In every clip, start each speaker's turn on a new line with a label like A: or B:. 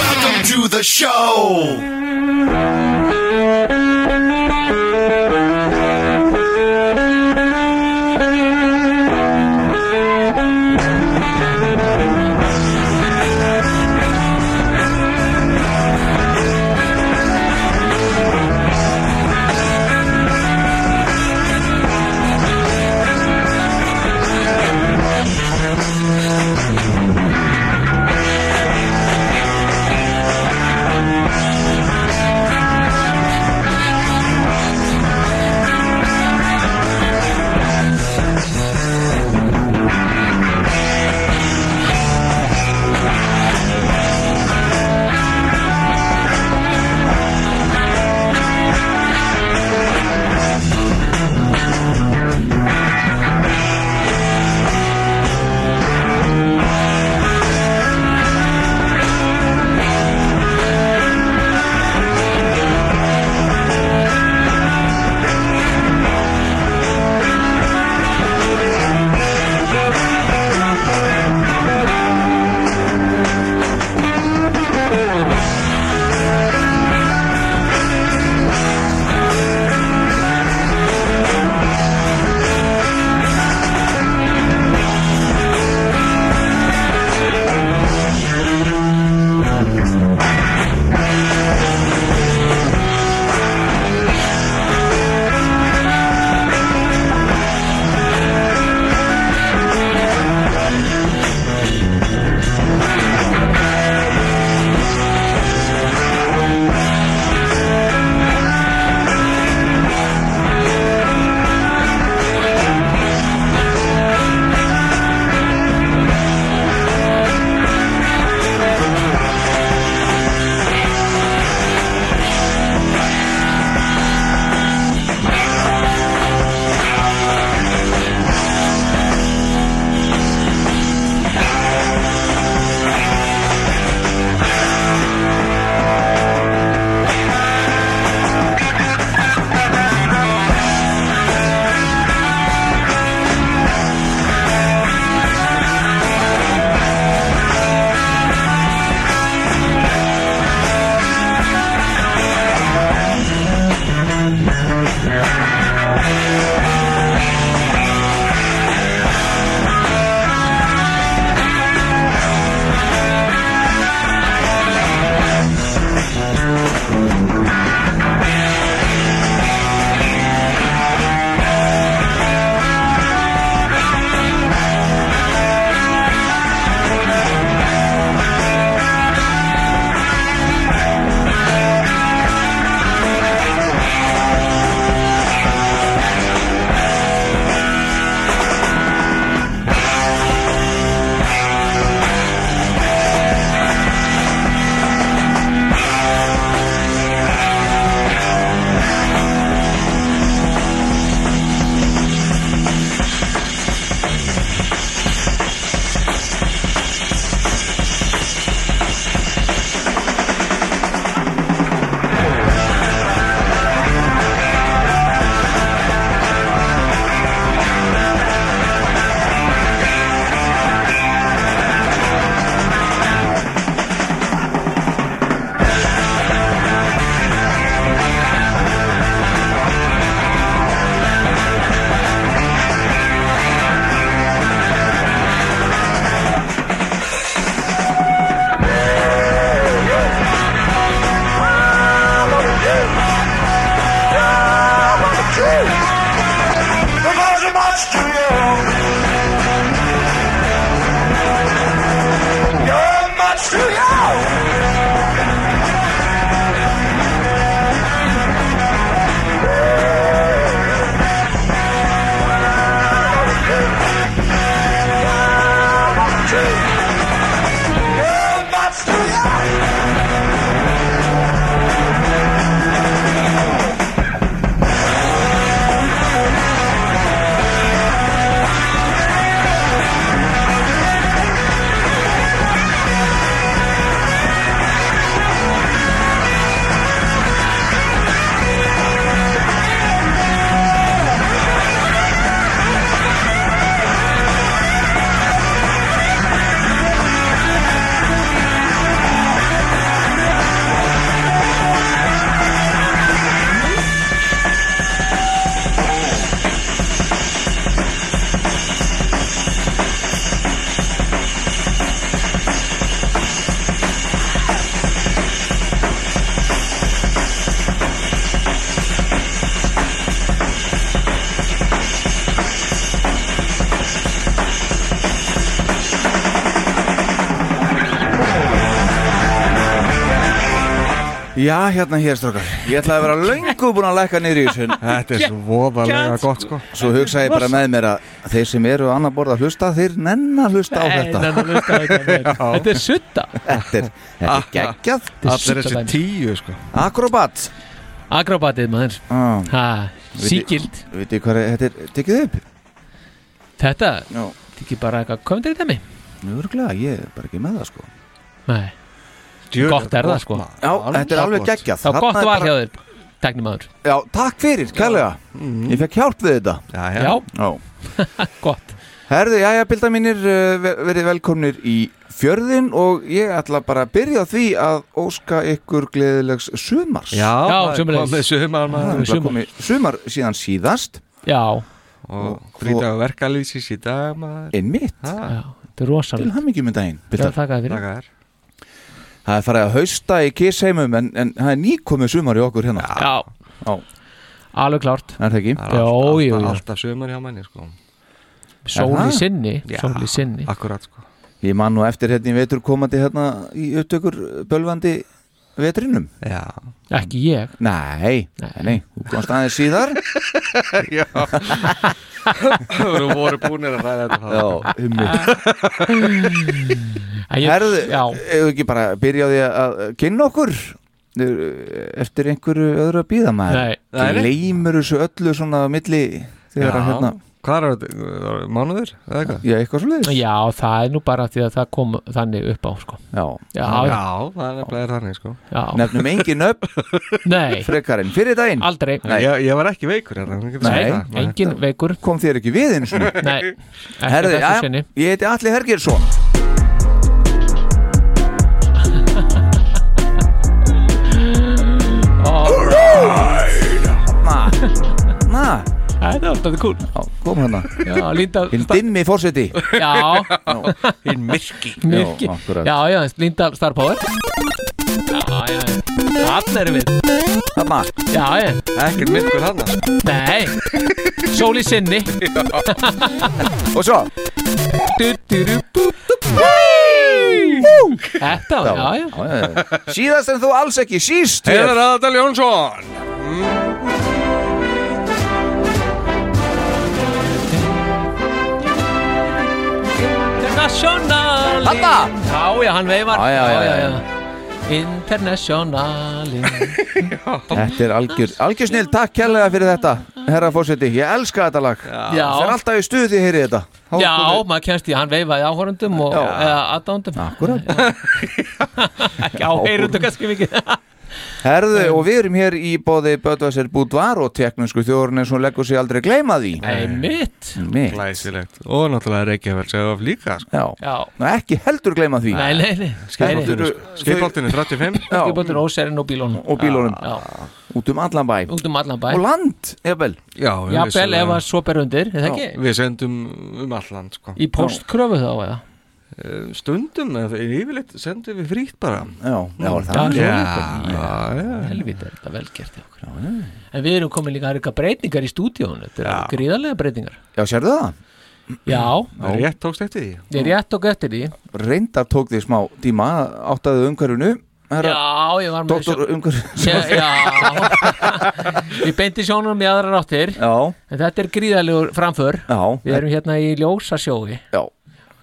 A: Welcome to the show.
B: Já, hérna hér strókar Ég ætlaði að vera löngu búin að lækka niður í þessu en
C: Þetta er svo voðalega gott sko
B: Svo hugsa ég bara með mér að þeir sem eru á annar borð að hlusta, þeir nenn að hlusta á þetta
D: Nei, nei, nei, nei, nei, nei. Þetta er sutta
B: Þetta er, þetta er geggjað
C: Ah, Allir
D: Sutta
C: þessi
D: dæmi.
C: tíu sko
B: Akrobat
D: Akrobatið maður
B: ah,
D: ha, Síkild
B: Vitið þið hvað er- þetta er, tekið upp?
D: Þetta
B: Já,
D: er ekki bara eitthvað komendri dæmi
B: mjögurglega, ég er bara ekki með það sko
D: Nei,
C: Djöfull
D: Gott er það, sko.
C: maður.
B: Já, þetta er alveg
C: gott.
B: geggjað
D: þá
B: Þarna
D: gott
B: er
D: var
B: bara-
D: hjá þér Tæknimaður
B: Já, takk fyrir, kærlega Ég fekk hjálp við þetta
C: Mhm. Já, já.
D: Já,
B: Já
D: gott
B: Herðu, jæja, bilda mínir, uh, ver- verið velkomnir í fjörðin og ég ætla bara að byrja á því að óska ykkur gleðilegs sumars.
C: Já, það er
D: sömuleiðis.
C: komið sumar
B: það
C: maður
B: er sumar.
D: sumar.
B: komið sumar síðan síðast,
D: Já,
C: og frítag verkalýsis í dag maður
B: einmitt,
C: Það
D: já þetta er
B: til
D: rosalega
B: hammingjum í daginn,
D: Já,
B: Bilda.
D: þakka þér fyrir
C: það er
B: Það er farið að hausta í kísheimum en, en það er nýkomið sumar í okkur hérna.
D: Já,
B: Já.
D: alveg klárt
B: Er það ekki?
C: Það
D: Já,
C: er alltaf-
D: jú, jú.
C: alltaf- Alltaf sumar hjá manni sko
D: Sól
B: það?
D: í sinni,
C: Já,
D: sól í sinni
C: Akkurat sko
B: Ég man nú eftir hérna í vetur komandi hérna í upptökur eh, bölvandi vetrinum.
C: Já
D: Ekki ég
B: Nei, nei,
D: Nei.
B: nei, þú komst aðeins síðar.
C: Já Þú eru voru búinir að ræða þetta þá.
B: Já, ummitt.
D: Æ, ég-
B: Herðu,
D: Já,
B: ef við ekki bara byrja á því að kynna okkur eftir einhverju öðru að býða maður
D: nei
C: Nei, nei.
B: gleymur þessu öllu svona á milli þegar
C: Já.
B: að hérna
C: Hvað er þetta? Mánuður? Eða eitthvað?
B: já, eitthvað svo leiðis
D: Já, það er nú bara því að það kom þannig upp á sko.
B: já.
D: Já, já,
C: Já, það er nefnilega er þannig sko
B: nefnum engin upp
D: Nei,
B: frekarinn fyrir daginn
D: aldrei
B: Nei.
C: ég, ég var ekki veikur hérna ég get
B: Nei,
C: sagt það.
D: engin veikur
B: kom þér ekki við eins og
D: Nei, ekki
B: herði,
D: þessu
B: já,
D: sinni
B: ég heiti Alli Hergersson na, na,
D: Æ, Það var þetta kúl
B: já, kom hérna
D: Já, Linda
B: hinn dimmi fórseti
D: Já,
C: Hinn myrki
D: myrki
B: Já, akkurat.
D: Já, já, Linda Star Power Já, já, allir erum við
B: þarna,
D: Já, já,
C: Ekkert myrkur hann
D: nei Sól í sinni
B: og svo
D: Du, du, du, bú, bú, bú. Þetta, var- já, já
B: já, já, já. síðast en þú alls ekki síst
C: Heiðar Aðal Jónsson
D: International
B: Þarna.
D: Já, já, hann veifar
B: Já, já, já, já.
D: International
B: Þetta er algjör, algjör snill, takk kærlega fyrir þetta Herra fórseti, ég elska þetta lag Það er
D: Já,
B: alltaf í stuði þegar ég heyri þetta Þá
D: já,
B: komið-
D: maður kennst í hann veifaði áhórundum og
B: Já.
D: eða aðdándum
B: Akkúrat.
D: Ekki áheyrundu kannski mikið
B: Herðu, og við erum hér í bóði Böðvæsir Búdvar og teknísku þjórn eins og hún leggur sig aldrei gleyma því
D: Nei, mitt
B: Nei,
C: Læsilegt Og náttúrulega Reykjavík segja of líka sko.
B: já,
D: Já,
B: Nú, ekki heldur gleyma því
D: nei, nei, nei Nei, nei.
B: Þau-
C: Skipholtinu
B: þau-
C: Skipholtinu 35
B: Já,
D: Skipholtur óserinn og bílónum
B: Og bílunum,
D: Já,
B: út um allan bæ
D: út um allan bæ
B: Og land, jafnvel
C: Já,
D: Já, bel
C: vissulega.
D: ef að svo ber undir, er það ekki?
C: Við sendum um allan sko.
D: Í postkröfu þá eða?
C: Eh, Stundum, eða yfirleitt sendum við frýtt bara
B: Já, já, er það
D: Já.
C: já, já.
D: Helvita er þetta velgert í okkur En við erum komin líka að reyka breytingar í stúdíónu Þetta eru gríðarlega breytingar
B: Já, sérðu það?
D: Já,
C: Rétt tókst eftir því
D: ég er rétt og gött eftir því
B: Reyndar tók því smá tíma Áttaðu umhverfinu Herra,
D: Já, ég var með
B: doktor umhverfinu
D: sjón- Já Ég beinti sjónum í aðra ráttir
B: Já,
D: En þetta er gríðarlegur framför Við
B: já,
D: erum hérna í ljósasjói
B: já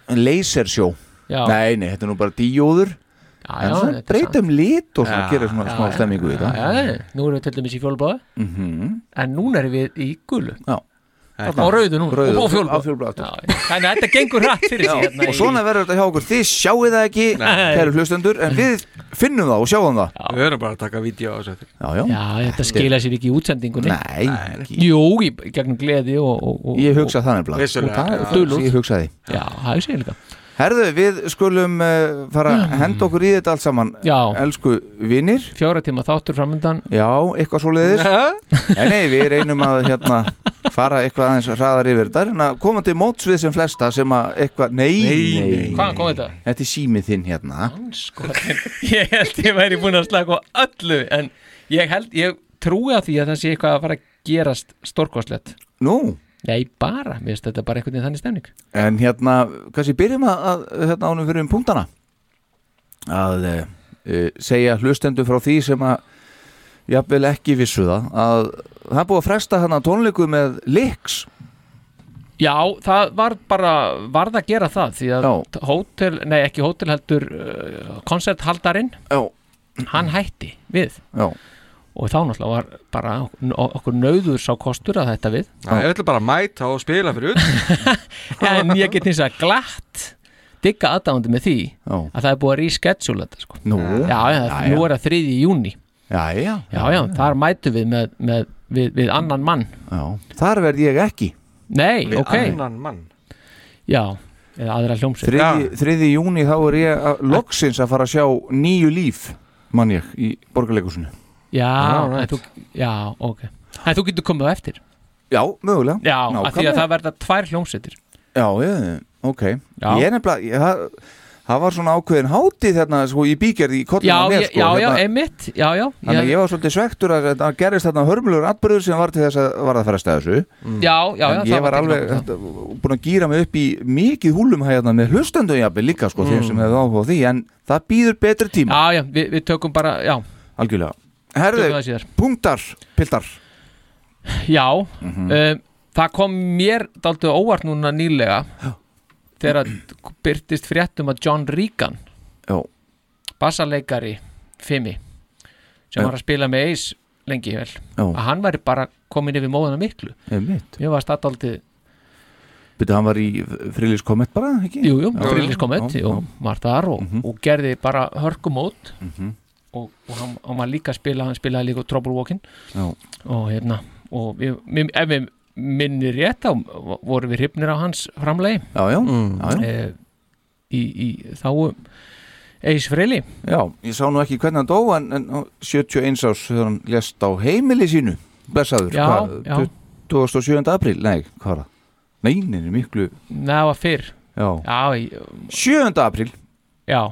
B: Lasersjó
D: Já,
B: Nei, nei, þetta er nú bara díóður
D: já, já
B: En svona
D: þetta er sant.
B: breytum lit og svona
C: Já,
B: gerir svona smá stemmingu í
D: Já,
B: þetta
D: já, nú erum við til dæmis í fjólbáðu
B: Mhm.
D: En núna erum við í gulu
B: Já.
D: Á rauðu núna
B: Rauðu,
D: Og á fjólbláu.
B: á fjólbláu aftur.
D: Já, já. Þannig að þetta gengur rætt fyrir sig hérna
B: Og
D: í-
B: svona verður þetta hjá okkur Þið sjáu það ekki,
C: Nei.
B: kæru hlustendur En við finnum það og sjáum það
C: Við erum bara að taka vídeo á þessu eftir
B: Já, já,
D: Já, þetta skila sér ekki í útsendingunni
B: nei ekki.
D: Jú, í gegnum gleði og, og, og
B: Ég hugsa það nefnilega
C: Vissulega,
B: Og það er
C: já.
B: það sem Ég hugsaði
D: Já, það er sér líka Mm.
B: Herðu, við skulum uh, fara að henda okkur í þetta allt saman
D: Já.
B: Elsku vinnir
D: Fjóra tíma þáttur framöndan
B: Já, eitthvað svo leiðis
C: Já,
B: Nei, nei, við reynum að hérna fara eitthvað aðeins hraðar yfir þetta en að koma til móts við sem flesta sem að eitthvað, nei,
C: Nei, nei.
D: Hvaðan kom þetta?
B: þetta er símið þinn hérna
D: Skotin. Ég held ég væri búin að slaka á öllu En ég held, ég trúi að því að það sé eitthvað að fara að gerast stórkoslegt
B: Nú,
D: Nei, bara, mér finnst þetta bara einhvern veginn þannig stemning
B: En hérna, kannski byrjum að, að hérna ánum fyrir um punktana að eh, uh, segja hlustendum frá því sem að jafnvel ekki vissu það að það er búið að fresta hana tónleiku með Lix
D: Já, það var bara varð að gera það því að
B: Já.
D: hótel, nei ekki hótel heldur uh, koncerthaldarinn,
B: Já,
D: hann hætti við
B: já,
D: og þá náttúrulega var bara ok- okkur nauður sá kostur að þetta við
C: Það er öll bara að mæta og spila fyrir utan
D: en ég get eins og glatt digga aðdáðandi með því
B: já
D: að það er búið að reschedule þetta sko
B: Nú,
D: Já, já,
B: já.
D: nú er það 3. júni
B: já, já,
D: Já, já, þar mætum við með, með við, við annan mann
B: já. Þar verð ég ekki
D: Nei,
C: við
D: ok,
C: annan mann
D: já eða aðra hljómsveit
B: Þriði, þriði júni þá er ég að, loksins að fara að sjá nýju líf mann ég í borgarleikusinu
D: Já,
C: Alright.
D: en þú, já, ok En þú getur komið á eftir
B: Já, mögulega
D: Já, af því að
B: Nákvæmlega.
D: það verða tvær hljómsveitir
B: Já, ég, ok
D: Já.
B: Ég er nefnilega, ég, það, það var svona ákveðin hátíð þarna sko, í bígerð í kollinu
D: Já,
B: á mér,
D: ég-
B: sko,
D: já, já,
B: hérna,
D: einmitt Já, já,
B: Þannig að
D: já,
B: ég var svolítið svektur að það gerist þarna hörmulegur atbyrður sem var til þess að var að fara að stæða þessu
D: já, já
B: En
D: það
B: ég var
D: tekið
B: alveg
D: ákvörðun.
B: þetta, búin að gýra mig upp í mikið húlumhæðna með hlustandu jafnvel líka sko þeim sem hefði áhuga á því en það býður betri tíma,
D: Mm. Já, já, við, við tökum bara, já,
B: algjörlega
D: tökum það
B: Herðu,
D: síðar
B: punktar, Mhm. piltar
D: Já, um, það kom mér dálítið óvart núna nýlega þegar að byrtist fréttum að John Regan
B: Já,
D: bassarleikari Fimi sem
B: Já.
D: var að spila með Ace lengi vel
B: já,
D: að hann væri bara komin yfir móðuna miklu
B: einmitt
D: ég var staðaldið,
B: Byrðu, hann var í Frilis Komet bara, ekki?
D: jú, jú,
B: já,
D: frillis kom
B: já, Mhm.
D: öll
B: já.
D: og var þar og, og gerði bara hörkumót
B: Mhm.
D: og, og hann, hann var líka að spila hann spilaði líka Trouble Walking
B: Já.
D: og hérna og við, við, ef við minni rétt á vorum við hrifnir á hans framlegi
B: Já, já, já, já,
D: eh, í, í þá Ace Frehley
B: já, ég sá nú ekki hvernig hann dó en, en á 71 ás þegar hann lest á heimili sínu blessaður,
D: Já, já.
B: 27. apríl, nei, hvað var það? Nei, neini, miklu,
D: Nei, það var fyrr
B: já,
D: já, í-
B: 7. apríl,
D: já,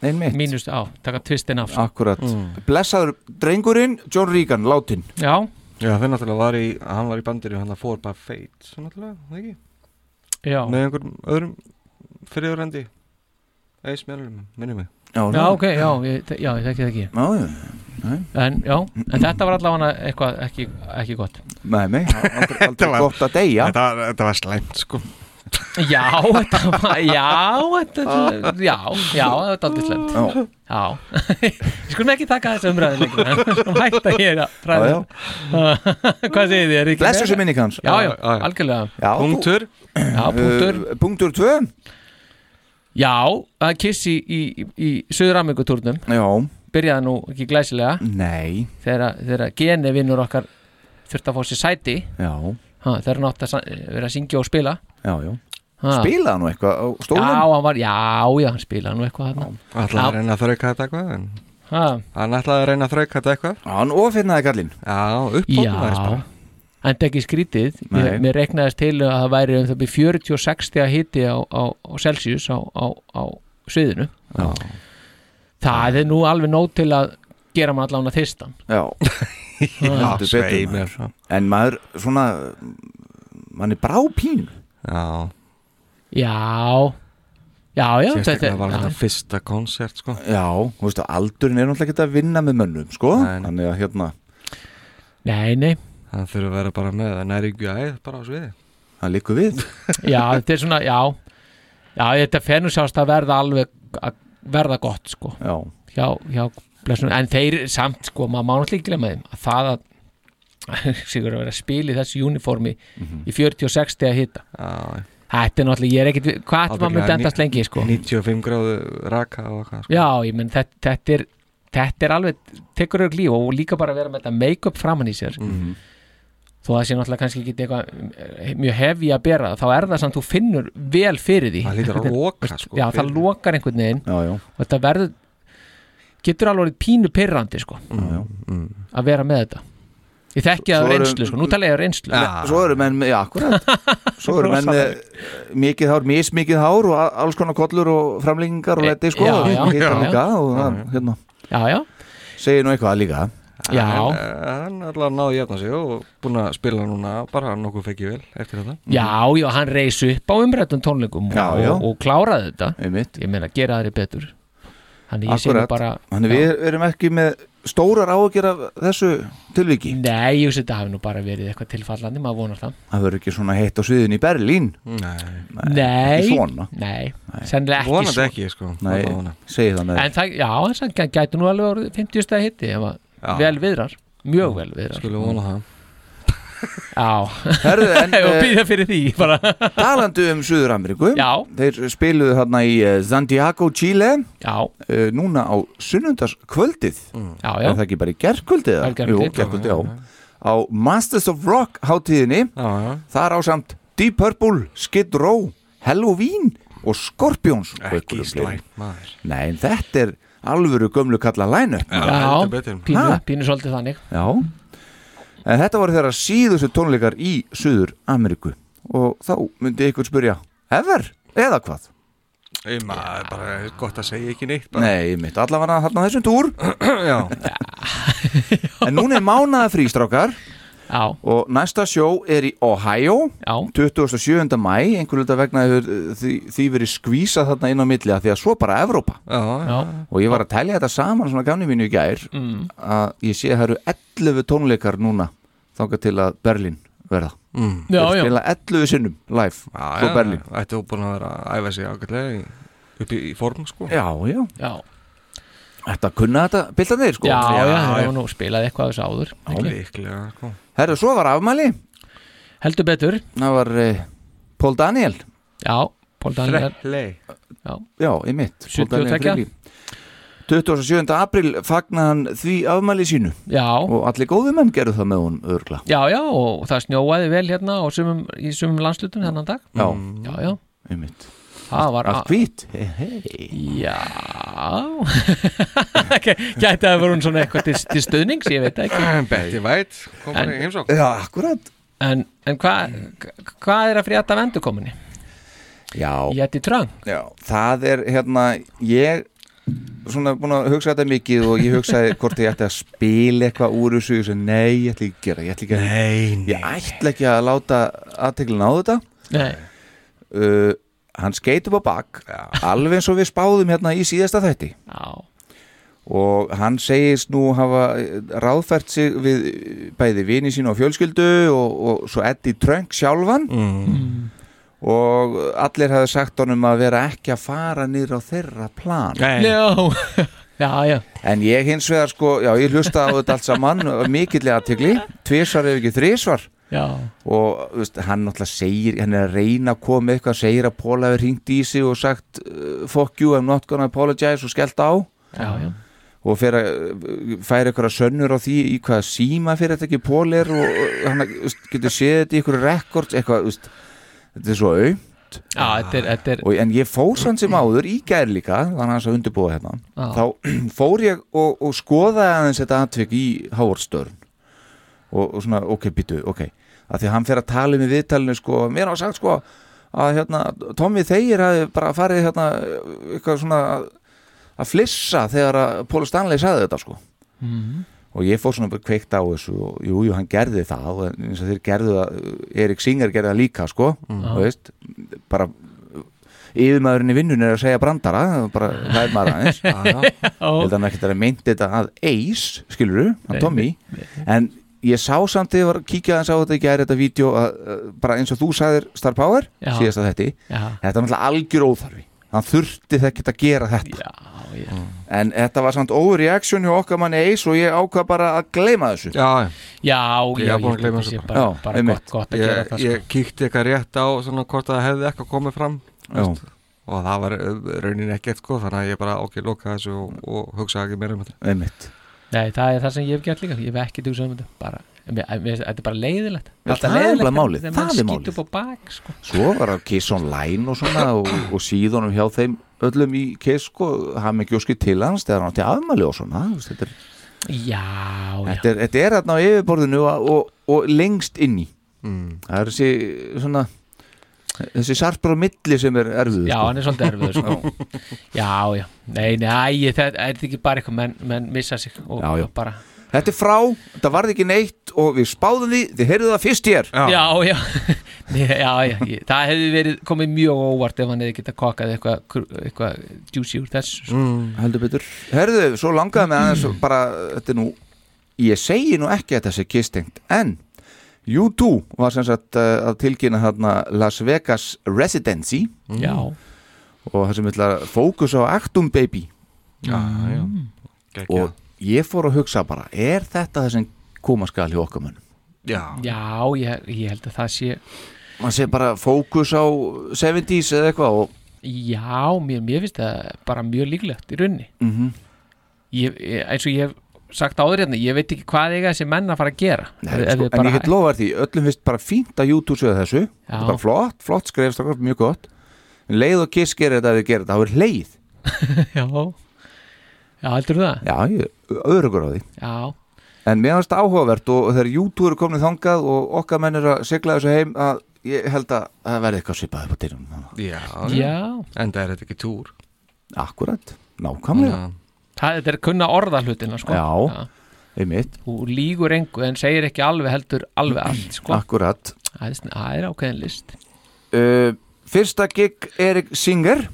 B: nein mitt
D: mínust, já, taka tvistin af sko.
B: Akkurat,
C: Mm.
B: blessaður drengurinn John Regan, látin
D: Já,
C: Já, þeir náttúrulega var í, hann var í bandinu hann að fór bara feit, svo náttúrulega, það ekki?
D: já,
C: Með einhverjum öðrum fyrirrendi Eis meðlum, minnum mig
D: já, ok, já, ég, já, ég þekki það ekki
B: Já, já,
D: En já, en þetta var allavega eitthvað ekki, ekki gott
B: með mig Aldrei, aldrei
C: var-
B: gott að deyja
C: þetta, var- þetta var slæmt, sko
D: Já, þetta var, já, þetta, já, já, þetta var aldrei slemt
B: Já,
D: Já, ég skulum ekki taka þessu umræði lengur en við skulum hætta hér
B: já,
D: að
B: já.
D: fræða Hvað segir þið, er ekki
B: Blessu sem minni kanns
D: Já,
C: Já,
D: já,
C: já.
D: algjörlega,
B: já þú-
C: Punktur
D: já, punktur
B: Uh, punktur 2
D: Já, það er kiss í, í, í Suður-Amikutúrnum,
B: Já,
D: byrjaði nú ekki glæsilega
B: nei
D: þegar, þegar geni vinnur okkar þurfti að fá sér sæti
B: Já,
D: ha, þegar hann átti að sa- vera að syngja og spila
B: já, já
D: ha.
B: Spilaði hann nú eitthvað á
D: Já,
B: stólum?
D: hann var, já, já, hann spilaði nú eitthvað þarna
C: Ætlaði að reyna að þrauka þetta eitthvað en
D: ha,
C: Hann ætlaði að reyna að þrauka þetta eitthvað
B: Já, hann ofirnaði kallinn
C: Já, uppbóðum aðeins
D: Já,
C: bara
D: en það ekki skrítið
B: Nei.
D: mér, mér reknaðist til að það væri um það byrja 46 stiga hiti á, á, á Celsius á, á, á sviðinu
B: Já.
D: Það er nú alveg nóg til að gera maður allan að þistan
B: Já,
D: ha,
B: heldur betur,
C: svei
B: maður.
C: mér, sko.
B: En maður svona mann er brá pín
C: Já,
D: Já, já, já
C: sérstaklega var
D: já.
C: þetta fyrsta konsert, sko
B: Já, þú veistu, aldurinn er náttúrulega ekki að vinna með mönnum, sko
C: Nei, nei.
B: Þannig að hérna,
D: Nei, nei,
C: Það þurfa að vera bara með næringu æð bara á sviði
B: það liggur við
D: já, þetta er svona, já Já, þetta fer nú sjást að verða alveg að verða gott, sko
B: Já,
D: hjá, hjá blessun, en þeir samt sko, maður má náttúrulega ekki glemma þeim að það að sigur að vera að spila í þessu uniformi í 46 stegi að hitta
C: Mhm. Já,
D: þetta er náttúrulega, ég er ekkit, við- hvað ætlum að
C: Ábyggilega
D: mynda endast
C: ný-
D: lengi sko
C: 95 gráðu raka og eitthvað, sko
D: já, ég menn, þetta, þetta er þetta er alveg, tekur auðvitað líf og líka bara að vera með þetta make-up framan í sér
B: Mhm.
D: þó að það sé náttúrulega kannski ekki eitthvað eh, mjög hefi að bera það, þá er það samt þú finnur vel fyrir því
C: Það lítur að
D: Einhvern veginn-
C: loka, sko
D: já, það
C: fyrir-
D: lokar einhvern veginn
B: já,
E: Oh,
B: já,
D: og þetta verður getur alveg orðið pínu pyrrandi sko
C: Mm,
B: já, já.
D: að vera með þetta ég þekki það
B: Svo
D: af
B: eru-
D: reynslu sko, nú tala ég af reynslu
C: Já.
B: Svo eru menn með, já, akkurat Svo eru menn með mikið hár, mismikið hár og a- alls konar kollur og framlengingar og
D: E-
B: leti, sko
D: já,
B: og
D: já,
B: hittar
D: já.
B: líka og það, hérna,
D: já, já,
B: segir nú eitthvað líka
D: já,
C: En, eh, Hann er alveg að náðu jæfna sig og búin að spila núna bara nokkuð fekki vel eftir þetta
D: já, já hann reis upp á umrættum tónleikum
B: Já,
D: og,
B: já.
D: og kláraði þetta
B: einmitt,
D: ég meina, gera aðri betur Þannig ég segir
B: Akkurat.
D: bara
B: Þannig við erum ekki með stórar áhyggjur af þessu tilviki.
D: Nei, ég veist þetta hafi nú bara verið eitthvað tilfallandi, maður vonar það
B: Það verður ekki svona heitt á sviðin í Berlín.
C: Nei,
D: Nei,
B: Ekki svona.
D: nei, sennilega ekki
C: vonandi
D: svona
C: ekki sko
B: Nei,
C: Alla vona.
B: segi það með
D: En það, já, en það gæti nú alveg orðið 50 stæði hitti ef að
C: Já.
D: vel viðrar Mjög vel viðrar
C: Skulum vona það
D: Já,
B: Herðu, en
D: og
B: eh,
D: býða fyrir því bara.
B: talandi um Suður-Ameríku,
D: Já.
B: þeir spiluðu þarna í eh, Santiago, Chile,
D: Já,
B: uh, núna á sunnundaskvöldið,
C: Mm.
D: já,
B: er
D: já
B: það ekki bara í gerkvöldið?
D: Það er í gærkvöldið.
B: Jú, gerkvöldið, já. Á Masters of Rock hátíðinni,
C: Já, já,
B: þar á samt Deep Purple, Skid Row, Halloween og Scorpions. og
C: ekki
B: einhverjum fleirum.
C: slæmt maður
B: Nei, en þetta er alvöru gömlu kalla line-up.
C: heldur betur.
D: Já, pínu,
B: Ha?
D: pínu svolítið þannig
B: Já En þetta voru þeirra síðustu tónleikar í Suður Ameríku og þá myndi ykkur spyrja Ever? Eða hvað?
C: Ei, maður, bara gott að segja ekki neitt bara.
B: Nei, mitt allavega hann á þessum túr
C: Já,
B: En núna er mánaða frístrákar
D: Já,
B: og næsta sjó er í Ohio
D: já,
B: 27. mæ, einhverju þetta vegna hefur uh, því, því verið skvísa þarna inn á milli að því að svo bara Evrópa
C: já, já
D: já
B: og ég var að telja þetta saman svona gafni mínu í gær
D: mm.
B: að ég sé að það eru 11 tónleikar núna þangað til að Berlín verða
C: Mm.
D: Já,
B: Þeir
D: já,
B: spila 11 sinnum live
C: Já,
B: frá
C: já,
B: Berlín
C: Ættu búin að vera að æfa sig ágætlega í, upp í, í form sko
B: Já, já,
D: já
B: þetta kunna þetta bildanir sko
D: Já, já,
C: Já,
D: já, það
C: já.
D: var nú spilaði eitthvað af þessu áður ekki?
C: Líklega sko
B: Herru, svo var afmæli
D: Heldur betur,
B: Það var uh, Pól Daniel
D: já, Pól Daniel
C: Freley
B: Já, í mitt
D: 72.
B: 27. april fagnaði hann því afmæli sínu
D: Já,
B: og allir góðu menn gerðu það með hún örgla
D: já, já, og það snjóaði vel hérna á sumum, í sumum landslutun hennan dag
B: Já,
C: Mm.
D: Já, já,
B: í mitt
D: það var
B: Allt hvít Hei, hei
D: Já Gæti að vera hún svona eitthvað til, til stöðnings, ég veit það ekki
C: Betty White kom bara
D: En-
C: í heimsók
B: Já, akkurat
D: En, en hvað hva er að frétta af endurkominni?
B: Já,
D: Jætti Trump
B: já, það er hérna Ég svona búin að hugsa þetta mikið og ég hugsaði hvort ég ætti að spila eitthvað úr þessu og ég sagði, Nei, ég ætla ekki að gera, ég ætla ekki að
C: Nei,
B: Ég ætla ekki að láta aðteklina á þetta
D: Nei,
B: uh, Hann skeit upp á bak
C: Já.
B: Alveg eins og við spáðum hérna í síðasta þætti
D: já,
B: Og hann segist nú hafa eh, ráðfært sig við eh, bæði vini sín og fjölskyldu og, og svo Eddie Trunk sjálfan
C: mm.
B: og allir hafi sagt honum að vera ekki að fara nýr á þeirra plan
C: Nei.
D: já Já, já,
B: En ég hins vegar sko, já ég hlusta á þetta allt saman mikillega aðtegli, tvisvar ef ekki þrisvar
D: já
B: og þú veist, hann náttúrulega segir hann er að reyna að koma með eitthvað segir að Paul hefur ringt í sig og sagt uh, fuck you, I'm not gonna apologize og skellt á
D: Já, já,
B: og fer að uh, færa eitthvað sönnur á því í hvaða síma fyrir þetta ekki Paul er og uh, hann þú veist, getur séð þetta í eitthvað rekord eitthvað, þú veist, þetta er svo au
D: já, þetta er, þetta er
B: og, en ég fór sann sem áður í gær líka þannig að hans að undirbúa hérna
D: Já.
B: þá fór ég og, og skoðaði aðeins þetta atvik í Hávardstörn og, og svona, ok, býtu, ok að því að hann fer að tala um í viðtalinu sko, mér á sagt sko að hérna, Tommy Þeyr hafi bara farið hérna, eitthvað svona að- að flissa þegar að Paul Stanley sagði þetta sko og ég fór svona bara kveikt á þessu og jú, jú, hann gerði það og eins og þeir gerðu það Erik Singer gerði það líka, sko
D: Mm.
B: þú veist, bara yfirmaðurinn í vinnun er að segja brandara bara hlæð maður aðeins ég held að hann ekkert er að meinti þetta að Ace skilur hann Tommy en ég sá samt þegar ég var að kíkja aðeins á þetta ég gerði þetta vídeo að, að, bara eins og þú sagðir Star Power
D: Já.
B: síðast að þetta
D: Já,
B: þetta var náttúrulega algjör óþarfi hann þurfti þekkert að gera þetta
D: já, já
B: en þetta var samt overreaction hjá okkar manni Ace og ég ákvað bara að gleyma þessu
C: Já,
D: Já,
C: Ég er
D: já, ég
C: búin að
D: held
C: gleyma
D: að
C: þessu
D: sé
C: bara.
D: bara,
B: Já,
D: bara
B: einmitt.
D: gott, gott að gera
C: ég,
D: það sko.
C: ég kíkti eitthvað rétt á svona hvort það hefði eitthvað komið fram
B: Já.
C: og það var uh, raunin ekkert sko þannig að ég bara ok, loka þessu og, og hugsa ekki meira um þetta
B: einmitt
D: Nei, það er það sem ég hef gert líka Ég hef ekki dugsað um þetta bara, mér, mér, Þetta er bara leiðilegt
B: Já, það er nefnilega málið.
D: þegar
B: Það
D: menn
B: er
D: skýtur
B: málið.
D: upp á bak sko.
B: Svo var það Kiss Online og svona og, og síðanum hjá þeim öllum í Kiss sko, hafði mig gjóskið til hans þegar hann átti afmæli og svona þú veist, þetta er,
D: Já, já
B: þetta er, þetta er þarna á yfirborðinu og, og, og lengst inni
C: mm.
B: það er þessi svona þessi sarpar á milli sem er erfið
D: Já,
B: sko.
D: hann er svolítið erfiður sko. Já, já, nei, nei, æ, það er þetta ekki bara eitthvað menn, menn missa sig og
B: Já, já.
D: bara
B: þetta er frá, þetta varði ekki neitt og við spáðum því, þið heyrðu það fyrst hér
D: já, já, já, já, já ég, það hefði verið komið mjög á óvart ef hann hefði getað kokkað eitthvað kr- eitthvað juicy úr þessu sko.
B: Mm, heldur betur Herðu, svo langaði mig aðeins bara, þetta er nú ég segi nú ekki að þessi kistengt en U2 var sem sagt uh, að tilkynna þarna Las Vegas Residency
D: já,
B: og það sem ætla að fókusa á Actum Baby
C: já, já.
B: og
C: Geggjað.
B: ég fór að hugsa bara er þetta það sem koma skal hjá okkar mönnum
C: já.
D: já, ég, ég held að það sé
B: mann sé bara fókus á 70s eða eitthvað og
D: Já, mér, mér finnst það bara mjög líklegt í raunni
B: Mhm.
D: ég, ég- eins og ég hef sagt áður hérna ég veit ekki hvað eiga þessi menn að fara að gera
B: Nei,
D: Ef- ef
B: sko,
D: þið
B: en ég get lofað því, öllum finnst bara fínt að YouTube séu þessu, þetta
D: Já.
B: er bara flott, flott skrefstakar, mjög gott en leið og kiss gerir þetta að þið gerir þetta, þá er leið
D: Já, já heldur það?
B: já, ég er örugur á því
D: Já,
B: en mér finnst áhugavert og þegar YouTube eru komin þangað og okkar menn eru að sigla þessu heim að ég held að það verði eitthvað svipað upp á dyrunum
C: já.
D: já
C: en það er þetta ekki túr
B: akkurat, nákvæmlega,
D: það, Þetta er kunna orða hlutina sko.
B: Já. einmitt
D: Þú lígur engu en segir ekki alveg heldur alveg allt sko.
B: akkurat
D: það, er, svona- það er ákveðin list
B: Uh, fyrsta gig Erik Singer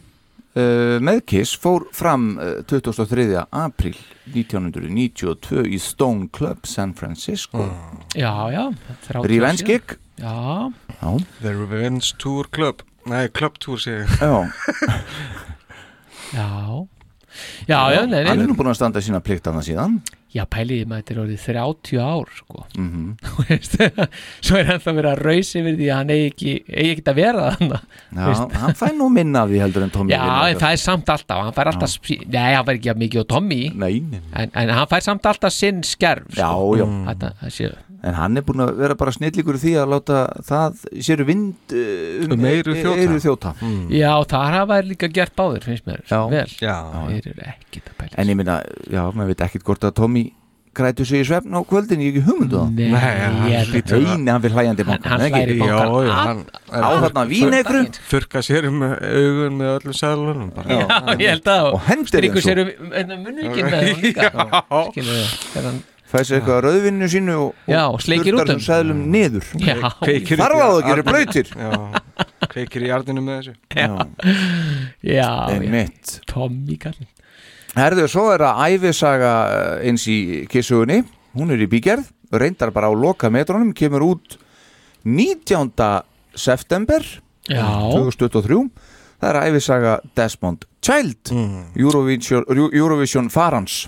B: uh, með Kiss fór fram uh, 23. apríl 1992 í Stone Club San Francisco
D: Mm. Já, já þetta er 30
B: Revenge
D: síðan.
B: gig
D: Já,
B: Já,
C: The Revenge Tour Club nei, Club Tour sé ég
B: já,
D: já Já, já, nei,
B: hann er
D: nei
B: nú búin að standa sína pliktana síðan
D: Já, pæliði maður þetta er orðið 30 ár sko.
B: mm
D: Þú veist, svo er ennþá verið að rausi yfir því að hann eigi ekki, eigi ekki að vera þannig
B: Já, hann fær nú minna af því heldur en Tommy
D: já, en það er samt alltaf hann fær alltaf, spi- nei, hann fær ekki að mikið á Tommy
B: Nei, nei, nei.
D: en, en hann fær samt alltaf sinn skerf
B: Já,
D: sko.
B: já,
D: þetta, það sé,
B: en hann er búin að vera bara snillíkur í því að láta það sér vind uh,
C: Um eyru þjóta.
B: eyru þjóta.
D: já, það hafa þær líka gert báður, finnst mér,
B: Já.
D: Mm. vel
C: já,
D: þeir eru ekki að pæla
B: En ég minna, já, maður veit ekkert hvort að Tommy grætu sig í svefn á kvöldin, ég hef ekki hugmyndu á það
D: nei,
C: Nei, hann
D: ég, held að-
B: Einu, hann vil hlæjandi
D: hann,
B: banka
D: hann hlæri
C: já,
D: bankan
C: já
D: já,
C: hann
B: Á þarna vínegru
C: þurka sér um augun með öllum sæðlunum bara
D: ég held að
B: Og hendir
D: strýkur
B: þeim svo.
D: sér um munvíkin með hún líka skilur hérna. þau, þegar hann
B: Fæði sér eitthvað að rauðvinnu sínu og,
D: Já, og
B: og
D: sleikir út um.
B: þessum sæðlum niður
D: já,
C: Kveikir í-
B: Þar var það að gera
C: arninum.
B: blöytir
C: já, kveikir í jardinu með þessu
B: Já,
D: já, já,
B: einmitt
D: Tommy kallinn
B: Herðu, svo er að æfisaga eh, eins í kissugunni Hún er í bígerð, reyndar bara á loka metrónum Kemur út 19. september
D: já,
B: 2023 Það er æfisaga Desmond Child Eurovision, Eurovision farans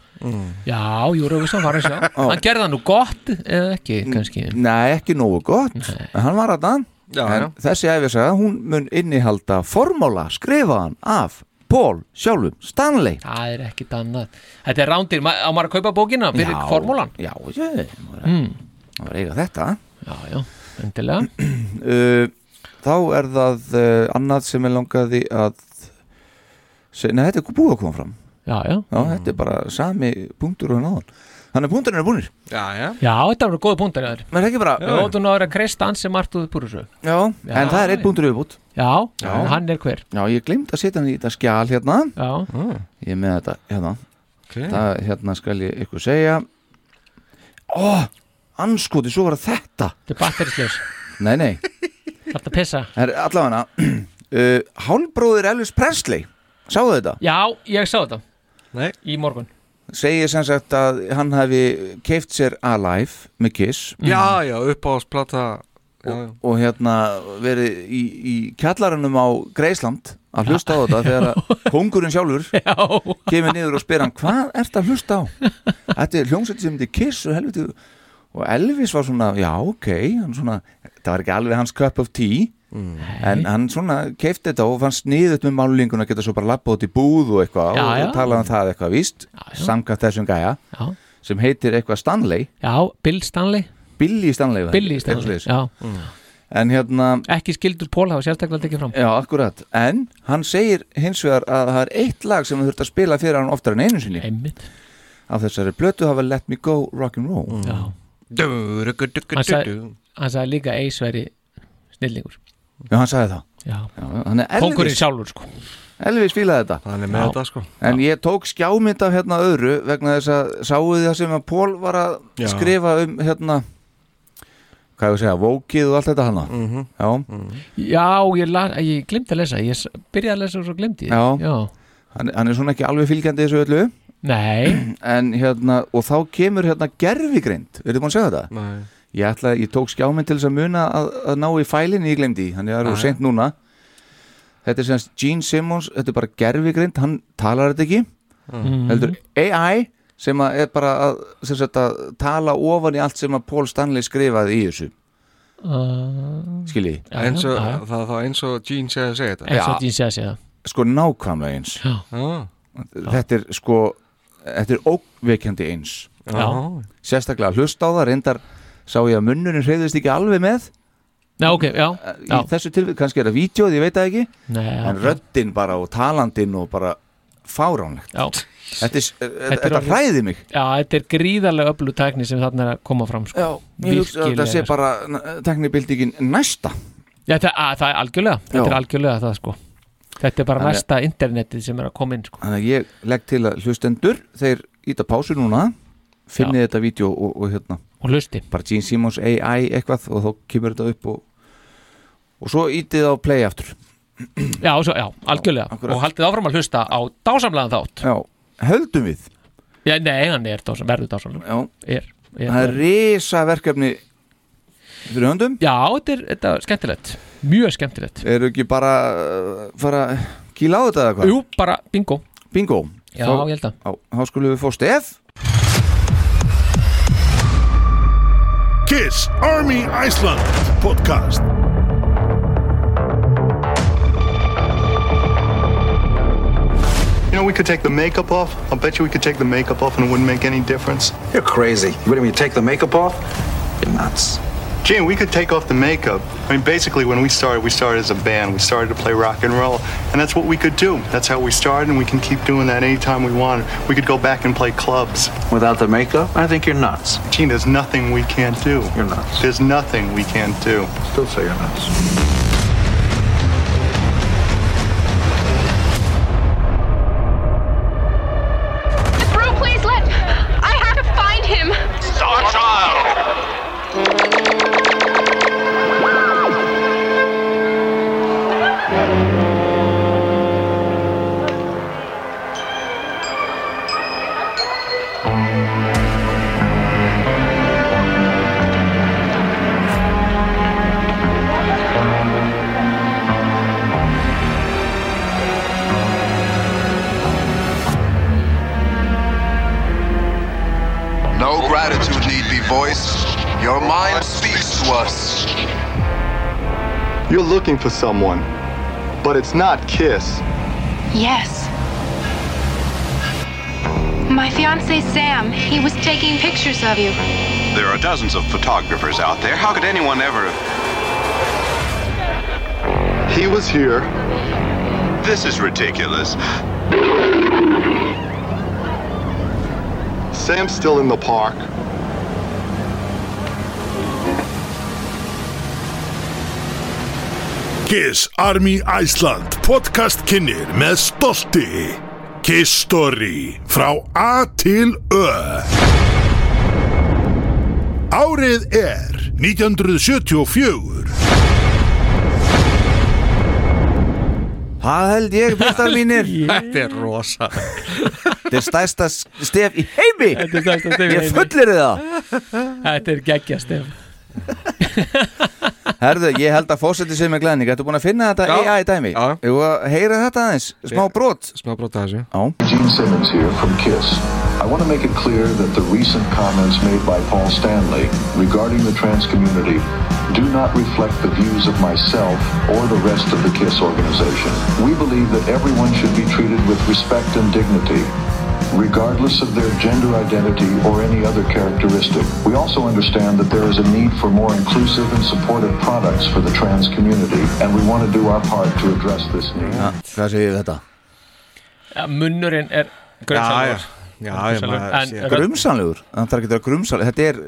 D: Já, Eurovision var að sjá Hann gerði það nú gott eða ekki kannski
B: Nei, ekki nógu gott En hann var að það
C: Já,
B: En
C: já.
B: þessi æfisaga, hún mun innihalda formála skrifaðan af Paul sjálfum Stanley
D: Það er ekkit annað Þetta er rándir, ma- á maður að kaupa bókina fyrir
B: Já,
D: formúlan
B: Já, ég, maður mm. var að eiga þetta
D: Já, já, endilega
B: uh, Þá er það uh, annað sem er langaði að se- Nei, þetta er búið að koma fram
D: Já, já
B: Já, þetta er bara sami punktur og náðan Þannig að punkturinn er búinir
C: já, já
D: Já, þetta var góða punktar þér
B: Var það ekki bara,
D: Þú áttu nú að vera að kreista hans sem Artur Búrusög
B: já, en það er einn punktur yfirbútt
D: Já, en hann er hver
B: Já, ég glemt að setja hann í þetta skjal hérna
D: Já,
B: Ég er með þetta hérna
C: okay.
B: það hérna skal ég ykkur segja ó, anskoti, svo var það þetta
D: þetta er batterislaus
B: nei, nei,
D: Þetta að pissa
B: það er allavega uh, hálbróðir Elvis Presley sáðu þetta,
D: Já, ég sá þetta
C: Nei.
D: Í morgun
B: segir sem sagt að hann hafi keift sér Alive með Kiss
D: Mm.
C: já, já, uppáðsplata já, já
B: og hérna verið í, í kjallarunum á Greisland að hlusta á þetta þegar að kongurinn sjálfur
D: Já,
B: kemur niður og spyr hann hvað ert að hlusta á þetta er hljómsveit sem þið kiss og helviti og Elvis var svona, já ok hann svona, það var ekki alveg hans cup of tea en hann svona keifti þetta og fannst niðut með málingun að geta svo bara lappa út í búð og eitthvað
D: Já,
B: og,
D: já.
B: og talaði um það eitthvað víst
D: já.
B: samkvæmt þessum gæja
D: já,
B: sem heitir eitthvað Stanley
D: já Bill Stanley
B: Billy Stanley, var það
D: Billy
B: ekki?
D: Stanley
B: Eitthvað svoleiðis.
D: Já,
B: en hérna
D: ekki skildur Pól hafa sérstaklega tekið fram
B: Já, akkurat, en hann segir hins vegar að það er eitt lag sem þú þurft að spila fyrir hann oftar en einu sinni
D: Einmitt
B: af þessari blötu hafa Let Me Go Rock'n'Roll mm.
D: Já Hann sagði-
C: Du-ru-gu-du-gu-du-du.
D: hann sagði líka Ace veri snillingur
B: Já, hann sagði það
D: já.
B: Já, hann er Elvis
D: kongurinn sjálfur sko
B: Elvis fílaði þetta
C: hann er með
D: Já.
C: þetta sko
B: En ég tók skjámynd af hérna öðru vegna þess að sáu þið það sem að Pól var að
C: Já.
B: skrifa um hérna hvað ég að segja, vókið og allt þetta hana
C: mm -hmm.
B: Já,
D: Já, ég, la- ég glemdi að lesa Ég s- byrjaði að lesa og svo glemdi ég.
B: Já. hann, hann er svona ekki alveg fylgjandi þessu öllu
D: Nei,
B: en hérna, og þá kemur hérna gerfigreind, eru þið búin að segja þetta?
C: Nei,
B: Ég ætla, ég tók skjámynd til þess að muna að, að ná í fælinni ég glemdi í, þannig að það
C: Ah,
B: eru sent núna Þetta er semst Gene Simmons, þetta er bara gerfigreind, hann talar þetta ekki
D: Mhm.
B: heldur AI sem að er bara að, sem sagt, að tala ofan í allt sem að Paul Stanley skrifaði í þessu,
D: uh,
B: skilji
D: já,
C: eins og,
D: já.
C: það er þá eins og Gene segði að segja þetta
D: eins og Dín segja segja
B: sko nákvæmlega eins
D: Já,
C: Já,
B: þetta er sko, þetta er ókveikjandi eins
D: Já.
B: sérstaklega að hlusta á það, reyndar sá ég að munnurinn hreyðist ekki alveg með
D: já ok, já,
B: í
D: já.
B: þessu tilvíð, kannski er það vídjóð, ég veit það ekki
D: Nei, já.
B: en röddinn bara og talandinn og bara fáránlegt
D: já.
B: þetta, er-
D: er
B: þetta
D: orðið-
B: hræði mig
D: já, þetta er gríðarlega öflug tækni sem þarna er að koma fram sko.
B: Já, ég hugsa að þetta
D: Virkilega,
B: sé
D: sko.
B: bara teknibildingin næsta
D: já, það, að, það er algjörlega, þetta
B: Já.
D: er algjörlega það sko Þetta er bara
B: Þannig-
D: næsta internetið sem er að koma inn sko.
B: Þannig að ég legg til að hlustendur þeir íta pásu núna finnið þetta vídeo og, og hérna
D: og hlusti
B: bara Gene Simmons AI eitthvað og þá kemur þetta upp og, og svo ítið á play aftur
D: Já, og svo, já algjörlega,
B: akkurat.
D: og haldið áfram að hlusta á dásamlegan þátt
B: Já, höldum við
D: Já, nei, hann er dásam, verður dásamlegan
B: Já,
D: er, er,
B: það er risa verkefni fyrir höndum
D: Já, þetta er, þetta er skemmtilegt Mjög skemmtilegt
B: eru ekki bara uh, fara að kýla á þetta eða hvað?
D: Jú, bara bingo
B: Bingo
D: Já,
B: Þá-
D: ég held að
B: Já, þá skulum við fá stef
F: KISS Army Iceland podcast.
G: You know, we could take the makeup off. I'll bet you we could take the makeup off and it wouldn't make any difference.
H: You're crazy. What do you mean, take the makeup off? You're nuts.
G: Gene, we could take off the makeup. I mean, basically, when we started, we started as a band. We started to play rock and roll, and that's what we could do. That's how we started, and we can keep doing that anytime we want. We could go back and play clubs.
H: Without the makeup, I think you're nuts.
G: Gene, there's nothing we can't do.
H: You're nuts.
G: There's nothing we can't do.
H: Still say you're nuts.
I: Bro, please let. I have to find him.
A: No gratitude need be voiced. Your mind speaks to us.
G: You're looking for someone, but it's not Kiss.
I: Yes. My fiance Sam, he was taking pictures of you.
F: There are dozens of photographers out there. How could anyone ever?
G: He was here.
F: This is ridiculous.
G: Sam's still in the park.
F: KISS Army Iceland podcast kynir með stolti KISS Story frá A til Ö Árið er 1974
B: Það held ég, byrtar mínir
C: þetta er rosa
B: Þetta er stærsta s- stef í heimi
D: Þetta er stærsta stef í
B: Ég
D: heimi.
B: fullir það
D: Þetta er geggja stef
B: Herðu, ég held að fósetti sér með glæðning Þetta er búin að finna þetta
C: Já.
B: AI dæmi
C: Já.
B: Jú, heyra þetta aðeins, smá brot
C: smá brota þessu
J: Gene Simmons here from KISS. I want to make it clear that the recent comments made by Paul Stanley regarding the trans community do not reflect the views of myself or the rest of the KISS organization. We believe that everyone should be treated with respect and dignity, regardless of their gender identity or any other characteristic. We also understand that there is a need for more inclusive and supportive products for the trans community, and we want to do our part to address this need.
B: ja, Hvað segir þetta?
D: Ja, Munnurinn er
C: já,
D: grunnsæður
C: já, já,
D: Grunsamlegur.
C: maður
D: En-
C: sé-
D: Rödd-
B: Grumsanlegur, það er ekki að grumsanlegur Þetta er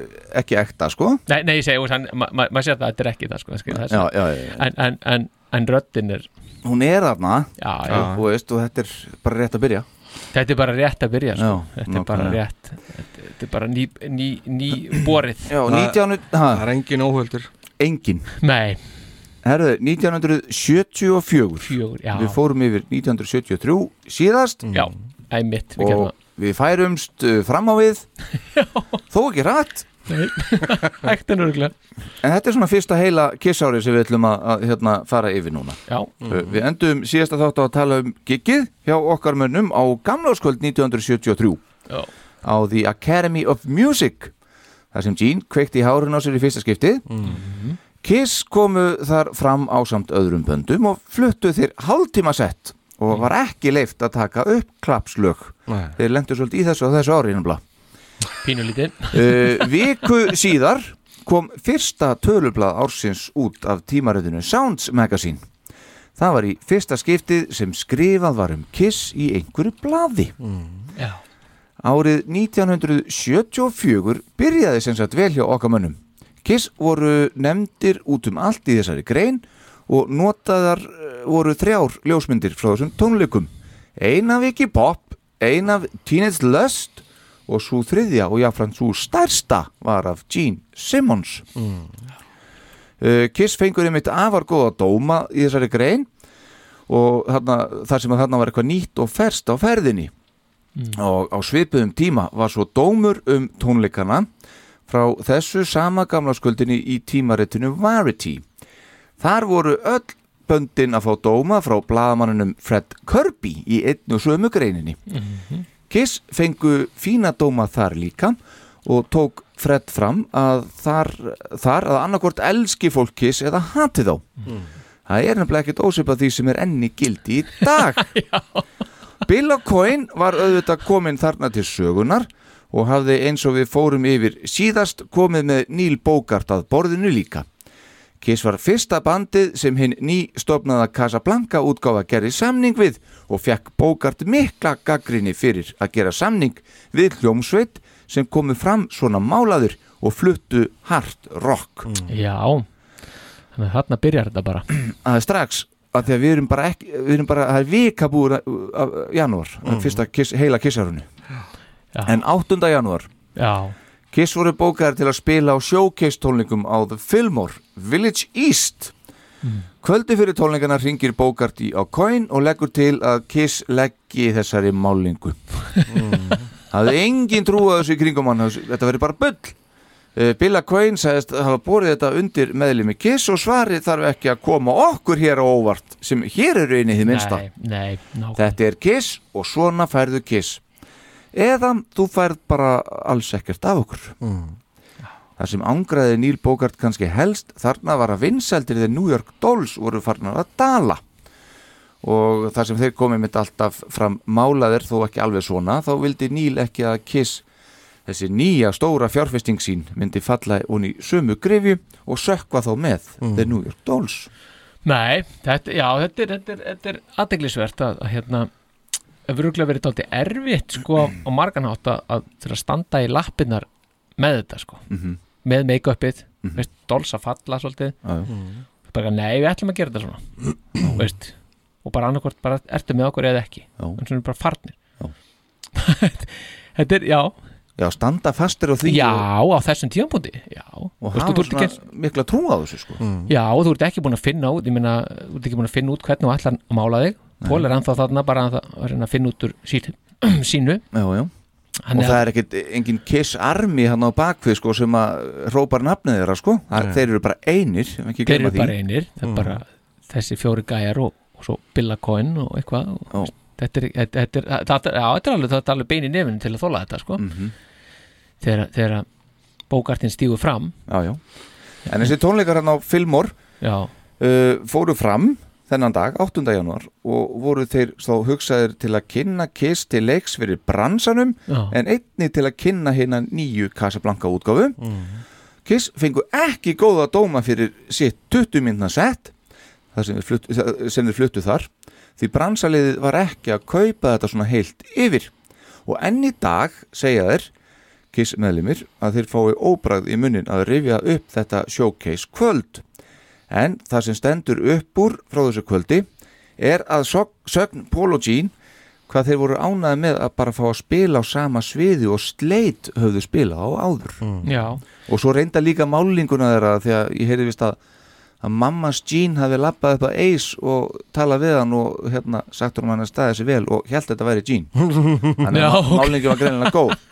B: ekki ekta, sko
D: Nei, nei, ég segi, þú veist, hann- ma- ma- maður sér það að þetta er ekki það sko, það skil, það er
B: Já,
D: svo.
B: já, já, já.
D: en, en, en, en röddin er
B: hún er þarna
D: já,
B: já. Og, veist, og þetta er bara rétt að byrja
D: Þetta er bara rétt að byrja sko.
B: Já,
D: Þetta er bara
B: nákvæmlega.
D: rétt Þetta þetta er bara ný, ný, ný borið
B: Já, 19... Það er engin óhöldur Engin
D: Nei
B: Herðu, 1974
D: Fjögur, já. Mm.
B: Við fórum yfir 1973 síðast
D: Já, æmitt við gerðum
B: Og við færumst uh, fram á við Þó ekki rætt
D: Ægtin örgulega
B: En þetta er svona fyrsta heila kissári sem við ætlum að, að hérna, fara yfir núna
D: Já.
B: Uh, Við endum síðasta þátt á að tala um giggið hjá okkar mönnum á gamláskvöld 1973
D: Já.
B: á The Academy of Music þar sem Gene kveikti í hárun á sér í fyrsta skipti Kiss komu þar fram á samt öðrum böndum og fluttu þeir hálftíma sett og var ekki leift að taka upp klapslög
C: Nei.
B: þeir lendu svolítið í þessu á þessu ári nefnilega
D: Pínulítið
B: uh, Viku síðar kom fyrsta tölublað ársins út af tímaröðinu Sounds Magazine Það var í fyrsta skiptið sem skrifað var um Kiss í einhverju blaði
D: Já.
B: Árið 1974 byrjaði sem sagt vel hjá okkar mönnum Kiss voru nefndir út um allt í þessari grein og notaðar eh, voru þrjár ljósmyndir frá þessum tónleikum Ein af Iggy Pop, ein af Teenage Lust og svo þriðja og jáfnfram svo stærsta var af Gene Simmons uh, Kiss fengur einmitt afar góða dóma í þessari grein og þarna, þar sem að þarna var eitthvað nýtt og ferst á ferðinni Mm. og á svipuðum tíma var svo dómur um tónleikana frá þessu sama gamla skuldinni í tímaritinu Variety Þar voru öll böndin að fá dóma frá blaðamanninum Fred Kirby í einn og sömu greininni Kiss fengu fína dóma þar líka og tók Fred fram að þar, þar að annarkvort elski fólk Kiss eða hati þá. Það er nefnilega ekkert ósipað því sem er enni gildi í dag. Bill O'Coin var auðvitað kominn þarna til sögunar og hafði eins og við fórum yfir síðast komið með Neil Bogart að borðinu líka. Kiss var fyrsta bandið sem hinn ný stofnaða Casablanca útgáfa gerði samning við og fekk Bogart mikla gaggrinni fyrir að gera samning við hljómsveit sem komu fram svona málaður og fluttu hard rock.
D: Já Þannig að þarna byrjar þetta bara
B: Það er strax að því að við erum bara ekki, við erum bara, það er vika búið að- af janúar, mm. fyrsta kiss, heila kissarunni. En 8. janúar
D: Já.
B: Kiss voru bókaðar til að spila á showcase tónlingum á The Fillmore Village East
D: Mm.
B: Kvöldi fyrir tónleikana ringir Bogart í á coin og leggur til að Kiss leggi þessari málingu
D: Mm.
B: Það hefði engin trú að þessu í kringum hann, þessu- þetta verið bara bull Eh, Bill Coyne sagðist að hafa borið þetta undir meðlimi Kiss og svarið þarf ekki að koma okkur hér á óvart sem hér eru einið þið minnsta
D: Nei, nei, ná
B: Þetta er Kiss og svona færðu Kiss eða þú færð bara alls ekkert af okkur Það sem angraði Neil Bogart kannski helst þarna var að vinsældir þegar New York Dolls voru farnar að dala og þar sem þeir komið mitt alltaf fram málaðir þó ekki alveg svona þá vildi Neil ekki að Kiss þessi nýja stóra fjárfesting sín myndi falla hún í sömu grefju og sökva þá með The New York Dolls
D: Nei, þetta, já, þetta er, þetta er, þetta er aðdeglisvert að, að hérna hefur rúglega verið tótti erfitt sko á marganhátt að, að þurfa að standa í lappinnar með þetta sko
B: Mhm.
D: með make-upið, mm -hmm. veist, dolsa falla svolítið,
B: Já, já.
D: -hmm. bara nei, við ætlum að gera þetta svona veist, og bara annarkvort, bara ertu með okkur eða ekki
B: Já.
D: en svona bara farnir Þetta er, já
B: Já, standa fastir á því
D: Já,
B: og-
D: á þessum tíðanbúti Já,
B: og
D: Veistu,
B: hafa
D: þú ert
B: svona
D: ekki-
B: mikla trú á þessu sko.
D: Já, og þú ert ekki búin að finna út, ég meina, þú ert ekki búin að finna út hvernig þú ætlar að mála þig. Pól er anþá þarna bara að, að reyna að finna út úr síl, sínu.
B: já, já.
D: Hann
B: og
D: er-
B: það er ekkit engin kiss army hann á bakvið sko, sem að rópar nafnið þeirra sko. það,
D: Nei. Mm.
B: þeir eru bara einir ef ekki
D: Þeir
B: gleyma
D: eru
B: því. Mm.
D: bara einir, það er bara þessi fjóri gæjar og, og svo Billa Coyne og eitthvað. Og, veist, þetta, er, þetta, er, þetta, er, þetta, er, já, þetta er alveg, þetta er alveg bein í nefnum til að þóla þetta, sko.
B: Mhm.
D: Þegar, þegar að bókartinn stígur fram.
B: já, já. en þessi tónleikar hann á Filmor
D: uh,
B: fóru fram þennan dag, 8. januar og voru þeir þá hugsaðir til að kynna kiss til leiks fyrir bransanum
D: Já.
B: en einni til að kynna hérna nýju Casablanca útgáfu Kiss fengu ekki góða dóma fyrir sitt 20 minna sett þar sem, þeir fluttu, þa- sem þeir fluttu þar því bransaliðið var ekki að kaupa þetta svona heilt yfir og enn í dag segja þeir Kiss meðlimir að þeir fái óbragð í munnin að rifja upp þetta showcase kvöld en það sem stendur upp úr frá þessu kvöldi er að Sog- sögn Paul og Gene hvað þeir voru ánaði með að bara fá að spila á sama sviði og sleit höfðu spila á áður
D: Já.
B: og svo reynda líka málinguna þeirra því að ég heyrði vist að, að mammas Jean hafi lappað upp að Ace og talað við hann og hérna sagt hún hann að staði sig vel og held þetta væri Jean þannig
D: Já,
B: að
D: ok.
B: málingin var greinilega góð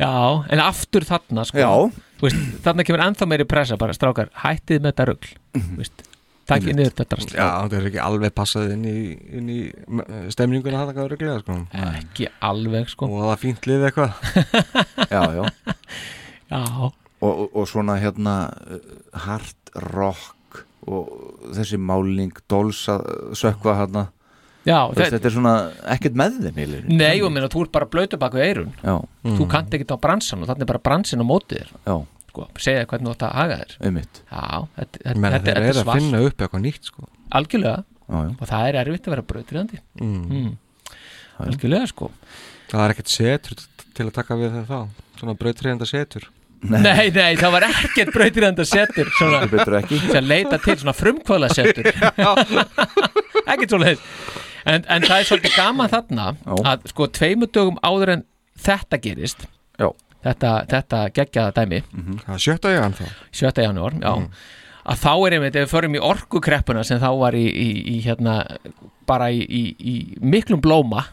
D: Já, en aftur þarna sko. Þú veist, Þarna kemur ennþá meiri pressa bara strákar, hættið með þetta rugl
B: Mhm.
D: Þú veist, Takkið niður þetta drasl
C: Já, það er ekki alveg passað inn í, inn í eh, stemninguna hann að gáður reglega sko.
D: Ekki alveg sko
C: Og það er fínt lið eitthvað
B: já, já.
D: Já.
B: Og, og, og svona hérna uh, hard rock og þessi máling Dolls að uh, sökva hérna
D: Já,
B: Þú veist,
D: þetta-
B: þetta er svona ekkert með þeim eiginlega.
D: Nei, ég meina, þú ert bara blöytur bak við eirun
B: Já.
D: Þú
B: Mhm.
D: kannt ekki á bransan og þarna er bara bransin á mótið þér
B: Já.
D: sko, segja þér hvernig þú átt að haga þér
B: Einmitt.
D: Já, þetta, þetta,
C: Menn
D: þetta,
C: þeir
D: þetta
C: eru að
D: er svart
C: finna upp eitthvað nýtt sko.
D: Algjörlega
B: Já, já. Mhm.
D: Og það er erfitt að vera brautriðandi
C: Mm.
D: Algjörlega sko
C: Það er ekkert setur t- til að taka við það þá Svona brautriðenda setur
D: Nei, nei, það var ekkert brautirenda setur Svona,
C: Heldur betur ekki.
D: sem leita til svona frumkvöla setur Ekkert svona en, en það er svolítið gaman þarna að sko tveimur dögum áður en þetta gerist
B: Já.
D: Þetta, þetta geggjaða dæmi
C: Mhm. Það er sjötta Mhm. janúar þá
D: 7. janúar, já að þá er einmitt, ef við förum í orkukreppuna sem þá var í, í, í hérna bara í, í, í miklum blóma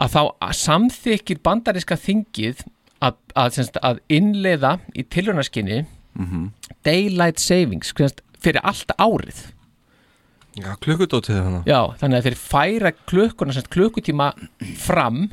D: að þá samþykir bandaríska þingið að, að, semst, að innleiða í tilraunaskinni
C: Mhm.
D: daylight savings semst, fyrir allt árið
C: Já, klukkudótið þannig
D: já, þannig að þeir færa klukkuna semst, klukkutíma fram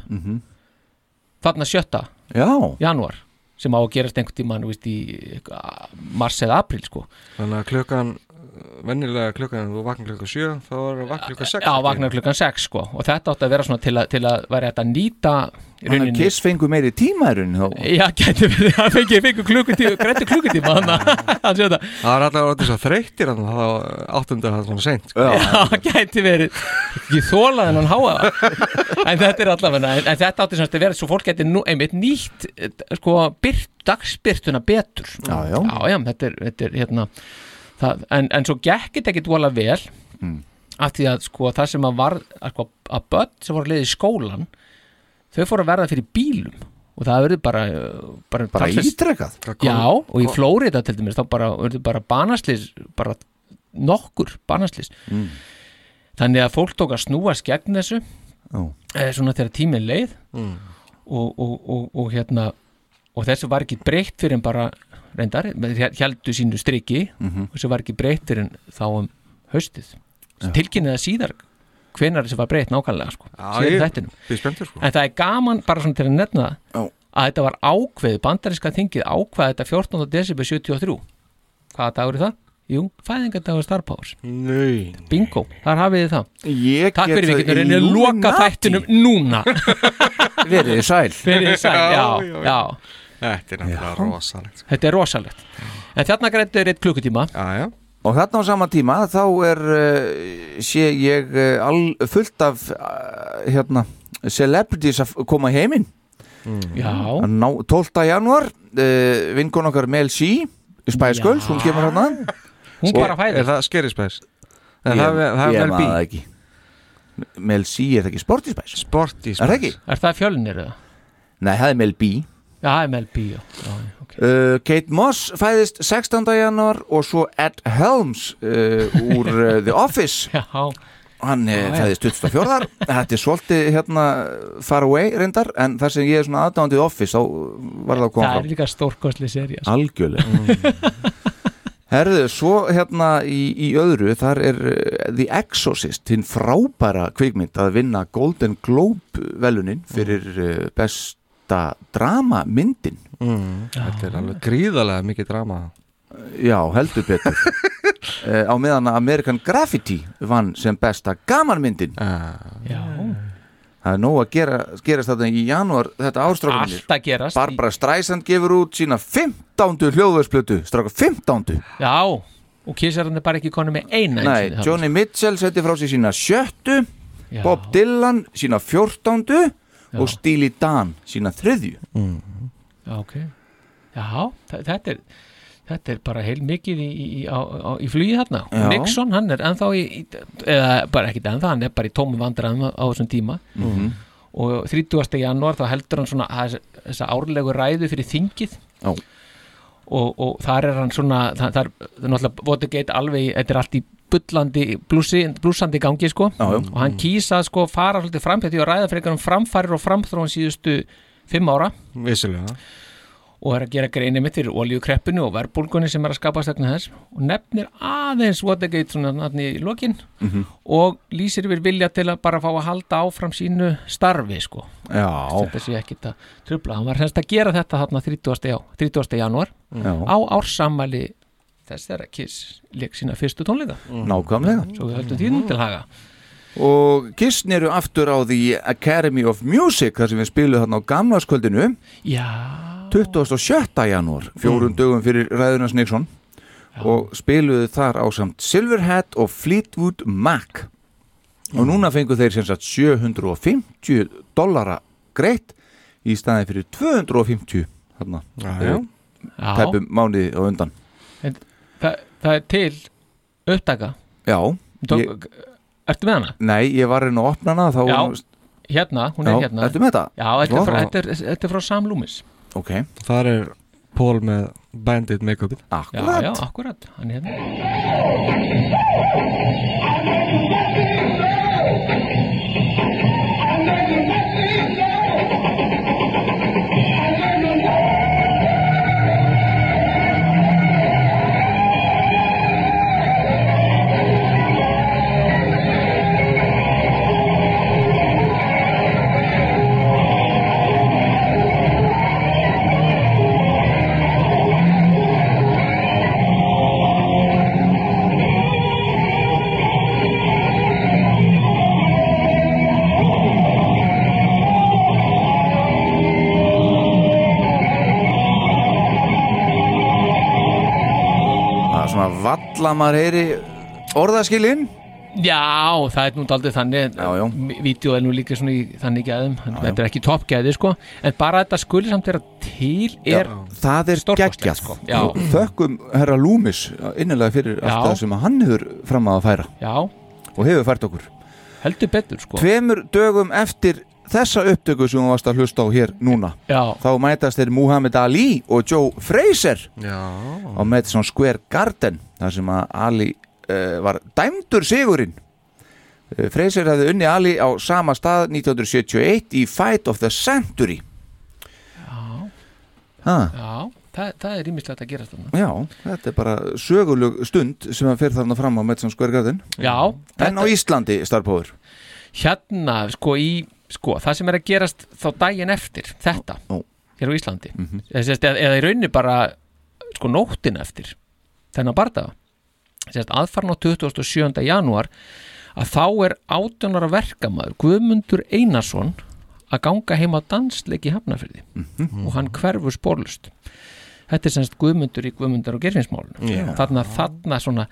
D: þarna sjötta
B: Mhm. Já.
D: janúar sem á að gerast einhvern tímann þú veist, í uh, mars eða apríl sko.
C: Þannig að klukkan, eh, venjulega klukkan, þú vaknar klukkan 7, þá er það vaknar klukkan 6
D: Eh, Já, vaknar klukkan 6 sko og þetta átti að vera svona til að, til að vera þetta að nýta í
B: Þannig að
D: rauninni
B: Kiss fengur meiri tíma í rauninni þá
D: Já, gæti verið, hann fengi, fengi klukkutíma, grætti klukkutíma hann að hann sé þetta
C: Það er alltaf orðið svo þreyttir þannig að það áttundar það svona seint sko.
D: Já, gæti verið Ég þólaði hann háa En þetta er allavega, en, en þetta átti svona að vera svo fólk gæti nú, einmitt nýtt eh, sko, byrt, dagsbyrtuna betur Já, já Já, þetta er, þetta er hérna það, en, en svo gekk þetta ekki dvola vel
B: Mm.
D: af því að sko það sem að var að, sko, að börn sem voru leiði í skólan þau fóru að verða fyrir bílum og það verður bara uh, bara,
B: Bara
D: talsvert-
B: ítrekað. Það kom-
D: já og í
B: kom-
D: Flórida til dæmis þá bara verður bara banaslis bara nokkur banaslis
B: Mm.
D: þannig að fólk tók að snúast gegn þessu
B: Já.
D: eh, svona þegar tíminn leið
C: Mm.
D: Mm-hmm. og, og, og, og hérna og þessu var ekki breytt fyrir en bara reyndar, heldur sínu striki
B: Mhm.
D: og þessu var ekki breytt fyrir en þá um haustið tilkynnið það síðar hvenar þessu var breytt nákvæmlega sko,
C: Já,
D: síðar í
C: ég-
D: þættinum.
C: ég er spenntur, sko.
D: en það er gaman bara svona til að nefna það, að þetta var ákveð bandarinska þingið ákveð þetta 14. desember 73 hvaða dagur er það? Jú, fæðingadagur Star Powers
C: Nei.
D: Bingo, þar hafið þið það
B: Ég
D: Takk
B: get
D: fyrir
B: það
D: við getum reynið að
B: Illuminati.
D: loka þættinum núna
B: Verið þið sæl
D: Verið þið sæl, já, já,
C: Þetta er náttúrulega rosalegt
D: Þetta er rosalegt En þarna grættu er eitt klukkutíma
C: já, já.
B: Og þarna á sama tíma þá er uh, sé ég uh, all, fullt af uh, hérna, celebrities að f- koma heiminn Mm.
D: Já.
B: Að ná, 12. januar uh, vingun okkar Mel C Spice Girls, hún kemur hann
D: Hún bara fæðist.
C: Er það skeri spæs? En það er- það er
B: Ég
C: vel
B: maður
C: bí.
B: það ekki Mel C er það ekki Sporty Spice
C: Sporty
B: Er það ekki?
D: Er það fjölnir eða?
B: Nei, það er Mel B
D: Já, það er MLB já. Já,
B: Uh, Kate Moss fæðist 16. januar og svo Ed Helms uh, úr uh, The Office
D: Já.
B: hann uh,
D: Já, já.
B: fæðist 24. þetta er svolítið hérna far away reyndar en þar sem ég er svona aðdáðandi The Office þá var það að koma
D: Það er sko. Mm.
B: fram
D: líka stórkostli serja
B: algjörlega Herðu, svo hérna í, í öðru, þar er uh, The Exorcist, hinn frábæra kvikmynd að vinna Golden Globe
D: Mm.
B: velunin fyrir uh, besta dramamyndin.
C: Mm. Þetta er alveg gríðarlega mikið drama
B: Já, heldur betur uh, Á meðan að American Graffiti vann sem besta gamanmyndin
D: Já
B: Það er nóg að gera, gerast þetta í janúar þetta ástrákunir
D: Allt að gerast.
B: Barbara Streisand gefur út sína 15. hljóðversplötu Stráka 15.
D: Já, og kissarinn er bara ekki konu með eina einu
B: Nei,
D: sinni þarna.
B: Johnny Mitchell setti frá sér sína sjöttu
D: Já.
B: Bob Dylan sína 14. og Steely
D: Mm.
B: Dan sína þriðju
D: Já, ok Já, þa- þetta er Þetta er bara heil mikið í, í, í, á, á, í flugi þarna
B: Já.
D: Nixon, hann er ennþá í, í eða bara ekkit ennþá, hann er bara í tómum vandræðum á, á þessum tíma
B: Mhm.
D: og 30. janúar þá heldur hann svona þess- þessa árlegu ræðu fyrir þingið
B: Já.
D: og, og þar er hann svona það, það er það er náttúrulega Watergate alveg, í- þetta er allt í bullandi, blúsi, blúsandi gangi sko
B: Já, já.
D: og hann kýsa sko fara svolítið framhætti og ræða fyrir einhverjum framfarir og framþróun síðustu fimm ára
C: Vissilega
D: og er að gera greini mitt fyrir oljukreppinu og verbulgunni sem er að skapa stöknu þess og nefnir aðeins Watergate svona þarna í lokin
B: Mhm.
D: og lýsir yfir vilja til að bara fá að halda áfram sínu starfi sko
B: Já,
D: þetta sé ekkit að trubla hann var semst að gera þetta þarna 30. Já, 30. janúar
B: Já.
D: á ársammæli þess þegar Kiss leik sína fyrstu tónleika
B: nákvæmlega
D: Mm. svo við höldum tíðnum til haga
B: Og Kissn eru aftur á The Academy of Music þar sem við spilum þarna á gamlaskvöldinu
D: já,
B: 27. janúar,
D: Mm.
B: fjórum dögum fyrir ræðunars Nixon og spiluðu þar á samt Silverhead og Fleetwood Mac og
D: Mm.
B: núna fengu þeir sem sagt 750 dollara greitt í staðin fyrir 250 þarna,
C: já.
B: eh,
D: Já.
B: tæpum mánuði á undan
D: En það, það er til upptaka
B: Já,
D: Tók,
B: ég,
D: Ertu með hana?
B: nei, ég var einn að opna hana þá
D: Já, hérna, hún er
B: Já,
D: hérna
B: ertu með þetta?
D: Já, þetta
B: Vá.
D: er frá, þetta er, þetta er frá Sam Loomis
B: Ok,
C: Þar er Pól með bandit make-upið
D: Já, já, akkurat, hann er hérna
B: það er svona valla maður heyri orðaskilin
D: Já, það er nú daldið þannig
B: Já, já.
D: Vídeó er nú líka svona í þannig gæðum Þetta er ekki toppgæði, sko En bara þetta skuli samt vera til er
B: það er geggjað
D: sko. Já.
B: og þökkum herra Loomis innilega fyrir allt
D: Já.
B: það sem að hann hefur fram að færa
D: Já,
B: og hefur fært okkur
D: heldur betur, sko
B: tveimur dögum eftir þessa upptöku sem þú varst að hlusta á hér núna
D: Já,
B: þá mætast þeir Muhammad Ali og Joe Fraser
C: Já
B: á Madison Square Garden þar sem að Ali uh, var dæmdur sigurinn uh, Fraser hefði unni Ali á sama stað 1971 í Fight of the Century Já
D: já Það, það er ímislegt að gera þarna
B: Já, þetta er bara söguleg stund sem að fyrir þarna fram á Madison Square Garden
D: Já,
B: En á Íslandi, starfbóður
D: hérna, sko, í sko, það sem er að gerast þá daginn eftir þetta,
B: Ó. Mhm.
D: hér á Íslandi mm -hmm. eða, eða í raunni bara sko, nóttin eftir þennan bardaga Sérst, aðfarn á 27. janúar að þá er 18 ára verkamaður Guðmundur Einarsson að ganga heim á dansleik í Hafnafyrði
B: Mhm.
D: og hann hverfur spórlust þetta er semst Guðmundur í Guðmundar og gerfinsmálunum
C: Já.
D: þarna, þarna svona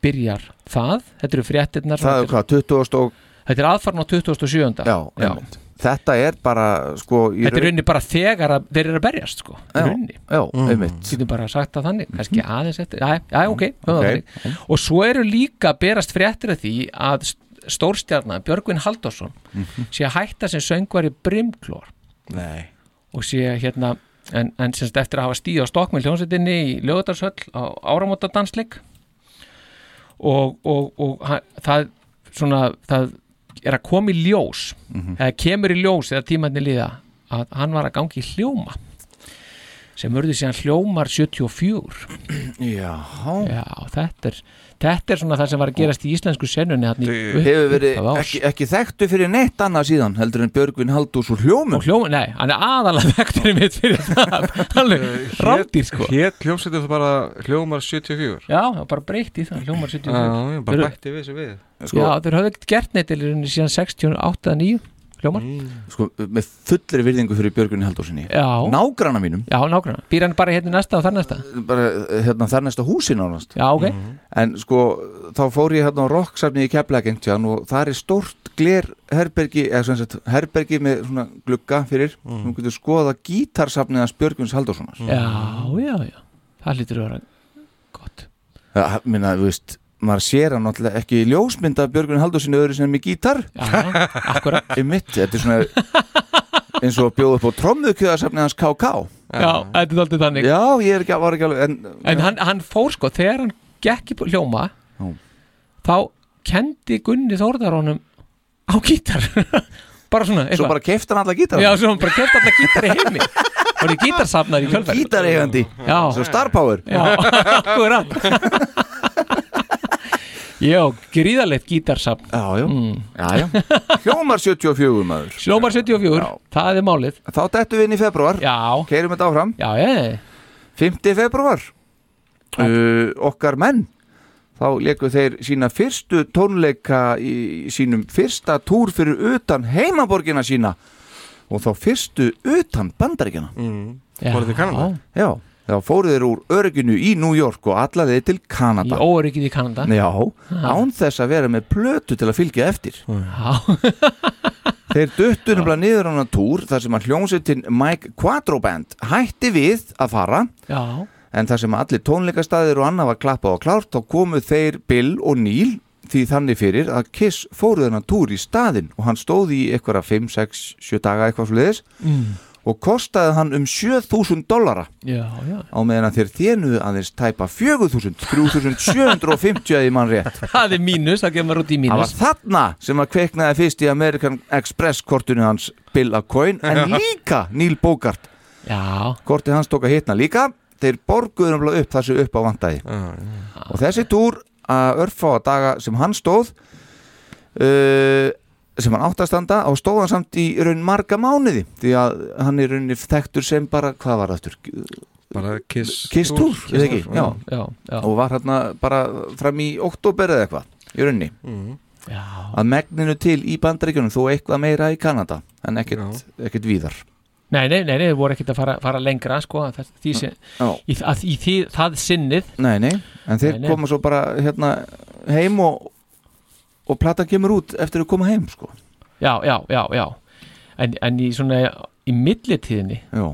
D: byrjar það, þetta eru fréttirnar
B: Það er hvað, 20 og
D: Þetta er aðfarn á 27.
B: Já, einmitt. Þetta er bara sko í
D: Þetta er
B: raun-
D: raunni bara þegar að, þeir eru að berjast sko, í
B: Já.
D: raunni
B: Já, einmitt Mhm.
D: Getum bara sagt það þannig, kannski aðeins eftir Já, já, ok,
B: Ok. Mhm.
D: okay. Og svo eru líka berast fréttir af því að st- stórstjarnan Björgvin Halldórsson
B: Mhm.
D: sé að hætta sem söngvari Brimklór
B: Nei
D: og sé að hérna en, en semst eftir að hafa stíð á stokk með hljónsettinni í lögutarshöll á áramótadansleik og, og, og ha- það svona, það er að koma í ljós
C: Mhm.
D: eða kemur í ljós eða tímanni líða að hann var að gangi í hljóma sem urði síðan hljómar 74
B: Já,
D: Já, þetta er, þetta er svona það sem var að gerast í íslensku senunni hann í
B: hefur verið
D: Það var ás.
B: ekki, ekki þekktu fyrir neitt annað síðan heldur en Björgvin Haldús úr hljómum
D: og hljóma, nei, hann er aðalega vekturinn mitt fyrir það, alveg rándýr sko
C: Hér hljómsveitur það bara hljómar 74
D: Já, það var bara breytt í það, hljómar
C: Já,
D: 74
C: ég bara bætti við þessu við
B: sko,
D: Já, þeir höfðu ekkert gert neitt til rauninni síðan 68 að 9 hljómar
B: sko, með fullri virðingu fyrir Björgvin Haldúsinni
D: Já.
B: Nágrana mínum,
D: Já, nákvæmna, býr hann bara hérna í næsta og þar næsta
B: bara hérna þar næsta húsin ánast
D: Já, ok,
B: En sko, þá fór ég hérna á rocksafni í Keflagengján og það er stórt gler herbergi, eða sem sagt herbergi með svona glugga fyrir mm. þú getur skoða gítarsafniðans Björgvins Haldússonar
D: já, já, já Það hlýtur að vera
B: Það, minna, þú veist, maður sér hann náttúrulega ekki í ljósmynd af Björgun Haldursinni öðru sem með gítar
D: Já, akkurat
B: mitt, þetta er svona eins og bjóð upp á trommuðkjöðarsafni hans KK
D: Já, þetta er alltaf þannig
B: Já, ég er ekki, var ekki alveg En,
D: En hann, hann fór sko, þegar hann gekk í hljóma
B: Já.
D: þá kendi Gunni Þórðar honum á gítar bara svona,
B: Svo bara kefti hann alla gítara
D: Já, svo hann bara kefti alla gítar í heimi hann er gítarsafnar í kjölferð
B: Gítareigandi,
D: Já.
B: svo star power
D: Já, akkurat Já, gríðarlegt gítarsafn Mm.
B: Já, já, já, já Hljómar 74 maður
D: Hljómar 74, það er málið
B: Þá dættu við inn í februar
D: Já
B: Keirum þetta áfram
D: Já, ég
B: 5. februar uh, Okkar menn Þá leku þeir sína fyrstu tónleika í í sínum fyrsta túr fyrir utan heimaborgina sína og þá fyrstu utan bandaríkina
C: mm.
D: Fóruð
C: þið Kanada?
B: Já, þá fóru þeir úr örginu í New York og alla þeir til
D: Í
B: Kanada
D: óryggið í Kanada
B: Já, án þess að vera með plötu til að fylgja eftir
D: Já,
B: Þeir duttu nefnilega niður á hana túr þar sem að hljómsveitin Mike Quattro Band hætti við að fara
D: já,
B: en þar sem allir tónleikastæðir og annað var klappað og klárt þá komu þeir Bill og Neil því þannig fyrir að Kiss fóruð hennan túr í staðinn og hann stóð í eitthvað 5, 6, 7 daga eitthvað svo leiðis
D: Mm.
B: og kostaði hann um 7.000 dollara
D: já, já.
B: á meðan að þeir þénuðu aðeins tæpa 4.000, 3.750 að ég mann rétt
D: Það er mínus, það kemur út í
B: Það var
D: mínus
B: þarna sem að kveiknaði fyrst í American Express kortinu hans Bill A. Coyne en líka Neil Bogart
D: Já,
B: Kortið hans tók að hitna líka Þeir borguðu nefnilega upp það sem upp á vantaði Og þessi túr að örfá að daga sem hann stóð uh, sem hann átt að standa á stóðan samt í raun marga mánuði því að hann er rauninni þekktur sem bara, hvað var það aftur?
C: Bara kiss
B: Kiss Tour, eða ekki? Já.
D: já, já.
B: og var hérna bara fram í oktober eða eitthvað í raunni að megninu til í bandaríkjunum þó eitthvað meira í Kanada en ekkert, ekkert víðar
D: Nei, nei, nei, nei, við vorum ekkert að fara, fara lengra sko, að það, því, sem,
B: Mm. Já.
D: í, að, í því, það sinnið
B: nei, nei, en þeir
D: Nei, nei.
B: koma svo bara hérna heim og og platan kemur út eftir að koma heim sko.
D: Já, já, já, já En, en í svona, í millitíðinni
B: já,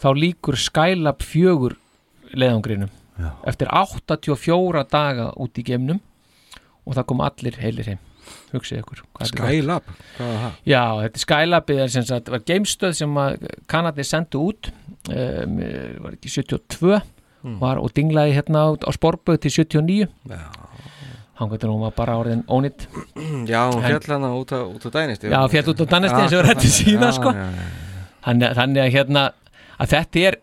D: þá líkur Skylab fjögur leiðangrinum já. eftir 84 daga út í geimnum og það kom allir heilir heim hugsið ykkur hvað þetta er gott.
C: Skylab, hvað var það?
D: Já, þetta er Skylab er sem sagt, var geimstöð sem að Kanadi sendu út um, var ekki 72 var, og dinglaði hérna út á sporböð til 79
C: Mm. Já.
D: hann gæti nú var bara orðin ónýtt
C: Já, hún
D: En-
C: fjall hana út á, út á dænist
D: Já, fjall út á Danistein sem við rættum síðan, sko. þannig, að- þannig að hérna að þetta er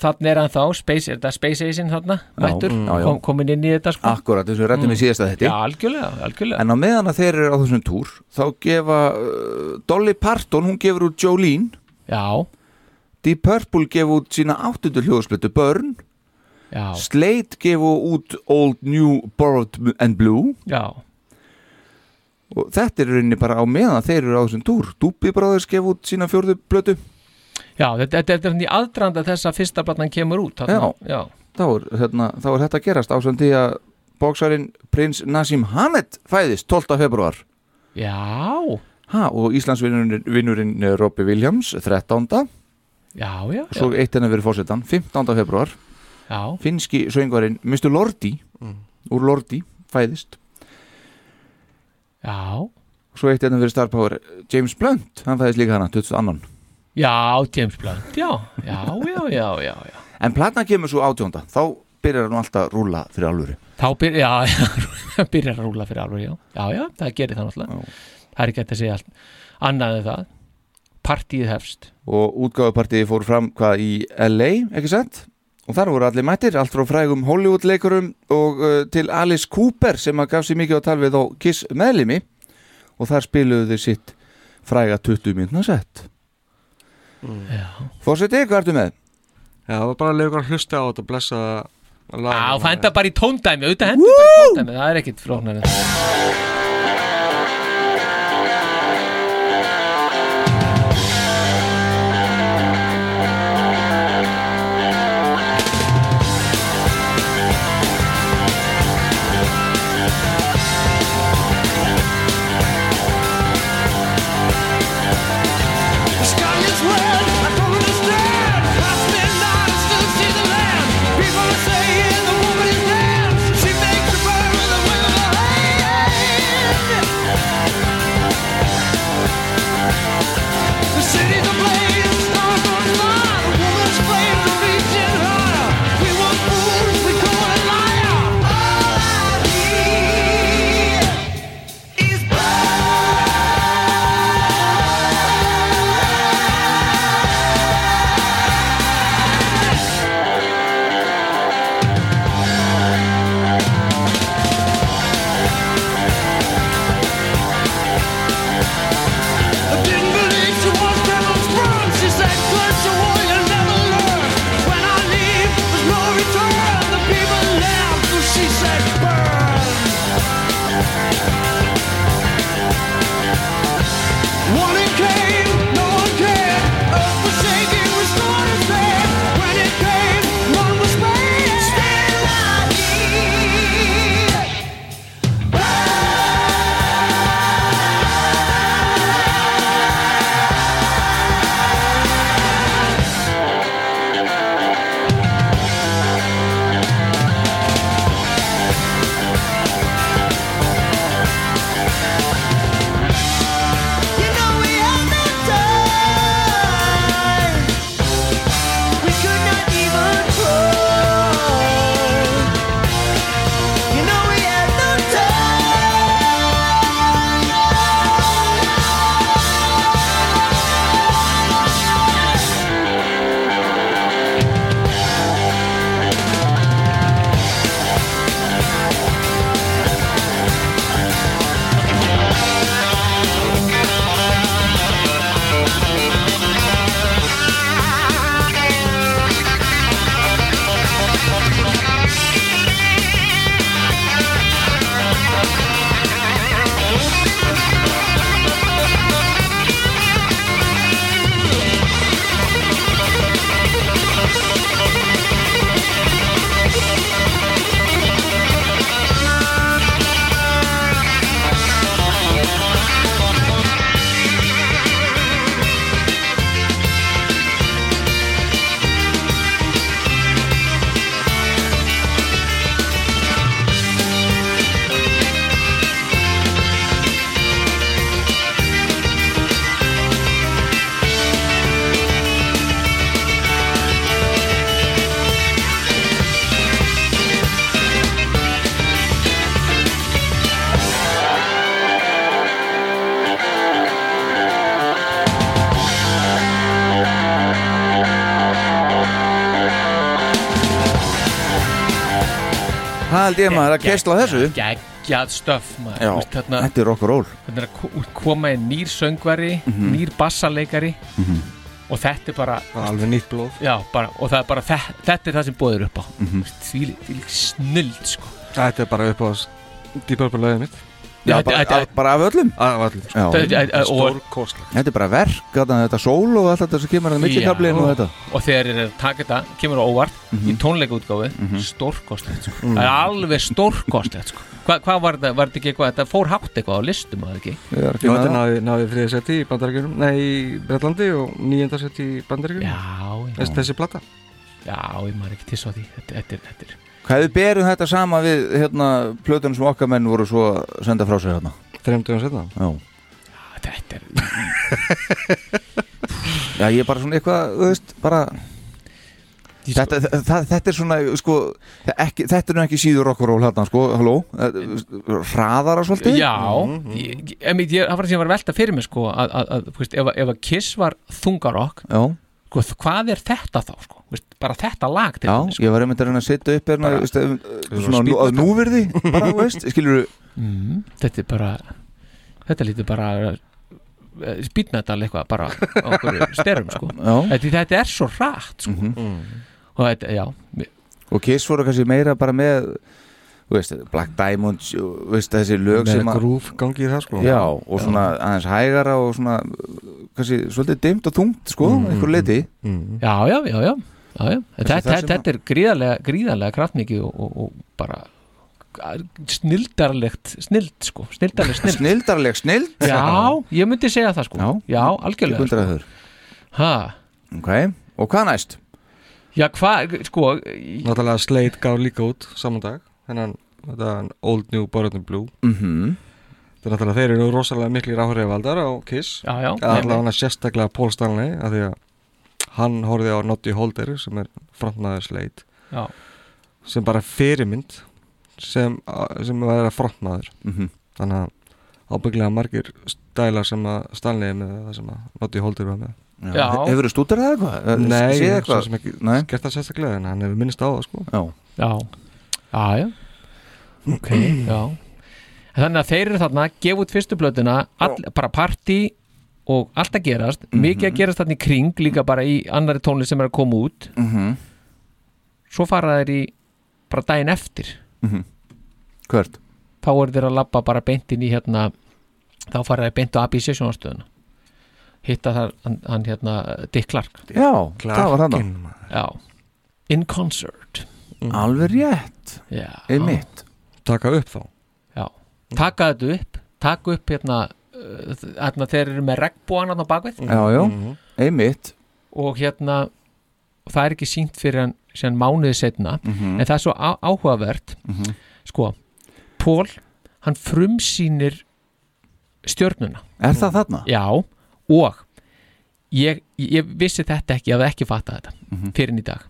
D: þannig er hann þá, space, er þetta Space Asian þarna, mættur,
B: já, já.
D: kom, komin inn í þetta sko.
B: akkurat eins og við rættum við síðasta
D: Já,
B: þetta
D: algjörlega, algjörlega
B: en á meðan að þeir eru á þessum túr þá gefa uh, Dolly Parton, hún gefur út Jolene
D: Já,
B: Deep Purple gefur út sína áttundu hljóðsplötu Burn
D: já,
B: Slate gefur út Old New Borrowed and Blue
D: já
B: og þetta er í rauninni bara á meðan að þeir eru á þessum túr Doobie Brothers gefur út sína fjórðu plötu
D: Já, þetta, þetta, þetta er þannig aðdrand að þess að fyrsta blatnan kemur út þarna. Já,
B: þá er, hérna, þá er þetta að gerast ásand því að bóksarinn prins Nassim Hamed fæðist 12. februar
D: já,
B: ha, og Íslandsvinnurinn vinnurinn Robby Williams 13.
D: já, já, já,
B: svo eitt hennar verið fórsetan 15. februar
D: já. Mm.
B: finski söngvarinn Mr. Lordi úr Lordi fæðist
D: já.
B: svo eitt hennar verið Star Power James Blunt, hann fæðist líka hana 22.
D: Já, James Blunt, já, já, já, já, já, já.
B: en platna kemur svo 18. þá byrjar hann alltaf að rúla fyrir alvöru
D: Þá byr, já, já, byrjar að rúla fyrir alveg, já. Já, já, það gerir það náttúrulega. Það er ekki hægt að segja allt. Annað en það, partíið hefst.
B: og útgáfupartiði fór fram hvað í LA, ekki sett? Og þar voru allir mættir, allt frá frægum Hollywood-leikurum og uh, til Alice Cooper sem að gaf sér mikið á tal við á Kiss meðlimi og þar spiluðu þeir sitt fræga 20 mínúna sett. Mm.
D: Já.
B: Fórseti, hvað ertu með?
C: Já, það var bara að lega ykkur að hlusta á þetta og blessa lag
D: Já, það henda bara í tóndæmi, auðvitað henda bara í tóndæmi, það er ekkit flóknar en það.
H: The sky is red. I don't understand. I spend nights to see the land. People are saying the woman is dead.
B: Það held ég maður að keisla á þessu.
D: Geggjað stöf maður
B: Já,
D: Þú veist, þarna-
B: þetta er rock and roll.
D: Þarna er að ko- koma inn nýr söngvari
B: Mhm.
D: Nýr bassarleikari
B: Mhm.
D: Og þetta er bara
C: Alveg nýtt blóð
D: Já, bara, og það er bara þe Þetta er það sem bóðir upp á
B: Mhm.
D: Því lík snild sko
C: Þetta er bara upp á dýpörpa lögðið mitt
B: Já, bara, að, bara af öllum
C: Af öllum sko.
B: Já.
C: Stórkostlega
B: Þetta er bara verk, þarna, þetta sól og allt þetta sem kemur að mittlikablinu og þetta
D: og þegar þeir eru að taka þetta kemur á óvart í tónleikaútgáfu mm
B: Mhm.
D: stórkostlegt sko.
B: Mm.
D: það er alveg stórkostlegt sko. Hva, hvað var þetta, var þetta ekki eitthvað þetta fór hátt eitthvað á listum að ekki
B: Ég er
C: Jó, þetta náði, náði þriða seti í bandaríkjunum Nei, í Breitlandi og nýjenda seti í bandaríkjunum
D: Já,
C: Þessi, þessi plata
D: Já, ég maður ekki til svo því þetta, þetta, er- þetta er
B: Hvað við berum þetta sama við hérna, plötunum sem okkar menn voru svo að senda frá sér hérna
C: Þreymdugum setna
B: Já, Já, ég er bara svona eitthvað, þú veist, bara
D: sko-
B: Þetta, það, þetta er svona, sko, það ekki, þetta er nú ekki síður okkur ról hérna, sko, halló, hraðara svolítið
D: Já,
B: Mm, Mhm.
D: ég, ég, ég, meint, ég, það var það sem ég var að velta fyrir mig sko, að, að, að, þú veist, ef, að- ef að Kiss var þungarokk
B: Já,
D: sko, hvað er þetta þá sko? Þú veist, bara þetta lag til
B: já,
D: dæmis,
B: ég var einmitt að reyna að setja upp hérna,
D: Bara-
B: veist, um,
D: Við
B: svona
D: vorum að
B: nú- að núverði, bara, þú veist, skilur
D: mm, þetta er bara þetta lítur bara spýtmetal Eh, eitthvað bara á okkur styrum sko
B: Já. Mhm.
D: þetta, þetta er svo rætt sko. og þetta, já
B: og Kiss voru kannski meira bara með þú veist, Black Diamond þú veist, þessi lög
C: Með
B: sem að
C: grúf gangi í það sko
B: já, og svona aðeins hægara og svona kannski svolítið dimmt og þungt sko, mm, einhver leiti
D: já, já, já, já, já, já. Þetta,
B: það sem
D: þetta, þetta er gríðarlega, gríðarlega kraftmikið og, og, og bara snildarlegt snild sko, snildarlegt snild
B: snildarleg snild
D: já, ég myndi segja það sko já, algjörlega
B: ég
D: sko.
B: gundraði þur
D: ha,
B: ok, og hvað næst?
D: já, hvað, sko í-
C: Náttúrulega Slade gaf líka út saman dag Þennan, þetta er Old New Borrowed Blue
B: Mhm.
C: Þetta er náttúrulega þeir eru nú rosalega miklir áhrifaldar á Kiss
D: já, já,
C: Eða allavega hann að sérstaklega Paul Stanley af því að hann horfið á Notty Holder sem er frontmaður Slade
D: Já.
C: sem bara fyrirmynd sem, sem var frontmaður
B: Mhm.
C: þannig að ábygglega margir stælar sem að Stanley er með eða það sem að Notty Holder var með
D: Já.
B: hefur þú stútur það eitthvað?
C: Nei,
B: Séð
C: svo
B: eitthvað?
C: sem ekki
B: Nei.
C: gert það sérstaklega en hann hefur minnst á það sko
B: já,
D: Já, já, já Ok, já En Þannig að þeir eru þarna að gefa út fyrstu blöðuna all, bara partí og allt að gerast, mikið að gerast þarna í kring líka bara í annari tónlist sem er að koma út
B: Mhm.
D: svo fara þeir í bara daginn eftir
B: mhm. hvert?
D: þá eru þeir að labba bara beint inn í hérna þá fara þeir beint á AB Sessionastöðuna hitta þar hann, hann hérna Dick Clark
B: já, það var hann
D: já. In Concert
B: alveg rétt,
D: já.
B: einmitt
C: taka upp þá
D: Já, taka þetta upp taka upp hérna uh, hérna þeir eru með regnbúan hérna á bakvið
B: já, já, einmitt
D: og hérna og það er ekki sínt fyrir hann síðan mánuði setna
B: Mhm.
D: en það er svo á, áhugavert
B: Mhm.
D: sko, Pól hann frumsýnir stjörnuna
B: er það þarna?
D: já, og ég, ég vissi þetta ekki, ég hafði ekki fattað þetta
B: Mhm.
D: fyrir en í dag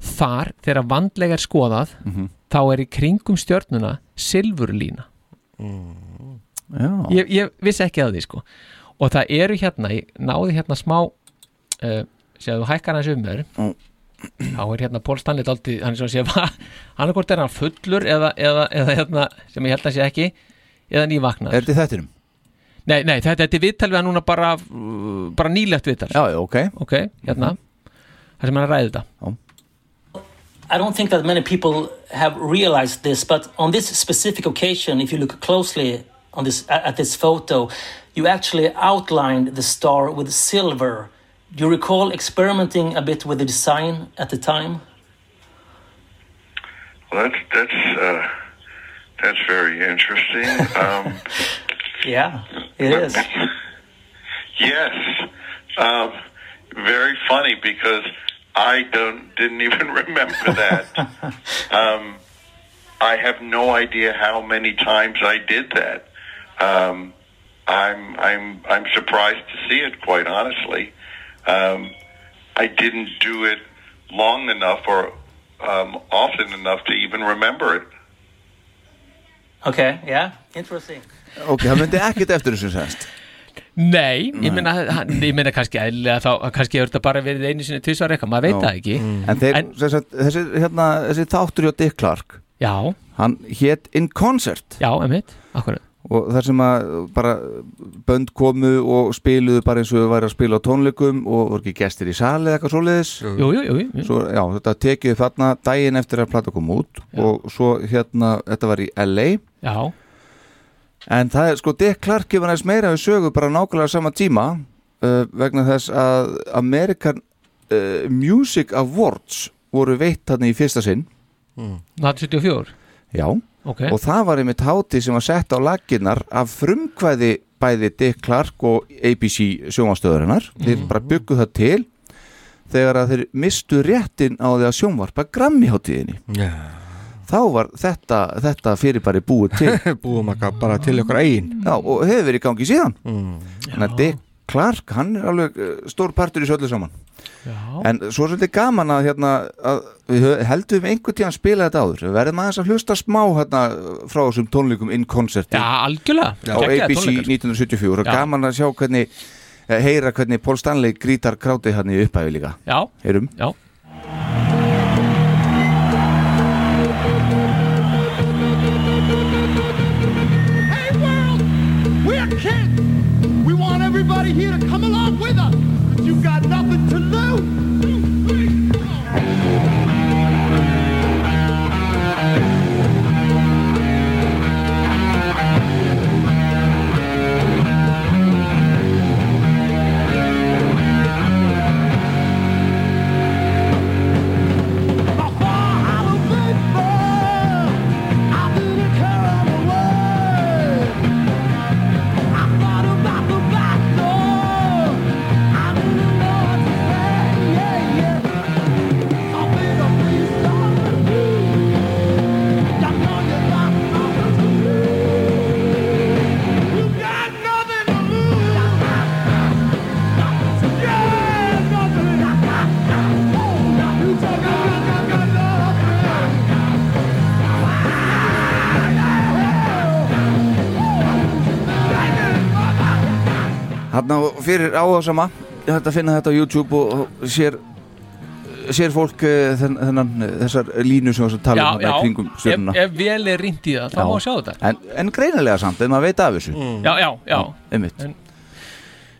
D: þar, þegar vandlega er skoðað
B: Mhm.
D: þá er í kringum stjörnuna silfurlína
B: já,
D: ég, ég vissi ekki að því sko og það eru hérna, ég náði hérna smá uh, séð þú hækkar hans um þér
B: Mm.
D: þá er hérna Pól Stanley daldi, hann er svona séð hann er hvort er hann fullur eða, eða, eða hérna, sem ég held að sé ekki eða nývaknar
B: er þetta í þettinum?
D: nei, nei, þetta, þetta er viðtal við hann núna bara uh, bara nýlegt viðtal
B: já, já, ok
D: ok, hérna, það sem hann ræði þetta
K: I don't think that many people have realized this, but on this specific occasion, if you look closely on this at at this photo, you actually outlined the star with silver. Do you recall experimenting a bit with the design at the time?
L: Well, that's that's uh, that's very interesting. Um,
K: Yeah, it is.
L: yes, um, very funny because I don't didn't even remember that. um, I have no idea how many times I did that. Um, I'm I'm I'm surprised to see it. Quite honestly, um, I didn't do it long enough or um, often enough to even remember it.
K: Okay, yeah, interesting.
B: ok, það myndi ekkert eftir þessu sérst
D: Nei, ég meina, hann- ég meina kannski eðlilega þá, kannski hefur þetta bara verið einu sinni tvisvar eitthvað, maður veit
B: Já.
D: það ekki
B: En, þeir, en... Sagt, þessi, hérna, þessi þáttur hjá Dick Clark
D: Já, Já.
B: Hann hét In Concert
D: Já, emitt, akkurat
B: Og þar sem að bara bönd komu og spiluðu bara eins og við væri að spila á tónleikum og voru ekki gestir í sali eða eitthvað svoleiðis
D: Jú, jú, jú, jú.
B: Svo, já, þetta tekið þarna daginn eftir að plata kom út og svo hérna, þetta var í LA
D: Já.
B: En það er sko, Dick Clark gefur næst meira við sögu bara nákvæmlega sama tíma uh, vegna þess að American uh, Music Awards voru veitt þarna í fyrsta sinn
D: Mm. 1974
B: Já,
D: Ok.
B: og það var einmitt hátíð sem var sett á laginnar af frumkvæði bæði Dick Clark og ABC sjónvarstöðurinnar þeir bara byggu það til þegar að þeir mistu réttin á því að sjónvarpa grammi hátíðinni
C: Já.
B: þá var þetta, þetta fyrirbæri búið til Mm.
C: Búum að bara til okkur eigin Mm.
B: Já, og hefur verið í gangi síðan þannig að Dick Clark, hann er alveg eh, stór partur í söllu saman en svo er svolítið gaman að, hérna, að við hö- heldum einhvern tíðan spila þetta áður við verðum aðeins að hlusta smá hérna, frá þessum tónleikum in koncerti
D: Já, algjörlega
B: á
D: Geggjaðir
B: ABC
D: tónleikar.
B: 1974 og
D: Já.
B: gaman að sjá hvernig eh, heyra hvernig Paul Stanley grítar krátið hann í upphæfi líka
D: Já.
B: Heyrum.
D: Já.
H: Hey world, we're kids. We want everybody here to come along with us. But you've got nothing to lose.
B: Hanna fyrir áhersama þetta finna þetta á YouTube og og sér sér fólk eh, þenn- þennan, eh, þessar línu sem við
D: Já,
B: talum
D: já,
B: um kringum
D: ef,
B: stjörnuna
D: ef vel er rýnt í það þá
B: Já.
D: má sjá þetta Mm.
B: en, en greinilega samt, en maður veit af þessu Mm,
D: Já, já, já
B: einmitt
D: En-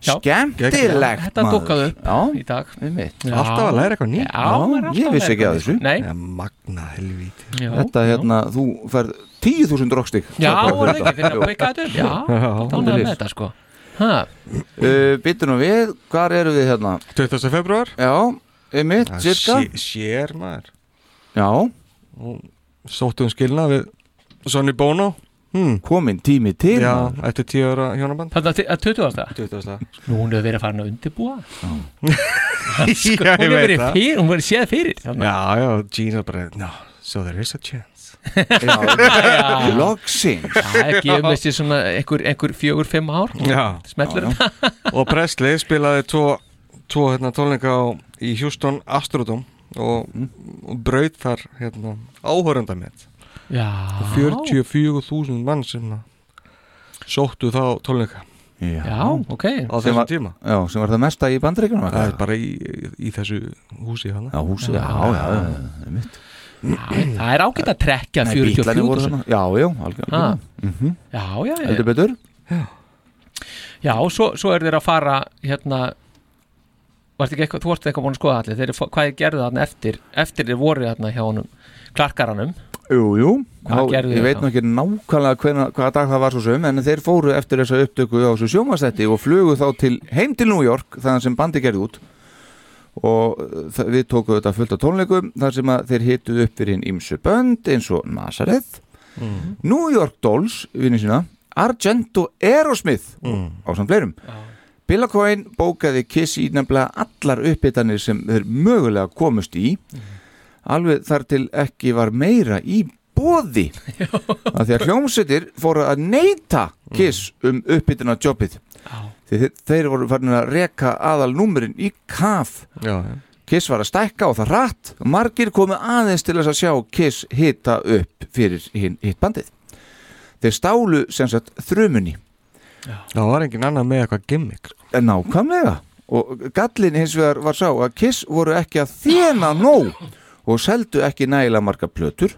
D: Já.
B: skemmtilegt
D: Þetta
B: maður.
D: dúkkaði upp
B: já,
D: í dag
B: einmitt
D: Já. Alltaf að læra eitthvað nýtt. Já, maður er alltaf
B: ég
D: að
B: vissi
D: læra
B: ekki
D: eitthvað
B: af þessu
D: nýtt. Nei.
B: Nei.
C: Magna Hérna, helvíti
D: Já,
B: þetta hérna, þú færð 10.000 rockstig
D: Já, var það ekki, finna að byggja þetta upp Já, þá náðum við þetta sko
B: uh, Býttu nú við, hvar eru við hérna?
C: 20. februar
B: Já, einmitt,
C: Það
B: cirka
C: sé- Sér maður
B: Já
C: Sóttum skilna um við Sonny Bono hmm.
B: Komin tími til
C: Já,
B: maður.
C: eftir tíu ára hjónaband
D: Þetta er 20.
C: 20.
D: Nú hún hefur verið farin að undirbúa
C: Já, ég
D: Sko, Hún hefur
C: veit
D: verið
C: það.
D: fyrir, hún hefur verið séð fyrir þarna.
C: Já, já, Gina bara No, so there is a chance
D: Já.
B: Loksins
D: Það gefur mér sér svona einhver, einhver fjögur, fimm ár
C: Já.
D: Smetlir
C: Já,
D: þetta
C: og Presley spilaði tvo, tvo hérna, tónleika á, í Houston Astrodome og, og braut þar hérna, áhörunda mitt
D: Já.
C: og 44.000 mann sem að hérna, sóttu þá tónleika
B: Já,
D: Já, ok
C: á
B: Sem
C: þessum
B: var-
C: tíma
B: Já, sem var það mesta í bandaríkunum
C: það er bara í, í þessu húsi hérna. hana.
B: Já, húsið, já, já, já, já, einmitt
D: Það er ágætt að trekja
B: Nei, bílarnir voru
D: 44
B: þarna. Já, já, algjörlega
D: Ha.
B: Mhm.
D: Já, já, já
B: Heldur betur
D: Já, og svo, svo eru þeir að fara hérna varst ekki eitthvað, þú varst eitthvað búin að skoða allir þeir, eru fó- hvað þeir gerðu þarna eftir eftir þeir voru þarna hjá honum klarkaranum
B: Jú, jú,
D: Hvað gerðu
B: ég
D: þeir
B: veit
D: þá?
B: nú ekki nákvæmlega hvena, hvaða dag það var svo sem en þeir fóru eftir þessa upptöku á þessu sjómanstætti og flugu þá til, heim til New York þaðan sem bandi gerði út og uh, það- við tókuðu þetta fullt af tónleikum þar sem að þeir hittuðu upp fyrir hinn ímsu bönd eins og Nazareth New York Dolls, vinni sína Argento Aerosmith á samt fleirum
E: Mm-hmm.
B: Bill Coyne bókaði Kiss í nefnilega allar uppbytanir sem þeir mögulega komust í
C: Mhm.
B: alveg þar til ekki var meira í bóði að því að hljómsveitir fóru að neyta Kiss
C: Mm.
B: um uppbytuna jobbið því þeir, þeir voru farin að reka aðal númurinn í kaf
C: já, já.
B: Kiss var að stækka og það rætt margir komu aðeins til þess að sjá Kiss hita upp fyrir hinn hitt bandið þeir stálu sem sagt þrumunni
C: það var engin annar með eitthvað gimmick sko.
B: En nákvæmlega og gallin hins vegar var sá að
E: Mm-hmm.
B: Kiss voru ekki að þjena nóg og seldu ekki nægilega marga plötur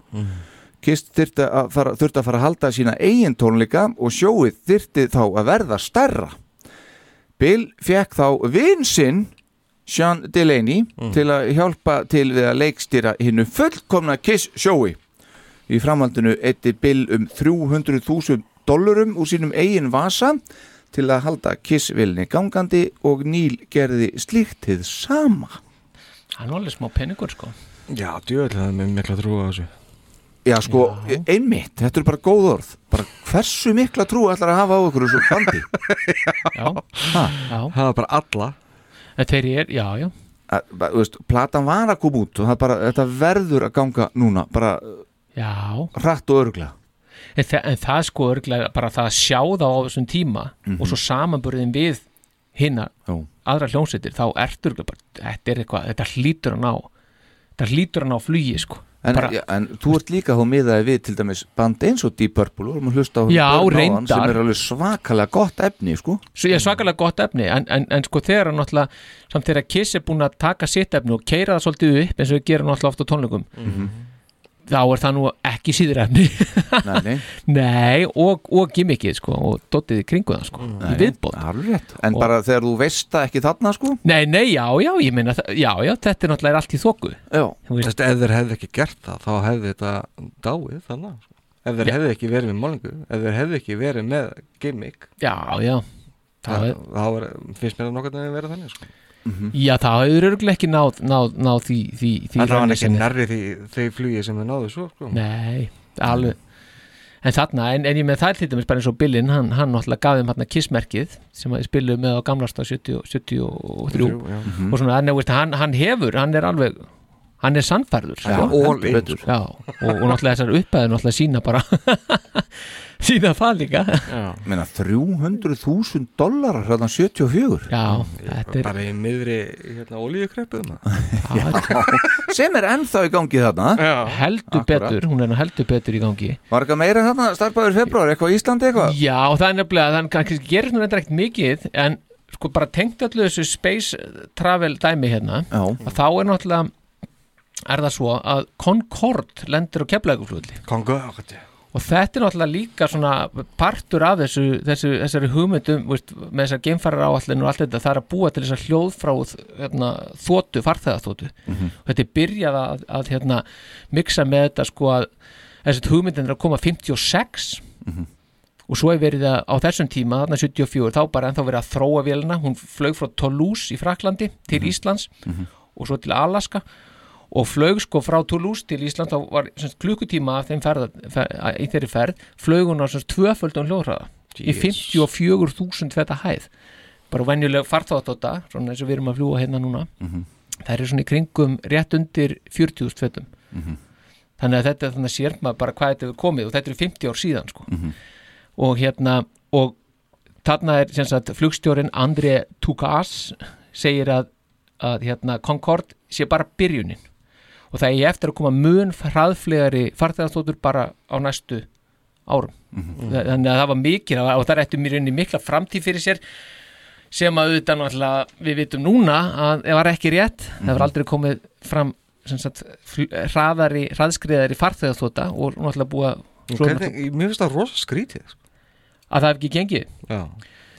B: Kiss þurfti að, fara, þurfti að fara að halda sína eigin tónleika og sjóið þurfti þá að verða starra. Bill fekk þá vinsinn Sean Delaney til að hjálpa til við að leikstýra hinnu fullkomna Kiss sjói. Í framhaldinu eitti Bill um 300.000 dollurum úr sínum eigin vasa til að halda Kiss-vilni gangandi og Neil gerði slíkt hið sama.
D: Hann var alveg smá peningur sko
C: Já, djöðlega það er mér mikla trú á þessu
B: Já, sko, einmitt, þetta eru bara góð orð bara hversu mikla trú ætlar að hafa á okkur þessu bandi
D: Já, já
C: Það er bara alla
D: Þeir er, já, já
B: að, bara, þú veist, platan var að koma út og það er bara, þetta verður að ganga núna bara
D: Já
B: Rætt og örgla
D: En, þa en það sko örglega bara það að sjá þá á þessum tíma
B: Mhm.
D: og svo samanburðin við hinna
B: Jú.
D: aðra hljómsveitir þá ertu örglega bara, þetta er eitthvað þetta hlýtur að ná þetta hlýtur að ná flugi sko
B: en,
D: bara,
B: já, en þú ert líka þá miðaði við til dæmis band eins og Deep Purple og erum að hlusta á
D: Já,
B: Burn Áðan,
D: reyndar.
B: sem er alveg svakalega gott efni, sko
D: svo ég er svakalega gott efni en, en, en sko þegar að náttúrulega samt þegar Kiss er búin að taka sitt efni og keira það svolítið upp eins og við gerum náttúrulega oft á tónleikum
C: Mhm.
D: þá er það nú ekki síður efni
B: Nei, nei.
D: Nei, og, og gimmickið sko og dottið í kringu það
B: Mm.
D: sko í viðbót
B: En
D: Og-
B: bara þegar þú veist það ekki þarna, sko
D: Nei, nei, já, já, ég meina, þa- já, já, þetta er náttúrulega allt í þóku
B: Þú
C: veist, ef þeir hefði ekki gert það þá hefði þetta dáið þannig sko. ef þeir hefði ekki verið með málingu ef þeir hefði ekki verið með gimmick
D: Já, já
C: þá
D: Það er-
C: er, finnst mér að nokkað að vera þannig sko.
B: Mhm.
D: Já, það hefur örgulega ekki náð, náð, náð því, því, því
C: það var
D: ranni
C: ekki
D: sem er-
C: nærri því þeir flugi sem þeir náðu svo sko.
D: Nei, alveg En þarna, en, en ég með það er til dæmis bara eins og Billin hann, hann náttúrulega gaf þeim hérna kissmerkið sem að spiluðu með á gamlasta 70, 73
C: Þrjú, já.
D: og svona, en, þú veist, hann, hann hefur, hann er alveg hann er sannfærður
C: Já, all in,
D: betur. Já, og, og náttúrulega þessar uppæður náttúrulega sína bara sína það líka
B: Meina 300.000 dólarar hérna 74
D: Já,
C: þetta er bara í miðri hérna, olíukreppu
B: sem er ennþá í gangi þarna
D: heldur betur, hún er nú heldur betur í gangi
B: Var eitthvað meira þarna, starfbæður februar, eitthvað í Íslandi eitthvað?
D: Já, það er nefnilega, þannig að kannski gerir svona reyndar ekkert mikið en sko bara tengt öllu þessu space eh, travel dæmi hérna
B: Já.
D: að þá er náttúrulega er það svo að Concorde lendir á keflæguflugulli
C: Concorde
D: og þetta er náttúrulega líka svona partur af þessu, þessu þessari hugmyndum veist, með þessar geimfarar áallin og allt þetta það er að búa til þessar hljóðfráð hérna, þótu, farþegaþótu
E: Mhm.
D: og þetta er byrjað að, að hérna, miksa með þetta sko að þessi hugmyndin er að koma 56
E: Mhm.
D: og svo er verið að á þessum tíma þarna 74 þá bara ennþá verið að þróa vélina hún flög frá Toulouse í Fraklandi til Íslands
E: Mhm.
D: og svo til Alaska og flög sko frá Toulouse til Ísland þá var sem sagt, klukkutíma af þeim ferða, fer, að- í þeirri ferð flög hún á svona tvöföldum hljóðhraða í
C: Jeez.
D: 54.000 feta hæð bara venjuleg farþáðatóta svona eins og við erum að fljúa hérna núna
E: Mhm.
D: það er svona í kringum rétt undir 40.000 fetum
E: Mhm.
D: þannig að þetta er þannig að sér maður bara hvað þetta hefur komið og þetta eru 50 ár síðan sko. og hérna og þarna er sem sagt flugstjórin André Tukas segir að, að hérna, Concorde sé bara byrjunin og það er eftir að koma mun hraðflegari farþegastóttur bara á næstu árum
C: Mhm.
D: Þa- þannig að það var mikil og það rættu mér inn í mikla framtíð fyrir sér sem að auðvitað náttúrulega við vitum núna að það var ekki rétt það
C: Mhm.
D: var aldrei komið fram sem sagt, fl- hraðari, hraðskriðari farþegaþóta og náttúrulega búið að
C: En
D: svo er
C: hvernig-
D: náttúrulega-
C: mér finnst það rosa skrítið sko.
D: að það hef ekki gengið
C: Já.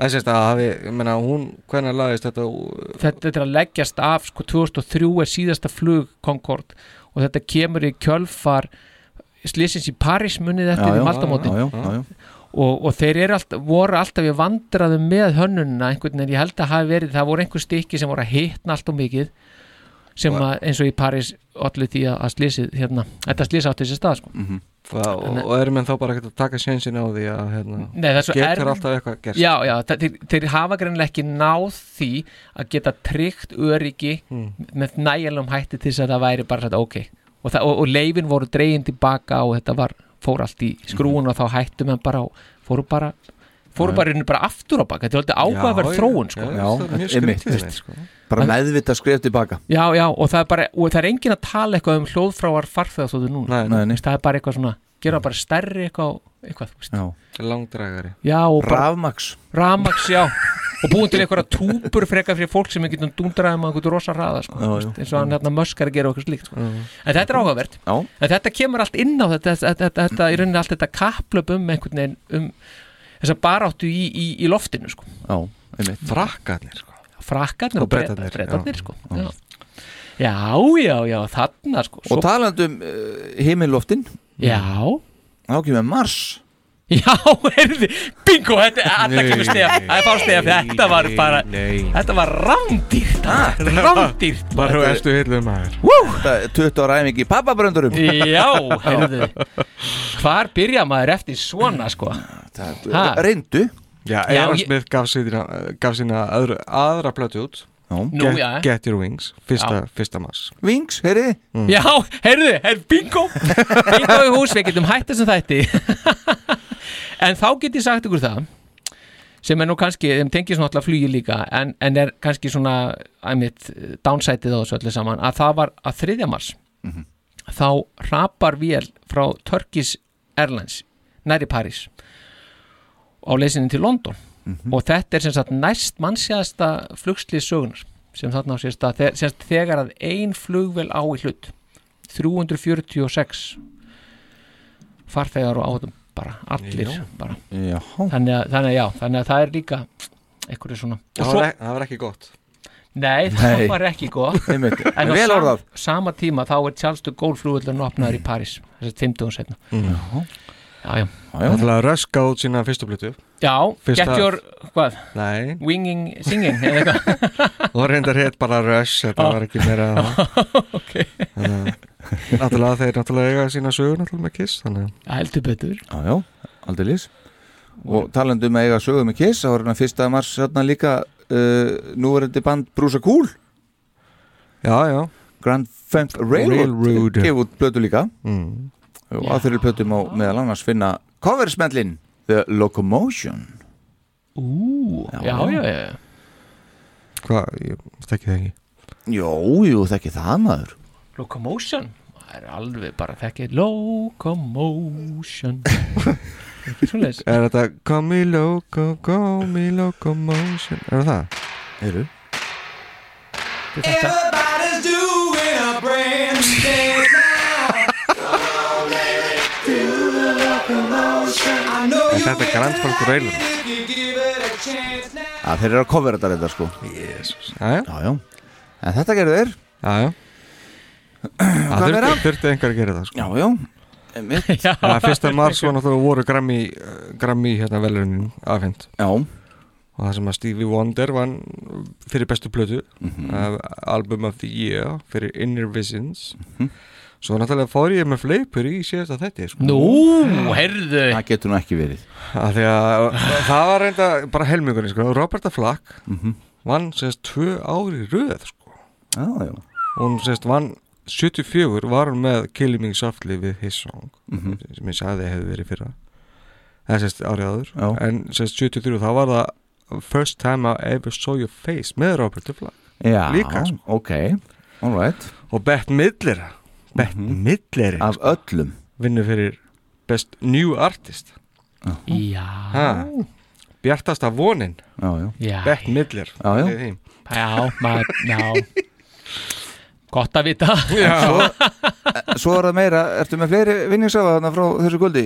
C: það sést að hafi, ég meina hún hvernig lagðist þetta ú-
D: þetta, þetta er að leggjast af sko 2003 er síðasta flug Concorde og þetta kemur í kjölfar slýsins í París munið
B: Já,
D: eftir
B: já,
D: um aldamótin
B: já, já, já, já.
D: Og, og þeir eru alltaf, voru alltaf í vandraðum með hönnunina einhvern veginn, ég held að hafi verið það voru einhver stykki sem voru að hitna allt og mikið sem
C: Og-
D: að, eins og í París allir því að, að slýsið hérna, þetta slýsa átti þessi stað sko.
C: Vá, og,
D: Þannig-
C: og erum enn þá bara ekkert að taka sjensin á því að hérna,
D: Nei, það er svo
C: getur
D: erf-
C: alltaf eitthvað gerst
D: Já, já, það- þeir, þeir hafa greinlega ekki náð því að geta tryggt öryggi
B: Hmm.
D: með nægjalum hætti til þess að það væri bara þetta ok og, það, og, og leifin voru dregin tilbaka og þetta var, fór allt í skrúun og þá hættum en bara, á- fóru bara fóru
B: Hmm. Já,
D: bara, bara, bara aftur á baka þetta er alltaf áhugaverð þróun sko.
B: Já, einmitt Bara
D: En-
B: meðvita skref tilbaka
D: já, já, og það er bara og það er engin að tala eitthvað um hljóðfráar farþegaþóðu núna
B: Nei, nei.
D: það er bara eitthvað svona, gera bara stærri eitthvað, eitthvað þú veist.
B: Já
C: langdragari
D: Já, og bara-
B: Rafmaks
D: Rafmaks, já og búin til einhverja túpur frekar fyrir fólk sem við getum dúndraðum að einhvern rosa hraða sko,
B: Já,
D: Þú
B: já.
D: veist, eins og hann hérna möskar að gera okkur slíkt sko. en þetta er áhugavert
B: Já.
D: en þetta kemur allt inn á þetta, þetta, þetta, þetta í rauninni allt þetta kaplöp um einhvern veginn um þess að baráttu í, í, í loftinu sko.
B: Já, einmitt
C: Frakkarnir sko Og
D: frakkarnir og
C: Bretarnir,
D: bretarnir
C: já.
D: sko. já. já, já, já, þarna sko.
B: Og talandum uh, heimiloftin
D: Já
B: Þá kemur Mars
D: Já, heyrði, bingo, þetta er alltaf kemur stef Það er bara stef, þetta var bara Þetta var rándýrt Rándýrt
C: Bara á efstu hillu maður
B: Wú! Þetta er 20 ára æfingi í pappabröndurum
D: Já, heyrðu Hvar byrja maður eftir svona sko Ha?
B: Reyndu
C: Já,
D: Já,
C: Eira
D: ég-
C: Smith gaf sína, gaf sína öðru, aðra plötu út
D: Nú,
C: Get,
D: já.
C: Get Your Wings, fyrsta,
D: Já.
C: fyrsta mass
B: Wings, heyrði
C: Mm.
D: Já, heyrðu, heyrðu, bingo Bingo í hús, við getum hætt þessum þætti En þá get ég sagt ykkur það sem er nú kannski, þeim tengir svona alltaf flugi líka en, en er kannski svona æmitt, downsætið á þessu öllu saman að það var að þriðja mars þá rapar vél frá Turkish Airlines næri París á leysinni til London og þetta er sem sagt næst mannsjæðasta flugslið sögunar sem þarna á sér stað þe- sem sagt, þegar að ein flugvél á í hlut 346 farþegar og áhættum bara, allir
C: Já.
D: bara
B: Já
D: þannig að, þannig að já, þannig að það er líka einhverju svona Og
C: það,
D: svo,
C: var ekki, það var ekki gott
D: Nei, það
B: Nei.
D: var ekki gott
B: Einmitt.
D: En á
B: Vel
D: sam,
B: orðað.
D: sama tíma þá er Charles de Gaulle flugvöldin opnaður í París þessi 50 setna
C: Já.
D: Já, já,
C: Mhm. Það ætlaði að röska út sína fyrstu plötu
D: já
C: Fyrsta-
D: get your, hvað,
C: Nei,
D: winging, singing eða eitthvað
C: og reyndar hétt bara Rush þetta
D: Já.
C: var ekki meira
D: Ok.
C: Þannig að- náttúrulega þeir náttúrulega eiga sína sögur náttúrulega með Kiss þannig að
D: Heldur betur
B: Já, já, aldrei lís Og talandi um að eiga sögum í Kiss þá var hérna fyrsta mars hérna líka uh, núverandi band Brúsa Kúl
C: já, já,
B: Grand Funk Railroad,
C: Railroad.
B: gefið út plötu líka
C: Mm.
B: og að þeirri plötu má meðal annars finna coversmellin The Locomotion
D: Ú, já, já, já, já.
C: hvað, ég þekki það ekki
B: Jó, jú, þekki það maður
D: Locomotion Það er alveg bara þekkið Locomotion Ekki Svoleiðis
C: er þetta Come Me Loco, Come Me Locomotion er það?
B: Eru
D: Þetta
H: Everybody's doing a brand new dance now. Come, baby, do the locomotion. I know
C: En
H: you
C: þetta er
H: really
C: Grand Funk
H: like
C: Railroad.
H: it if you give it a chance now.
B: að þeir eru að cover þetta reynda sko
C: Jesus. já, já,
B: Já, já, en þetta gerðu þeir
C: já, já.
B: hvað
C: það
B: meira?
C: þurfti, þurfti einhver að gera það sko.
B: Já, já, einmitt
D: Já,
C: að fyrsta mars var náttúrulega voru Grammy, eh, Grammy hérna velunin afhengt
B: Já,
C: og það sem að Stevie Wonder vann fyrir bestu plötu mm Album of the Year fyrir Inner Visions svo náttúrulega fór ég með fleipur í síðasta þetta sko.
D: Nú, herðu
B: það getur nú ekki verið
C: að því að það var reynda bara helmingunni sko. Roberta Flack
B: Mhm.
C: vann sérst tvö ári röð sko.
B: Já, já,
C: hún sérst vann 74 var hún með Killing Me Softly við His Song
B: Mhm.
C: sem ég sagði að hefði verið fyrra það sérst árið áður
B: Já.
C: en sérst 73 þá var það First Time I Ever Saw Your Face með Roberta Flack
B: já
C: Líka, sko.
B: ok, all right Mhm.
C: og Bett Midler Bett mm Midler
B: Af öllum
C: vinnur fyrir Best New Artist
D: Já,
C: ha. Bjartasta vonin
B: Já, já,
D: já
C: Bett Midler
B: Já, já.
C: Við því.
D: Já, maður, já Gott að vita
B: Svo, svo er það meira, ertu með fleiri vinningsafa þarna frá þessu guldi?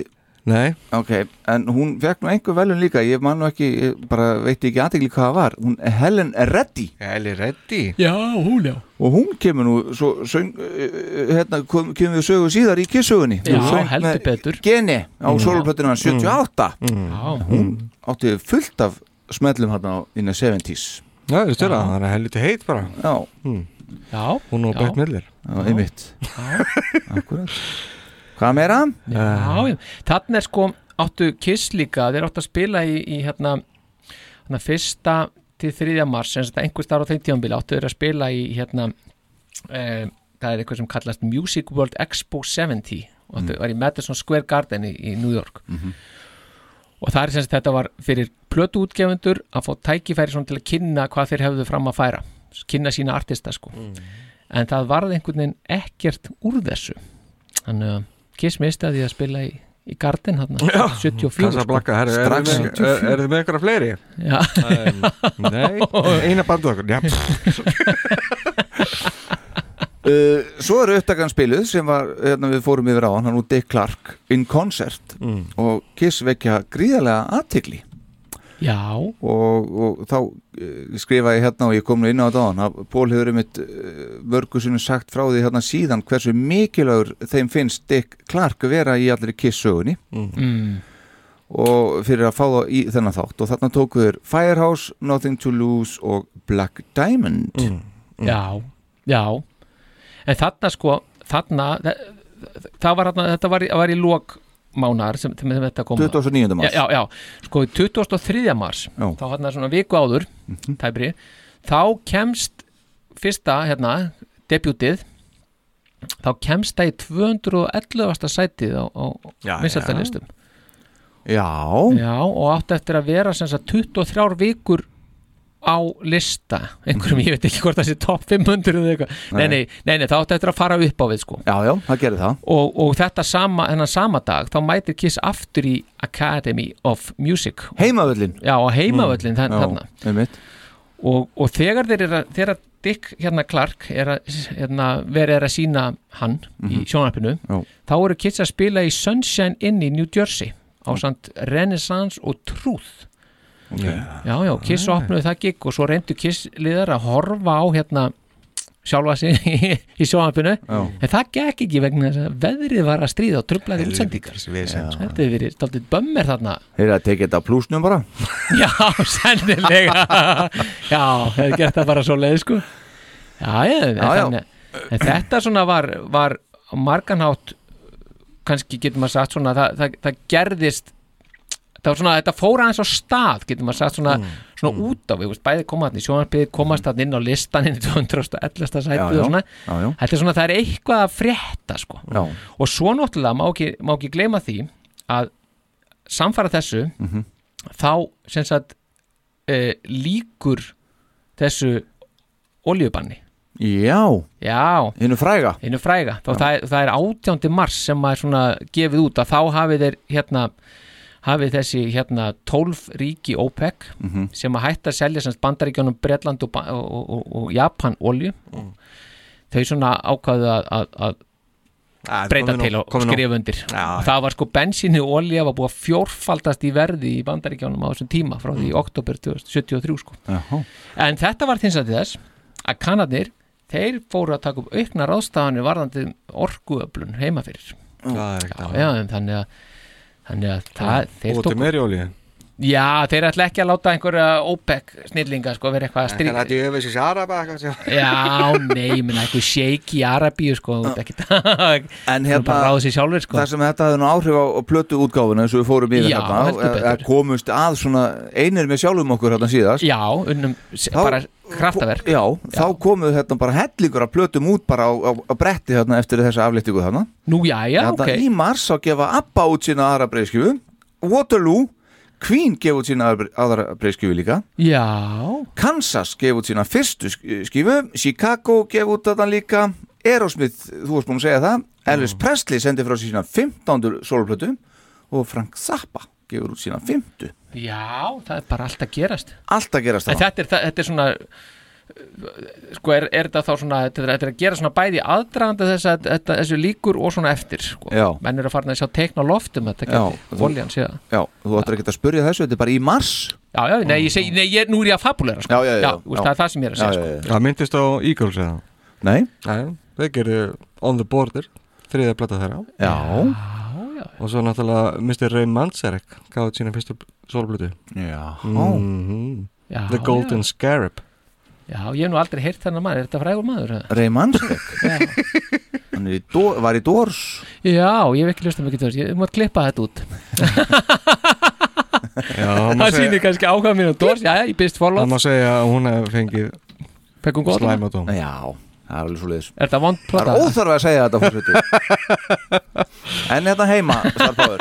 C: Nei,
B: Ok, en hún fekk nú einhver velun líka, ég man nú ekki, ég bara veit ekki aðtegli hvað það var Hún Helen Reddy
C: Ellie Reddy
D: Já, hún já
B: og hún kemur nú, svo söng, eh, hérna, kom, kemur við sögu síðar í kissugunni
D: Já, heldur betur. Mm.
B: Geni á mm. sólplötinu 78
D: Já,
B: Hún átti fullt af smellum hérna á innan 70s
C: Já, þú stjórna, það er helviti heit bara Mm.
B: Já,
D: já
C: Hún og
D: já.
C: Bett Midler
B: já einmitt Akkurat Hvað meira?
D: Já, já. þannig er sko áttu Kiss líka, þeir áttu að spila í, í hérna, hérna fyrsta til þriðja mars, en þetta einhver starf á þeim tíðanbili áttu þeir að spila í hérna e, það er eitthvað sem kallast Music World Expo 70 og þetta var í Madison Square Garden í, í New York og það er sem sagt þetta var fyrir plötuútgefendur að fá tækifæri svona til að kynna hvað þeir hefðu fram að færa kynna sína artista sko en það varði einhvern veginn ekkert úr þessu þannig að Kiss misti að því að spila í, í gardin hann 74 sko.
C: Casablanca, herru, eru þið með- er- eru þið með einhverja fleiri?
D: Já.
C: Um, Nei, eina bandu okkur Já,
B: Uh, svo eru upptakan spiluð sem var, hérna við fórum yfir á hann, hann og Dick Clark in concert
C: Mm.
B: og Kiss vekja gríðarlega aðtigli
D: Já
B: og, og þá uh, skrifa ég hérna og ég kom nú inn á þetta á hann að Pól hefur einmitt uh, mörgu sinni sagt frá því hérna síðan hversu mikilögur þeim finnst Dick Clark vera í allri Kiss sögunni
D: Mm.
B: og fyrir að fá þá í þennan þátt og þarna tóku þér Firehouse, Nothing to Lose og Black Diamond
C: Mm.
B: Mm.
D: Já, já En þarna sko, þarna þa- það var, þarna- þetta var, í- var í lok mánar sem, sem, sem þetta kom
B: 29. mars.
D: Já, já, já, sko 23. mars þá þarna svona viku áður
B: Mhm.
D: tæpri, þá kemst fyrsta, hérna, debutið þá kemst það í 211. sætið á, á
B: Já,
D: vinsæltalistum
B: Já
D: Já, og átti eftir að vera sem sagt 23 vikur á lista einhverjum, ég veit ekki hvort það sé topp 500 eða eitthvað, nei.
B: Mhm. Nei.
D: Nei, nei, nei, það átti eftir að fara upp á við sko
B: Já, já, það gerir það
D: og, og þetta sama, hennan sama dag þá mætir Kiss aftur í Academy of Music
B: Heimavöllin
D: Já, á heimavöllin mm. þarna
B: einmitt.
D: og, og þegar þeir eru að, þegar að Dick hérna Clark er að, hérna, verið er að sína hann í sjónarpinu
B: Mhm. Já.
D: þá eru Kiss að spila í Sunshine Inn í New Jersey á samt Renaissance og Truth Já, já, Kiss
C: Nei.
D: opnuðu það gig og svo reyndu Kiss liðar að horfa á hérna sjálfa sig í, í sjónvarpinu
C: Já.
D: en það gekk ekki vegna þess að veðrið var að stríða og trublaði útsendingar
C: sko.
D: Þetta hefur verið stoltið bömmir þarna
B: Þeir eru að tekið þetta á plúsnum bara
D: Já, sennilega Já, hefur gert það bara svo leið sko Já, ég, en,
B: Já, já.
D: þannig- en þetta svona var, var á margan hátt kannski getur maður sagt svona það, það, það gerðist það var svona, þetta fór aðeins á stað getur maður
B: Mm,
D: sagt svona, svona út á við veist, bæði koma hann í sjónarpið, komast hann inn á listan inn í 211.
B: Já,
D: sætið
B: já.
D: og svona
B: Já, já.
D: þetta er svona, það er eitthvað að frétta sko.
B: Já.
D: og svo náttúrulega má ekki, má ekki gleyma því að samfara þessu
B: Mhm.
D: þá sem sagt e, líkur þessu oljubanni
B: Já,
D: Já
B: Hinu fræga
D: Hinu fræga Þá það, er- það er 18. mars sem maður svona gefið út að þá hafið þeir hérna hafið þessi hérna 12 ríki OPEC
B: Mhm.
D: sem að hætta að selja sem sagt bandaríkjunum Bretland og, Ba- og, og, og, og Japan olju
C: Mm.
D: þau svona ákvaðu að, að, að
C: Ah,
D: breyta
C: komin
D: til
C: nú,
D: og
C: komin nú.
D: skrifa undir
C: Já,
D: og það var sko bensínu og olja var búið að fjórfaldast í verði í bandaríkjánum á þessum tíma frá
C: Mm.
D: því í oktober 2073 sko.
B: Jaha.
D: en þetta var þins að til þess að kanadnir, þeir fóru að taka upp aukna ráðstafanir varðandi orkuöflun heima fyrir
C: Það er ekkert
D: já,
C: annað.
D: já, en þannig að þannig að það, þeir
C: Búið til meiri olíu
D: já, þeir ætla ekki að láta einhverja OPEC snillinga sko vera eitthvað að
C: Þannig
D: stríða
C: að ég hefði sér Araba eitthvað.
D: Já, nei, ég minna eitthvað shake í Arabíu sko, þú ert ekkert En
B: hérna-
D: bara ráða sér sjálfur sko
B: Það sem þetta hafði nú áhrif á, á plötu útgáfuna eins og við fórum yfir
D: Já, heldur
B: hérna að komust að svona einir með sjálfum okkur hérna síðast
D: Já, unnum þá, bara kraftaverk
B: Já, þá komuð hérna bara hellingur að plötum út bara á, á, á bretti hérna eftir þessa aflýttingu þarna
D: Nú, já, já,
B: hérna,
D: ok.
B: Í mars þá gefa Abba út sína aðra breyðskjöfu Waterloo, Queen gefa út sína aðra- aðra breyðskjöfu líka
D: Já
B: Kansas gefa út sína fyrstu sk- eh, skífu Chicago gefa út þetta líka Aerosmith, þú varst búin að segja það Elvis Presley sendi frá sér sína 15. soloplötu og Frank Zappa gefur út sína 50
D: Já, það er bara allt að gerast
B: Allt að gerast
D: En
B: það
D: þetta er, það, þetta er svona uh, sko er, er þetta þá svona þetta er, þetta er að gera svona bæði aðdragandi þess að þetta, þessu líkur og svona eftir sko.
B: Já.
D: menn eru að fara að sjá teikna á loftum þetta
B: Já,
D: gæti
B: þú-
D: oljan síðan
B: Já, þú ættir ekki að spurja þessu, þetta er bara í mars
D: Já, já, nei, ég segi, nei, ég, nú er ég að fabulera sko.
B: Já, já, já,
D: já, úst,
B: já.
D: það er það sem ég er að segja sko.
C: Það myndist á Eagles eða?
B: Nei
C: Nei, þeir gerðu On the Border þriðja plata þeirra
B: Já
C: Og svo náttúrulega Mr. Ray Manzarek gaf út sína fyrstu solblötu
B: Já
D: Já,
C: The Golden
D: já.
C: Scarab
D: Já, ég hef nú aldrei heyrt þennan maður, er þetta frægur maður? eða?
B: Ray Manzarek Hann er í dó- var í Dors
D: Já, ég hef ekki hlustað mikið til þess, ég maður klippa þetta út
C: Já, má
D: Það sýnir
C: segja-
D: kannski áhuga mín á Dors, já, já, ég byrst
C: það
D: forlótt
C: má segja að hún hef fengið
D: Pekkum góðan?
C: slæmadóm
B: Já, það er alveg svo leiðis
D: Er þetta vond
B: Það
D: plata?
B: er óþarf að segja þetta fórsviti En þetta heima, starfbáður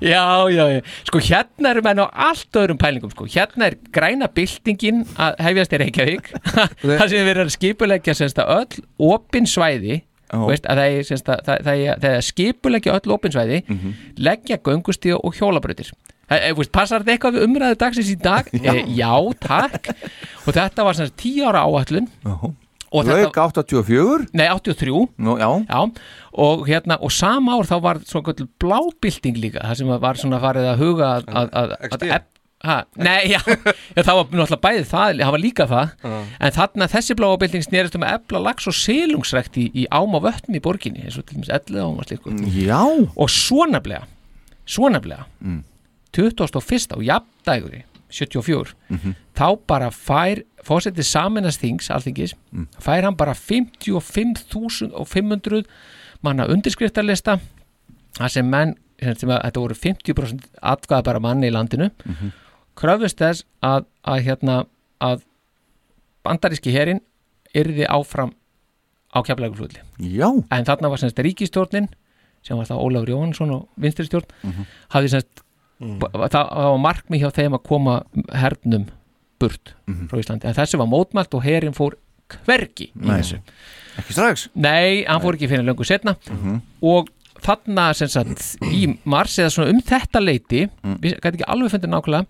D: já, já, já, sko hérna eru menn á allt öðrum pælingum sko. hérna er græna byltingin að hefjast í Reykjavík það sem við erum að skipuleggja semst að öll opin svæði
B: Já.
D: veist, að það er, semst, að, það, það, er- það er skipulegja öll opinsvæði
B: Mhm.
D: leggja göngustíða og hjólabrautir Það- eh, þú veist, Passar þetta eitthvað við umræðu dagsins í dag? Já, e, já takk Og þetta var sem sagt 10 ára áætlun og
B: Lauk 84
D: Nei, 83
B: Nú, já.
D: Og hérna, og sama ár þá var svo kvöld blábilding líka Það sem að var svona farið að huga að, að, að, að, að ha, Nei, já, já Það var náttúrulega bæði það, það var líka það
C: Já.
D: En þarna þessi blábilding snerist um að ebla lax og selungsrækt í, í ám og vötnum í borginni eins og til dæmis 11 ám og slíku
B: Já
D: Og svonablega, svonablega
B: Mm.
D: 21. og jafndægri 74
B: Mhm.
D: þá bara fær fósetti saminast þings alþingis fær hann bara 55.500 manna undirskriftarlista þar sem menn sem sem að, þetta voru 50% atkvæða bara manni í landinu
E: Mhm.
D: kröfust þess að, að hérna að bandaríski herin yrði áfram á keflægurflutli
B: Já.
D: en þarna var semst ríkistjórnin sem var þá Ólafur Jóhansson og vinstristjórn
B: Mhm.
D: hafði semst það, það var markmið hjá þeim að koma hernum burt
B: Mhm.
D: frá Íslandi en þessu var mótmælt og herin fór hvergi í
B: Nei.
D: þessu
B: Ekki strax?
D: Nei, hann fór ekki fyrir löngu setna
B: Mhm.
D: og þarna sem sagt í mars eða svona um þetta leiti
B: Mm.
D: við gæti ekki alveg fundið nákvæmlega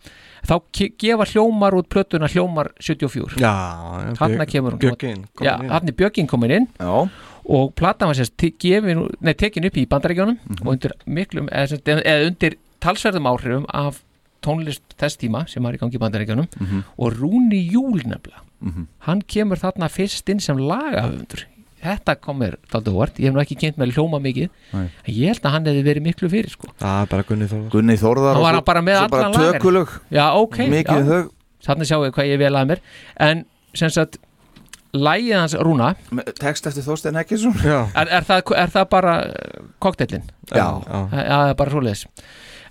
D: þá ke- gefa hljómar út plötuna hljómar 74
C: Já,
D: þarna
C: Björg-
D: kemur hún
C: Björgin komin
D: Já,
C: inn.
D: þarna er Björgin komin inn
B: Já.
D: og platan var sérst te- gefin, nei, tekin upp í bandaríkjónum
B: Mhm.
D: og undir miklum eða, sem sagt, eða undir talsverðum áhrifum af tónlist þess tíma sem var í gangi í bandaríkjónum
B: Mhm.
D: og Rúni Júl nefnilega
B: Mhm.
D: hann kemur þarna fyrst inn sem lagahöfundur þetta kom mér þáttu óvart, ég hef nú ekki kynnt með hljóma mikið
B: Nei.
D: en ég held að hann hefði verið miklu fyrir sko.
C: Það er bara Gunni Þórðar
B: Gunni Þórðar
D: Hann
B: og
D: var
B: svo-
D: bara með
B: svo bara
D: allan lagarinn.
B: tökulög.
D: Já, ok
B: Mikið
D: já.
B: þau.
D: Þarna sjáum við hvað ég vel að mér En sem sagt Lægið hans Rúna
B: Text eftir Þorstein Ekkisson
D: er, er, það, er það bara kokteilin?
B: Já.
D: Já, það er bara svoleiðis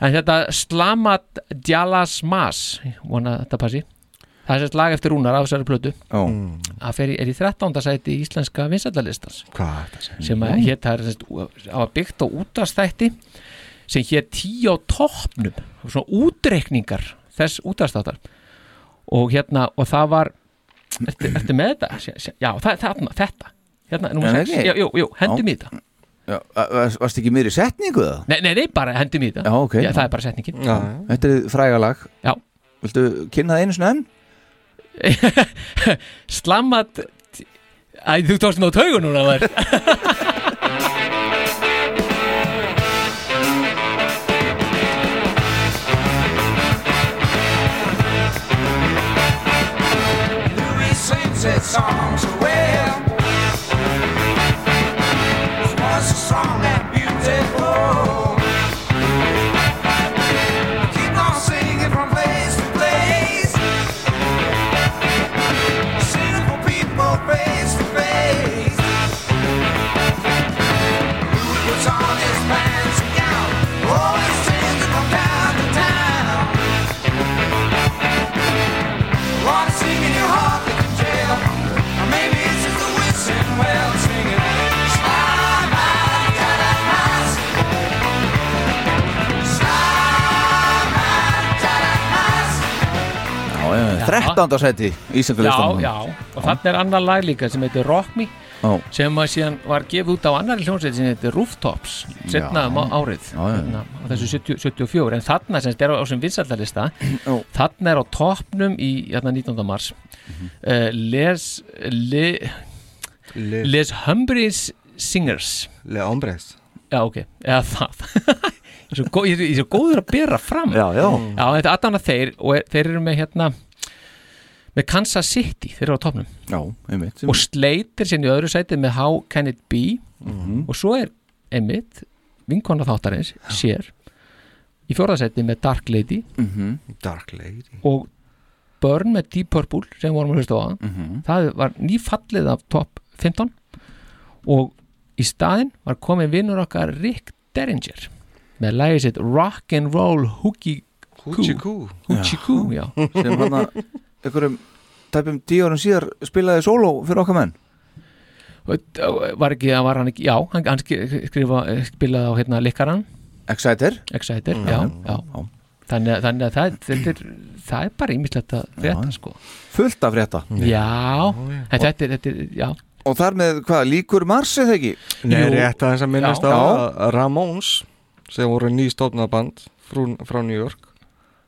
D: En þetta Slamat Djalas Mas Vona að þetta passi Það er sérst lag eftir Rúnar af þessari plötu
B: Já.
D: Það fer í, er í 13. sæti í íslenska vinsætlalistans
C: Hvað er þetta sem?
D: Sem að
C: Já.
D: hétt það er sérst Það var byggt á útastætti sem hétt tíu á toppnum Svona útreikningar þess útastáttar Og hérna, og það var Ertu, ertu með þetta? Sjá- sjá- Já, það, þarna, þetta Hérna, númer
B: En
D: 6
B: ekki?
D: Jú, jú, jú, hendum í þetta
B: Já, var- Varstu ekki meiri setningu það?
D: Nei, nei, nei, bara hendum í þetta
B: Já, ok.
D: Það er bara setningin
B: Já. Þetta er frægalag
D: Já
B: Viltu kynna það einu sinni enn?
D: Slammat Æ, þú tókst nú á taugu núna þar
E: Louis sings his songs well. He was strong and beautiful. Keep on singing from place to place. Singing for people face to face. Louis puts on his pants and gown. Always singing from town to town. Water singing your heart that can jail. Or maybe it's just the wishing well singing. Slide by, got a house. Slide by, got a house.
B: Já, já, 13. sæti Íslenska
D: Já,
B: listanum
D: já, og þarna er annar lag líka sem heitir Rock Me
B: Já.
D: sem að síðan var gefið út á annari hljómsveit sem heitir Rooftops setna
B: Já.
D: um árið
B: Já, já.
D: Hérna, á þessu 70, 74 en þarna sem þetta er á sem vinsaldalista þarna er á toppnum í hérna, 19. mars
B: Mhm.
D: uh, Les le,
C: Les.
D: Les Humbrians Singers
C: Le Hombres
D: Já, ok, eða það Ég er svo gó- Ég er svo góður að bera fram Mm.
B: Já, já.
D: Já, þetta er Adana þeir og er, þeir eru með hérna með Kansas City, þeir eru á topnum
B: Já, einmitt
D: og sleitir sinni í öðru sæti með How Can It Be og svo er einmitt vinkona þáttarins, sér í fjórðasæti með Dark Lady
B: Mhm.
C: Mm. Dark Lady
D: og Burn með Deep Purple sem vorum að hlusta á það
B: Mhm.
D: það var nýfallið af top 15 og í staðinn var komið vinnur okkar Rick Derringer með lægið sitt Rock'n'Roll Hoochie
C: Hoochie Coo
D: Hoochie Coo, já
B: Sem hann að einhverjum tæpum tíu árum síðar spilaði sóló fyrir okkar menn
D: var ekki, var hann ekki, já hann, hann skri- skrifa, spilaði á hérna likkaran
B: Exciter
D: Exciter,
B: Mm.
D: já,
B: Já,
D: já, Þannig, að- þannig að það, þetta er, það er bara ímislegt að frétta sko
B: Fullt af frétta
D: Já, en þetta er, þetta er, já
B: og þar með hvað, líkur Mars eða ekki?
C: Nei, rétt aðeins að minnast á
B: Já.
C: að Ramones sem voru nýstofnað band frú, frá New York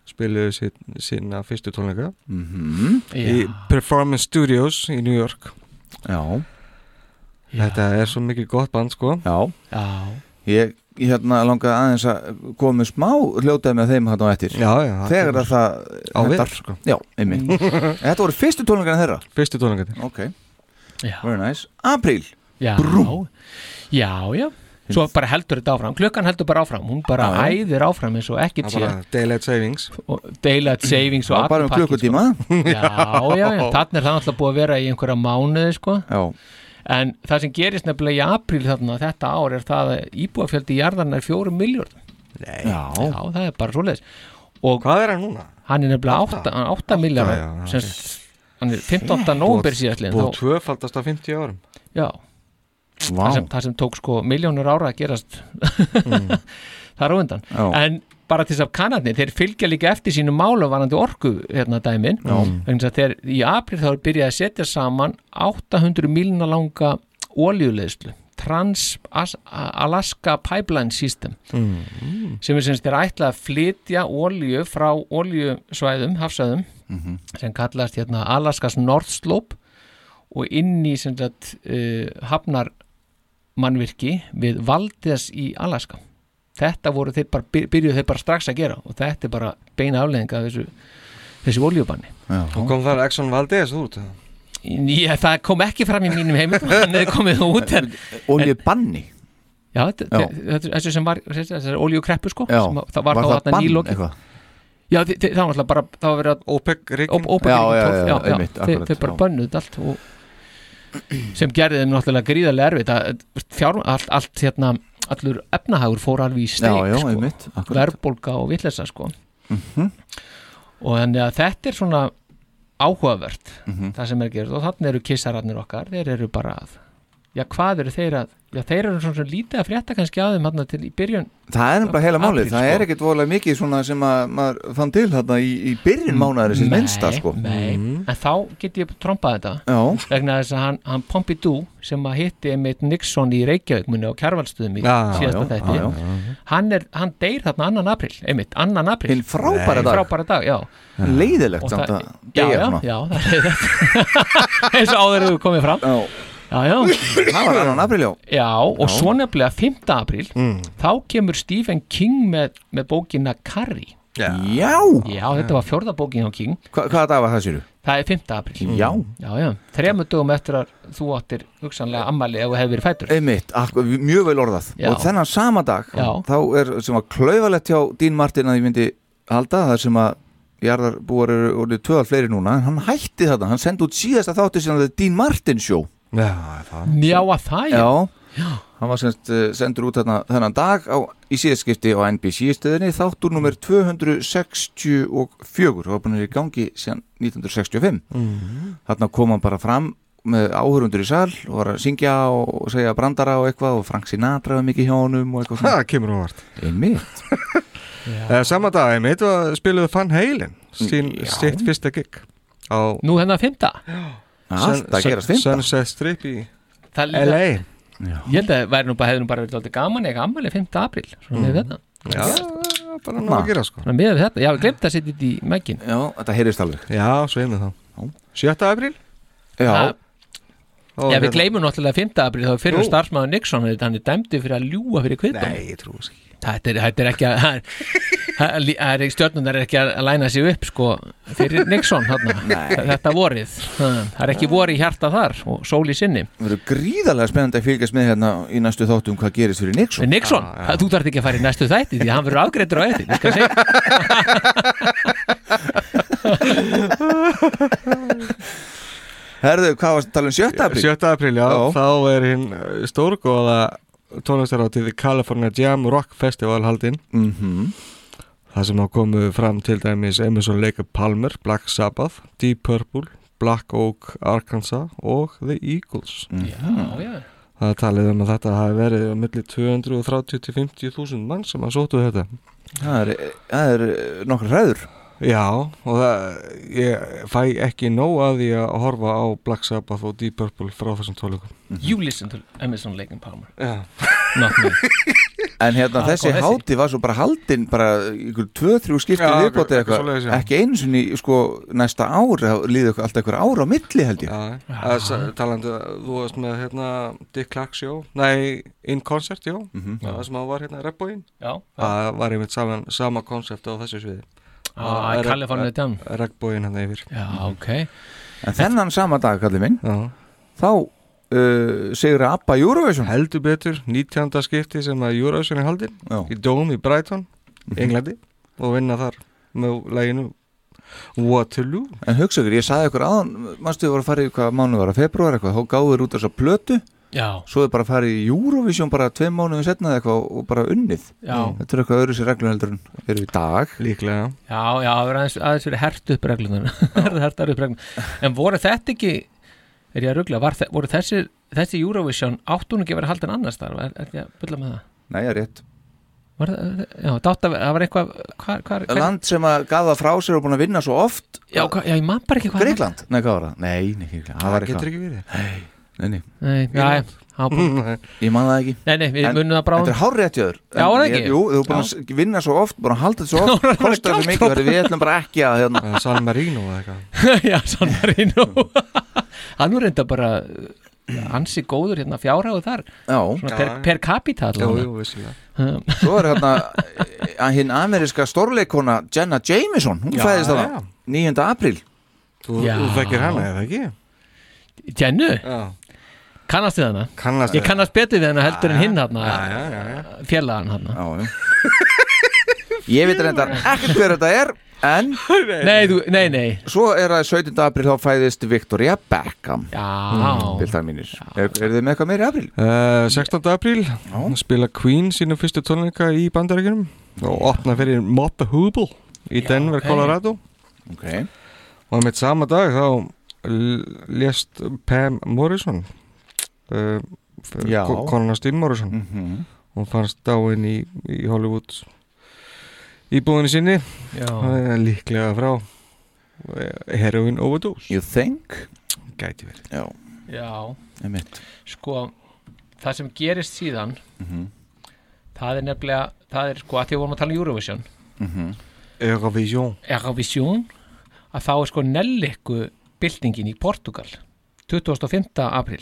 C: spiluðu sín, sína fyrstu tónleika
B: Mhm.
C: í
B: Já.
C: Performance Studios í New York
B: Já
C: Þetta er svo mikið gott band sko
B: Já, Ég, ég hérna langaði aðeins að komið smá hljótaði með þeim hann á eftir
C: Já, já, það
B: Þegar
C: kemur
B: að það
C: á við,
B: hentar.
C: sko.
B: Já, einmitt Þetta voru fyrstu tónlingarnir þeirra
C: Fyrstu tónlingarnir
B: Ok,
D: Já.
B: very nice Apríl
D: Já, já, já Svo bara heldur þetta áfram, klukkan heldur bara áfram Hún bara
B: Já, já.
D: æðir áfram eins og ekkert
C: Það er
D: sé
C: bara Daylight Savings
D: og Daylight Savings og
C: Já, bara um
D: allur pakkinn,
C: klukkutíma.
D: sko. Já, já, já, þannig er það náttúrulega búið að vera í einhverja mánuði sko.
B: Já.
D: En það sem gerist nefnilega í apríl þarna þetta ár er það að íbúafjöldi jarðarna er fjórum miljörn
C: Nei.
D: Já. það er bara svoleiðis og
C: Hvað er hann núna?
D: Hann er nefnilega 8, 8 miljörn
C: já,
D: sem hann er 15. nóvember síðastliðin
C: Búið tvöfaldast á 50 árum
D: Já
C: Vá.
D: það sem, það sem tók sko miljónur ára að gerast
C: Mm.
D: þar á undan
C: Já.
D: en bara til þess að kanadni, þeir fylgja líka eftir sínum málum varandi orku hérna dæmin
C: Já.
D: þannig að þeir í april þá er byrjað að setja saman 800 miljóna langa olíuleðslu Trans-Alaska Pipeline System
E: Mm.
D: sem er semst þeir ætla að flytja olíu frá olíusvæðum, hafsvæðum
E: Mhm.
D: sem kallast hérna Alaskas North Slope og inn í sem sagt uh, hafnar mannvirki við Valdes í Alaska þetta voru þeir bara, byr- byrjuðu þeir bara strax að gera og þetta er bara beina afleðing af þessu, þessu olíubanni
C: Og kom þar Exxon Valdez út
D: Ég, það kom ekki fram í mínum heimildum hann hefði komið út en,
B: Olíubanni?
D: Já, þetta-
B: Já.
D: þetta- þessu sem var þessu olíukreppu sko
B: Já.
D: sem að- það var,
B: Var
D: þá
B: það
D: þarna
B: bann
D: nýlokin.
B: eitthvað?
D: Já, þi- þi- það var alltaf bara það var verið að
C: OPEC ríkin
D: OPEC
B: Já,
D: ríkin
B: já, já,
D: tólf, já, já,
B: einmitt,
D: þau-
B: akkurat,
D: þau bara
B: já.
D: bönnuðu þetta allt og sem gerði þeim náttúrulega gríðarlega erfitt að fjár, allt, allt hérna allur efnahagur fór alveg í
B: Já, já,
D: steik
B: einmitt,
D: sko,
B: akkurat. Mhm.
D: verðbólga og vitleysa sko og þannig að þetta er svona áhugavert
B: Mhm.
D: það sem er gerð og þannig eru kissararnir okkar þeir eru bara að, já hvað eru þeir að já þeir eru svona, svona lítið að frétta kannski á þeim hann til í byrjun
B: Það er bara heila málið,
D: Apríl,
B: það
D: sko.
B: er ekkert voðalega mikið svona sem að maður fann til þarna í, í byrjun mánæður sem minnsta sko
D: Mm. nei, en þá get ég trompað þetta
B: Já.
D: vegna þess að hann, hann Pompidou sem að hitti einmitt Nixon í Reykjavík muni á kjærvalstuðum í
B: Já, já,
D: síðasta þætti
B: já, já.
D: Hann, er, hann deyr þarna annan april einmitt, annan april
B: Hinn frábæra
D: Hinn
B: dag.
D: frábæra dag já.
B: Leiðilegt
D: Og
B: samt
D: það-
B: að
D: já,
B: deyja
D: já,
B: svona.
D: já, það er leiðilegt eins og áður hefur komið fram
B: já,
D: já,
B: Það var annan april, já
D: Já, og
B: Já. Mm.
D: svo nefnilega 5. april þá kemur Stephen King með, með bókina Carrie
B: Já,
D: Já, þetta var fjórða bókin á King
B: Hva, Hvaða dag var það sér?
D: Það er 5. april
B: Já.
D: Já, já, þremur dögum eftir að þú áttir hugsanlega ammali ef þú hefur verið fættur
B: Einmitt, ak- mjög vel orðað
D: Já.
B: og þennan sama dag
D: Já.
B: þá er sem var klauvalett hjá Dín Martin að ég myndi halda það sem að jarðarbúar eru orðið tvöðal fleiri núna en hann hætti þetta, hann sendi út síðasta þáttu sem þetta Dín Martin sjó
C: Já, það
D: Já, að það já
B: Já, hann var semst eh, sendur út þarna, þennan dag á, í síðaskipti á NBC stöðinni þáttur nummer 264 og búin að vera í gangi síðan 1965
C: Mhm.
B: þarna kom hann bara fram með áhörundur í sal og var að syngja og segja brandara og eitthvað og Frank Sinatra var mikið hjá honum og eitthvað
C: Það kemur hún vart
B: Einmitt
C: Eh, Sama dag, einmitt, var- spiluðu Van Halen
B: Mm,
C: sín sitt fyrsta gig á
D: Nú hérna hennar fymta
B: Ah, Allt að gerast fimmta.
C: Sunset Strip í
D: Það er
C: LA
D: líka- Ég held að það nú bara hefði nú bara verið alltaf gaman eða ammali 5. april
B: Mm.
D: Svona með þetta
C: Já, bara nóg að gera, sko.
D: Svona með þetta, já, ég glemt að setja þetta í mækin
B: Já, þetta heyrist alveg
C: Já, sveimið þá 7. apríl
D: Já.
C: Ó,
D: Já, við
C: hérna.
D: gleymum náttúrulega 5. april þá fyrir
C: Jú.
D: starfsmaður Nixon hann er- hann er dæmdi fyrir að ljúa fyrir kvittum
C: Nei, ég trú þess
D: ekki Þetta er, þetta er ekki að það er- það er- það er ekki- stjörnurnar er ekki að að læna sig upp sko fyrir Nixon þarna,
B: Nei.
D: þetta vorið það það er ekki vorið í hjarta þar og sól í sinni
B: Það verður gríðarlega spennandi að fylgjast með hérna í næstu þáttum hvað gerist fyrir Nixon
D: Nixon, ah, þú þarf ekki að fara í næstu þætti því að hann verður afgreittur á eftir ég skal segja.
B: Herðu, hvað varst að tala um 7. apríl?
C: 7. apríl, já, þá er hinn eh, stórgóða tónlistaráttið California Jam Rock Festival haldinn
B: Mhm.
C: Það sem hafa komið fram til dæmis Emerson Lake Palmer, Black Sabbath, Deep Purple, Black Oak, Arkansas og The Eagles
B: Mm.
D: Já, já.
C: Það er talið um að þetta hafi verið á milli 230 til 50.000 mann sem að sótu þetta
B: Það er, það er nokkra hræður
C: Já, og það, ég fæ ekki nóg að því að horfa á Black Sabbath og Deep Purple frá þessum tólukum.
B: Mhm.
D: You listen to Emerson, Lake and Palmer
C: Já.
D: Not me
B: En hérna
D: Ah,
B: þessi
D: sko, þessi.
B: háti var svo bara haldinn bara ykkur tvö, þrjú skipti
C: Já,
B: viðbóti
C: eitthvað-
B: eitthvað,
C: eitthvað svoleiðis, já.
B: ekki einu sinni sko næsta ár, þá líði okkur alltaf ykkur ára á milli held ég.
C: Já, að s- talandi, að þú varst með hérna Dick Clark Show, nei, In Concert, jú,
B: Mhm.
C: það sem það var hérna Rebbóin.
D: Já.
C: Það var einmitt saman, sama koncept á þessu sviði.
D: Ah,
C: Rep-
D: California Jam.
C: Rebbóin hann yfir. Mhm.
D: Já, ok.
B: En þennan sama dag, kallið minn,
C: Já.
B: þá uh, segir að Abba Eurovision.
C: Heldur betur, 19. skipti sem að Eurovision er haldin
B: Já. Mhm.
C: í Dome í Brighton, Englandi og vinna þar með læginu Waterloo
B: En hugsa ykkur, ég saði ykkur aðan, mannstu þið voru að fara í hvað mánu var að februar eitthvað, þá gáðu þér út þessa plötu,
D: Já.
B: svo þið bara farið í Eurovision bara tveim mánuðum setna eitthvað og bara unnið.
D: Já.
B: Þetta er eitthvað öðru sér reglum heldur en fyrir í dag.
C: Líklega, já.
D: Já, já, það verður aðeins, aðeins verið hert upp reglunar Hertar upp reglunar En voru þetta ekki Er ég að rugla, var, þe- voru þessi, þessi Eurovision Áttu hún ekki að vera haldin annars þar Er, er ég að bylla með það?
B: Nei, það er rétt.
D: Var, það- já, dátt að það var eitthvað hvar, hvar, hvar,
B: Land sem að gafa frá sér og búin að vinna svo oft.
D: Já, hva, já, ég man bara ekki hvað
B: Greikland? Nei, hvað var það? Nei, nei, Greikland. Það var
C: getur
B: eitthvað.
C: ekki verið
B: Nei, nei.
D: Nei, já, já, bú-
B: Ég man það ekki.
D: Nei, nei, við
B: Mm, En-
D: munum það bráðum.
B: Þetta er hárrétt hjá þér.
D: Já, var
B: En
D: það
B: ég-
D: ekki?
B: Jú, þú er búin að s- vinna svo oft, búin að halda þetta svo oft, kostar þetta mikið, verður við ætlum bara ekki að hérna.
C: Eh, San Marino eða eitthvað
D: já, San Marino Hann var reynda bara uh, ansi góður hérna fjárhæðu þar
B: Já.
D: Svona per, per capita
C: Jú,
D: allavega.
C: jú, vissilega
D: Um,
B: Svo er hérna að hinn ameríska stórleikona Jenna Jameson, hún
C: Já,
B: fæðist
C: já.
B: það 9. apríl.
C: Þú,
D: Já.
C: þú þekkir hana eða ekki?
D: Jennu,
C: Já,
D: kannast við hana
C: kannast
D: Ég kannast betur við hana heldur en hinn hana
C: Já, já, já
D: Félagan hana
B: Já, já. Ég veit reyndar ekkert hver þetta er, en
D: Nei, þú, nei, nei
B: svo er að 17. apríl þá fæðist Victoria Beckham.
C: Hmm.
D: Já,
B: Bildar mínir. Er, er þið með eitthvað meiri apríl?
C: Uh, 16. apríl spila Queen sínu fyrstu tónleika í bandarækjunum og opna fyrir Moppa Hubel í Denver,
D: ok.
C: Colorado
B: Ok.
C: og með sama dag þá l- lést Pam Morrison uh,
B: Já.
C: konuna Steve Morrison
B: Mm -hmm.
C: hún fannst dáin í, í Hollywood íbúðinu sinni
D: já
C: uh, líklega frá eh, heroin overdose
B: You think?
C: gæti verið
B: Já,
D: Já,
B: einmitt.
D: sko Það sem gerist síðan
B: Mhm.
D: Það er nefnilega Það er sko að því að vorum að tala um Eurovision
B: Mhm.
C: Eurovision
D: Eurovision að þá er sko nellikku byltingin í Portugal 25. april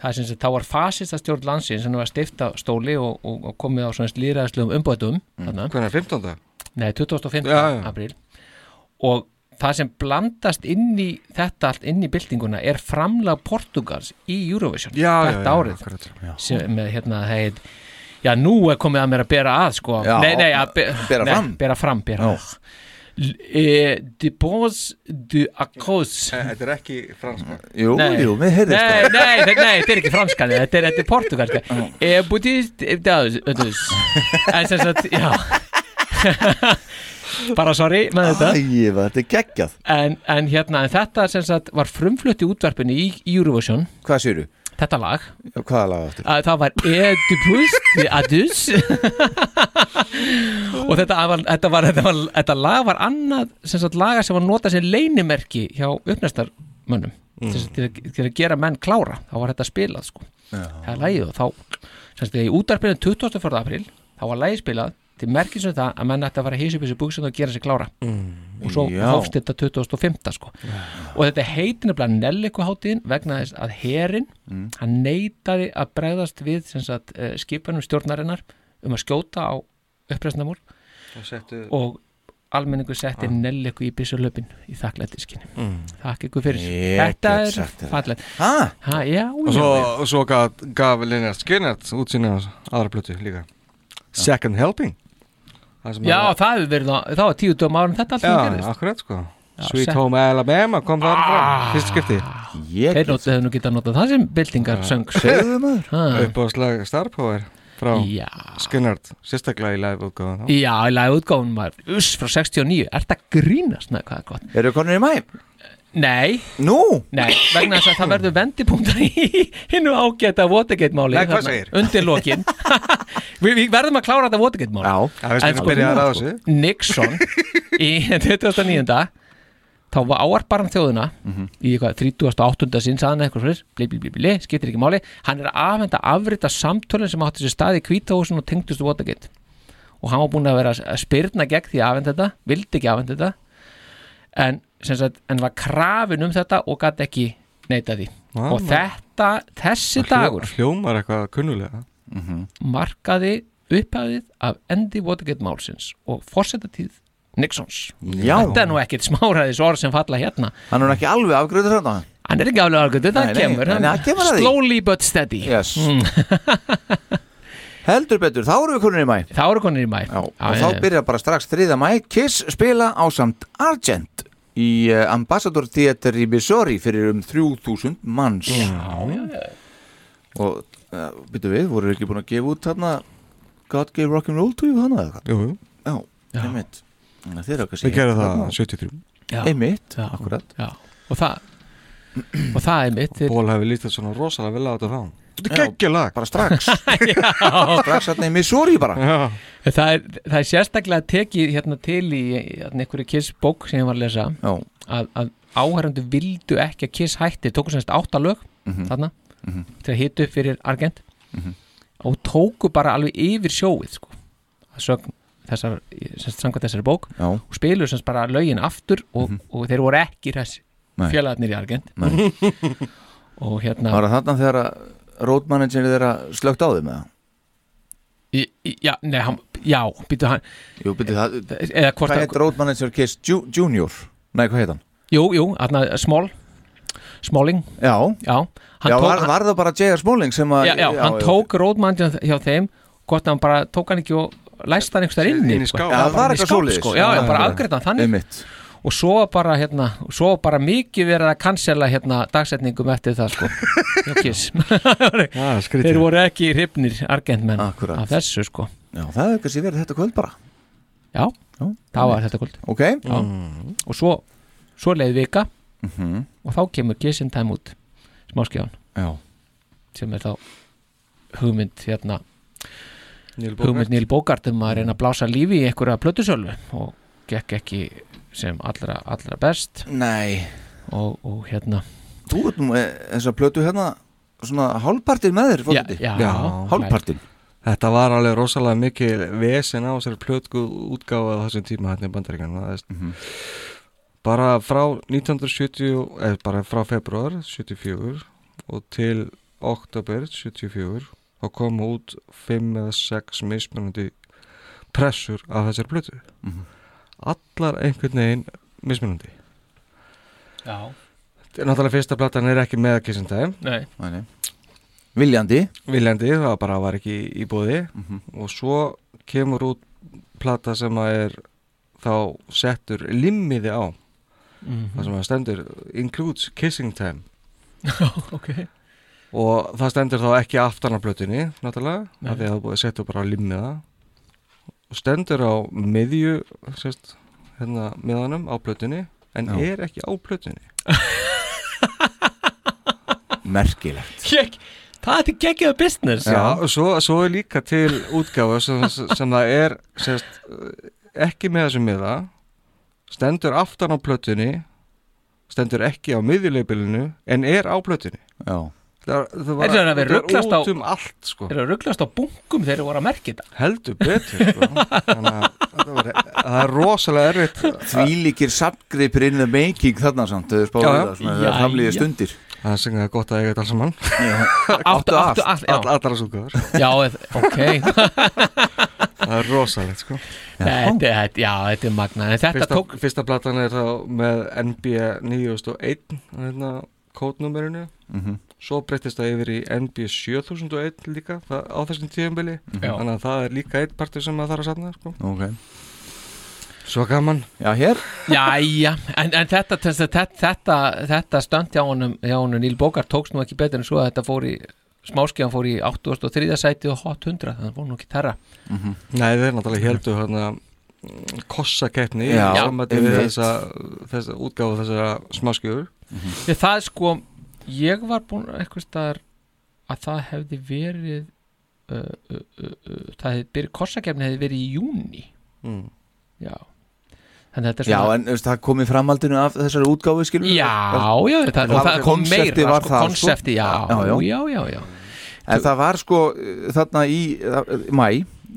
D: það er sem sagt, þá var fasist að stjórn landsins sem var að stifta stóli og, og, og komið á svona lýraðslegum umbætum mm.
C: hvernig er 15.
D: nei, 25.
C: Já, já.
D: april og það sem blandast inn í þetta allt inn í byltinguna er framlag Portugals í Eurovision þetta árið
C: akkurat.
D: sem með hérna það heit já nú er komið að mér að bera að sko
B: Já,
D: nei, nei, að be,
B: bera
D: nei,
B: fram.
D: bera fram bera
B: Já.
D: að. L- eh, de pos de accos
C: Eh, þetta er ekki franska
B: Jú,
D: Nei.
B: jú, við heyrðist
D: nei,
B: það.
D: nei, nei, nei, þetta er ekki franskan þetta er, þetta er portugalska e, budist e, daus, e, daus. en sem sagt, já bara sorry með þetta
B: Æ, þetta er geggjað.
D: en, en hérna, en þetta sem sagt var frumflutt í útvarpinu í Eurovision
B: Hvað sérðu?
D: þetta lag,
B: Hvaða laga áttu?
D: að það var e, du pust, adus og þetta var, þetta, var, þetta, var, þetta lag var annað sem sagt laga sem var notað sem leinimerki hjá uppnæstarmönnum mm. sagt, til, að- til að gera menn klára þá var þetta spilað sko það er lagið og þá sem sagt, í útarpinu 24. april þá var lagið spilað til merkið sem það að menn ætti að fara að hýsa upp þessu buksin og gera sig klára Mm. og svo
B: Mm, Já.
D: hófst þetta 2005 sko. og þetta heitin er bara Nellikuháttiðin vegna þess að herin hann neitaði að bregðast við sem sagt, eh, skipanum stjórnarinnar um að skjóta á uppreisnamór
C: og settu
D: og almenningu setti ah. Nelliku í byssulöpin í þakklættiskinni mm. Takk ykkur fyrir
B: Ég
D: Þetta
B: get sagt
D: er
B: þér það.
D: fallet
B: Hæ?
D: ha, Já,
C: Og
D: já,
C: svo,
D: já.
C: og svo gaf, gaf Linnert Skinnert útsýna aðra plötu líka Second Helping Það sem
D: Já,
C: að-
D: það hefur verið, á- það var tíu dögum árum þetta allt sem
C: já
D: gerist
C: akkurat sko
D: sec-
C: Sweet Home Alabama kom það fram fyrst skipti
B: Ég
D: Ah. Þeir notu hefur nú getað notað það sem byltingar söng
B: Segðu maður?
D: Ha.
C: uppáðslag Star Power frá
D: Já,
C: Skinnert sérstaklega í live útgáðan þá
D: já, í lagi útgáfun maður Uss, frá 69, er þetta grínast Nei, hvað er gott
B: Eru konur í mæ?
D: Nei
B: Nú?
D: Nei, vegna þess að það verður vendipunktar í hinnu ágæta Watergate-máli
C: Nei, hvað segir?
D: Undir lokin við, við verðum að klára þetta Watergate-máli Já,
C: Já, við skulum byrja að ráða þessu.
D: sko, Nixon í 29. þá var áarpar hann þjóðina
C: Mhm.
D: í eitthvað 38. sinn saðan eitthvað fyrir bli, bli, bli, bli, skiptir ekki máli hann er að afhenda afrita samtölin sem átti sér stað í kvítahúsin og tengdust Watergate og hann var búin að vera að spyrna gegn því að afhenda þetta, vildi ekki afhenda þetta en, sem sagt, en var krafin um þetta og gæti ekki neita því
C: Ah,
D: og
C: maður-
D: þetta, þessi dagur Mhm.
C: Hljómar eitthvað kunnulega
D: markaði upphæðið af endi Watergate málsins og fórsetatíð Nixons
B: Já.
D: þetta er nú ekkit smáraðis orð sem falla hérna
B: Hann er ekki alveg afgröður hérna
D: Hann er ekki alveg afgröður, það
B: Nei, nei,
D: kemur,
B: nei,
D: hann-
B: það kemur að því.
D: Slowly but steady Mm.
B: yes. Heldur betur, þá eru við konur í mæ
D: Þá eru konur í mæ
B: Já,
D: Já,
B: Og
D: já, já.
B: þá byrja bara strax 3. mæ Kiss spila á samt Argent í uh, Ambassador Theater í Missouri fyrir um 3000 manns
D: Já.
B: Og uh, byrju við, voru ekki búin að gefa út þarna God gave rock'n'roll to you hana eða
C: Jú, jú
B: Já, einmitt Þannig að Þeir eru ekki að
C: Við
B: segja
C: gerum það
B: þarna.
C: 73
D: Já.
B: Einmitt,
D: Já.
B: akkurat
D: Já. og það og það er mitt
C: Ból hefur lítið svona rosalega vel á þetta frá Þetta er
B: Já,
C: geggja lag
B: Bara strax
D: Strax
B: þarna í Missouri bara
C: Já.
D: það er, það er sérstaklega tekið hérna til í hérna, einhverju Kiss bók sem ég var að lesa
B: Já.
D: að, að áhærendu vildu ekki að Kiss hætti tóku semst áttalög mm
B: Mhm.
D: þarna
B: Mhm.
D: til að hita upp fyrir Argent og tóku bara alveg yfir sjóið sko. að sögn þessar semst samkvæmt þessari bók
B: Já. Mhm.
D: og spiluðu semst bara lögin aftur og, og þeir voru ekki þessi
B: Nei.
D: félagarnir í Argent
B: Nei.
D: og hérna
B: Var það þarna þegar að rótmanningin þeirra slögt á þeim eða?
D: Í, í, já, nei, hann, já, býtu hann
B: Jú, býtu það
D: Eða hvort
B: Hvað
D: að-
B: heit rótmanningin Kiss Ju- Junior? Nei, hvað heit hann?
D: Jú, jú, hann smól Smáling
B: Já,
D: já, hann
B: já
D: tók-
B: var, var það bara J.R. Smalling sem að
D: já, já, hann tók rótmannjan hjá þeim hvort hann bara tók hann ekki og læst hann einhverstað inn
B: Inn í skáp. Já, það var eitthvað svoleiðis.
D: sko. já, já,
B: Já,
D: bara
B: já.
D: afgreitt hann þannig
B: Einmitt.
D: og svo bara, hérna, svo bara mikið verið að cancela hérna, dagsetningum eftir það sko. Já, Kiss.
C: Já, skrítið.
D: þeir voru ekki hrifnir argentmenn
B: Akkúrat.
D: af þessu sko.
B: Já, það hefur kannski verið þetta kvöld bara
D: já, það var þetta kvöld
B: Ok
D: Já. og svo, svo leið vika
B: Mhm.
D: og þá kemur Kiss in Time út smáskjáðan
B: Já.
D: sem er þá hugmynd hérna
C: Neil Bogart.
D: hugmynd Neil Bogart um að reyna að blása lífi í einhverja plötusölu og gekk ekki sem allra, allra best
B: Nei
D: og, og hérna
B: Þú ert nú e, eins og plötu hérna svona hálfpartin með þér fótið
D: já.
B: Hálfpartin
C: Þetta var alveg rosalega mikið vesen á þessari plötku útgáfa á þessum tíma hérna í bandaríkan
B: Mhm.
C: bara frá 1970 eða eh, bara frá februar 74 og til oktober 74 þá koma út 5 eða 6 mismunandi pressur af þessari plötu
B: Mhm.
C: allar einhvern veginn mismunandi
D: Já.
C: Þetta er Náttúrulega fyrsta platan er ekki með Kiss and Time
D: Nei.
B: Nei. Viljandi Mhm.
C: Viljandi, það bara var ekki í bóði og svo kemur út plata sem að er þá settur limmiði á
D: Mhm.
C: það sem að stendur includes kissing time
D: ok
C: og það stendur þá ekki aftan á plötunni náttúrulega,
D: Nei.
C: af því að það er búið að setja bara limmiða og stendur á miðju sérst, hérna, miðanum á plötunni en
B: Já.
C: er ekki á plötunni
B: Merkilegt
D: Kek, það er geggjaðu business
C: Já, og svo, svo er líka til útgáfa sem, sem það er sérst, ekki með þessum miða stendur aftan á plötunni stendur ekki á miðjuleibilinu en er á plötunni
B: Já
C: Það, það
D: Er
C: var,
D: það að vera
C: þetta
D: rugglast á
C: út um allt sko.
D: Er það rugglast á bunkum þegar þeir voru að merki þetta
C: Heldur betur sko. Þannig að þetta var- það er rosalega erfitt
B: Þvílíkir samgripir in the making þarna samt Þau spáðu
C: Já, já.
B: það svona þegar
C: Jæja.
B: framlýði stundir
C: Það syngið það gott að eiga þetta alls saman
B: Eh,
D: Áttu allt, já.
C: all, Allar að súka
D: Já, eð- ok
C: Það er rosalegt sko
D: Þetta, þetta, já, þetta er magna En þetta
C: fyrsta,
D: tók
C: fyrsta platan er þá með NBA 9001 hérna, kódnúmerinu
B: Mhm.
C: svo breyttist það yfir í NBA 7001 líka það, á þessum tíðumbili
B: Mhm. Já.
C: þannig að það er líka einn partur sem maður þarf að safna sko.
B: Ok
C: Svo gaman
B: Já, hér
D: Jæja, en, en þetta, þetta, þetta, þetta, þetta stönd hjá honum, hjá honum Níl Bókar tókst nú ekki betur en svo að þetta fór í smáskján fór í 83. sæti og Hot 100 þannig fór nú ekki þarra
C: Mhm. Nei, þeir náttúrulega heldur hérna kossakeppni í
B: Já,
C: sambandi við
B: einmitt.
C: þessa, þessa útgáfu þessara smáskjöfur
D: Ég, það er sko, ég var búin eitthvað staðar að það hefði verið uh, uh, uh, uh, það hefði byrjið, korsakefni hefði verið í júni
C: Mm.
D: já þannig að þetta er
B: Já,
D: svona
B: en þú veist, það kom í framhaldinu af þessari útgáfi skilur
D: Já, já, þetta- og það kom
B: Konsepti
D: meira,
B: var
D: sko,
B: það sko.
D: konsepti, já, já, já, já.
B: En það var sko eh, þarna í eh, mæ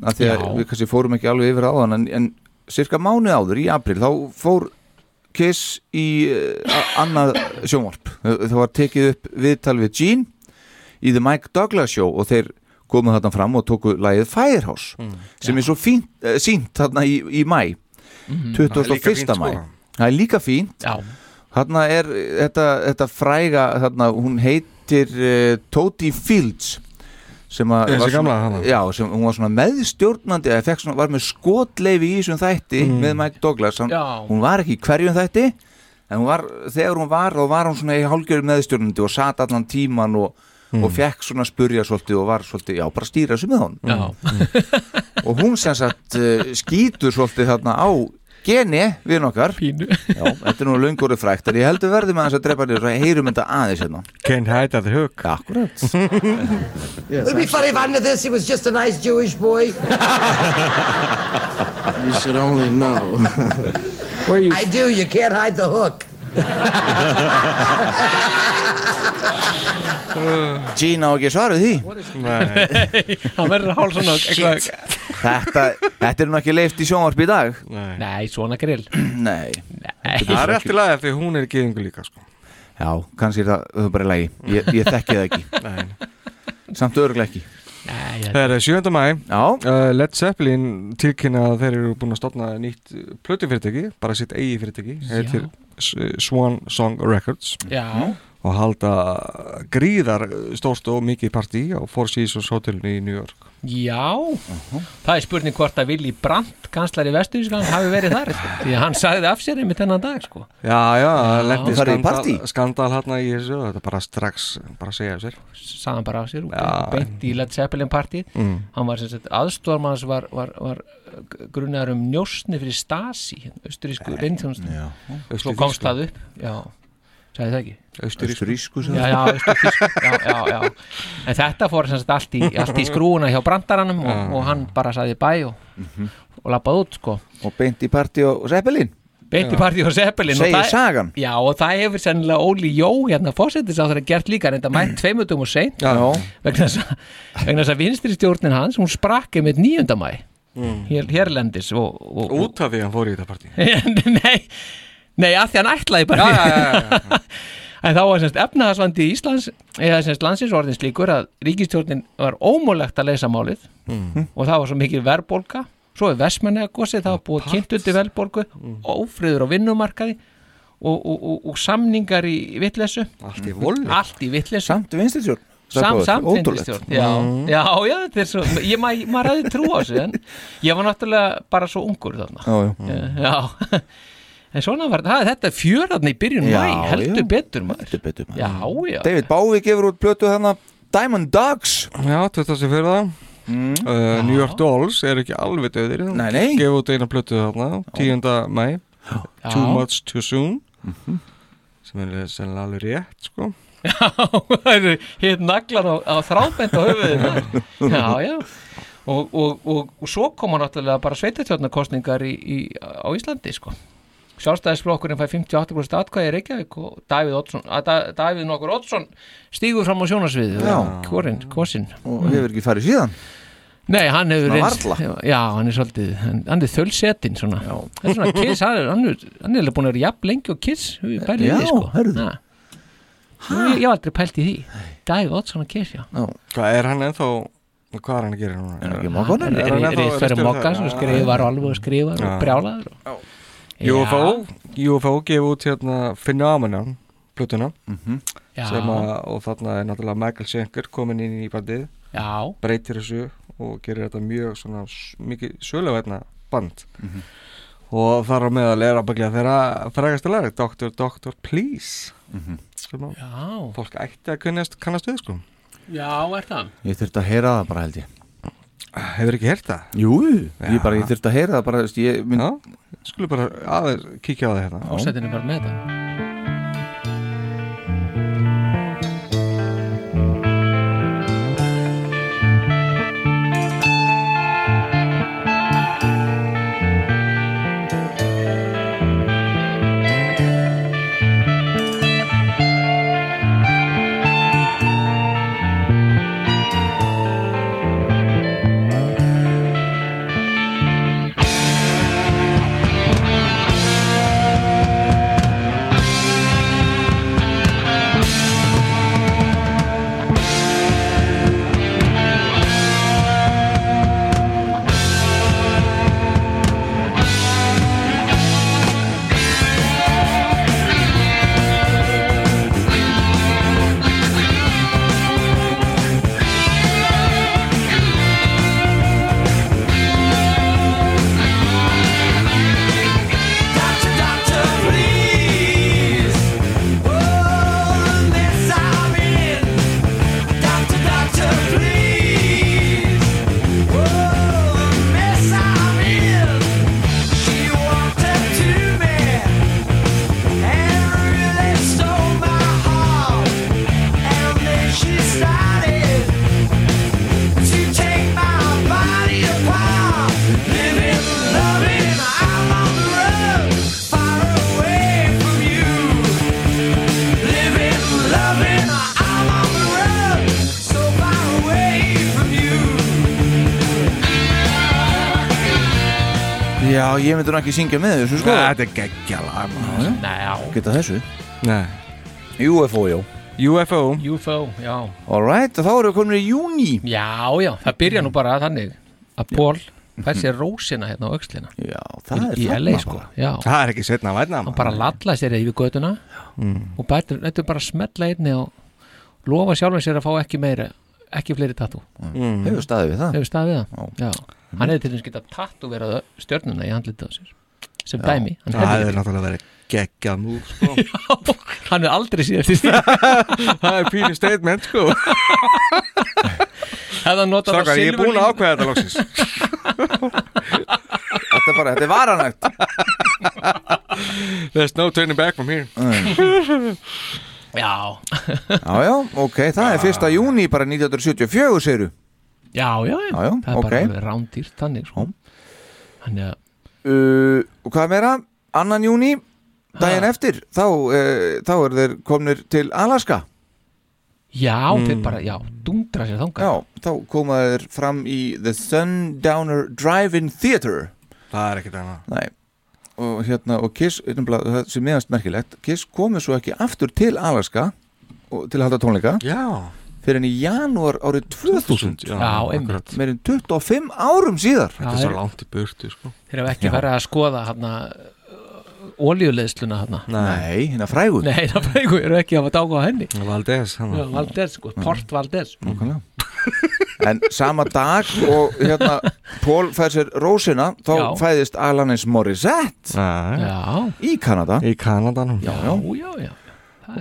B: að því að
D: Já.
B: við kannski fórum ekki alveg yfir áðan en, en cirka mánuð áður í april þá fór Kiss í uh, annað sjónvarp það það var tekið upp viðtal við Gene í The Mike Douglas Show og þeir komu þarna fram og tóku lagið Firehouse
D: Mm,
B: sem er svo fínt, uh, sínt þarna í, í mæ
D: Mhm. Það
B: 21.
D: er líka fínt,
B: mæ
D: sko.
B: það er líka fínt
D: Já.
B: þarna er eh, þetta, þetta fræga þarna, hún heitir uh, Toti Fields sem að
C: Þessi
B: var svona-
C: gamla, hana.
B: já, sem, hún var svona meðstjórnandi eða fekk svona, var með skotleifi í þessum þætti
D: Mhm.
C: Mm.
B: með Mike Douglas hann,
C: Já.
B: hún var ekki í hverjum þætti en hún var, þegar hún var þá var hún svona í hálgjörðu meðstjórnandi og sat allan tíman og,
D: Mhm.
C: Mm.
B: og fekk svona spurja svolítið og var svolítið, já, bara stýra þessu með hún
D: Já.
B: og hún sem sagt uh, skýtur svolítið þarna á geni við nokkar
D: Pínu.
B: já, þetta er nú löngur frækt en ég heldur verðum aðeins að drepa niður og heyrum þetta aðeins hérna
C: Can't hide at the hook
M: Would it be funny if I knew this? He was just a nice Jewish boy.
N: You should only know.
M: Where you? I do. You can't hide the hook.
B: Gina á ekki svarið því
D: Nei. Hann verður hálfsson og eitthvað-
B: Shit. þetta, þetta er nú ekki leift í sjónvarp í dag
C: Nei,
D: svona grill
B: Nei,
C: Það er eftir lagi því hún er geðingu líka sko.
B: Já, kannski er það, það er bara í lagi Ég, ég þekki það ekki Samt örglega ekki
D: Hérna.
C: Það er eh, 7. mæ uh, Led Zeppelin tilkynna að þeir eru búin að stopna nýtt plötufyrirtæki bara sitt eigi fyrirtæki heitir S- Swan Song Records
D: Já.
C: og halda gríðar stórst og mikið partí á Four Seasons Hotelinu í New York
D: Já, það er spurning hvort að Willy Brandt, kanslari vesturískan hafi verið þar, því að hann sagði af sér einmitt þennan dag, sko
C: Já, já, það lendi
D: Og farið í partí?
C: skandal, skandal hérna í þessu þetta er bara strax, bara að segja af sér
D: Saðan bara af sér,
C: Já.
D: beint í Led Zeppelin partíð
C: Mm.
D: hann var sem sagt aðstórmanns var, var, var uh, grunaður um njósni fyrir Stasi, hérna, austurísku reyndtjónust svo
C: Eh, Austurrísku.
D: komst það upp já, sagði það ekki
C: Austurrísku. Austurrísku, sagði
D: já, já,
C: það.
D: austurísku, já, já, já en þetta fór sem sagt allt í, allt í skrúuna hjá brandaranum og,
B: Já. Mhm.
D: og hann bara sagði bæ og, og lappaði út sko
B: Og beint í partí og Zeppelin
D: Beint í partí og Zeppelin og
B: Segir
D: það-
B: sagan
D: Já, og það hefur sennilega Óli Jó hérna fósettis á þeirra gert líka reynda mætt tveimundum og seint
B: Já.
D: vegna þess að- vegna þess að vinstri stjórnin hans hún sprakki með 9. mæ
C: Mm.
D: hér, hérlendis og, og, og
C: Út af því að hann fór í þetta partí
D: Nei, nei, að því hann ætlaði bara
C: Já, já, já,
D: En þá var semst efnahagsvandi í Íslands eða semst landsins orðin slíkur að ríkistjórnin var ómúlegt að leysa málið
C: Mhm.
D: og það var svo mikil verðbólga svo er vestmennega gósið, það var búið kynntundi verðbólgu, ófriður á vinnumarkaði og, og, og, og samningar í vittlesu
C: Allt í volli.
D: Allt í vittlesu
B: Samt vinstistjórn
D: Sam,
B: Ótrúlegt.
D: samt vinstistjórn já,
C: Mm.
B: Mhm.
D: já, já, þetta er svo ég, ma, maður hafði trú á þessu en ég var náttúrulega bara svo ungur þarna
B: Já, já.
D: Eh, já. en svona var það, þetta er fjörðarni í byrjun
B: Já,
D: mæ, heldur
B: já.
D: betur maður
B: heldur betur maður
D: já, já,
B: David Bowie gefur út plötu þarna Diamond Dogs
C: Já, 24. Mm. Uh, New York Dolls er ekki alveg döðir
B: Nei, nei.
C: Gefa út eina plötu þarna 10. mæ Too Much Too Soon
B: Mhm.
C: sem er sennilega alveg rétt sko.
D: já hitt naglan á, á þrábend á höfuðið þar. já, já og, og, og, og svo koma náttúrulega bara sveitatjórnarkostningar í, í, á Íslandi sko Sjálfstæðisflokkurinn fær 58% atkvæði í Reykjavík og Davíð, Oddsson, að, Da- Davíð Nokkur Oddsson stígur fram á sjónarsviðið
B: Já.
D: Hvorinn, hvorsinn
B: Og hefur ekki farið síðan
D: Nei, hann hefur
B: Svona
D: reynst
B: varla.
D: Já, hann er svolítið, hann, hann er þölsetinn svona Það er svona kiss, hann er, hann er, hann er alveg búin að vera jafn lengi og kiss bæri
B: Já,
D: við sko hörðu Ég ég hef aldrei pælt í því Dævi Oddsson og kiss, já
C: Hvað er hann ennþá Hvað er hann að gera núna? Er hann ekki
D: Hann er reyðfæri mokka sem skrifar og alveg skrifar og brjálaður og-
C: UFO, UFO gefa út hérna Phenomenon plötuna
D: Mhm. Já.
C: sem að, og þarna er náttúrulega Michael Schenker komin inn í bandið
D: Já.
C: breytir þessu og gerir þetta mjög svona s- mikið söluverna band
D: Mhm.
C: og þar á meðal er ábygglega þeirra frægastu lag Dr. Dr. Please
D: Mhm.
C: sem að fólk ætti að kunnast kannast við sko
D: Já, er það?
B: Ég þurfti að heyra það bara held ég
C: Hefur ekki hert það?
B: Jú, ég bara, ég þurfti að heyra það bara, þú veist, ég minn...
C: Já, skulum bara aðeins kíkja á það hérna
D: Ásetin er bara með þetta
E: Doctor, doctor, please. Oh, mess I'm in. Doctor, doctor, please. Oh, mess I'm in. She walked up to me and really stole my heart. And then she started to take my body apart. Living, loving, I'm on the road, far away from you. Living, loving, I'm on the road, so far away from you.
B: Já, ég myndi nú ekki syngja með þessu, sko.
C: Nei, þetta er geggja lag
B: Nei, Geta þessu?
C: Nei.
B: UFO, já.
C: UFO.
D: UFO, já
B: All right, þá erum við komin í júni.
D: Já, já, það byrja nú bara þannig að Pól fær sér rósina hérna á öxlina
B: Já,
C: Mhm. það er
D: í, í
C: þarna
D: LA,
C: bara.
D: sko. Já.
C: Það er ekki setna að værna
D: Hann bara lalla sér yfir götuna
C: Mm.
D: og bætur, þetta er bara að smella einni og lofa sjálfum sér að fá ekki meira ekki fleiri tattoo
B: Mm. Hefur staðið við það.
D: Hefur staðið við það, já, Hann hefði til þess að geta tattooverað stjörnuna í handlitið á sér sem dæmi hann hefði
C: Það
D: ekki.
C: er náttúrulega verið geggja nú sko.
D: hann er aldrei síðan eftir stíð
C: Það er pínu statement sko
D: Hefði hann notað
C: Strákar, ég er búin að ákveða þetta loksins
B: Þetta er bara, þetta er varanægt
C: There's no turning back from here
D: Já
B: Já, já, ok, það er fyrsta
C: Ah.
B: júni bara 1974, segiru.
D: Já, já,
B: Já, já,
D: það er
B: ok.
D: bara alveg rándýrt þannig sko. Þannig að
B: Uh, og hvað meira? Annan júni, daginn eftir, þá, uh, þá eru þeir komnir til Alaska.
D: Já, þeir
B: Mm.
D: bara, já, dundra sér þangað
B: Já, þá koma þeir fram í The Sundowner Drive-In Theatre
C: Það er ekkert annað
B: Nei, og hérna, og Kiss, hérna, það sem meðast merkilegt Kiss komið svo ekki aftur til Alaska og, til að halda tónleika
C: Já
B: fyrir henni í janúar árið 2000
C: já, Já, einmitt. akkurat.
B: meirinn 25 árum síðar
C: Þetta er svo langt í burtu sko
D: Þeir hafa ekki farið að skoða hann að olíuleðsluna hann
B: Nei, hérna frægur
D: Nei, hérna frægur, eru ekki að hafa dágóð á henni
C: Valdez hann
D: Já, Valdez,
B: Mm.
D: sko, Port Valdez
C: Mhm.
B: Nákvæmlega. En sama dag og hérna Pól fær sér rósina þá
D: Já.
B: fæðist Alanis Morissette
D: Já.
B: í Kanada
C: Í Kanadanum
B: Já, já,
D: já, já.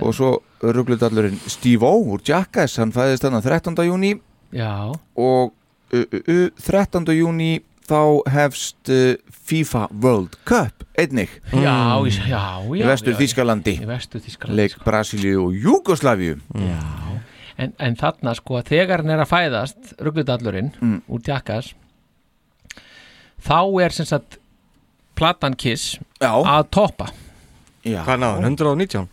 B: Og svo rugludallurinn Steve O úr Jackass, hann fæðist hann 13. júni
D: Já
B: og uh, uh, uh, 13. júni þá hefst uh, FIFA World Cup einnig
D: Já, í- já, já,
B: í vestur
D: já,
B: Þískalandi
D: í Vestur-Þýskalandi, sko.
B: leik Brasilíu og Júgoslavíu
D: Já en, en þarna sko að þegar hann er að fæðast ruggudallurinn úr Jackass þá er sem sagt platan Kiss
B: já.
D: að toppa
B: Já.
C: Hvað náður, 119?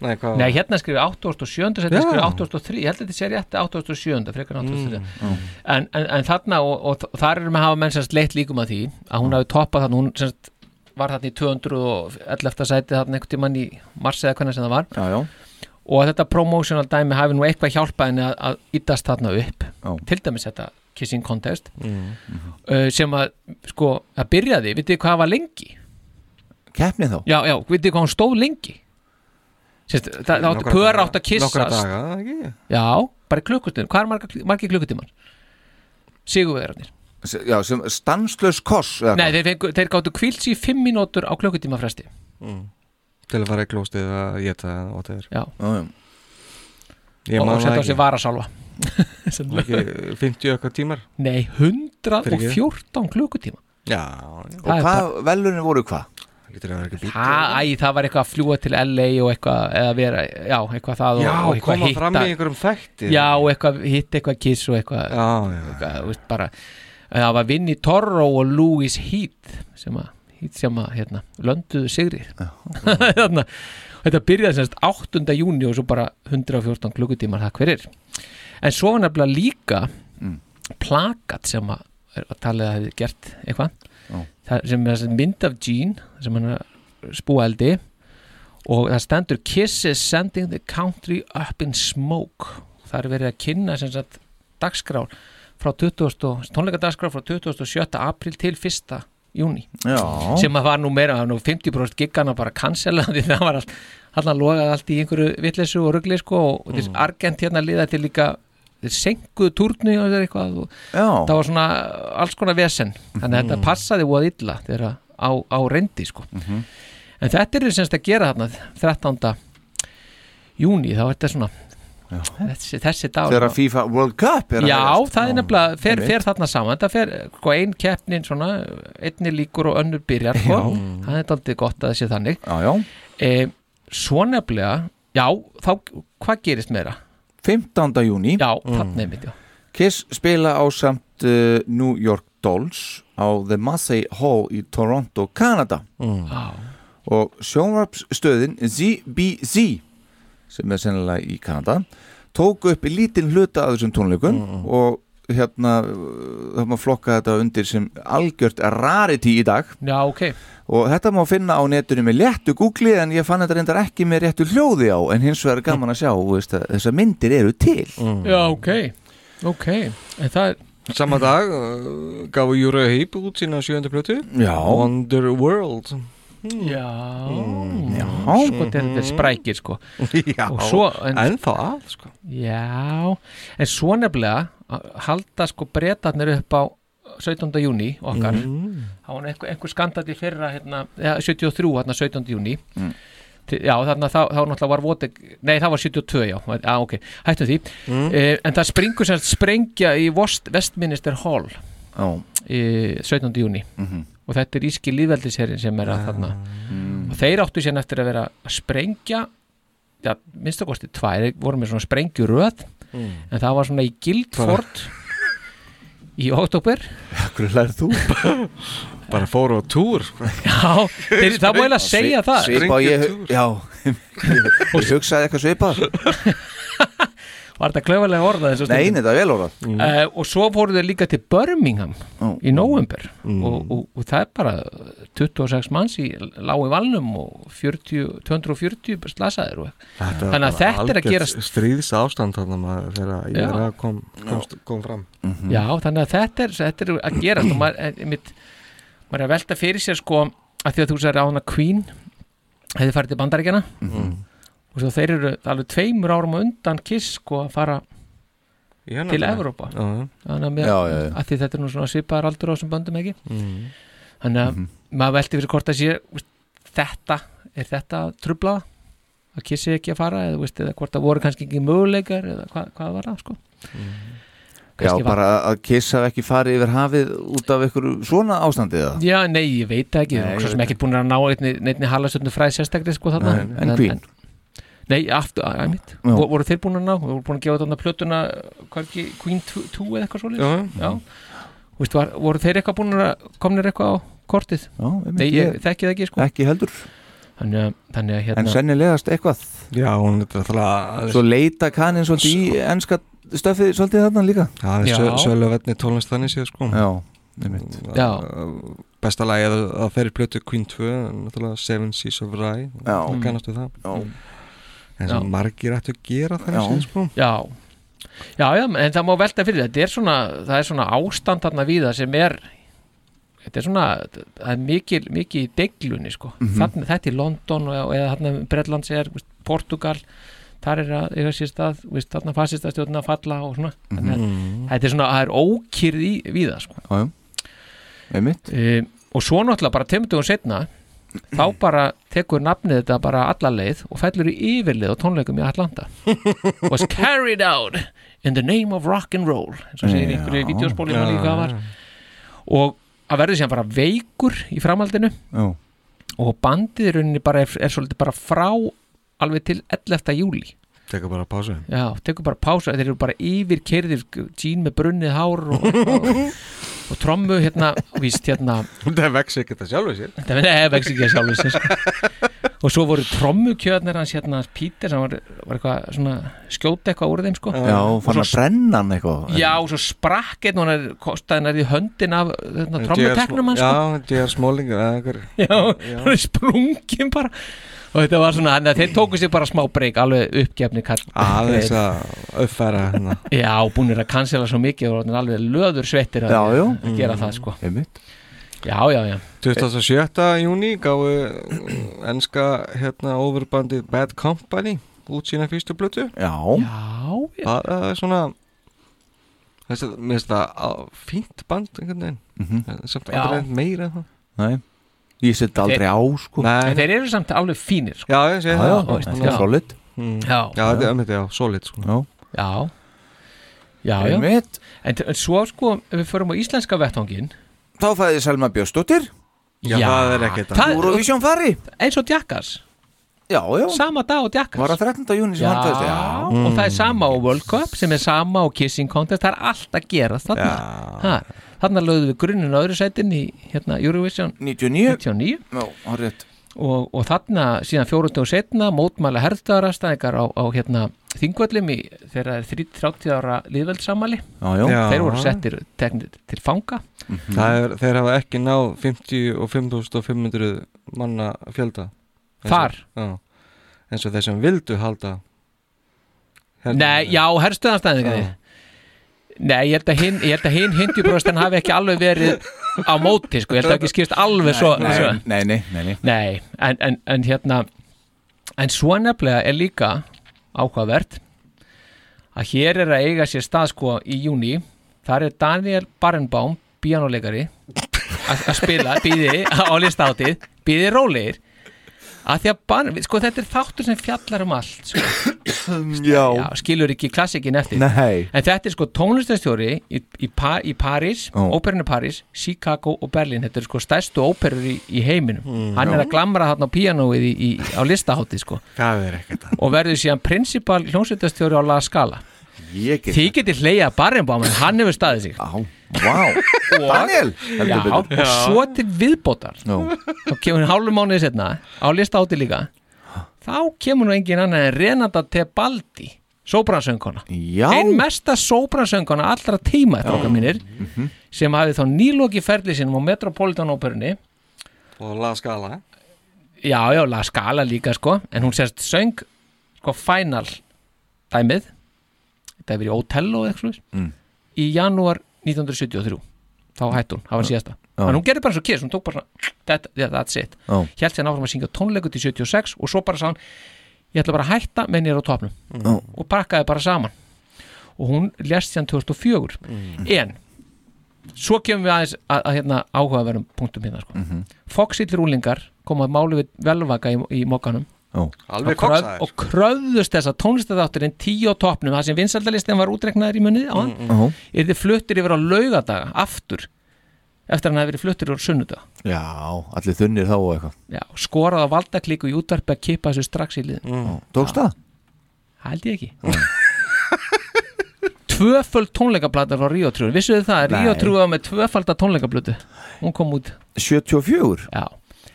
C: Nei, hvað
D: Nei, hérna skrifir 87, hérna
C: Já.
D: skrifir 83 ég held að þetta sé rétt 87, frekar en 83
C: Mm.
D: en, en, en þarna og, og þ- þar erum að hafa menn sérst leitt líkum að því að hún hafi toppað þarna, hún sérst var þarna í 211. sæti þarna einhvern tímann í mars eða hvernig sem það var
B: já, já.
D: og að þetta promotional dæmi hafi nú eitthvað hjálpað henni að, að ytast þarna upp
B: Já.
D: til dæmis þetta kissing contest uh, sem að sko að byrjaði, vitið þið hvað var lengi
B: keppni þá
D: já, já, vitið þið hvað hún stóð lengi Sérst, það áttu pör átt að
C: Nokkra
D: kissast
C: daga, eða ekki
D: já, bara klukkutíman, hvað er marga, margi klukkutíman? Sigurvegarnir
B: S- já, sem stanslös koss eða
D: Nei,
B: hvað?
D: þeir, fengu, þeir gáttu kvílt sér í fimm mínútur á klukkutíma fresti
C: Mm. Til að fara í klóstið að geta og það er
D: Já.
B: já.
C: Ég
D: og
C: man
D: setja
C: það
D: á sig
C: ekki
D: varasalva Sem-
C: Ekki 50 okkar tímar
D: Nei, 100 114 klukkutíma
C: Já,
B: Og hvað velunin voru hvað?
D: Ha, æ, það var eitthvað að fljúa til LA og eitthvað eða vera, já, eitthvað það og,
C: Já,
D: og eitthvað
C: koma fram í einhverjum þætti.
D: Já, og eitthvað hitt eitthvað kiss og eitthvað
C: Já, já,
D: eitthvað, þú veist, bara, það var Vinnie Torro og Louis Heath sem að, Heath sem að, hérna, lönduðu sigri Þarna, Þetta byrjaði semst 8. júni og svo bara 114 klukkutímar það hverir En svo var nefnilega líka plakat sem að, að talið að hefði gert eitthvað
B: Já.
D: það sem er þessi mynd af Gene sem hann er að spúa eldi og það stendur Kisses sending the country up in smoke það er verið að kynna sem sagt dagskrár frá 20 tónleika dagskrár frá 27. april til 1. júni
B: Já.
D: sem að var nú meira, það var nú 50% giggana bara cancela því það var allt hann logaði allt í einhverju vitleysu og ruggli sko og þess
B: Mm.
D: Argent hérna liða til líka þeir senguðu túrnu og þeir eitthvað og
B: Já.
D: það var svona alls konar vesen þannig að þetta
B: Mhm.
D: passaði voða illa þegar að- á, á reyndi sko en þetta er semst að gera þarna 13. júni þá er þetta svona þessi, þessi dag
B: Þegar að FIFA World Cup er að
D: Já,
B: hefjast.
D: það er nefnilega, fer,
B: einmitt.
D: fer þarna saman þetta fer, sko, ein keppnin svona einni líkur og önnur byrjar sko. það er daldið gott að það sé þannig
B: Já, já
D: e, Svo nefnilega Já, þá, hvað gerist meira?
B: 15. júni
D: Já, þarna einmitt, já.
B: Kiss spila á samt uh, New York Dolls á The Massey Hall í Toronto, Kanada
C: Mm.
D: Já.
B: og sjónvarpsstöðin ZBZ sem er sennilega í Kanada tók upp í lítinn hluta að þessum tónleikum og hérna uh, það má flokka þetta undir sem algjört rarity í dag
D: Já, ok
B: og þetta má finna á netinu með léttu googli en ég fann þetta reyndar ekki með réttu hljóði á en hins vegar er gaman að sjá þú veist, að þessar myndir eru til
D: Já, ok, ok En það er
C: Samma dag uh, gafu Júra Heip út sína sjöndu plötu
B: Já.
C: Wonder World
D: Já,
C: Já. Mm.
D: sko, þetta er sprækir sko
C: Já,
D: Og svo, en,
C: ennþá að sko.
D: Já, en svo nefnilega að halda sko breytarnir upp á 17. júni okkar
C: Mm.
D: þá var einhver, einhver skandall í fyrra hérna, ja, 73, hérna 17. júni
B: Mm.
D: Til- Já, þarna þá, þá náttúrulega var Votek, nei það var 72, já, já ok, hættum því
B: Mm.
D: Eh, En það springur sem sagt sprengja í Vost, Westminster Hall
B: Já.
D: í 17. júni
B: Mhm. Ah.
D: og þetta er íski lífveldisherin sem er að þarna
B: Mm.
D: og þeir áttu sérna eftir að vera að sprengja já, minnstakosti tvær, þeir voru með svona sprengjuröð
B: Mm.
D: en það var svona í Guildford í oktober
B: Hverju lærið þú?
C: Bara fóru á túr sko.
D: Já, þeir, það var eiginlega að segja það
B: Svipa, ég, já, ég hugsaði eitthvað svipað
D: Var þetta klaufalega orðað
B: Nei,
D: þessu stundum?
B: nei, það er vel orðað
D: Eh, og svo fóru þeir líka til Birmingham í november og, og, og það er bara 26 manns í lágu valnum og 40, 240 slasaðir og.
C: Þetta
D: þannig að þetta er að gerast
C: Stríðs ástand þannig maður þegar
D: Já.
C: Júra kom,
D: Eh,
C: komst, kom fram
D: já, þannig að þetta er, þetta er að gerast og maður, er- einmitt, maður er að velta fyrir sér sko að því að þú sér á hana Queen hefði farið til bandaríkjana
C: Mhm.
D: og svo þeir eru alveg tveimur árum á undan kiss sko að fara
C: Í hennar
D: til
C: dag.
D: Evrópa
C: Já, já.
D: þannig að, mér,
C: Já, já, já.
D: að því þetta er nú svona svipaðar aldur á þessum böndum ekki
C: Mhm.
D: þannig að maður velti fyrir hvort að sé veist, þetta, er þetta trubla að kissi ekki að fara eða, veist, eða hvort að voru kannski ekki möguleikar eða hvað, hvað var það sko
B: Já,
D: Kannski var-
B: bara að kissa ekki farið yfir hafið út af einhverju svona ástandið eða?
D: Já, nei, ég veit það ekki,
B: Nei,
D: nei,
B: ég
D: svo sem
B: veit
D: ekki búin að ná einni, einni halastöndum fræði sérstakri sko þarna
B: Nei, en Queen?
D: Nei, aftur, að mitt
B: Já.
D: Voru þeir búin að ná, voru búin að gefa þarna plötuna hverki, Queen 2 2 eða eitthvað svoleiðis
C: Já, já.
D: Þú Veist, var, voru þeir eitthvað búin að komnir eitthvað á kortið
B: Já, einmitt,
D: Nei, ég
B: ég-
D: þekki það ekki sko
B: Ekki heldur
D: Þannig að, þannig að
B: En
D: hérna
B: sennilegast eitthvað
C: Já, hún er alltaf
B: Svo leita kaninn svolítið í enska stöfið svolítið þarna líka
C: Það
B: Já.
C: er söluverðni tónlist þannig séð sko
B: Já, einmitt
D: Já.
C: Besta lagi að, að þeirri plötu Queen 2 náttúrulega Seven Seas of Rye
B: Já.
C: það Kannastu það
B: Já.
C: En sem
D: Já.
C: margir ættu að gera þannig séð sko
D: já. já, já, en það má velta fyrir þetta er svona, það er svona ástand þarna víða sem er þetta er svona, það er mikil, mikil í deglunni sko,
B: Mhm.
D: þarna, þetta í London og, eða þarna Bretlands er veist, Portugal, þar er að eiga sér stað, veist, þarna fasista stjórna falla og svona, þannig að
B: Mhm.
D: þetta er svona, það er ókýrð í víða sko
B: Já, já, einmitt
D: um, og svo náttúrulega bara tveimtugum setna þá
B: Mm.
D: bara tekur nafnið þetta bara alla leið og fellur í yfirlið á tónleikum í Atlanta was carried out in the name of rock and roll eins og segir í einhverju
B: Já.
D: vídeospóli manni hvað það var og að verður síðan bara veikur í framhaldinu
B: Já.
D: og bandið í rauninni bara er, er svolítið bara frá alveg til 11. júli
C: Tekur bara pásu
D: Já, tekur bara pásu, þeir eru bara yfir kerðir Jean með brunnið hár og, og, og trommu hérna víst hérna
C: Það vex ekki þetta sjálfur sér
D: Það verði eða vex ekki að sjálfur sér sko. Og svo voru trommukjöðnir hans hérna Pítur sem var, var eitthvað svona skjóta eitthvað úr þeim sko
B: Já,
D: Og
B: fann
D: svo
B: að brenna hann eitthvað
D: Já, og svo sprakk einn og hann er kostaðin er í höndin af þetta trommuteknum hans sko.
C: Já, D.R. Smalling eða einhver
D: Já, hann er sprungin bara og þetta var svona, þannig að þeir tóku sér bara smá breyk alveg uppgefni kall
C: Aðeins að uppfæra hérna
D: Já, búinir að cancela svo mikið og orðnir alveg löður sveittir að,
C: Já, já.
D: að gera
C: Mm.
D: það sko
B: Einmitt.
D: Já, já, já
C: 27. júni gáðu enska hérna overbandið Bad Company út sína fyrstu blötu
B: Já
D: Já
C: Bara svona Þessi, mér finnst það á- fínt band einhvern veginn
B: Mhm.
C: Samt
D: Já.
C: aldrei neitt meira en það
B: Nei, ég seti aldrei á sko
D: En þeir eru samt alveg fínir sko.
C: Já, ég sé
B: Já,
C: það
B: já,
C: þú veist,
B: þetta
C: þannig
B: er
C: að-
B: solid.
C: Mm. Já,
D: Já.
C: þetta er ömmið, já, solid sko.
B: Já,
D: Já Já, já
B: Einmitt.
D: En t- en svo sko, ef við förum á íslenska vettvangin
B: Þá fæði Selma Björnsdóttir
D: Já, Já, það er ekkert annað.
B: Eurovision fari
D: Eins og Djakkas
B: Já, já
D: Sama dag og Djakkas
B: Var það 13. júni sem
D: Já,
B: hann fæðist Já, Mm.
D: og það er sama á World Cup sem er sama á Kissing Contest það er allt að gera þarna ha, þarna lögðum við grunninn á öðru sætin í hérna, Eurovision
B: 99,
D: 99.
B: Já, hann rétt
D: Og, og þarna síðan 40 og setna mótmæla herðarastæðingar á, á hérna, þingvöllum í þegar það er þrí- 30 ára liðveldsamali
B: Já, já. Já.
D: þeir voru settir teknir til fanga
C: Það er, þeir hafa ekki náð 55.500 manna fjölda Eins og-
D: Þar?
C: Já, eins og þeir sem vildu halda
D: Nei, já, herstuðanstæðingar Nei, ég held að hinn, ég held að hinn hindjúbröstin hafi ekki alveg verið á móti, sko, ég held að ekki skýrst alveg svo
B: Nei,
D: svo.
B: nei, nei, nei, nei.
D: Nei, en, en, en hérna en svo nefnilega er líka áhugavert að hér er að eiga sér stað sko í júni, þar er Daniel Barenbaum, bíjánuleikari að að spila, býði á listátið, býði rólegir að því að Barn, sko þetta er þáttur sem fjallar um allt sko.
B: Já.
D: skilur ekki klassikin eftir
B: Nei.
D: en þetta er sko tónlistastjóri í, í, pa, í París,
B: Ó.
D: óperinu París Chicago og Berlin, þetta er sko stærstu óperur í, í heiminum, hann
C: Já.
D: er að glamra hann á píanóið í, í, á listahátti sko.
C: Það er ekkert
D: og verður síðan prinsipal hljómsveitastjóri á La Scala
B: Ég
D: þið getið hleyja Barenbaum en hann hefur staðið sig
B: Já, vá, Daniel
D: Já,
B: heldur
D: og
B: betur.
D: svo til viðbótar þá kemur hálfum mánuði setna á lista átti líka þá kemur nú engin annað en Renata Tebaldi sóbransöngkona
B: Já.
D: ein mesta sóbransöngkona allra tíma eftir okkar mínir sem hafi þá nýloki ferli sinum á Metropolitan óperunni
C: Og laða skala
D: já, já, La Scala líka sko en hún sérst söng sko final dæmið þetta hefur verið Otello eða eitthvað svoleiðis,
B: Mm.
D: í janúar 1973 þá hætti hún, það var síðasta
B: Já.
D: en hún gerði bara svo kiss, hún tók bara svona that, yeah, that's it,
B: Já.
D: hjælt sér náfram að syngja tónleiku til 76 og svo bara sá hann ég ætla bara að hætta menn ég er á topnum
B: Já.
D: og pakkaði bara saman og hún lest síðan 2004
B: Mm.
D: en svo kemum við aðeins að, að hérna áhugaverðum punktum hérna sko. mm
B: Mhm.
D: -hmm. Foxillir úlingar komaði máli við velvaka í, í mokkanum
B: Já.
D: og, kröf, og kröfðust þess að tónlistadátturinn tíu á topnum, það sem vinsaldalistin var útreknaður í munið á hann,
B: Mm, mm.
D: er þið fluttir yfir á laugadaga, aftur eftir að hann hafi verið fluttir úr sunnudag
B: Já, allir þunnir þá og eitthvað
D: Já, skorað á valdaklíku í útvarpi að kippa þessu strax í liðin
B: mm. Tókst það?
D: Hældi ég ekki Tvöföld tónleikaplatar frá Ríó Trúður Vissuðu það,
B: Nei.
D: Ríó Trúður var með tvöfalda tónleikablötu Hún kom út
B: 74?
D: Já,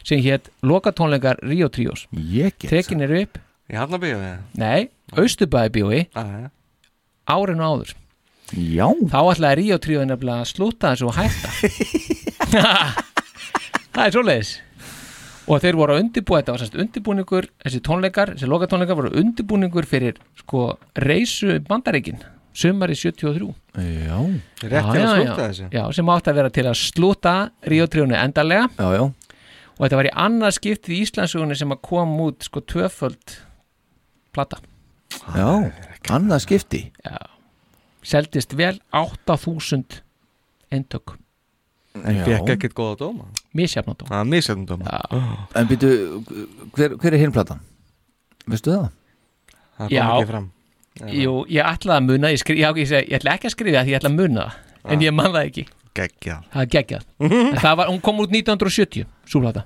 D: sem hétt Loka tónleikar Ríó Trúðurs
B: Ég get
D: Tekin er upp,
C: Í Hafnabíu eða?
D: nei, Austurbæði bjói
C: Aðeins
D: Árinu áður
B: Já
D: Þá ætlaði Ríó Trúður nefnilega að slúta þessu og hætta Það er svoleiðis Og þeir voru að undirbúa, þetta var semst undirbúningur Þessi tónleikar, þessi loka tónleikar voru undirbúningur fyrir sko reisu bandaríkin Sumari 73
B: Já
C: Rétt sko. til að slúta þessu
D: já, sem átti að vera til að slúta ríotrjónu endarlega
B: Já, já
D: og þetta var í annað skiptið í Íslandsugunni sem að kom út sko tvöföld plata,
B: Já, annað skipti
D: seldist vel 8000 eintök
C: En
B: Já.
C: fekk ekkert góða dóma
D: misjafna dóm
C: Það er misjöfnum dóma oh,
B: En býtu, hver, hver er hinplatan? Veistu það?
C: Það
D: Já.
C: kom ekki fram
D: Jú, ég ætlaði að muna, ég, skri, já, ég, segi, ég ætla ekki að skrifa það, því ég ætla að muna það en ég man það ekki
C: geggjað
D: það er geggjað En það var, hún kom út 1970, súplata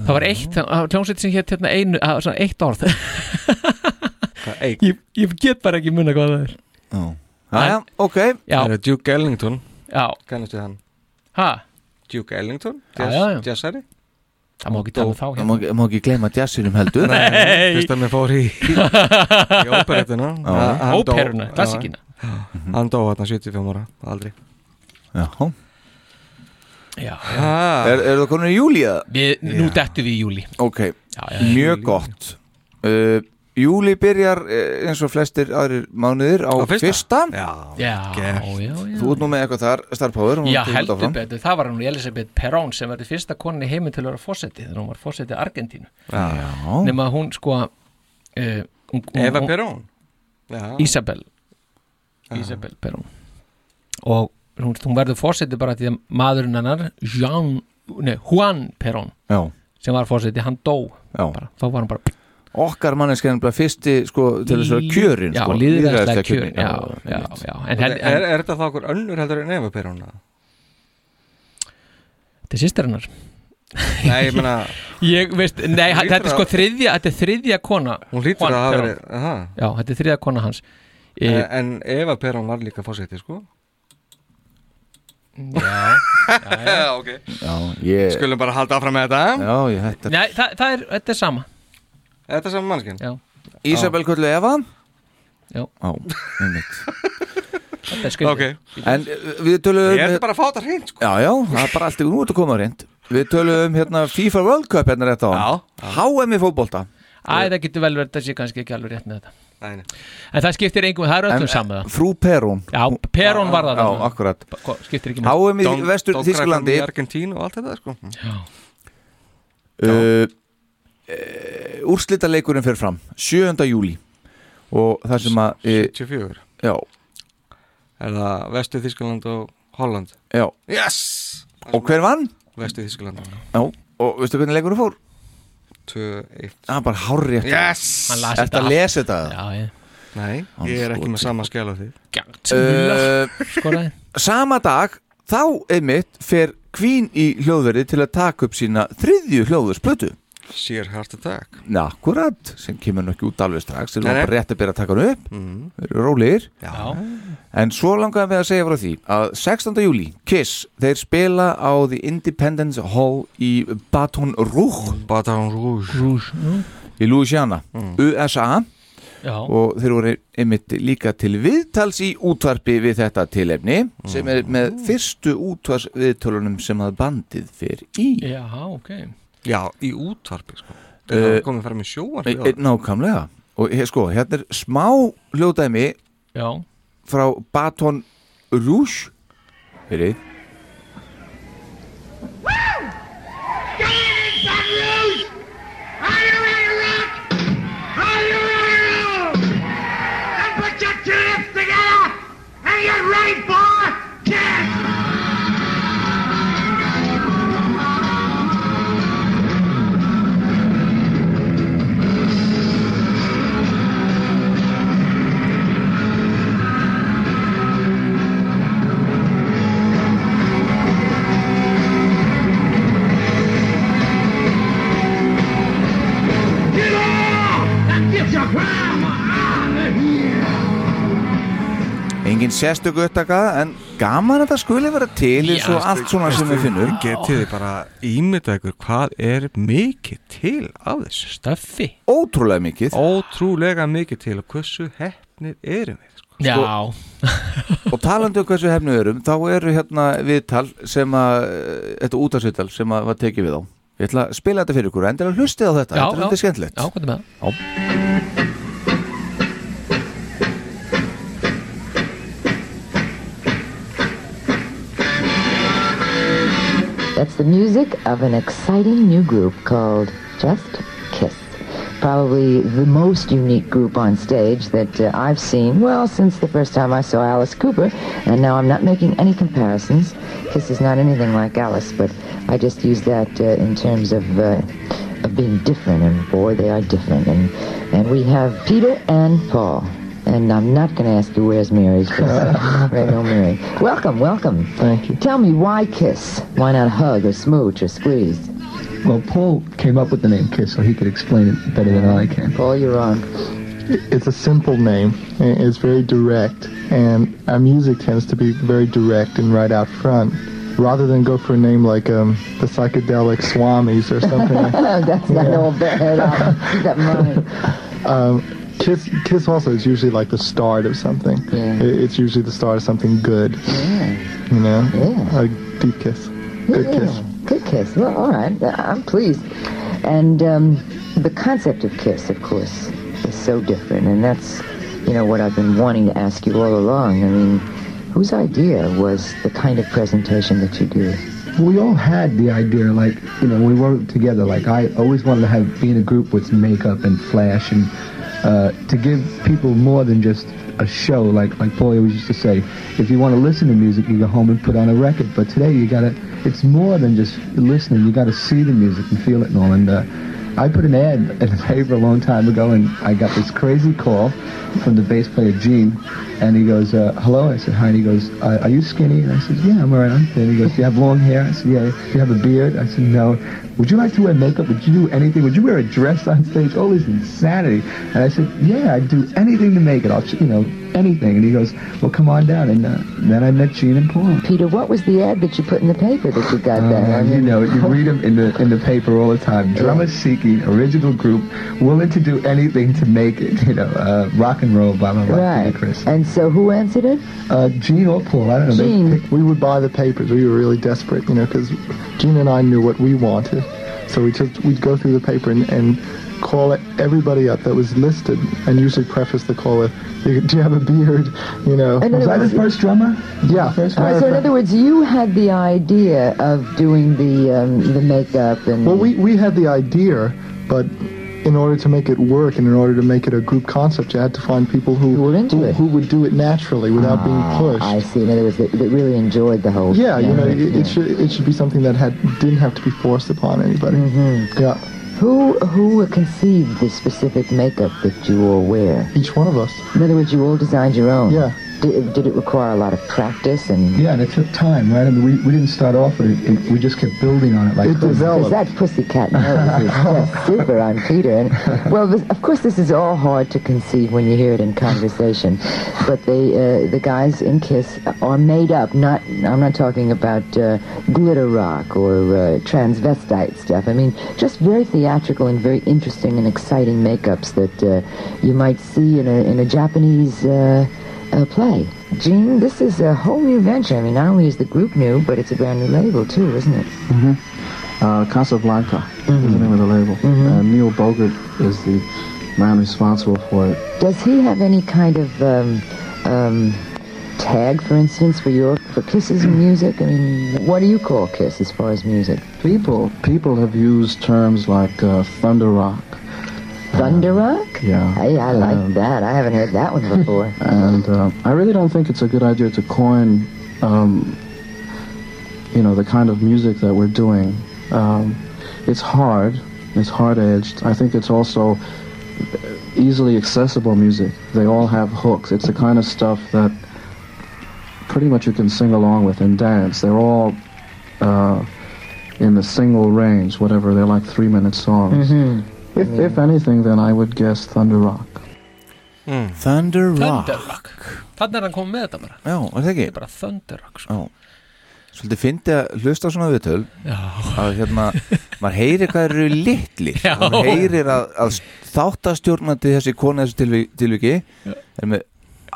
D: það var eitt það var hljómsveit sem hétt hérna einu það var svona eitt orð ég, ég get bara ekki munna hvað það er
C: Jæja,
B: ok
D: já,
C: Það er Duke Ellington
D: já
C: Kannastu hann?
D: Ha?
C: Duke Ellington?
D: Já,
C: jazz-
D: já, já.
C: Jazzari?
D: Það má ekki tala um þá
B: Það má, ekki- má ekki gleyma jazzinum heldur
C: Nei Fyrst að mér fór í Í óperetuna
B: Já.
C: Hann dó-
D: Óperuna,
C: já,
D: klassíkina.
C: Hann dó hann 75 ára Aldrei
B: Já
D: Já
B: Er, er það konur í júli eða?
D: Við, nú dettu við í júli
B: Ok, mjög gott uh, Júli byrjar eh, eins og flestir aðrir mánuðir á,
D: Á fyrsta?
B: fyrsta.
D: Já, já, já.
B: Þú ert nú með eitthvað þar, Star Power hún
D: Já,
B: tekur þetta
D: heldur
B: áfram.
D: betur, það var hún Elisabeth Perón sem verði fyrsta konin í heiminn til að vera fósetti þegar hún var fósetti Argentínu
B: Já.
D: nema að hún sko uh, hún, hún,
C: Eva
D: hún-
C: Perón? Já.
D: Isabel Isabel Perón og hún, hún verður fósetti bara því að maðurinn hennar Jean, nei, Juan Perón
B: Já.
D: sem var fósetti, hann dó
B: Já.
D: bara, þá var hann bara
B: Okkar manneskja er nefnilega fyrsti sko, til þess að vera kjörin
D: Já,
B: sko,
D: lýðræðislega
B: lýðræðislega
D: kjörin, já, já,
B: einmitt.
D: já.
C: En,
D: hel-
C: er, er þetta þá okkur önnur heldur en Eva Perón? eða?
D: þetta er sýstir hennar
C: Nei, ég meina
D: Ég veist, nei,
C: Hún
D: hann-
C: hlýtur
D: þetta er sko
C: að-
D: þriðja, þetta er þriðja kona
C: Hún hlýtur
D: Juan
C: að hafa
D: Perón.
C: verið- aha.
D: Já, þetta er þriðja kona hans e,
C: En,
B: Eh,
C: en Eva Perón var líka fórseti, sko
D: Já,
C: já, ok
B: Já, ég
C: Skulum bara halda áfram með þetta
B: Já, ég hætti
D: Nei, það, það er, þetta er sama
C: Þetta er saman mannskinn
D: Já
B: Isabel Kullu Eva
D: Já,
B: Já,
D: þetta er
B: einmitt
D: skrítið.
B: En uh, við tölum
C: Ég er bara að fá þetta hreint, sko
B: Já, já, það er bara allt ykkur, nú ertu að koma reynd Við tölum um hérna FIFA World Cup hérna rétt á hann HM í fótbolta
D: Æ, það getur vel verið að sé kannski ekki alveg rétt með þetta
C: Nei, nei.
D: En það skiptir engum, það er
B: En, eh,
D: öllum saman það
B: Frú Perón
D: Já, Perón var það
B: Já,
D: þarna.
B: akkurat
D: Ko- Skiptir ekki máli.
B: HM í
C: Dong-
B: vestur
C: Dongrakon
B: Þísklandi
C: í Argentínu og allt þetta, sko
B: uh, Úrslitaleikurinn fyrir fram 7. júli Og það sem að uh,
C: 74
B: Já,
C: Er það Vestu Þískaland og Holland
B: já
C: Yes
B: Og hver vann?
C: Vestu Þískaland
B: Já, og veistu hvernig leikurinn fór?
C: 2-1
B: Það er bara hárri
C: Yes
D: Hann las
B: Ertu
D: þetta
B: að
D: allt.
B: lesa þetta?
D: Já, ég
C: Nei, ég er ekki með sama skjál á því
B: Uh,
D: Skoraði
B: sama dag þá einmitt fer Queen í hljóðverði til að taka upp sína þriðju hljóðversplötu
C: Sheer Heart Attack
B: Akkurat, sem kemur nú ekki út alveg strax þeir eru
C: Nei, nei.
B: bara rétt að byrja að taka hann upp
C: Mhm.
B: þeir eru rólegir
C: Já.
B: en svo langaðum við að segja frá því að 16. júli, Kiss, þeir spila á The Independence Hall í Baton Rouge
C: Baton Rouge, Mm.
D: Rouge.
B: í Louisiana, USA
D: Já.
B: og þeir voru einmitt líka til viðtals í útvarpi við þetta tilefni
C: Mm.
B: sem er með fyrstu útvars viðtölunum sem að bandið fer í
D: Já, ok
C: Já, í útvarpi, sko
B: Eh,
C: Það komið fram í sjóvarpi
B: e, e, nákvæmlega og hér, sko, hérna er smá hljótaðimi
D: Já,
B: frá Baton Rouge fyrir engin sérstöku upptaka en gaman að það skuli vera til eins og allt svona sem við finnum
C: Getið þið bara ímynda ykkur hvað er mikið til af þessu
D: Stöffi
B: ótrúlega mikið
C: Ótrúlega mikið til og hversu hefnir erum við sko.
D: já
B: og talandi um hversu hefnu við erum þá eru hérna viðtal sem að þetta útarsviðtal sem að var tekið við á ég ætla að spila þetta fyrir ykkur endilega hlustið á þetta,
D: Já,
B: þetta er
D: já.
B: þetta skemmtilegt
D: Já, hvað er með það?
O: That's the music of an exciting new group called Just Kiss. Probably the most unique group on stage that uh, I've seen, well, since the first time I saw Alice Cooper. And now I'm not making any comparisons. Kiss is not anything like Alice, but I just use that uh, in terms of, uh, of being different. And boy, they are different. And, and we have Peter and Paul. And I'm not going to ask you where's Mary. 'cause There ain't no Mary. Welcome, welcome. Thank you. Tell me why kiss? Why not hug or smooch or squeeze?
P: Well, Paul came up with the name Kiss, so he could explain it better than I can.
O: Paul, you're on.
P: It's a simple name. and It's very direct, and our music tends to be very direct and right out front, rather than go for a name like um, the psychedelic Swamis or something. like
O: That's not all bad. I got money.
P: um, kiss, kiss also is usually like the start of something.
O: Yeah.
P: It- it's usually the start of something good.
O: Yeah.
P: You know,
O: Yeah.
P: a deep kiss, good
O: yeah.
P: kiss.
O: Good kiss. Well, all right. I- I'm pleased. And um, the concept of kiss, of course, is so different. And that's, you know, what I've been wanting to ask you all along. I mean, whose idea was the kind of presentation that you do?
P: We all had the idea, like, you know, we worked together. Like, I always wanted to have be in a group with makeup and flash and uh, to give people more than just a show. Like, like Paul always used to say, if you want to listen to music, you go home and put on a record. But today, you gotta, it's more than just listening. You gotta see the music and feel it and all. And uh, I put an ad in the paper a long time ago, and I got this crazy call from the bass player Gene, and he goes, uh, "Hello." I said, "Hi." And he goes, uh, "Are you skinny?" And I said, "Yeah, I'm all right. I'm thin." He goes, "Do you have long hair?" I said, "Yeah." "Do you have a beard?" I said, "No." "Would you like to wear makeup? Would you do anything? Would you wear a dress on stage?" All this insanity. And I said, "Yeah, I'd do anything to make it. I'll, ch- you know, anything." And he goes, "Well, come on down." And uh, then I met Gene and Paul.
O: Peter, what was the ad that you put in the paper that you got back?
P: Uh, you know, you read them in the in the paper all the time. Drummer seeking original group, willing to do anything to make it. You know, uh, rock and roll, blah blah blah.
O: Right. And so who answered it?
P: Uh, Gene or Paul, I don't know. they picked-
Q: We would buy the papers. We were really desperate, you know, because Gene and I knew what we wanted.
P: So we just we'd go through the paper and, and call it everybody up that was listed, and usually preface the call with, "You- "Do you have a beard?" You know.
O: And then
P: was I
O: it
P: the
O: was-
P: first drummer? Yeah.
O: All right, so in other words, you had the idea of doing the um, the makeup and
Q: Well, we, we had the idea, but in order to make it work and in order to make it a group concept, you had to find people who who, who would do it naturally without
O: Ah,
Q: being pushed.
O: I see. In other words, that, that really enjoyed the whole.
Q: Yeah, you know, it,
O: thing.
Q: it
O: Yeah.
Q: should it should be something that had didn't have to be forced upon anybody. Mm-hmm. Yeah.
O: Who who conceived the specific makeup that you all wear?
Q: Each one of us.
O: In other words, you all designed your own. Yeah. Did, did it require a lot of practice and?
P: Yeah, and it took time, right? I mean, we, we didn't start off with it, it. We just kept building on it like crazy.
O: Because that pussycat nose is just super on Peter. And, well, this, of course, this is all hard to conceive when you hear it in conversation. But they, uh, the guys in Kiss are made up. Not, I'm not talking about uh, glitter rock or uh, transvestite stuff. I mean, just very theatrical and very interesting and exciting makeups that uh, you might see in a, in a Japanese. Uh, uh, play. Gene, this is a whole new venture. I mean, not only is the group new, but it's a brand new label, too, isn't it?
N: Mm-hmm. Uh, Casablanca is the name of the label.
K: Mm-hmm.
N: Uh, Neil Bogart is the man responsible for it.
O: Does he have any kind of um, um, tag, for instance, for your for kisses and music? I mean, what do you call kiss as far as music?
N: People people have used terms like uh, thunder rock.
O: Thunder rock?
N: Yeah. Um,
O: Hey, I like that. I haven't heard that one before.
N: And uh, I really don't think it's a good idea to coin, um, you know, the kind of music that we're doing. Um, it's hard. It's hard-edged. I think it's also easily accessible music. They all have hooks. It's the kind of stuff that pretty much you can sing along with and dance. They're all uh, in the single range, whatever. They're like three-minute songs.
B: Mm-hmm.
O: Mhm.
E: Mm-hmm.
N: If, if anything, then I would guess thunder rock.
D: Mm.
B: Thunder Rock
D: Thunderrock Þannig er hann komið með þetta bara
B: Já, er það ekki?
D: Þetta er bara sko. Thunderrock
B: Já. Svolítið fyndi að hlusta á svona viðtöl að hérna, maður heyrir hvað þeir eru litlir
D: Já.
B: maður heyrir að, að þáttastjórnandi þessi konu þessu tilvi- tilviki er með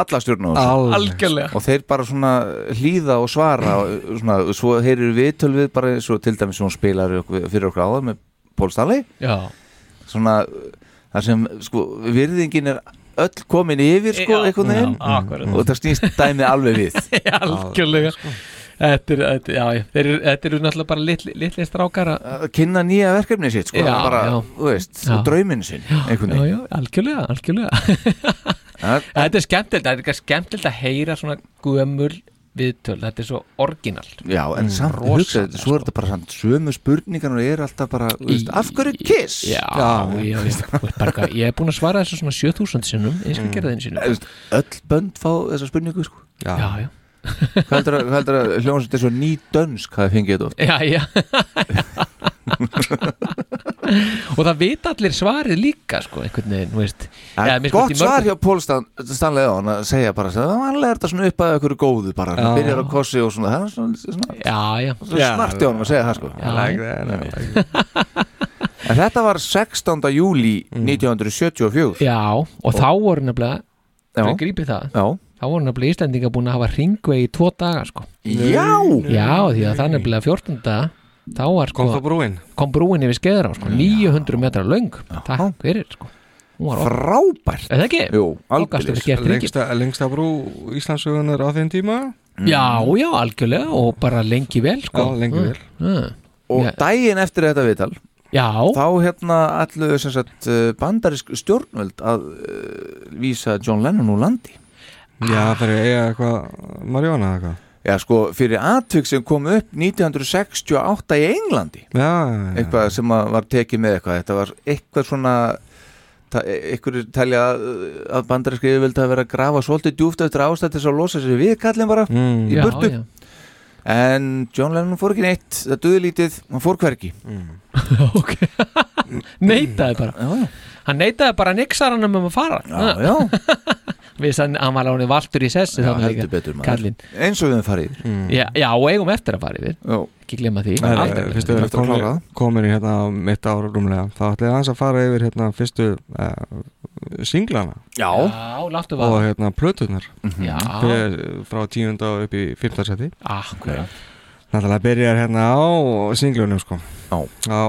B: alla stjórn á þessu
D: Alveg. Algjörlega.
B: og þeir bara svona hlýða og svara og svona, svo heyrir viðtöl við bara svo til dæmis sem hún spilar okkur- fyrir okkur áðan með Pól Stanley
D: Já.
B: svona þar sem sko virðingin er öll komin yfir sko
D: Já,
B: einhvern
D: já,
B: veginn
D: akkurat.
B: og það snýst dæmið alveg við sko.
D: Algjörlega Þetta er- þetta- já, já, þeir eru þetta eru náttúrulega bara litli- litlir strákar að
B: að kynna nýja verkefni sitt sko,
D: Já,
B: bara,
D: já.
B: þú veist,
D: Já.
B: og drauminn sinn einhvern
D: Já,
B: veginn
D: já, algjörlega, algjörlega Þetta er skemmtilegt, þetta er skemmtilegt að heyra svona gömul viðtöl, þetta er svo orginal
B: Já,
D: Mm,
B: en samt, hugsa,
D: rosalega
B: svo er þetta bara samt sömu spurningan og er alltaf bara, þú veist, af hverju kiss?
D: Já, já, já, já. Barga, ég hef búin að svara þessu svona 7000 sinnum eins og
B: Mm.
D: mm. gerði einu
B: Þú
D: sinnum
B: veist, Öll bönd fá þessa spurningu, sko
D: Já, já, já.
B: Hvað heldur að, hvað heldur að hljómsveit er svo ný dönsk hafi fengið þetta oft?
D: Já, já Og það vita allir svarið líka sko, einhvern veginn, þú veist
B: En
D: Eða, að minnsta
B: gott
D: kosti í
B: svar
D: mörgum-
B: hjá Pól Stan- Stanley á hann að segja bara að vanlega er þetta svona upp að ykkur góðu bara, hann
D: Já.
B: byrjar á kossi og svona, það er svona, svona,
D: Já, já
B: svona smart hjá hann að segja það sko
D: Já, like
B: that, En þetta var 16. júli 1974
D: Mm. Já, og þá voru nefnilega
B: Já.
D: Þau grípið það
B: Já.
D: Þá voru nefnilega Íslendinga búin að hafa ringvei í tvo daga sko
B: Já!
D: Já, því að það er nefnilega 14. Þá var sko
C: Kom þá brúin?
D: Kom brúin yfir skeður á sko 900 metra löng Takk fyrir sko Hún var opin.
B: Frábært
D: Er það ekki?
B: Jú,
D: Þá gastu verið gert ringið.
C: lengsta, lengsta brú Íslandsögunar á þeim tíma
D: Já, já, algjörlega og bara lengi vel sko.
C: Já, lengi vel.
D: mm.
B: Og daginn eftir þetta viðtal
D: Já
B: Þá hérna allu sem sagt eh, bandarisk stjórnvöld að uh, vísa John Lennon úr landi
C: Já, fyrir að eiga eitthvað Marjóna eða eitthvað
B: Já, sko, fyrir atvik sem kom upp 1968 í Englandi
C: Já, já, já.
B: eitthvað sem að var tekið með eitthvað þetta var eitthvað svona eitthvað talja að, að bandarinsk yfirvöld hafi verið að grafa svolítið djúft eftir ástætt þess að losa sér við kallin bara í
C: Mm.
D: Já,
B: burtu
D: já.
B: en John Lennon fór ekki neitt það duði lítið, hann fór hvergi
C: Mm.
D: Neitaði bara
B: já, já.
D: Hann neitaði bara nixaranum um að fara
B: Já, já.
D: Við sann, hann var láni valtur í sessi
B: Já,
D: þarna
B: heldur
D: líka,
B: betur maður.
D: kallinn.
B: eins og við höfum farið yfir.
C: Mm.
D: Já, já, og eigum eftir að fara yfir
B: já.
D: Ekki glemma því
C: Nei,
D: Aldrei
C: nei,
D: gleyma
C: Fyrstu
D: því.
C: við komin, komin í hérna á mitt ára rúmlega Þá ætla ég aðeins að fara yfir hérna fyrstu uh, singlana
B: Já,
D: Já, láttu vaða. Mhm.
C: Og hérna plötunar
D: Já.
C: Fyrir- eh, Frá tíunda og upp í fymtarsæti
D: Ah. Akkurat.
C: Náttúrulega byrjar hérna á singlunum sko
B: Já
C: Á,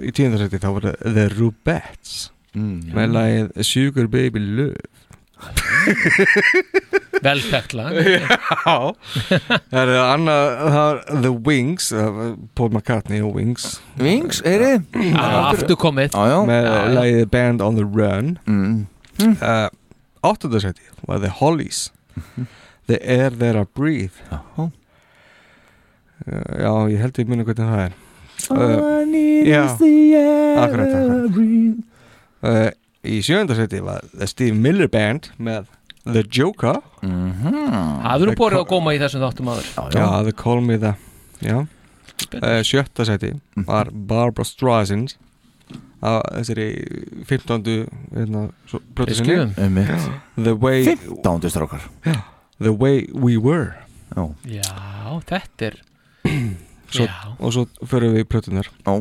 C: í tíundarsæti þá voru The Rubettes
B: Mm.
C: Með lagið Sugar Baby Love
D: Vel þekkt lag.
C: Já Það er annað, það er The Wings það var Paul McCartney og Wings
B: Wings, heyri
D: Já, Aftur komið
B: Já, já.
C: Með
B: Já, já.
C: lagið Band on the Run
B: mm.
C: uh, Áttundarsæti var The Hollies
B: Mhm.
C: The Air There I Breathe Eh,
B: uh,
C: Já, ég held ég muni hvernig það er Eh,
B: All I need
C: já.
B: is the air
C: Akkurat,
B: I
C: akkurat.
B: breathe.
C: uh, Í sjöndarsæti var The Steve Miller Band með The Joker
B: Mhm.
D: Hafður þú borðið að góma í þessum þáttum áður
C: Já, The Call Me The Já uh, Sjötta sæti
B: Mhm.
C: var Barbra Streisand á þessari 15. hérna, svo- plötu sinni.
B: Skilum. Einmitt.
C: The Way
B: 15. strákar
C: Já. The Way We Were
B: Já.
D: Já, þetta er
C: svo,
D: Já.
C: og svo förum við í plötunar
B: Já.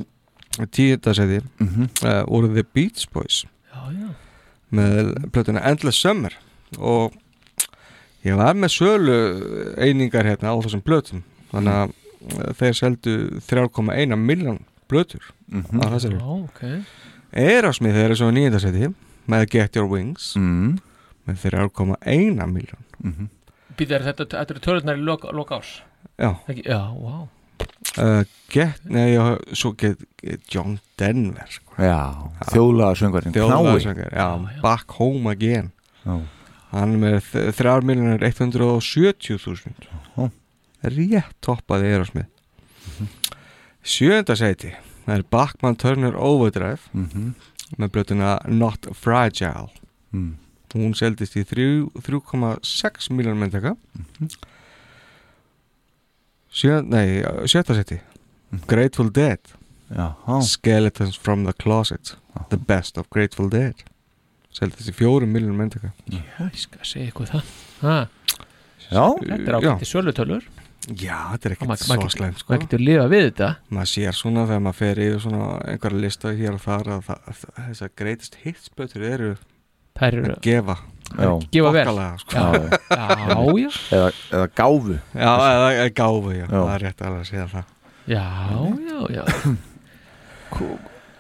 C: Tíunda sæti
B: Mhm.
C: uh, voru The Beach Boys
D: Já, já
C: með plötuna Endless Summer og ég var með sölu einingar hérna á þessum plötum þannig að eh, þeir seldu 3,1 miljón plötur
B: Mhm.
C: á þessari
D: Já, ok
C: Erasmið þeir eru svo nýjöndarsæti með Get Your Wings
B: mm.
C: með 3,1 miljón
D: Býtar þetta, þetta eru tölurnar í lok, lok árs
C: Já.
D: Ekki, Já, wow
C: uh, Get, nei, já, svo get, get John Denver sko.
B: Já, þjóðlaga söngvarinn
C: Þjóðlagsöngar, já, Back Home Again
B: Já.
C: Hann er með 3.170.000 Rétt toppaði Erosmið Sjönda sæti Það er Bachman Turner Overdrive
B: Mhm.
C: með blötuna Not Fragile
B: Mm.
C: Hún seldist í þrjú- 3,6 miljón myndaka
B: Mhm.
C: Sjö, nei, sjötta sæti Grateful Dead
B: Mhm. Jaha.
C: Skeletons from the Closet The Best of Grateful Dead Seldist í fjórum miljón myndaka
D: Ég skal segja ykkur það ha.
B: Já
D: Þetta er ákvæmti sölutölur
C: Já, þetta er
D: Og
C: ekkert
D: maður-
C: svo
D: maður-
C: slæmt sko.
D: maður getur lifað við þetta
C: Maður sér svona þegar maður fer yfir svona einhverja lista hér og þar að það- að þessar greatest hits betur eru
D: Þær eru-
C: að gefa
B: Já.
D: Gefa vel.
C: Þokkalega, sko.
D: Já. Já, já.
B: Eða, eða gáfu
C: Já, eða, eða gáfu, já,
B: Já.
C: það er rétt alveg að segja það
D: Já, já, já Kú-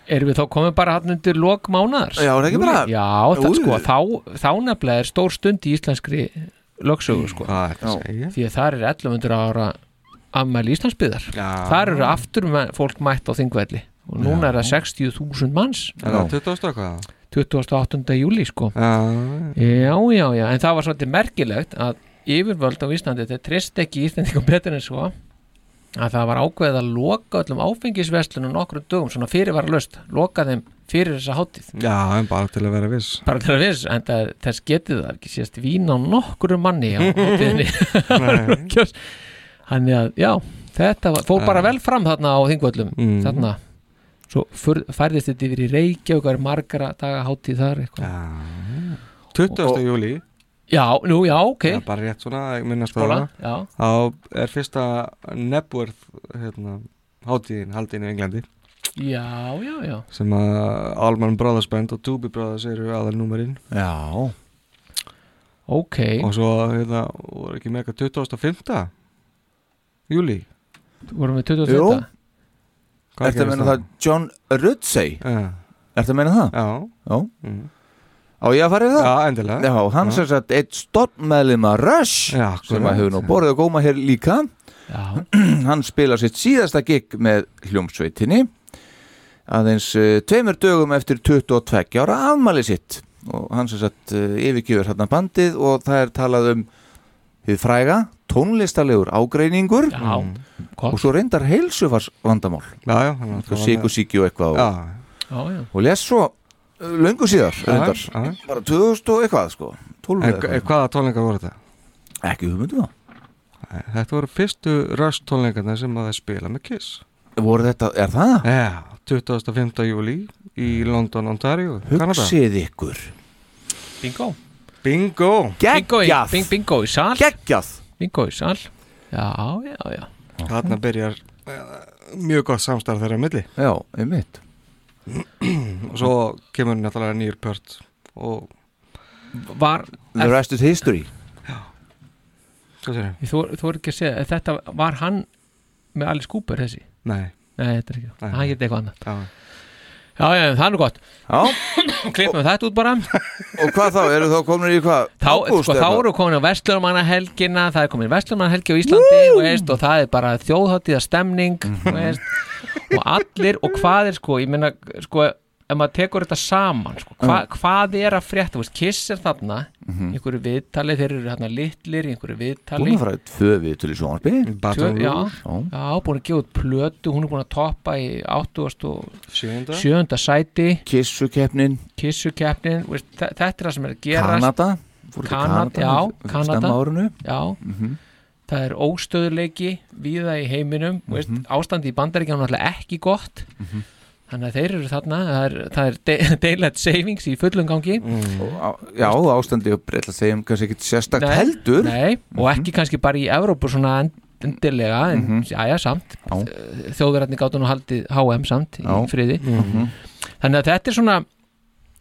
D: Erum við þá komin bara hann undir lok mánar?
B: Já, er það ekki bara-
D: Já, það,
B: Jú.
D: sko, þá, þá nefnilega er stór stund í íslenskri lögsögu sko.
C: Hvað er að segja?
D: Því að það er 1100 ára ammæli Íslandsbyðar
C: Já.
D: Þar eru aftur me- fólk mætt á þingvelli og núna
C: Já.
D: er það 60.000 manns
C: Er það 20. eitthvað?
D: 28. júli sko
C: Já, Mm.
D: já, já, en það var svolítið merkilegt að yfirvöld á Íslandi þetta trist ekki Íslandingum betur en svo að það var ákveðið að loka öllum áfengisverslunum nokkrum dögum svona fyrirvaralaust, loka þeim fyrir þessa hátíð
C: Já, en bara til að vera viss
D: bara til að viss, en það, þess getið það ekki sést vín á nokkrum manni á hátíðinni Þannig að, já, þetta var, fór bara
C: Já.
D: vel fram þarna á þingvöllum
C: Mm.
D: þarna, svo fyrr, færðist þetta yfir í Reykjavík, það er margara daga hátíð þar eitthvað Já,
C: 20. júli
D: Já, nú, já, ok
C: Það er bara rétt svona, ég minnast á
D: Skóla,
C: það Þá er fyrsta Nebworth hérna, hátíðin haldin í Englandi
D: Já, já, já
C: sem að Allman Brothers Band og Doobie Brothers eru aðal númerinn
B: Já
D: Ok
C: Og svo hérna, voru ekki mega 25. júli
D: Vorum við
B: 25. Jú. Ertu að meina það John Rudsey?
C: Já.
B: Ertu að meina það?
C: Já. Mm.
B: Já. Á ég að fara í það?
C: Já, endilega.
B: Já, hann
C: Já.
B: sem sagt eitt stofnmeðlum að Rush
C: Já,
B: sem að hefur nú borðið að góma hér líka.
D: Já.
B: hann spilar sitt síðasta gig með hljómsveitinni aðeins uh, tveimur dögum eftir 22 ára afmæli sitt og hann sem sagt uh, yfirgjöfur hérna bandið og það er talað um hið fræga, tónlistalegur ágreiningur
D: já,
B: og svo reyndar heilsufars vandamál
C: já, já,
B: síkusíki og eitthvað
C: Já.
D: Já, já.
B: og les svo uh, löngu síðar
C: Já,
B: reyndar,
C: já.
B: bara 2000 og eitthvað sko, 12
C: En
B: eða
C: hva- hvaða tónleikar voru þetta?
B: Ekki hugmyndu það
C: Þetta voru fyrstu Rush tónleikarna sem að það spila með Kiss
B: Voru þetta, er það? Mm.
C: Já, 25. júli í London, Ontario, Kanada
B: Hugsið ykkur
D: Bingo
C: Bingo
D: Bingo í, bing, bingo í sal
B: Geggjað
D: Bingo í sal Já, já, já
C: Þarna byrjar eh, mjög gott samstarf þeirra á milli
B: Já, einmitt
C: Og svo kemur náttúrulega nýjur pört og
D: Var
B: The rest is history
C: Hvað segir þau?
D: Þú, þú voru ekki að segja, þetta var hann með Alice Cooper þessi?
C: Nei.
D: Nei, þetta er ekki,
C: Nei.
D: hann getið eitthvað annað.
C: Já.
D: Já, já, það er nú gott.
B: Já.
D: Klippum þetta út bara.
B: Og hvað þá, eru þá komin í hvað?
D: Þá,
B: Ágúst
D: sko,
B: eða
D: þá
B: hvað?
D: eru komin á Vestlurmannahelgina, það er komin Vestlurmannahelgi á Íslandi, veist, og það er bara þjóðháttíða stemning,
B: Mhm.
D: veist, og allir, og hvað er, sko, ég meina, sko, ef maður tekur þetta saman, sko, hva, hvað er að frétta, þú veist, kiss er þarna, mm
B: Mm. Mhm.
D: einhverju viðtali, þeir eru þarna litlir, í einhverju viðtali.
B: Búin að fara í tvö viðtöl í sjónvarpi
D: Tvö, já, já, búin að gefa út plötu hún er búin að toppa í 80 og
C: Sjöunda.
D: sjöunda sæti
B: Kissukeppnin
D: Kissukeppnin, veist, þe- þetta er það sem er að gera
B: Kanada Fóru til Kanada
D: já,
B: fyrir
D: Kanada
B: snemma á árinu.
D: já,
B: Mhm.
D: það er óstöðuleiki víða í heiminum veist, ástandi í bandaríkjánum er náttúrulega ekki gott
B: Mhm.
D: þannig að þeir eru þarna það er, það er de- daylight savings í fullum gangi
B: Og á- Já, ástandi og breyla segjum kannski ekkit sérstakt
D: Mm. Nei,
B: heldur
D: nei, og ekki kannski bara í Evrópu svona end- endilega en
B: Mhm.
D: jæja samt
B: Já.
D: þjóðverðarnir gátu nú haldið HM samt í
B: Já.
D: friði
B: Mhm.
D: þannig að þetta er svona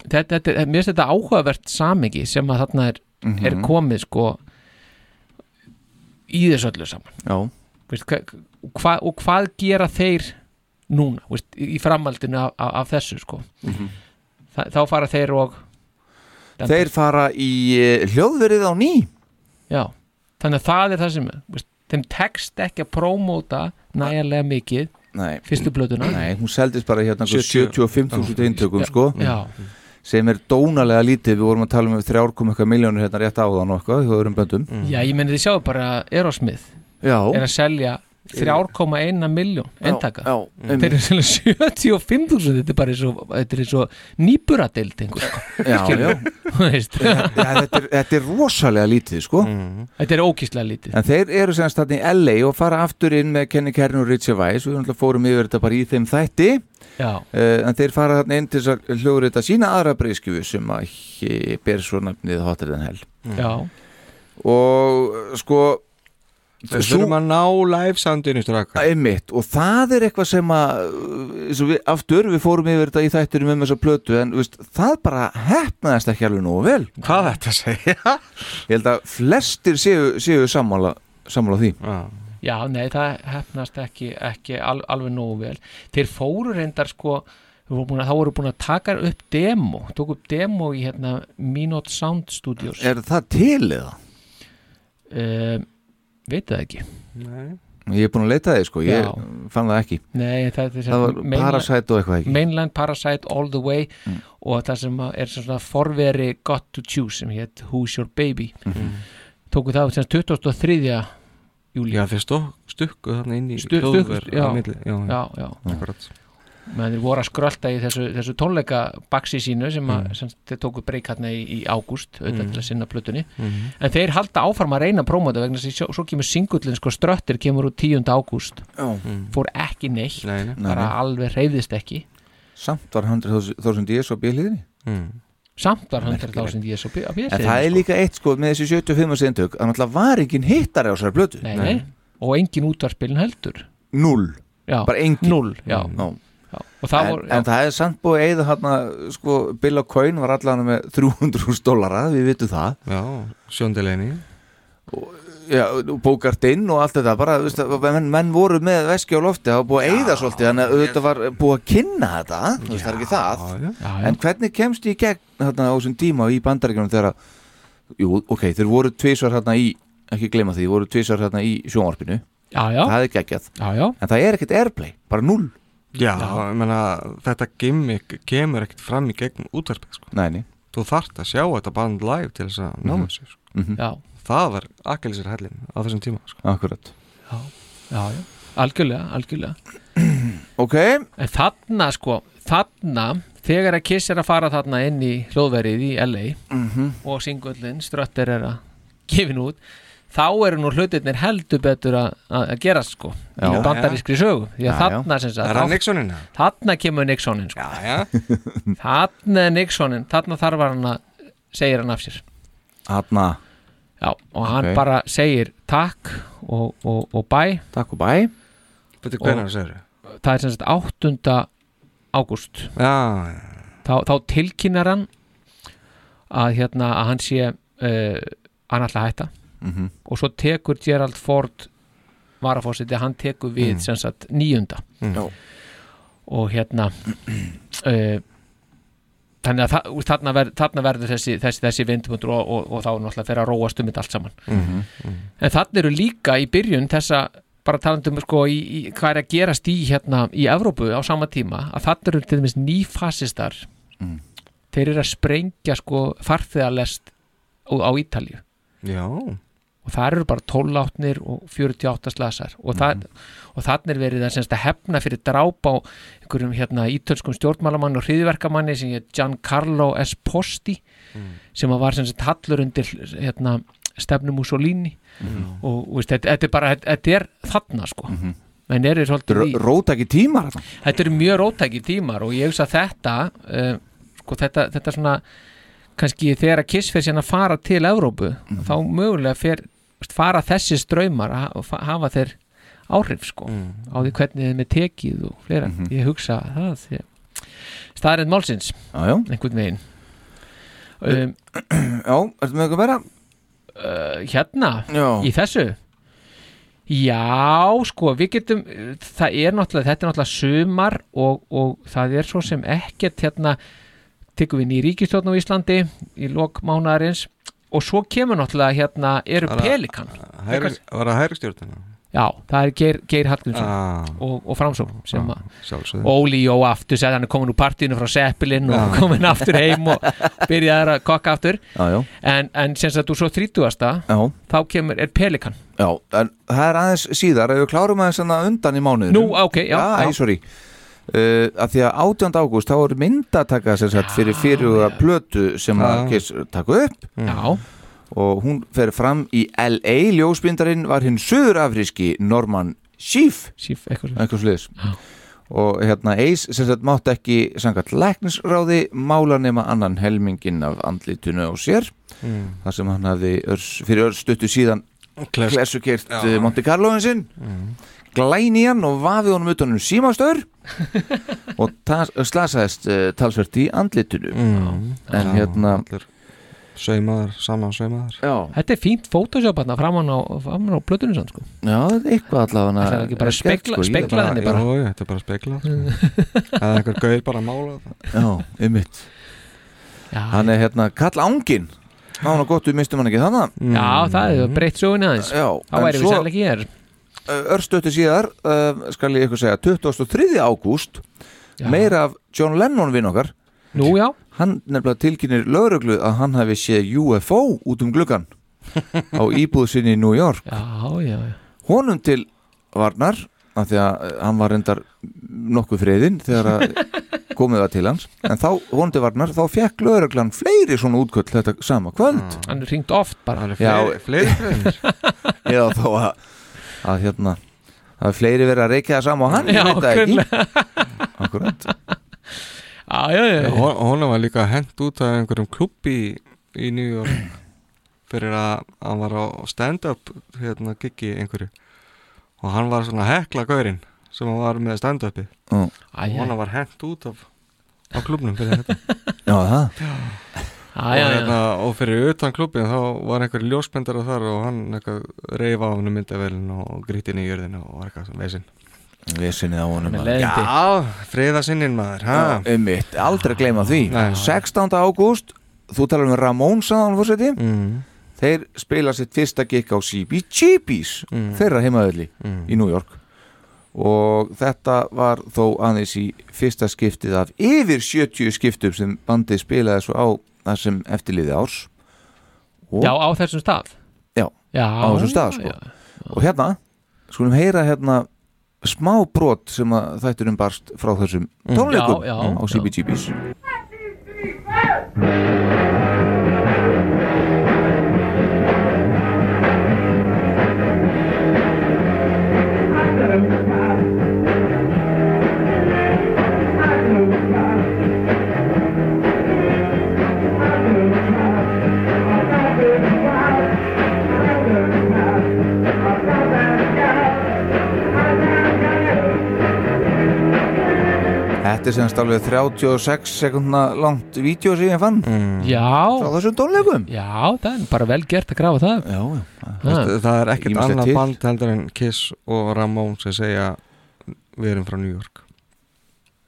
D: þetta, þetta, er- mér finnst þetta áhugavert samingi sem að þarna er,
B: Mhm.
D: er komið sko í þessu öllu saman
B: Já.
D: Veist, hva, hva, og hvað gera þeir núna veist, í í framhaldinu af, af, af þessu sko
B: Mhm.
D: Þa, þá fara þeir og
B: Þeir fara í eh, hljóðverið á ný
D: Já, þannig að það er það sem veist, þeim tekst ekki að prómóta nægjarlega mikið
B: Nei.
D: fyrstu blötuna
B: Nei, hún seldist bara hérna einhver
D: 70.
B: 75.000 eintökum sko
D: Já.
B: sem er dónalega lítið, við vorum að tala um 3,1 miljónir hérna rétt áðan og eitthvað í öðrum böndum
D: Já, ég meni þið sjáðu bara Erosmith
B: Já.
D: Mm. er að selja 3,1 miljón
B: Já,
D: endaka
B: já, einmitt.
D: þeir eru að selja 75.000 þetta er bara eins og, þetta er eins og nýburadeild einhver sko.
B: Já, já.
D: Skilurðu? Þú veist.
B: Já, þetta, er, þetta er rosalega lítið sko
D: Þetta er ókíslega lítið
B: En þeir eru sem sagt þarna í LA og fara aftur inn með Kenny Kern og Richie Weiss og við náttúrulega fórum yfir þetta bara í þeim þætti
D: Já.
B: Eh, En þeir fara þarna inn til þess að hljóður þetta sína aðra breyskjöfu sem að eh, ber svo nafnið Hotter than Hell
D: Já.
B: Og eh, sko
C: Við þurfum að ná live soundinu straka
B: Einmitt, og það er eitthvað sem að uh, eins og við, aftur, við fórum yfir þetta í þættunum um þessa plötu en veist, það bara hefnaðist ekki alveg nógu vel
C: Hvað þetta segja?
B: Ég held að flestir séu, séu sammála, sammála því
C: Já,
D: Já, nei, það hefnast ekki, ekki al, alveg nógu vel. Þeir fóru reyndar sko, þeir voru búin að- þá voru búin að taka upp demo, tók upp demo í hérna Minot Sound Studios.
B: Er það til eða?
D: Um, veit það ekki.
C: Nei.
B: Ég er búin að leita þig sko, ég
D: Já.
B: fann það ekki
D: Nei, það, það,
B: Það var Parasite og eitthvað ekki? Mm.
D: Mainland Parasite All The Way og það sem að er svona forveri Got To Choose sem hétt Who's Your Baby tóku það sem 23. júli
C: Já, þeir stó- stukku þarna inn í
D: Stu-
C: hljóðver
D: stukkust- já.
C: á milli. Já,
D: Já, já.
C: Akkurat.
D: meðan þeir voru að skrölda í þessu, þessu tónleika baksi sínu sem,
B: Mm.
D: að, sem þeir tóku breyk hérna í, í ágúst auðvitað
C: Mm.
D: til að sinna plötunni
B: Mm-hmm.
C: Mhm.
D: en þeir halda áfram að reyna að prómóta vegna þess að sjó- svo kemur singullin sko ströttir kemur úr 10. ágúst
B: Mm.
D: fór ekki neitt
C: Nei, nei.
B: Nei,
D: bara
B: nei.
D: alveg reyðist ekki
B: samt var 100.000 DS á bíliðinni
C: mm.
D: samt var 100.000 í þessu að
B: en það er líka eitt sko með þessi 75 sendök að náttúrulega var engin hittari á sér blötu
D: Nei, nei. og engin útvarspilin heldur
B: null,
D: Já.
B: bara engin Mm.
D: null, já. Já. Og það
B: en,
D: voru- já.
B: en það er samt búið eða hann sko, Bill og Coyne var allan með 300.000 dólara, við vitum það
C: já, sjóndilegni
B: já, bókartinn og allt þetta bara, þú veist, að menn, menn voru með veski á lofti, það var búið að eða svolítið þannig að auðvitað var búið að kynna þetta þú veist, það er ekki það
D: já.
B: en hvernig kemst ég gegn þarna á þessum tíma í bandaríkjunum þegar að jú, ok, þeir voru tvisvar hérna í ekki gleyma því, voru tvisvar hérna í sjónvarpinu
D: já, já.
B: það er geggjað
D: já, já.
B: en það er ekkert airplay, bara null
C: Já, ég meina, þetta gimmick kemur ekkert fram í gegnum útvarpið sko.
B: Nei, nei.
C: Þú þart að sjá þetta band live til þess að náma
B: Mhm.
C: sig sko.
B: Mhm.
D: Já.
C: Það var akkilisir hellin á þessum tíma sko.
B: Akkurat
D: já, já. algjörlega, algjörlega
B: ok
D: en þarna sko, þarna þegar að Kiss er að fara þarna inn í hljóðverið í LA
B: Mhm.
D: og singullin, ströttir er að gefin út þá eru nú hlutirnir heldur betur að- að að gerast sko
C: Já.
D: í bandarískri sögu því
C: Já,
D: að
C: já.
D: þarna sem sagt
C: Er það
D: þá-
C: Nixoninn, eða?
D: þarna kemur Nixonin sko.
C: já, já.
D: þarna er Nixonin, þarna þarf hann að segir hann af sér
B: Hanna
D: já, og hann
B: Ok.
D: bara segir takk og, og, og bæ
B: takk og bæ
C: Bíddu, hvenær segirðu?
D: það er sem sagt 8. ágúst
C: já,
D: þá, þá tilkynnar hann að hérna að hann sé uh, hann ætla að hætta
B: Mhm.
D: og svo tekur Gerald Ford varafósiti, hann tekur við
C: Mm.
D: sem sagt nýjunda
C: Mm. Já.
D: og hérna uh, þannig að þa- úr þarna, ver, þarna verður þessi, þessi, þessi vindumundur og, og, og þá náttúrulega fer að róast um þetta allt saman
C: Mhm,
D: Mm. en þarna eru líka í byrjun þessa bara talandum sko í, í, hvað er að gerast í hérna í Evrópu á sama tíma að þarna eru til dæmis nýfasistar
B: Mm.
D: þeir eru að sprengja sko farþegalest á, á Ítalju
C: já.
D: og það eru bara 12 átnir og 48 slasar og, það,
C: Mm.
D: og þannig er verið að, semst, að hefna fyrir dráp á einhverjum hérna, ítölskum stjórnmálamann og hriðverkamanni sem hétt Giancarlo Esposti
C: Mm.
D: sem að var sem sagt hallur undir hérna, stefnu Mussolini
B: Mhm.
D: og, og veist, þetta, þetta er bara þetta þetta er þarna sko menn eru svolítið
B: Þetta
D: í-
B: eru rótæki tímar þarna.
D: þetta eru mjög rótæki tímar og ég hugsa að þetta uh, sko þetta, þetta svona kannski þegar að Kiss fer sérna að fara til Evrópu
B: Mhm.
D: þá mögulega fer veist, fara þessi ströymar að ha- fa- hafa þeir áhrif sko
B: Mhm.
D: á því hvernig þeim er tekið og fleira ég hugsa að það því staðarind málsins
B: Já, já.
D: einhvern veginn um,
B: Já, ertu með eitthvað vera?
D: Uh, hérna,
B: Já.
D: í þessu Já, sko, við getum það er náttúrulega, þetta er náttúrulega sumar og, og það er svo sem ekkert hérna, tekum við ný ríkistjórn á Íslandi í lokmánaðarins og svo kemur náttúrulega hérna, eru
C: Var það-
D: pelikan
C: Hægri, var það hægri stjórnina?
D: Já, það er Geir, Geir Hallgrímsson
C: Ah.
D: og, og Framsókn sem að
C: sjálfsögðu.
D: Óli Jó aftur, sagði hann er komin úr partíinu frá Seppilin og
C: Já.
D: komin aftur heim og byrjaði að kokka aftur
B: Já, já.
D: en, en sem sagt úr svo 30.
B: Já.
D: þá kemur, er pelikan
B: Já, en það er aðeins síðar ef við klárum aðeins hana undan í mánuðinu
D: Nú, ok, já,
B: Já, æ,
D: já.
B: sorry Uh, að því að 18. ágúst þá er myndataka sem sagt fyrir fyrirhuga plötu sem að
C: Já.
B: Kiss taka upp
D: Já.
B: og hún fer fram í LA ljósbindarinn var hinn söðurafríski Norman Schiff
D: Schiff, eitthvað
B: sliðis og hérna Ace sem sagt mátt ekki sangat læknisráði mála nema annan helmingin af andlitinu á sér
C: Mm.
B: þar sem hann hafði örs, fyrir örstuttu síðan
C: Klesst.
B: klessukert
C: Já.
B: eh, Monte Carloin sinn
C: Mm.
B: glæni hann og vafið honum utan um símastör og tas- slasaðist uh, talsvert í andlitinu
C: mm.
B: en hérna
C: Saumaður, saman saumaður
B: Já.
D: Þetta er fínt Photoshop hérna framan á, framan á plötunum sann sko
B: Já, þetta er eitthvað allavega
D: Ætlaði ekki bara að
B: er skemmt,
D: spegla-
B: sko, ég-
D: spegla henni bara?
C: Jó, jú, þetta er bara speklað sko. Eða einhver gauð bara að mála það
B: Já, einmitt Hann er hérna Kall Ángin Ná hann gott, við mistum hann ekki þannig
C: Mm.
D: Já, það hefur breytt sögunni aðeins
B: Mm. Já,
D: Þá
B: en
D: væri við
B: svo-
D: sérlega ekki hér
B: Örstötti Eh, síðar, uh, skal ég ykkur segja 23. ágúst Meira af John Lennon vinn okkar
D: Nú, já
B: Hann nefnilega tilkynir lögreglu að hann hafi séð UFO út um gluggan á íbúð sinni í New York
D: já, já, já.
B: honum til varnar af því að eh, hann var reyndar nokkuð friðinn þegar að komið var til hans en þá, honum til varnar, þá fekk lögreglan fleiri svona útköll þetta sama kvöld
D: hann er ringt oft bara
B: Já. eða þá að, að hérna að fleiri verið að reykja það sama á hann
D: Já,
B: ég veit það
D: greinilega.
B: ekki akkurat
D: Já, já, já, já.
C: Hún var líka hent út af einhverjum klubbi í New York fyrir að hann var á stand-up hérna giggi einhverju og hann var svona að hekla gaurinn sem hann var með stand-upi
B: Já.
C: og hann var hent út af á klubnum fyrir þetta
B: Já, það
D: Já, já,
C: og,
D: já.
C: hérna, og fyrir utan klubbin þá var einhver ljósmyndara þar og hann eitthvað reyfa á hann myndavélin og gríti inn í jörðina og var eitthvað sem veisinn
B: Vesinni á honum
C: Hann er
B: maður.
C: leiðandi. Já, friða sinnin maður ha?
B: Ummitt, aldrei gleyma því 16. ágúst, þú talar um Ramón sáðan fórseti mm. Þeir spila sitt fyrsta gig á CBGB's mm. Þeirra heimaðurli í New York Og þetta var þó aðeins í fyrsta skiptið af yfir 70 skiptum sem bandið spilaði svo á það sem eftirliði árs og,
D: já, á þessum stað
B: já,
D: Já,
B: á þessum stað sko. og hérna, skulum heyra hérna smá brot sem að þætturum barst frá þessum tónleikum
D: Mm, Já, já,
B: á
D: já.
B: CBGB's Þetta er semst alveg 36 sekundna langt vídeo sem ég fann mm.
D: Já
B: Frá þessum tónleikum
D: Já, það er bara vel gert að grafa það
B: Já, já
C: Veistu,
D: Ah.
C: Það er ekkert
B: Ýmislegt
C: annað
B: til.
C: band heldur en Kiss og Ramón sem segja við erum frá New York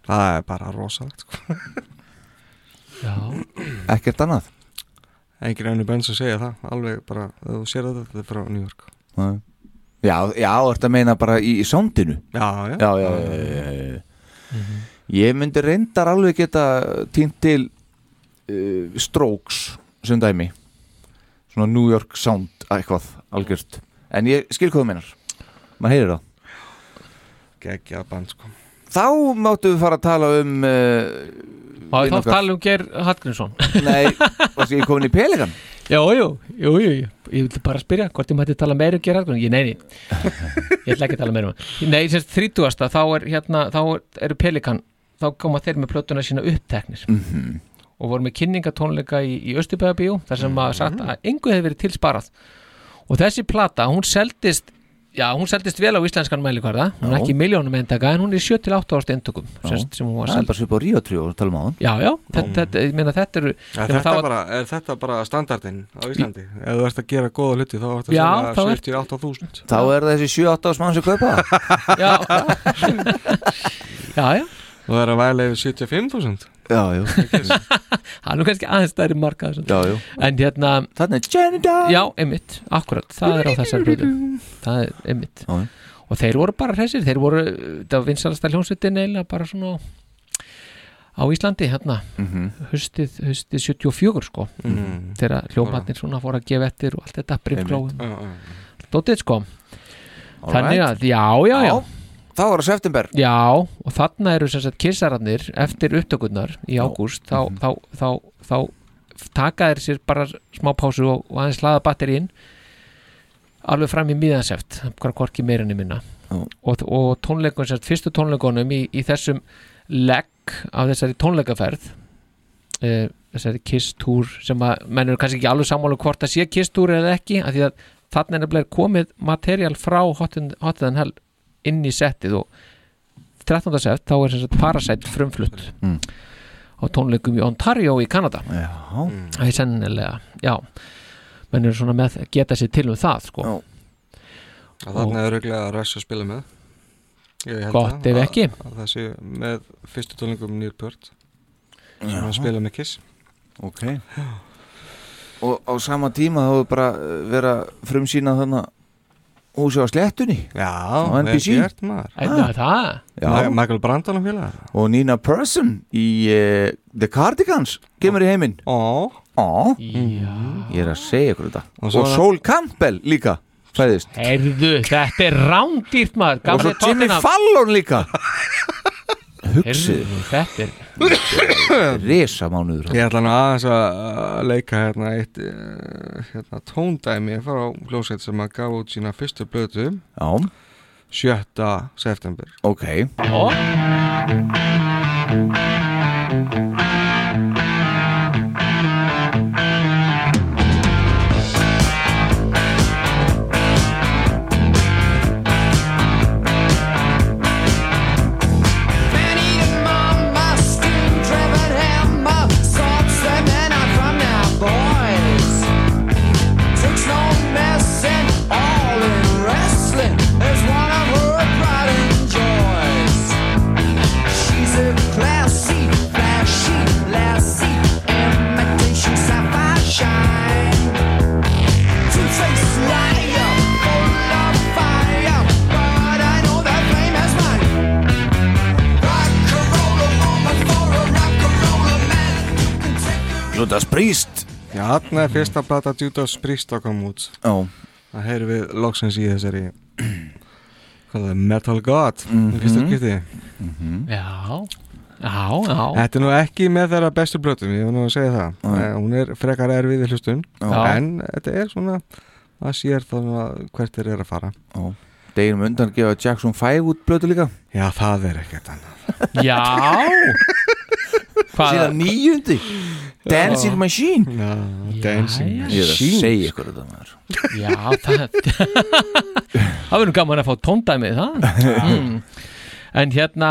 C: Það er bara rosalegt sko.
D: Já
B: Ekkert annað
C: Engin önnu bönn sem segja það alveg bara, ef þú sér þetta, þetta er frá New York
B: Nei. Já, já, ertu að meina bara í, í soundinu
C: Já, já.
B: já, já, já, já, já, já. Ég myndi reyndar alveg geta týnt til uh, Strokes sem dæmi Svona New York sound eitthvað algjört En ég skil hvað þú meinar Maður heyrir það
C: Gekkja band sko
B: Þá máttu við fara að tala um uh,
D: Má ég
B: vin
D: þá
B: okkar.
D: tala um Geir Hallgrímsson
B: Nei, varstu ég komin í pelikan?
D: Jú, jú, jú, jú, jú Ég vildi bara spyrja hvort ég mætti tala meira um Geir Hallgrímsson Ég, nei, nei, ég ætla ekki að tala meira um hann Nei, semst 30. þá er hérna, þá er, eru Pelikan Þá koma þeir með plötuna sína uppteknir
B: Mhm.
D: Og voru með kynningatónleika í, í Östubæðabíu Þar sem að
C: Mm.
D: sagt að engu hefði verið til sparað Og þessi plata, hún seldist Já, hún seldist vel á íslenskan mælikvarða Hún er
B: Já.
D: ekki í miljónum eintaka En hún er 7-8 ást eintökum semst, sem hún var
B: Það er
D: seld
B: bara svip á Rio 3 og tala um á hann
D: Já, já, þetta, þetta, ég meina þetta eru
C: Er
D: nema
C: Mm. þetta,
D: það var-
C: bara, er þetta bara standardinn á Íslandi? Ef þú ert að gera góða hluti þá ertu
D: Já,
C: að
D: þá
C: segja
D: ert-
C: 78.000
B: Þá er það þessi 7-8 ás mann sem kaupa það.
D: Já, já
C: Þú er að væla yfir 75.000
B: Já, já
D: Hann er kannski aðeins stærri marka þessu.
B: Já, já.
D: En hérna
B: Þannig er Jenny Down
D: Já, einmitt, akkurat, það er á þessar blödu Það er einmitt
B: já.
D: Og þeir voru bara hressir, þeir voru Það var vinsalasta hljónsvitin eiginlega bara svona á- Á Íslandi, hérna
B: Mhm.
D: Haustið, haustið 74 sko
C: Mhm.
D: Þegar hljómatnir svona fóru að gefa eftir Og allt þetta brimklóðum
C: Já, já, já.
D: Dótið sko
B: All
D: Þannig
B: right.
D: að, já, já, já
B: Þá var það september
D: Já, og þarna eru sem sagt kissararnir eftir upptökurnar í ágúst þá, þá, þá, þá, taka þeir sér bara smá pásu og, og aðeins hlaða batterín alveg fram í miðanseft hvað hvorki meirinni minna
B: Já.
D: og, og tónleikun, sem sagt fyrstu tónleikunum í, í þessum legg af þessari tónleikaferð uh, þessari kisstúr sem að menn eru kannski ekki alveg sammála um hvort að sé kisstúr eða ekki, af því að þarna er nefnilega komið materiál frá hotiðan hel inn í settið og 13. sept þá er sem sagt Parasite frumflutt
B: Mm.
D: á tónleikum í Ontario í Kanada
B: Já
C: Mm.
D: Það er sennilega, já menn eru svona með að geta sér til um það sko.
B: Já
C: Að Þarna er auðvitað að Rush að spila með Ég held
D: Gott
C: það,
D: ef ekki.
C: að- að Það sé með fyrstu tónlingum Neil Peart sem hann spila með Kiss
B: Ok Og á sama tíma þá er bara uh, vera frumsýna þannig húsi á slettunni
C: Já,
B: á NBC
C: vel gert, maður.
D: Æ, það er það.
C: Ma-
B: Ah. Já.
C: Michael Brandon og félaga
B: eh, Og Nina Persson í uh, The Cardigans kemur í heiminn
C: Ó
B: Ó, ég er að segja ykkur þetta
D: Og
B: Og,
D: svo er það-
B: Sol Campbell líka fæðist
D: Heyrðu, þetta er rándýrt maður
B: Og svo
D: gamli
B: Jimmy
D: Tottenham.
B: Fallon líka
D: Heyrðu,
B: Hugsið
D: Þetta er
B: Risa mánuður
C: Ég ætla nú aðeins að að leika hérna eitt eh, hérna, tóndæmi frá hljósett sem að gaf út sína fyrstu blötu
B: Já
C: 7. september
B: Ok
D: Ó.
E: Two-faced liar, full of fire, but I know that flame is mine.
B: Judas Priest
C: Já, þarna er fyrsta plata Judas Priest að koma út
B: Já
C: Það heyrum við loksins í þessari hvað það er, Metal God mm -hmm.
B: Mhm.
C: fyrsta skipti
D: Já, já, já
C: Þetta er nú ekki með þeirra bestu blötum, ég var nú að segja það Æ. Hún er frekar erfið í hlustun
B: Já.
C: En þetta er svona að sér þannig hvert þeir eru að fara
B: Já Deginum undan gefa Jackson 5 út blötu líka
C: Já, það er ekkert annað
D: Já
B: Hvað? Síðan nýjundi Dancing Machine
C: Já, Dancing
D: Jæja.
B: Ég er að
D: Machine.
B: segja ykkur þetta maður
D: Já, það Það verður gaman að fá tóndæmið það mm. En hérna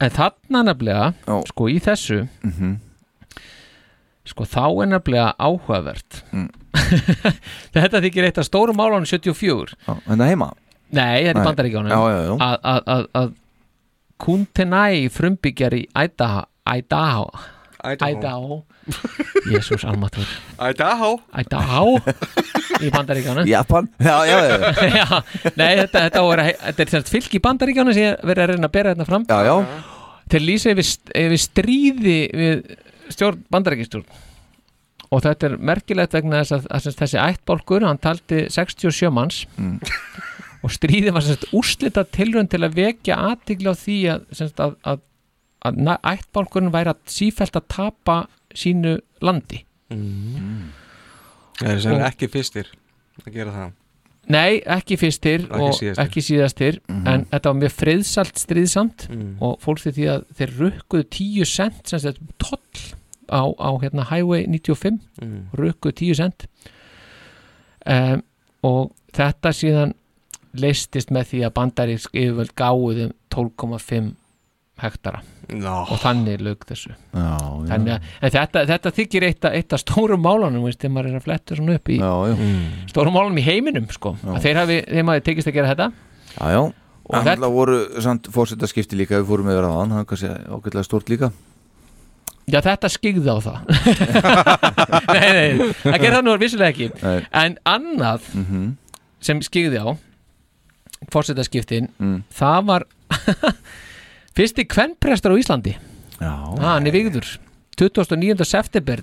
D: En þarna nefnilega Sko í þessu
B: Mhm.
D: Sko þá er nefnilega áhugavert
B: Hmm.
D: Þetta þykir eitt af stórum málunum 74
B: Já, Þetta hérna heima
D: Nei, þetta
B: Nei.
D: er bandaríkjónum
B: Já, já, já.
D: Að, að, að, að Kuntenai frumbyggjar í Idaho Idaho
C: Idaho.
D: Idaho Jésús almatur
C: Idaho
D: Idaho í bandaríkjónum
B: Japan Já, já, já, já.
D: já, nei, þetta, þetta, var, þetta er semst fylg í bandaríkjana sem ég verið að reyna að bera þetta fram
B: já, já.
D: til lýsa yfir, st- yfir stríði við stjórn bandaríkjastjórn og þetta er merkilegt vegna þess að, að semst, þessi ættbálkur, hann taldi 67 manns
B: Mm.
D: og stríði var semst úrslita tilrönd til að vekja aðtigla á því að, semst, að, að, að na- ættbálkurinn væri að sífælt að tapa sínu landi
C: Það eru sem
D: Og-
C: ekki fyrstir að gera það
D: Nei, ekki fyrstir
C: Ekki
D: og
C: síðastir.
D: ekki síðastir
B: Mhm.
D: en þetta var mjög friðsalt stríðsamt
C: Mhm.
D: og fólk því því að þeir rukkuðu 10 cent sem þetta toll á, á hérna Highway 95
C: Mhm.
D: rukkuðu 10 cent um, og þetta síðan leistist með því að bandarísk yfirvöld gáðu þeim 12,5 hektara
C: no.
D: og þannig lög þessu
B: Já, já.
D: Þannig að, en þetta, þetta þykir eitt af- eitt af stórum málanum, veist, þegar maður er að fletta svona upp í
B: Já, já.
D: stórum málum í heiminum, sko
B: Já.
D: að þeir hafi, þeim hafi tekist að gera þetta
B: Já, já
D: Og
B: Það þetta... voru samt fórsetaskipti líka við fórum yfir að hann, hann kannski ágætlega stórt líka
D: Já, þetta skigði á það Nei, nei, það gerði það nú vissulega ekki
B: Nei.
D: En annað
B: Mhm.
D: sem skigði á fórsetaskiptin
B: Mm.
D: það var fyrsti kvenprestur á Íslandi
B: Já
D: ah, Hann er vigður 29. september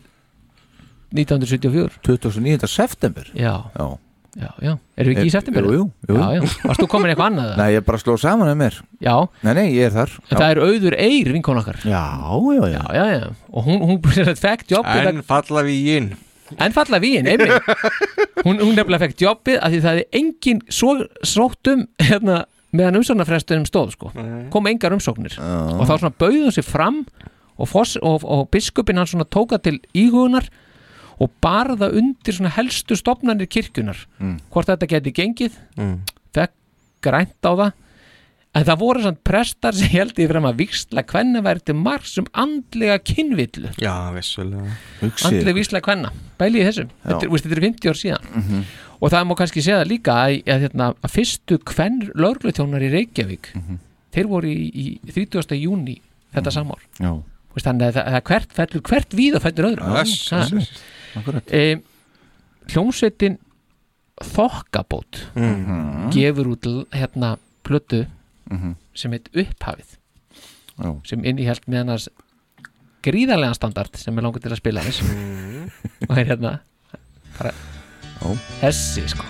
D: 1974
B: 29. september
D: Já,
B: Já,
D: já, já Erum við ekki í
B: Eh,
D: september?
B: Jú, jú, jú.
D: Já, já Varst þú komin eitthvað annað?
B: Nei, ég bara sló saman að mér
D: Já
B: Nei, nei, ég er þar
D: En það er auður eir vinkon okkar
B: Já, já, já,
D: já, já. Og hún, hún fekk jobb
C: En falla við í inn
D: En falla vín, einmitt hún, hún nefnilega fekk jobbið að því það er engin svo, sóttum hérna, meðan umsóknarfrestunum stóð sko. kom engar umsóknir og þá svona bauðum sér fram og, foss, og, og biskupin hann svona tóka til íhugunar og barða undir svona helstu stopnarnir kirkjunar
E: Mm.
D: hvort þetta geti gengið
E: Mm.
D: fekk grænt á það en það voru svona prestar sem heldur fram að viksla kvenna væri til marg sem andlega kynvillu
C: Já, vissulega
D: andlega vísla kvenna, bælið þessu þetta er, veist, þetta er 50 ár síðan
C: Mhm.
D: og það má kannski segja það líka að, að, hérna, að fyrstu kvenn lögluþjónar í Reykjavík
C: Mhm.
D: þeir voru í, í 30. júni þetta samár
B: já.
D: veist, þannig að það, það hvert, fellur, hvert víð og fellur öðru
B: Yes, yes, yes. Akkurat.
D: e, hljómsveitin Þokkabót
B: Mhm.
D: gefur út l- hérna plötu
B: Mhm.
D: sem heit upphafið
B: Já.
D: sem innihjalt með annars gríðarlegan standard sem er langur til að spila þess og það er hérna bara
B: Mhm. Ó.
D: þessi sko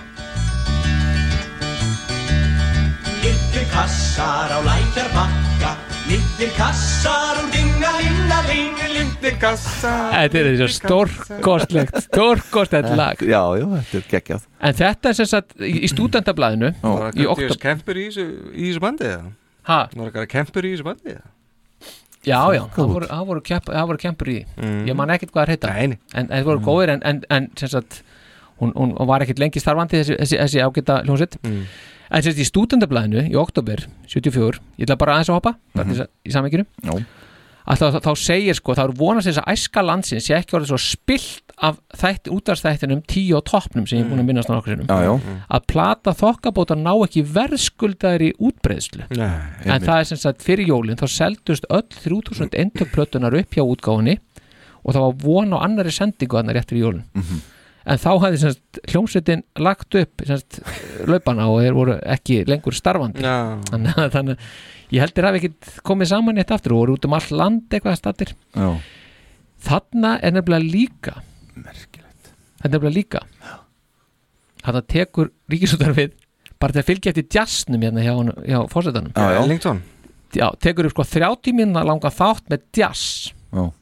E: Litlir kassar á lækjarbakka Litlir kassar úr dingalingaling Litlir kassar
D: þetta er þessi stórkostlegt stórkostlegt lag
B: já, Eh, já, þetta er geggjað
D: en þetta er sem sagt í í stúdentablaðinu
C: Var
D: í
C: ekki
D: oktober
C: kempur í þessu, í þessu bandi eða?
D: Ha?
C: Var ekki kempur í þessu bandi eða?
D: já, já, það voru, það voru, kepp, það voru kempur í því.
C: Mm.
D: ég man ekkert hvað það heita en, en það voru
C: Mm.
D: góðir en, en, en sem sagt hún, hún var ekkert lengi starfandi þessi, þessi, þessi ágæta hljómsveit
C: Mm.
D: en sem sagt í stúdentablaðinu í oktober 74 ég ætla bara aðeins að hoppa bara
B: Mhm.
D: til þess að- í samvíkinu
B: Já.
D: að þá, þá, þá segir sko þá er vonast þess að æska landsins sé ekki orðið svo spilt af þætt, útvarstættinum tíu og toppnum sem ég er búin að minnast á nokkur sinnum
B: Mm. Já, já.
D: að plata þokkabóta ná ekki verðskuldaðir í útbreiðslu
B: Nei,
D: en það er sem sagt fyrir jólin þá seldust öll 3000 eintökplötunar upp hjá útgáfunni og það var von á annari sendingu þannig rétt fyrir jólin
B: Mhm.
D: en þá hafði sem sagt, hljómsveitin lagt upp sem sagt, laupana og þeir voru ekki lengur starfandi
C: Já.
D: þannig, að- þannig að ég heldur hafi ekkit komið saman eitt aftur og voru út um all land eitthvað stattir
B: Já.
D: þarna er nefnilega líka merkilegt þetta er nefnilega líka þarna tekur ríkisútarfið bara til að fylgja eftir jazznum hérna hjá, honum- hjá fórsetanum
C: Já, já. Ellington.
D: já, tekur upp sko 30 minna langa þátt með jazz
B: Já.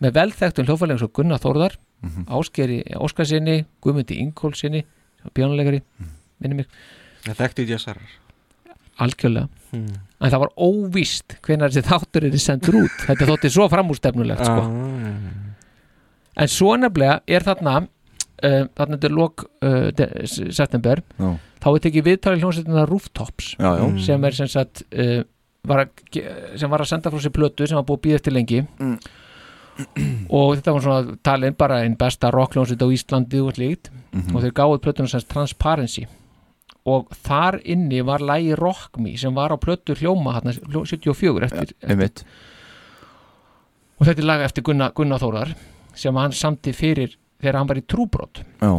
D: með velþektum hljófælega eins og Gunnar Þórðar
C: Mhm.
D: Áskeri Óskarsinni, Guðmundi Ingólfsinni bjónulegari,
C: Mhm.
D: minni mig
C: Það þekkti í jazzarar
D: algjörlega
C: Hmm.
D: en það var óvíst hvenær þessi þáttur er sendur út þetta þótti svo framústefnulegt
C: Ah,
D: sko. en svo nefnilega er þarna uh, þarna þetta er lok uh, de- s- september
B: Já.
D: þá er tekið viðtalið hljómsveitina Rooftops
B: Já, já.
D: sem er sem sagt uh, var að, ge- sem var að senda frá sér plötu sem var búið að býða eftir lengi
B: Mm.
D: og þetta var svona talin bara einn besta rockljónsveit á Íslandi og slíkt
B: Mhm.
D: og þeir gáðu plötunum sem sagt Transparency og þar inni var lægi Rock Me sem var á plötu hljóma hérna 74 eftir,
B: einmitt
D: og þetta er laga eftir Gunnar, Gunnar Þórar sem hann samti fyrir þegar hann var í trúbrot
B: já,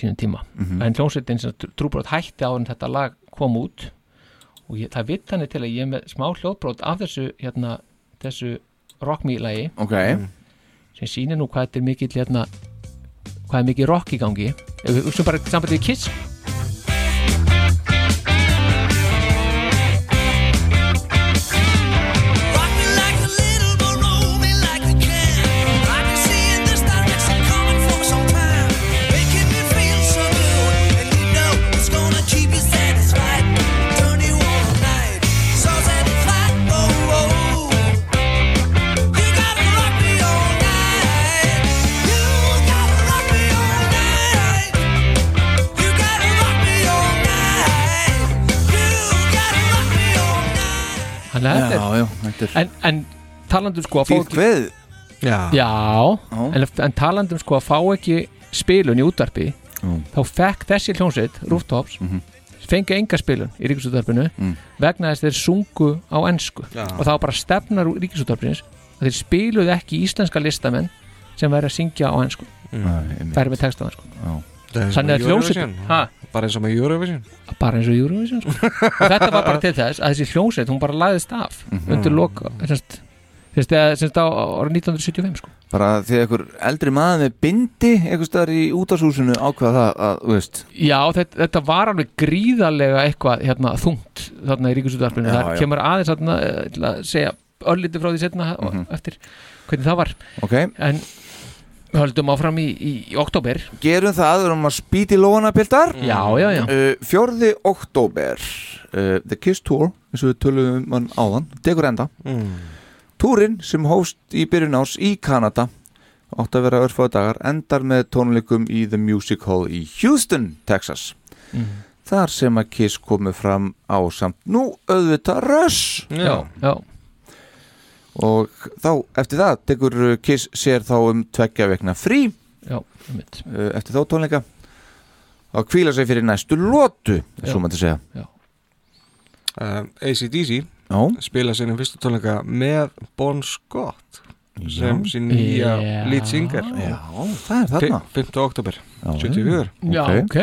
D: sínum tíma
B: Mhm.
D: en hljómsveitin sem Trú- trúbrot hætti á en þetta lag kom út og ég, það vitt hann til að ég er með smá hljóðbrot af þessu hérna, þessu rock me lagi
B: ok
D: sem sýnir nú hvað þetta er mikill hérna, hvað er mikið rock í gangi ef við hugsaum bara sambandi við Kiss
E: oh,
D: Þannig að þetta
B: Já,
D: er-
B: já, þetta er-
D: en, en talandum sko að fá
B: Fýrt kveð
C: Já,
D: Já, en, en talandum sko að fá ekki spilun í útvarpi þá fekk þessi hljónsveit, Rooftops mm fengi enga spilun í ríkisútvarpinu vegna þess þeir sungu á ensku
C: Já.
D: og það var bara stefnar úr ríkisútvarpinins að þeir spiluðu ekki íslenska listamenn sem væri að syngja á ensku
B: Mm.
D: færi með textaðan sko
C: Það er eins og
D: Þannig að
C: með
D: hljómsveitin-
C: Eurovision.
D: Ha?
C: Bara eins og með Eurovision
D: bara eins og Eurovision sko. og þetta var bara til þess að þessi hljómsveit hún bara lagðist af
B: Mhm.
D: undir lok semst, semst, semst, semst á árið 1975 sko.
B: bara þegar einhver eldri maður með bindi einhvers staðar í útashúsinu ákvaða það að, þú veist
D: Já, þetta, þetta var alveg gríðarlega eitthvað hérna, þungt þarna í ríkisútvarpinu
B: Já,
D: það
B: já.
D: kemur aðeins þarna eh, til að segja örlítið frá því setna mm
B: Mhm.
D: eftir hvernig það var
B: okay.
D: en við höldum áfram í, í, í oktober
B: Gerum það, við erum að spýti lóana piltar
D: Já, já, já.
B: uh, Fjórði oktober uh, The Kiss Tour, eins og við töluðum mann áðan Degur enda
C: Mm.
B: Túrin sem hóst í byrjun ás í Kanada átt að vera örfáða dagar endar með tónleikum í The Music Hall í Houston, Texas
D: Mhm.
B: Þar sem að Kiss komu fram á samt nú auðvitað Rush
D: Já, já.
B: Og þá, eftir það, tekur uh, Kiss sér þá um tveggja vekna frí
D: Já, einmitt.
B: Uh, Eftir þá tónleika Þá kvíla sig fyrir næstu lotu
C: Já.
B: Svo maður segja
D: Já.
C: uh, ACDC
B: Já.
C: spila sinni fyrstu tónleika með Bon Scott sem
B: Já.
C: sín nýja
B: Já.
C: lead singer
B: Já, það er þarna.
C: Fi- 5. oktober
B: Já,
C: 74
D: Já, ok,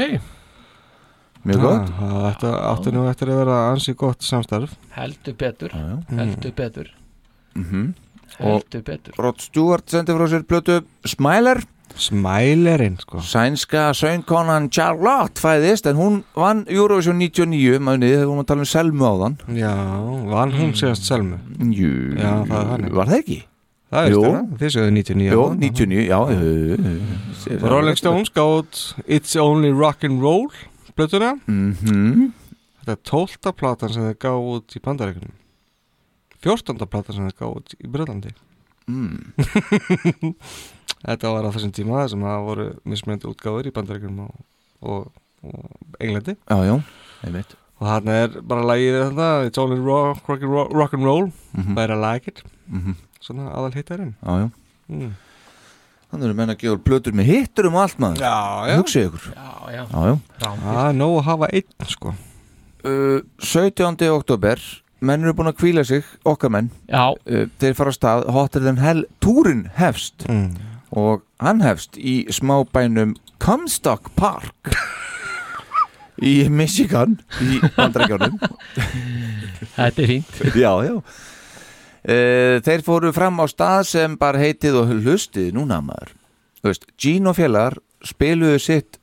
B: Mjög gott.
C: Já, Ah, það- Þetta átti nú eftir að vera ansi gott samstarf
D: heldur betur
B: já.
D: heldur betur
B: Mhm.
D: Heldur betur.
B: og Rod Stewart sendi frá sér plötu Smiler Smilerinn sko Sænska söngkonan Charlotte fæðist en hún vann Eurovision 99 maður þegar hún að tala um Selmu á þann Já, vann
C: hún síðast
B: Selmu? Jú,
C: Já, það er þannig.
B: var það ekki?
C: Það er
B: Jú.
C: stjórn, þið séuðu 99
B: Jó,
C: ára.
B: 99, já jú, jú.
C: Rolling Stones gátt It's Only Rock and Roll blötuna
B: Mhm.
C: Þetta er tólta platan sem þeir gáð út í bandaríkunum Fjórtanda platan sem þeir gáð út í Breitlandi mm. Þetta var á þessum tíma sem það voru mismöndi útgáður í bandaríkunum og, og, og Englandi
B: Já, já, einmitt
C: Og þarna er bara lagið þetta It's Only Rock, rock, and, roll, rock and Roll
B: Mhm.
C: Bara like it
B: Mhm.
C: Svona aðal hittarinn
B: Já, já
C: Mm.
B: Þannig eru menn að gefa plötur með hittur um allt maður
C: Já, já.
B: Hugsið ykkur
C: já.
B: já, já.
C: Rándýrt. Það er nóg að hafa einn sko
B: uh, 17. oktober menn eru búin að kvíla sig, okkar menn
D: uh,
B: þeir fara að stað hotter than hell, túrin hefst
C: Mm.
B: og hann hefst í smábænum Comstock Park í Michigan í Bandarækjónum
D: Þetta er fínt
B: já, já Uh, þeir fóru fram á stað sem bara heitið og hlustið núna maður Þú veist, Gene og félagar spiluðu sitt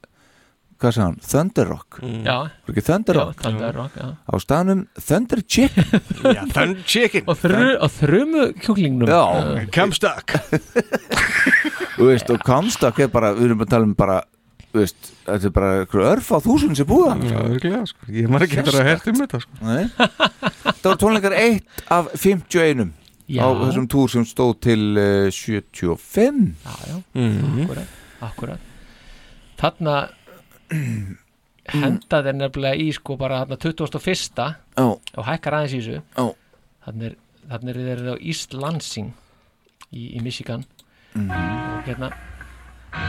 B: hvað sagði hann, Thunder Rock
D: Mm. Já.
B: Var ekki Thunder
D: Já,
B: Rock
D: Thunder Rock, já.
B: á staðnum Thunder Chicken
C: Já, Thunder Chicken
D: Og, þru, og þrumu kjúklingnum
B: Já.
C: Comstock
B: Þú veist, og Comstock er bara, við erum að tala um bara þú veist, þetta er bara einhver örf á þúsund sem búða
C: Já, örglega, sko. Ég maður ekki eftir að hafa heyrt um þetta, sko.
B: Nei. Það voru tónleikar 1 af 51
D: Já.
B: á þessum túr sem stóð til uh, 75
D: Já, já,
B: Mhm.
D: akkurat, akkurat Þarna henda þeir nefnilega í sko bara þarna 21.
B: Já.
D: og hækkar aðeins í þessu
B: Já.
D: Þarna er, þarna er þeir á East Lansing í, í Michigan
B: Mhm.
D: og hérna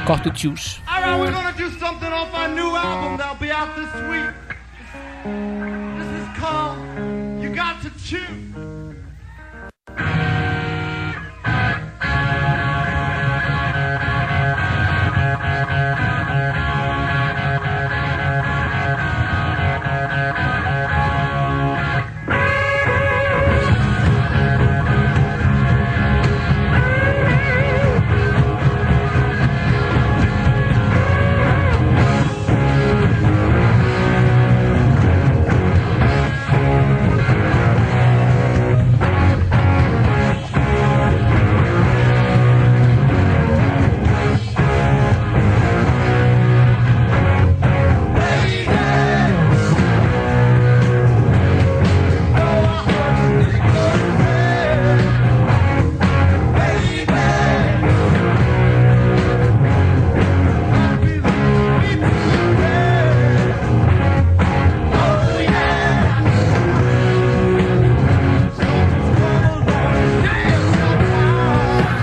D: Got to Juice
H: All right, we're gonna do something off our new album that'll be out this week. This is called You Got to Choose.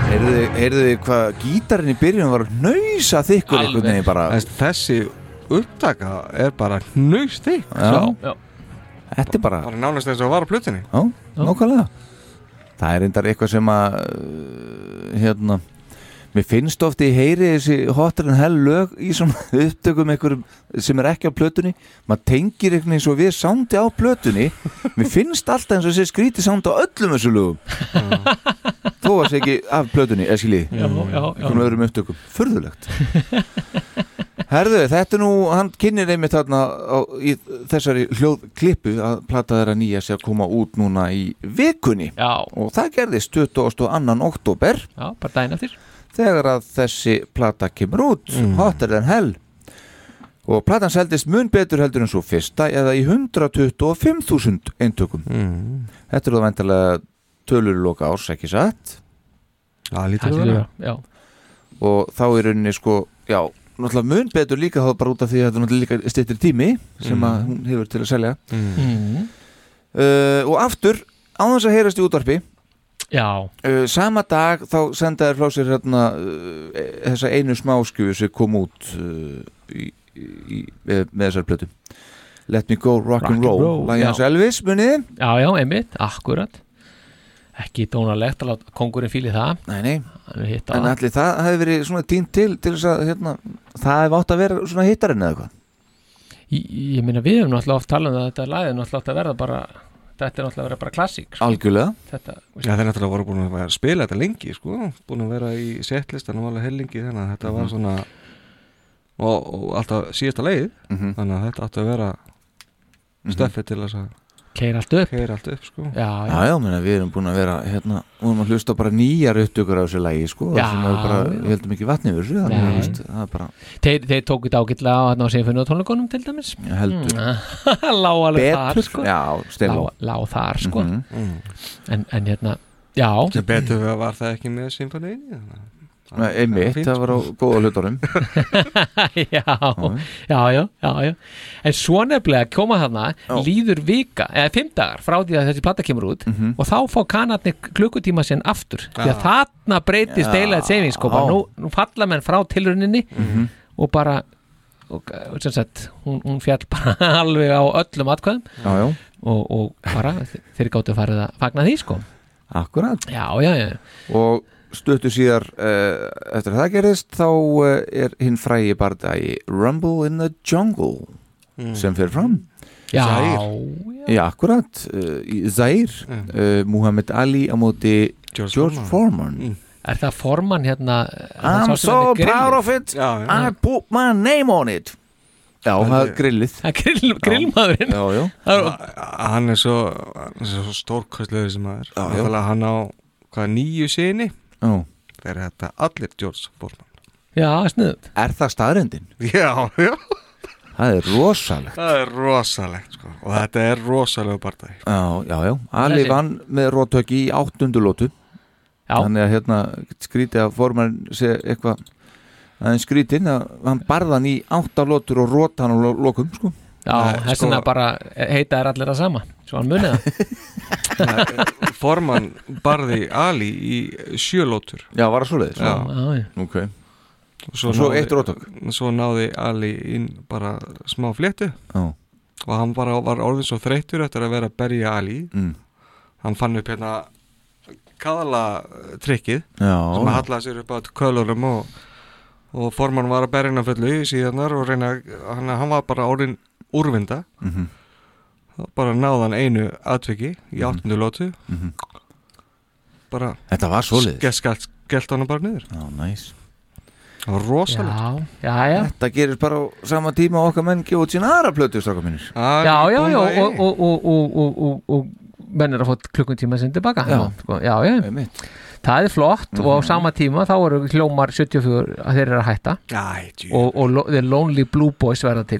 B: Heyrðu heyrðu þið hvað gítarinn í byrjun var nöysa þykkur einhvern veginn bara
C: Þess- Þessi upptaka er bara nöyst þig
B: Já. Þetta er bara
C: Það er nánast eins og var á plutinni
B: Já, nákvæmlega Það er reyndar eitthvað sem að uh, hérna Mér finnst ofti í heyri þessi hotar en hell lög í svona upptökum einhverjum sem er ekki á plötunni maður tengir einhvern eins og við sándi á plötunni mér finnst alltaf eins og þessi skríti sándi á öllum þessu lögum þó að sé ekki af plötunni eskili,
D: Já, já, já.
B: einhvern öðrum upptökum furðulegt Herðu, þetta er nú, hann kynir einmitt þarna á, í þessari hljóðklippu að plata þeirra nýja sé að koma út núna í vikunni
D: Já.
B: og það gerðist 22. oktober
D: Já, bara dæna eftir
B: þegar að þessi plata kemur út hotter than hell og platan seldist mun betur heldur en svo fyrsta eða í 125.000 eintökum mm. Þetta eru það vendilega tölur loka árs, ekki satt?
C: Já,
D: Það að vera. vera, já.
B: og þá er rauninni sko, já, náttúrulega mun betur líka þá bara út af því að þetta er náttúrulega líka styttir tími sem að
C: Mm.
B: hún hefur til að selja
D: Mm.
B: uh, og aftur á þess að heyrast í útvarpi
D: Já,
B: Uh, sama dag þá sendaði frá sér hérna, uh, e- þessa einu smáskjöfu sem kom út uh, í, í, með, með þessar plötu Let me go rock, and roll, roll Lagi hans Elvis, munið
D: Já, já, einmitt, akkurat Ekki dónalegt að láta kongurinn fíli það
B: Nei, nei
D: Hann er hitt á
B: En
D: það
B: allir það hefði verið svona tínt til til þess að hérna, það hefði átt að vera svona hittarinn eða eitthvað
D: Ég, ég meina við erum náttúrulega oft talað um að þetta lagið er náttúrulega átt að verða bara þetta er náttúrulega að vera bara klassík sko.
B: Algjörlega.
D: þetta,
C: Já, þeir náttúrulega voru búin að vera að spila þetta lengi sko, búin að vera í setlistan og alveg hellingi þannig að þetta
B: Mhm.
C: var svona og, og alltaf síðasta leið
B: Mhm.
C: þannig að þetta átti að vera steffi til þess að
D: Keir allt upp
C: Keir allt upp sko
D: Já,
B: Já, já, menna, við erum búin að vera hérna, við erum að hlusta á bara nýjar upptökur á þessu lægi, sko,
D: Já,
B: sem er bara,
D: já.
B: við heldum ekki vatni yfir þessu, þannig að,
D: Nei.
B: þú veist, það er bara
D: þeir, þeir tóku þetta ágætlega á hann á sinfinu og tónleikunum til dæmis
B: Já, heldur.
D: Lá alveg þar
B: Betur.
D: sko
B: Já, Stella.
D: Lá- Lá þar sko
B: Mhm.
D: en, en hérna, já
C: Mm. sem betur við að var það ekki með symfóniðinni
B: Nei, einmitt, það var á góða hlutunum
D: já, já, já, já, já En svo nefnilega koma þarna líður vika, eða fimm dagar frá því að þessi platta kemur út
B: Mhm.
D: og þá fá kanarnir klukkutíma sinn aftur því að
C: Já.
D: þarna breytist
C: Já.
D: eiginlega savings sko, bara
C: Já.
D: nú, nú falla menn frá tilruninni
B: Mhm.
D: og bara og, og sem sagt, hún, hún fjall bara alveg á öllum atkvæðum
B: Já, já.
D: Og, og bara þeir gáttu farið að fagna því sko
B: Akkurat
D: Já, já, já
B: Og stuttu síðar uh, eftir að það gerðist þá uh, er hinn frægi bardagi Rumble in the Jungle
C: Mm.
B: sem fer fram
C: Já,
B: já. já akkurat uh, í Zair, uh, Muhammad Ali á móti George, Foreman, Hmm.
D: Er það formann hérna
B: I'm so proud of it I put my name on it Já, það er grillið
D: grill, Grillmaðurinn
B: Já, já
C: hann er svo, hann er svo stórkastlegur sem maður
B: Já, já.
C: Náttúrulega hann á hvað nýju sinni
B: Já.
C: þeir þetta allir George Foreman
D: Já, sniðut
B: Er það staðrendin?
C: Já, já
B: Það er rosalegt
C: það er rosalegt sko og þetta er rosalega barndæg
B: Já, já, já, Ali
C: Þessi.
B: vann með róttöki í áttundu lótu
D: Já.
B: Þannig að hérna skrítið að formann sé eitthvað aðeins skrítinn að hann barðan í átta lótur og rót hann á lo- lokum sko.
D: Já, þess vegna bara heita er allir að sama Svo hann munið það
C: Forman barði Ali í sjölótur
B: Já, var það svoleiðis?
C: Já,
D: Já, já.
B: Ok Og svo eitt róttök?
C: Svo náði Ali inn bara smá fléttu
B: Já.
C: og hann bara var orðin svo þreyttur eftir að vera að berja Ali
B: Mm.
C: hann fann upp hérna kaðala eh, trikkið
B: Já.
C: sem að hallaði sér upp á kölunum og, og forman var að berja hann að fullu í síðanar og reyna hann, hann var bara orðin úrvinda
B: Mhm.
C: Þá bara náði hann einu atviki í áttundu lótu
B: Mhm.
C: bara
B: Þetta var svoleiðis.
C: skell- skell- skellt hann bara niður
B: Já, næs
C: Það var rosalegt
D: Já, já, já
B: Þetta gerir bara á sama tíma og okkar menn gefa út sína aðra plötu strákar mínir
D: Já, já, já, og, og, og, og, og, og, og menn er að fá klukkun tíma sinni tilbaka
B: Já.
D: sko, já, já. Það er flott og á sama tíma þá eru hljómar 74 að þeir eru að hætta
C: Æ, djú.
D: og, og lo- The Lonely Blue Boys verða til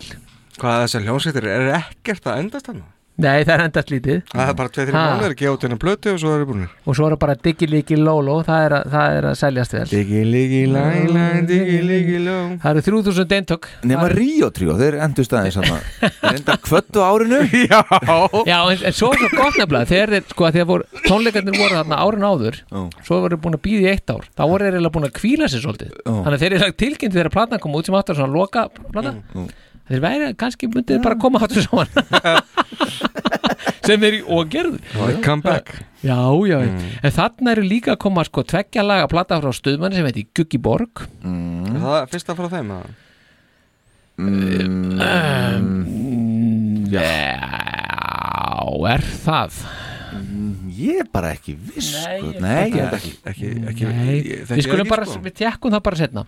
C: hvað þessar hljómsveitir er ekkert að endast hann
D: Nei, það er endast lítið
C: það er bara tveið þrjum
D: Ha.
C: mánuður að gefa út hennar plötu og svo er það búinir
D: Og svo eru bara Diggi Liggi Lolo, það er að, það er að seljast vel
C: Diggi Liggi Læ Læ Diggi Liggi Ló
D: Það eru 3000 eintök
B: Nefna Ríó tríó, þeir endur staðins hann Reynda kvöttu á árinu
C: Já
D: Já, en, en svo er það gott nefnilega þegar þeir, sko, þegar voru, tónleikarnir voru þarna árin áður svo voru þeir búin að býða í eitt ár þá voru þeir eiginlega búin að kvíla sér svolítið þannig að þeir eru tilkynnt þegar platan kom út sem áttur svona loka plata þeir væri, kannski myndið þeir bara koma áttur saman sem þeir og gerðu
C: Já, come back.
D: Já, já,
B: Mm.
D: en þarna eru líka að koma sko tveggja laga plata frá stuðmanni sem heiti Guggi Borg
B: mm.
C: það er fyrsta frá þeim að
B: Mm,
D: um, Já er það
B: Mm, Ég er bara ekki viss
D: Nei,
B: sko.
D: ég-
B: Nei, ég
D: Þetta-
B: er ekki
C: ekki, ekki,
D: Nei, við skulum bara,
B: sko.
D: við tekkum það bara setna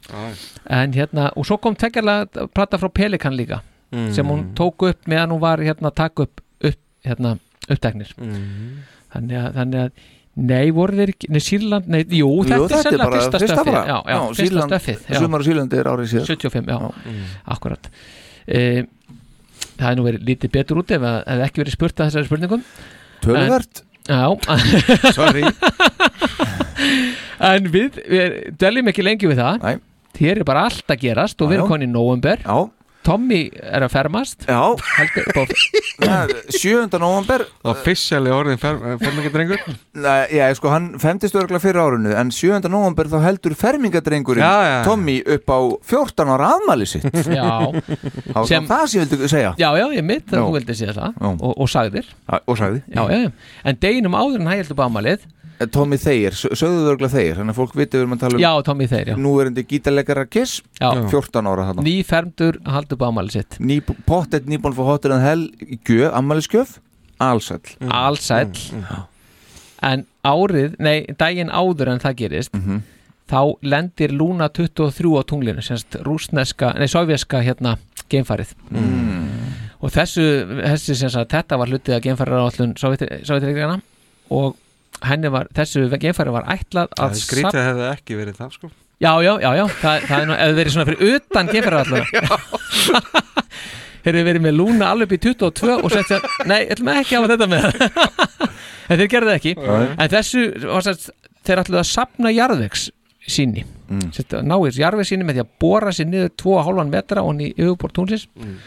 D: en hérna, og svo kom tekjarlega plata frá Pelikan líka
C: Mm.
D: sem hún tók upp meðan hún var hérna að taka upp, upp hérna, uppteknir
C: Mm.
D: þannig, að, þannig að nei, voru þeir ekki, nei, Sýrland nei, jú, þetta er sennilega
B: bara
D: fyrsta stöfið já, já, fyrsta
B: Sýrland-
D: stöfið já.
B: Sumar og Sýrlandi er árið síðan
D: 75, já, akkurat e, Mm. það er nú verið lítið betur út ef það hefði ekki verið spurt að þessari spurningum
B: Töluvert.
D: En- Já
C: Sorry
D: En við, við dveljum ekki lengi við það
B: Nei.
D: Hér er bara allt að gerast og við erum
B: Já.
D: konni í november
B: Já.
D: Tommy er að fermast
B: Já eh,
D: Heldur,
B: bó, 7. november
C: og fyrstjæli orðin fermingadrengur
B: Nei, já, sko, hann femtist örgla fyrir árinu en 7. november þá heldur fermingadrengurinn
C: Já, já, já.
B: Tommy upp á 14 ára afmæli sitt
D: Já.
B: Það sem...
D: Sem-
B: það sem ég vildi segja
D: Já, já, ég mitt,
B: Já.
D: þú vildi segja það
B: Já.
D: og, og sagðir
B: Já, Og sagði
D: já, já, já. En deginum áður en hæ heldur bámalið
B: Eh, Tommy Þeir, sö- sögðu örgla Þeir þannig að fólk viti við erum að tala um
D: Já, Tommy Þeir, já
B: núverandi gítarleikara Kiss
D: Já.
B: 14 ára þarna
D: Nýfermdur haldur bámalið sitt
B: Ný, Pottet nýbúin fór hotur en hel gjöf, ammæliskjöf Alsæll
C: Mm,
D: Mm. Alsæll En árið, nei, daginn áður en það gerist
C: Mhm.
D: Þá lendir Luna 23 á tunglinu Sérst rúsneska, nei, sovjaska hérna geimfarið
C: Mm.
D: Og þessu, þessi sem sagt, þetta var hlutið að geimfarið á allun sovjetreikana Og henni var, þessu geimfarið var ætlað
C: Það
D: að
C: er skrítið
D: safn-
C: að hefði ekki verið það sko
D: Já, já, já, já, Þa, það er nú, ef þið verið svona fyrir utan geimferðarallara Þeir eru verið með lúna alveg upp í 22 og sett sér, nei, ætlum við ekki að hafa þetta með En þeir gerðu það ekki
E: Nei.
D: En þessu, var sagt, þeir ætluðu að sapna jarðvegs síni mm. Sett, Náir jarðvegs síni með því að bóra sér niður 2,5 metra og hann í yfirbór túnsins
C: Mm.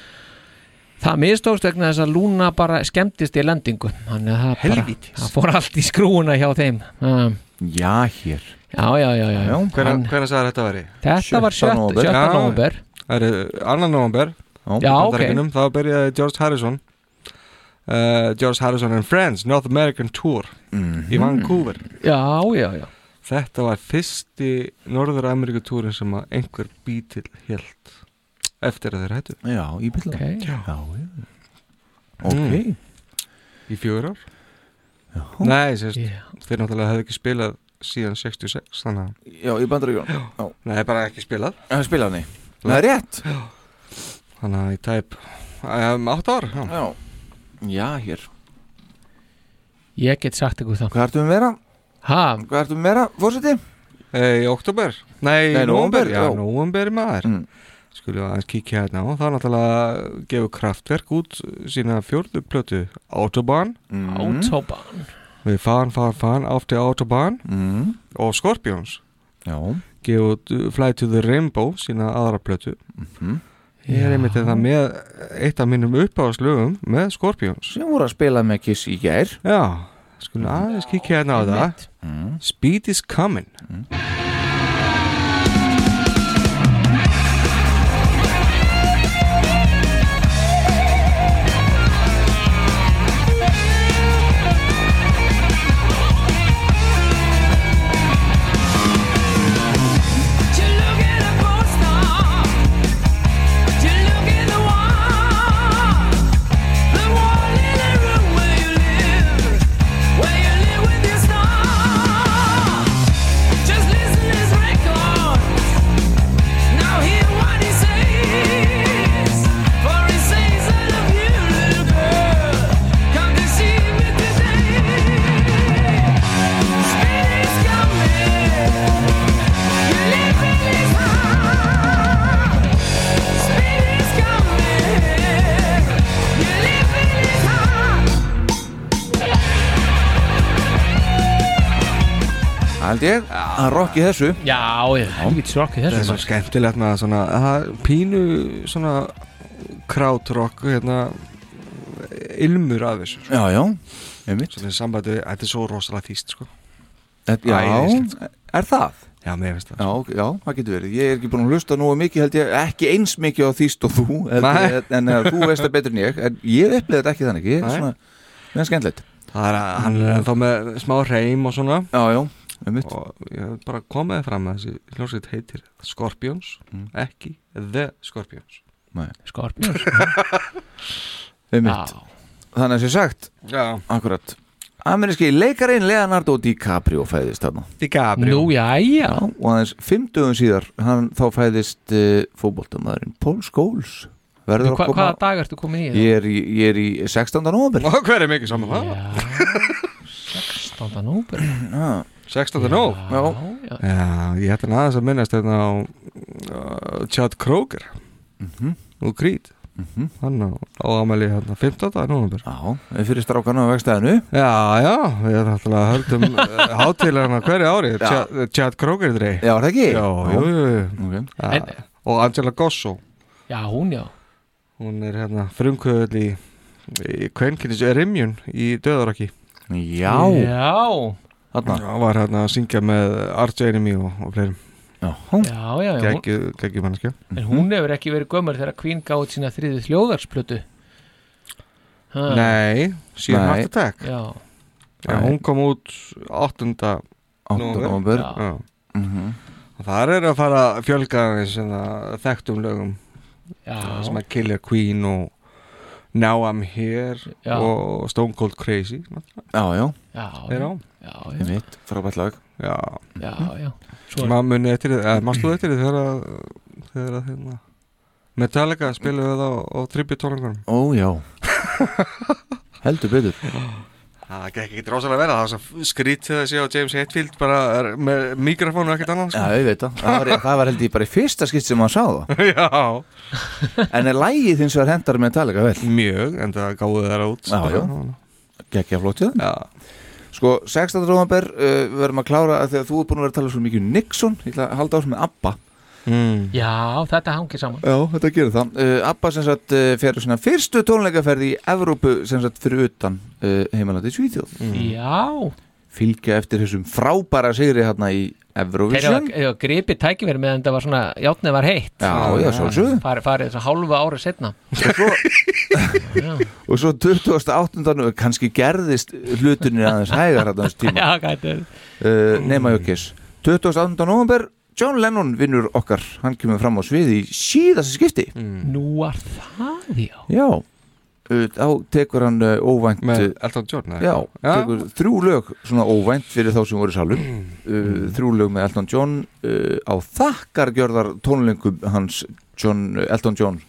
D: Það mistókst vegna þess að lúna bara skemmtist í lendingu Þannig að það, bara, það fór allt í skrúuna hjá þeim um,
B: Já, hér
D: Já, já, já, já, já. Hann-
C: Hvernig sagði þetta væri?
D: Þetta var Sjötta nóvember. sjötta
C: Já,
D: nóvember.
C: Það er eh, annan november
D: Já, ok.
C: Þá byrjaði George Harrison uh, George Harrison and Friends North American Tour í Vancouver
D: Mhm. Já, já, já
C: Þetta var fyrsti Norður Ameríku túrin sem að einhver bítill held eftir að þeir hættu
B: Já, í byrla
D: okay.
B: Já, já Ok.
C: Mm. Í fjögur ár Nei, sérst, þeir náttúrulega hefði ekki spilað síðan 66 þannig að
B: Já, í bandaríkjónum
C: Nei, bara ekki spilað
B: Já, spilað, nei Nei, rétt
C: Þannig að í tæp um, 8 ár Já,
B: já. já hér
D: Ég get sagt ykkur það
B: Hvað ertu með meira?
D: Ha?
B: Hvað ertu með meira, fórseti?
C: Eh, Í oktober Nei,
B: Nei,
C: í
B: nóvember,
C: nóvember Já,
B: já.
C: nóvember maður mm. Skulum aðeins kíkja hérna á Það er náttúrulega gefur kraftverk út sína fjórðu plötu Autobahn
B: Mm.
D: Autobahn
C: Við fan, fan, fan átti Autobahn mm. og Scorpions
B: Já
C: gefur út uh, Fly to the Rainbow sína aðra plötu
B: Mhm.
C: Ég er einmitt þetta með eitt af mínum uppáðslögum með Scorpions
B: Sem voru að spila með Kiss í gær
C: Já, skulum aðeins kíkja hérna á það
B: Mm.
C: Speed is coming
B: Hald ég að rocki þessu
D: Já, ég helvít srokki
C: Það er
D: þessu
C: svo skemmtilegt með svona, það pínu svona krautrock hérna ilmur af þessu sko.
B: Já, já, einmitt
C: Svona í sambandi, við- þetta er svo rosalega þýst sko
B: Þetta- já,
C: Æðislegt, sko.
B: er það?
C: Já, mér finnst það
B: Já, ok, já, það getur verið Ég er ekki búin að hlusta nógu mikið held ég ekki eins mikið á þýst og þú heldur,
C: Nei.
B: en eh, þú veist það betur en ég en ég upplifði þetta ekki þannig ég er
C: Nei.
B: svona, meðan skemmtilegt
C: Það er að hann er ennþá með smá reym og svona
B: Já, já, um mitt
C: Og ég hef bara komaði fram að þessi hljómsveit heitir Scorpions,
B: Mm.
C: ekki The Scorpions
D: Skorpjón
B: um mitt Þannig að sé sagt,
C: Já.
B: akkurat Ameríski leikarinn Leonardo DiCaprio fæðist þarna
C: DiCaprio
D: Nú, já, já
B: og aðeins fimm dögum síðar hann þá fæðist uh, fótboltamæðurinn Paul Scholes verður
D: Hva,
B: að koma
D: Hvaða dag ertu komin í það?
B: ég er, í- ég er í 16. november
C: Og hver er mikið saman það?
D: Standa nóber
C: 16. nóg
D: Já,
C: Já, ég ætla aðeins að minnast þetta á uh, Chad Kroger
B: Mhm.
C: og Creed hann á, á ámæli hérna 15. november
B: Já, fyrir strákana á vegstæðinu
C: Já, já, við erum alltaf að höldum hátilegana eh, hverju ári Chad, Chad Kroger drey
B: Já, er það ekki?
C: Já, jú, jú, jú.
B: Ok.
C: Ja, Og Angela Gosso
D: já hún já
C: hún er hérna frumkvöðul í, í kvenkinis Rimjun í Döðaraki
B: Já,
D: Já
B: Þarna.
C: Hún var hérna að syngja með Arch Enemy og, og fleirum
D: Já, já, já hún,
C: Gægjum mannskja
D: En
B: Mhm.
D: hún hefur ekki verið gömur þegar Queen gáði sína þriðu hljóðarsplötu ha.
C: Nei, síðan
B: Nei.
C: Heart Attack
D: Já.
C: Já, hún kom út 8.
B: 8. nóvember.
C: Já.
B: Mhm.
C: Og Þar er að fara að fjölga aðeins sem það þekktum lögum
D: Já.
C: sem að Killer Queen og Now I'm Here
D: Já.
C: og Stone Cold Crazy náttúrulega.
B: Já, já
D: Já,
C: Er
D: já.
C: á
D: Já, já.
B: Einmitt, frábært lag Mhm.
C: Já,
D: Já, já. Svo er-
C: Maður muni eftir því, eða mannstu eftir því þegar að þegar að hérna Metallica spilaðu það á, á tributólungunum
B: Ó já Heldur betur
C: Það gekk ekki rosalega vera, það var svo skrítið að sé á James Hetfield bara er, með mikrofónu og ekkert annað sko.
B: Já, ég veit það Það var, það var held ég bara í fyrsta skipt sem hann sá það
C: Já
B: En er lægið hins vegar hendar Metallica vel
C: Mjög, en það gáði þeirra út
B: Já, já Gekkja flott í það
C: Já
B: Sko, 16. november uh, við verðum að klára að þegar þú er búin að vera að tala svo mikið um Nixon, ég ætla að halda áfram með Abba
C: mm.
D: Já, þetta hangir saman
B: Já, þetta gerir það uh, Abba sem sagt uh, fer á sína fyrstu tónleikaferði í Evrópu sem sagt fyrir utan uh, heimalandi Svíþjóð
D: Já
B: Fylgja eftir þessum frábæra sigri hérna í
D: Þeir
B: Eurovision
D: hafa gripið tækifæri meðan þetta var svona játnið var heitt
B: Já, já, sjálfsögðu. Mhm.
D: Farið, farið svona hálfa ári setna
B: og svo 28. november kannski gerðist hlutunir aðeins hægar hérna á þessu tíma
D: Já, gæti verið.
B: uh, nema jökis 28. november John Lennon vinnur okkar, hann kemur fram á sviði í síðasta skipti
D: Nú var það, já
B: Já uh, þá tekur hann uh, óvænt
C: Með Elton John, eða?
B: Já,
C: Já.
B: tekur þrjú lög svona óvænt fyrir þá sem voru í salum
C: Mm.
B: uh, þrjú lög með Elton John uh, á þakkargjörðar tónlingum hans John, uh, Elton John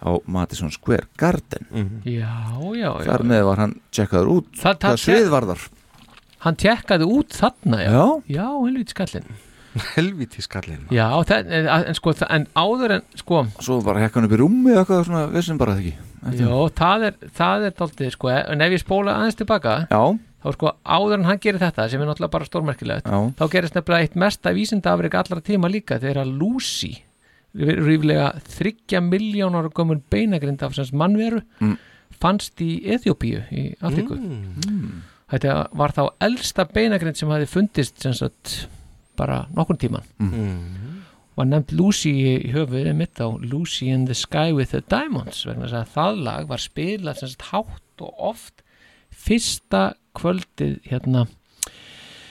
B: á Madison Square Garden
C: Mhm.
D: Já, já, já
B: þar með var hann tjekkaður út
D: Það- það-
B: hvað svið var þar
D: Hann tekkaði út þarna, já
B: Já.
D: Já, helviti skallin
C: Helviti skallin
D: Já, það, en, en sko, það, en áður en sko
B: Svo bara hekkan upp í rúmi eða eitthvað svona vissum bara það ekki
D: Jó, það er, það er dálítið sko En ef ég spóla aðeins tilbaka
B: Já,
D: Þá sko, áður en hann gerir þetta sem er náttúrulega bara stórmerkilegt
B: já,
D: þá gerist nefnilega eitt mesta vísindaafrik allra tíma líka þegar að Lucy ríflega 30 miljónar gömur beinagrind af sem mannveru
B: Mm.
D: fannst í Eþjópíu í Afríku
B: Mm.
D: þetta var þá elsta beinagrind sem hafi fundist sem sagt, bara nokkurn tíman var nefnd Lucy í höfuðið mitt á Lucy in the Sky with the Diamonds vegna þess að það lag var spilað sem sagt hátt og oft fyrsta kvöldið hérna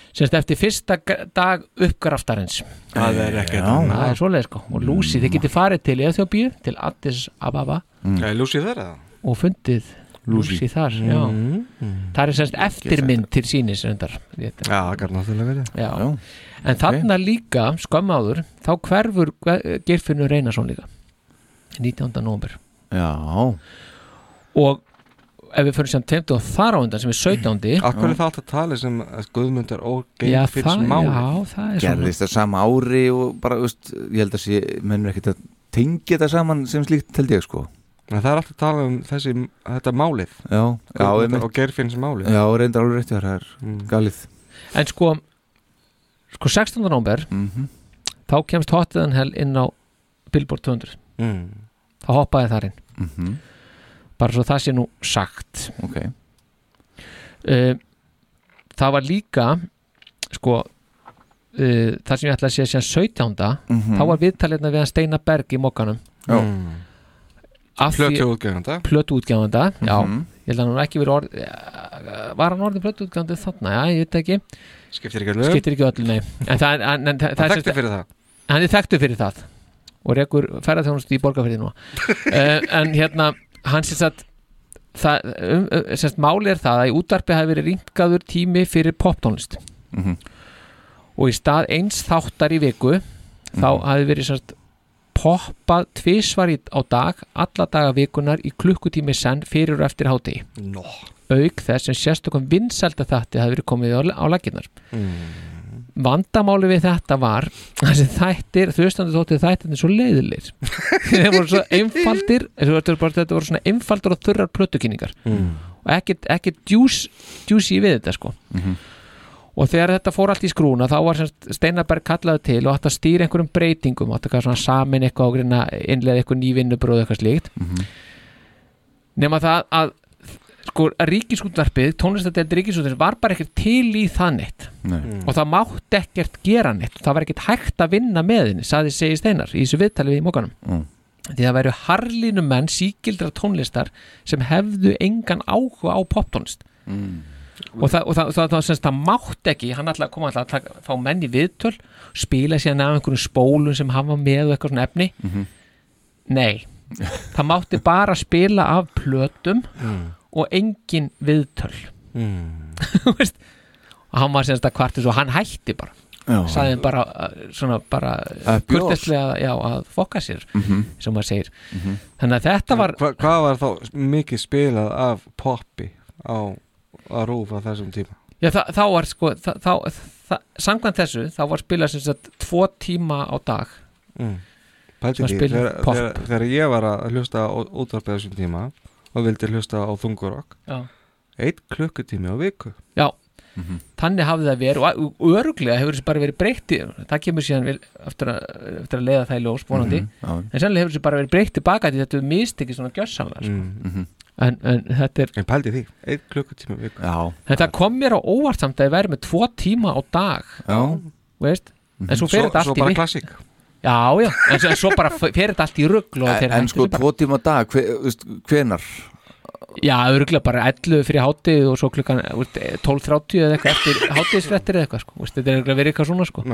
D: sem sagt eftir fyrsta g- dag uppgraftarins
C: Það er ekkert annað.
D: það er svoleið sko og Lucy þið getið farið til Eþjóbíu til Addis Ababa
C: Mm. Er Lucy þeirra?
D: og fundið
C: Lucy.
D: Lucy, þar já.
C: Mm,
D: það er sem sagt eftirmynd til sínis reyndar Ég-
C: Já, það gæti náttúrulega verið
D: Já. En þarna líka, skömmu áður, þá hverfur Ge- Geirfinnur Reynarsson líka 19. november
B: já
D: og ef við fyrir sem 20 og þar á undan sem er 17.
C: Akkur er það alltaf talið sem að Guðmundar og
D: Já,
C: Geir
D: það-
C: fyrir máli
D: já, það er svona.
B: gerðist það sama ári og bara, veist, ég held að sé, mennur ekkert að tengja þetta saman sem slíkt held ég sko
C: En það er alltaf talað um þessi, þetta málið
B: Já, já,
C: Guðmundar
B: einmitt.
C: og Geirfinns málið
B: Já, reyndar alveg rétt, það er galið
D: En sko, sko 16. november
B: Mhm.
D: þá kemst Hotiðan Hell inn á Billboard 200
C: Mm.
D: þá hoppaði þar inn
B: Mhm.
D: bara svo það sé nú sagt Eh,
B: okay.
D: Það var líka sko uh, það sem ég ætla að sé síðan 17.
B: Mhm.
D: þá var viðtalirna við hann Steina Berg í mokkanum
B: Já.
E: Mm.
C: Plötu útgefanda
D: plötu útgjáfanda, já
C: Mhm.
D: ég held að hann hafi ekki verið orð eh, var hann orðið plötu útgjáfandi þarna, já, ég veit það ekki
C: Skiptir ekki öllu
D: skiptir ekki öllu, nei en það, en, en, það,
C: Hann
D: er-
C: þekkti fyrir það.
D: hann er þekktu fyrir það og rekur ferðarþjónustu í borgarfyrði nú uh, en hérna, hann sem sagt það, um, um, sem sagt máli er það að í útvarpi hafi verið ringaður tími fyrir poptónlist
B: Mhm.
D: og í stað eins þáttar í viku þá hafi verið sem sagt poppað tvisvar í- á dag alla daga vikunar í klukkutími senn fyrir og eftir hátegi
C: Nó.
D: auk þess sem sérstökum vinsælda þætti hafi verið komið á, á laginnar vandamáli við þetta var þessi þættir, þaustandu þóttir þættirnir svo leiðilir þeir voru svo einfaldir þessi voru- þetta voru bara- þetta voru svona einfaldur og þurrar plötukynningar
C: Mm.
D: og ekkert ekki djúsi við þetta sko
E: Mhm.
D: og þegar þetta fór allt í skrúna þá var sem Steinarberg kallaði til og átti að stýra einhverjum breytingum átti að gera svona samin eitthvað og reyna að innlega eitthvað nývinnubróð eitthvað slíkt nema það að sko að ríkisútvarpið, tónlistatelt ríkisútvarpið var bara ekkert til í það neitt
B: Nei.
D: og það mátti ekkert gera neitt það var ekkert hægt að vinna með henni saði segi Steinar í þessu viðtali við í mókanum
B: Mm.
D: því það væru harlínu menn síkildra tónlistar sem hefðu engan áhuga á poptónlist
B: Mm.
D: og það, og það, það, það, það, það mátt ekki hann ætlaði að koma alltaf að taka, fá menn í viðtöl spila síðan af einhverjum spólum sem hann var með og eitthvað svona efni
B: Mhm.
D: nei, það mátti bara spila af plötum
E: Mm.
D: og engin viðtöl
B: Mm.
D: Þú veist, og hann var semst að kvartis og hann hætti bara
B: Já.
D: sagði bara uh, svona bara
B: Að bjórs.
D: kurtislega já, að fokka sér
B: Mhm.
D: sem maður segir
B: Mhm.
D: þannig að þetta var
C: Hva, hvað var þá mikið spilað af poppi á, á rúf á þessum tíma?
D: já, þa þá var sko þa þá, þa samkvæmt þessu þá var spilað sem sagt tvo tíma á dag
C: Mm. Pældi
D: Sem að
C: því,
D: spila
C: þegar,
D: popp.
C: þegar, þegar ég var að hlusta á útvarpið á þessum tíma og vildi hlusta á þungurokk
D: Já.
C: eitt klukkutími á viku
D: Já,
C: Mhm.
D: þannig hafði það verið og- og öruglega hefur þessu bara verið breytti það kemur síðan vel eftir að, eftir að leiða það í ljós vonandi
C: Mhm, já.
D: en sannlega hefur þessu bara verið breytti baka því þetta er mistekið svona gjössamlega sko.
C: mm.
D: en, en þetta er
C: en pældi því, eitt klukkutími á viku
B: Já.
D: þetta kom mér á óvart samt að ég væri með tvo tíma á dag
B: Já.
D: veist en svo fer
C: Mhm. Svo-
D: þetta
C: svo
D: allt í
C: bara
D: vitt-
C: klassík.
D: já já, en svo, en svo bara fer þetta allt í rugl og þeir
B: en, en
D: hættu
B: sko
D: þessu bara.
B: tvo tíma á dag hve, veist, hvenar
D: já, öruglega bara 11 fyrir hátíð og svo klukkan þú veist, 12.30 eða eitthvað eftir hátíðsfrettir eða eitthvað sko. Þú veist, þetta er öruglega verið eitthvað svona sko.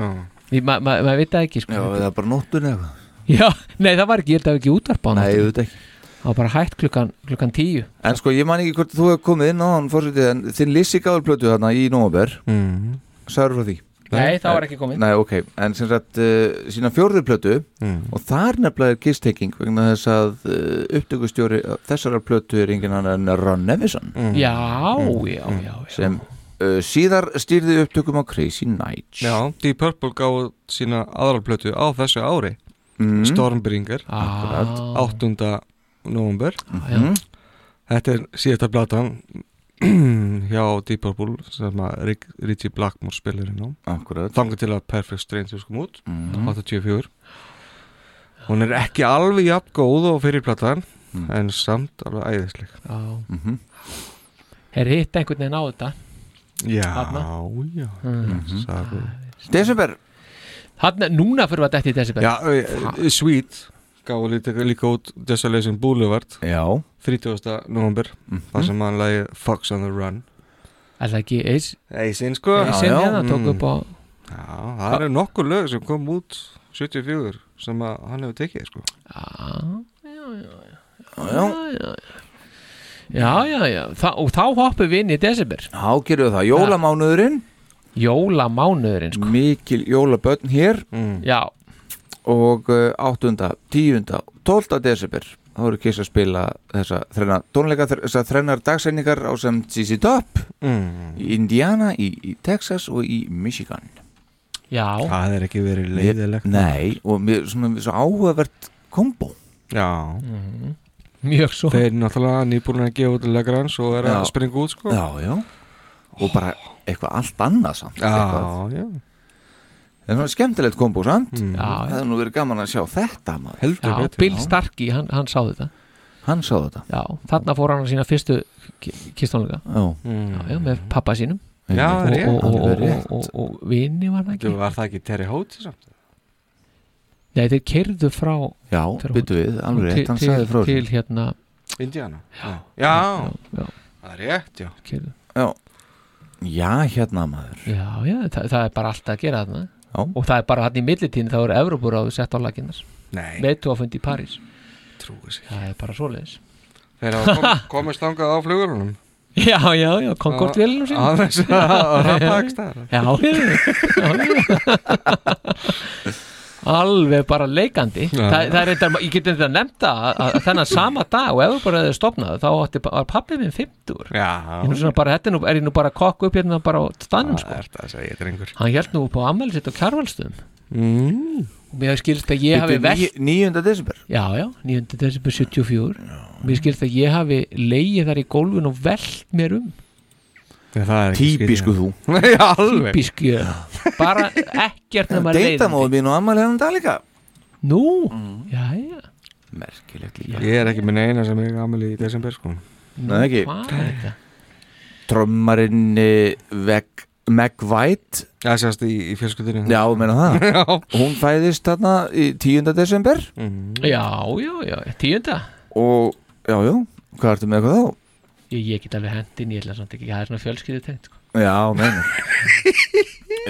D: Því ma- ma- maður veit það ekki sko.
B: já, eða bara nóttun eða eitthvað.
D: Já, nei það var ekki, ég held að hafi ekki útvarpa
B: Nei, auðvitað ekki
D: Það var bara hætt klukkan, klukkan tíu
B: en sko ég man ekki hvort þú hefur komið inn á hann fórsvitið en þinn Lissi gáður plötu þarna í Nóber
C: mm.
B: sagður frá því
D: Nei, það var ekki komið.
B: Nei, ok, en sem sagt uh, sína fjórðu plötu og þar nefnilega er kistaking vegna þess að uh, upptökustjóri þessarar plötu er engin annar en Ron Nevison Mhm.
D: Já, já, já
B: sem uh, síðar stýrði upptökum á Crazy Night
C: Já, Deep Purple gáði sína aðralplötu á þessu ári
B: Mm.
C: Stormbringer
D: Ah.
B: Akkurat.
C: 8. november
B: já. Mhm.
C: Þetta er síðasta platan hjá Deep Purple sem að Rick, Richie Blackmore spilir inn á
B: Akkurat.
C: Þangar til að Perfect Strangers kom út
B: Mhm.
C: 84 Hún er ekki alveg jafn góð og fyrir platan
B: Mm.
C: en samt alveg æðisleg
D: Já.
B: Mhm.
D: Þeir hitta einhvern veginn á þetta
C: Já,
D: Þarna.
C: já
D: Mhm.
C: Sagði.
B: December
D: Þarna, núna fyrir við að dætti í December
C: Já, e, e, Sweet gáði líka, líka út Desolation Boulevard
B: Já Mhm.
C: 30. november þar sem hann lagi Fox on the Run
D: Er það ekki Ace?
C: Ace-in sko
D: Ace-in, já, það tók upp á
C: Já, það eru nokkur lög sem kom út 74 sem að hann hefur tekið sko
D: Já,
B: já.
D: já, já, já, já. Þa, Og þá hoppum við inn í December
B: Já, gerum við það, jólamánuðurinn
D: Jólamánuðurinn
B: sko. Mikil jólabönn hér
C: Mm.
D: Já
B: Og uh, 8. 10. 12. desember þá eru kiss að spila þessa þrenna tónleika þessa þrennar dagsendingar á sem ZZ Top
C: Mm.
B: í Indiana, í, í Texas og í Michigan
D: Já
C: Það er ekki verið leiðilegt
B: Nei, og mér, svona, svo áhugavert kombo
C: Já
D: Mhm. Mjög svo
C: Þeir náttúrulega nýbúin að gefa út legrans og er
B: Já.
C: að springa út sko
B: Já, já Og bara eitthvað allt annað samt
C: Já,
B: eitthvað.
C: já Mm.
B: Það er svona skemmtilegt kombo samt
D: Já, já.
B: Það er nú verið gaman að sjá þetta maður
D: Já, Bill Starkey, hann, hann sá þetta
B: Hann sá þetta
D: Já, þarna fór hann á sína fyrstu kistónleika
B: Já.
D: já, já, með pappa sínum
C: Mm. Já,
D: og,
C: rétt.
D: og, og,
C: Alveg
D: og,
C: rétt.
D: og, og, og vini var hann ekki
C: Var það ekki Terry Hóti samt?
D: Nei, þeir kerðu frá
B: Já,
D: frá-
B: byttu við, alveg rétt,
D: til-
B: hann sagði frá
D: til,
B: þessu.
D: til hérna
C: Indiana Já,
D: já.
C: Það er rétt, já
D: Keyrðu.
B: Já Já, hérna maður
D: Já, já, það, það er bara allt að gera þarna
B: já.
D: og það er bara hann í millitíðin þá eru Evropur á sett á laginnar
C: Nei.
D: Meðtúafund í París
C: Trúi sig
D: Það er bara svoleiðis
C: Þeir hafa kom, komist þangað á flugurunum
D: Já, já, já, Concorde vélunum sín
C: Aðeins að rappa ekki staðar
D: Já, já, já. Alveg bara leikandi
C: Já.
D: Þa, Það er eitthvað, ég get eitthvað nefnda að, að þennan sama dag og ef þú bara hefði stopnað þá átti, ba- var pappið minn 50
C: Já
D: Ég nú svona bara, þetta er nú, er ég nú bara að kokku upp hérna bara á stannum sko
C: Það er það að segja, drengur
D: Hann held nú upp á ammæli sitt á kjarvalstöðum
C: mm.
D: og mér skilst að ég hafi
B: Bíddu,
D: velt
B: níu- 9. desember
D: Já, já, 9. desember 74 Mér skilst að ég hafi leigið þar í gólfin og velt mér um
B: Típisku þú
C: Já, alveg.
D: Típisk ég Bara ekkert nema leiðandi
B: Deitamóðu mín og ammæli hennan dag hérna um líka
D: Nú,
C: Mhm.
D: já, já
B: Merkilegt
C: Ég er ekki minn eina sem er gammal í desember sko
B: Nei, ekki.
D: Hvað er þetta?
B: Trommarinn Meg White
C: Það sést í, í fjölskyldinu
B: Já, ég meina það
C: Já.
B: Hún fæðist þarna í 10. desember
D: Já, já, já, tíunda
B: Og, já, já, hvað ertu með eitthvað þá?
D: Ég, ég get alveg hendin, ég ætla samt ekki Það er svona fjölskyldu tengt sko.
B: E, Já, meina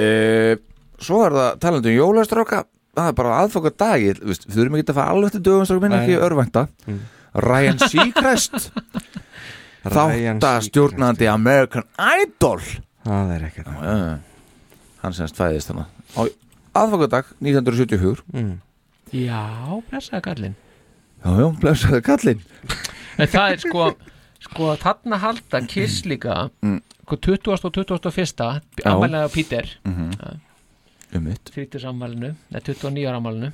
B: uh, Svo er það talandi um jólastráka það er bara aðfokkar dagi þú veist, við þurfum ekki að fara alveg til dögum strákum minn
C: Nei. Mm.
B: ekki örvænta Ryan Seacrest
C: Ryan
B: þáttastjórnandi American Idol
C: það er ekkert
B: hann semst fæðist hann á aðfokkar 1974
C: mm.
D: Já, blessaði kallinn
B: já, já, blessaði kallinn
D: En það er sko, sko þarna halda Kiss líka
B: Mm.
D: sko 20. og 21.
B: Já.
D: ammælinni á Peter
B: Mhm. um mitt
D: 30. ammælinu, eða 29. ammælinu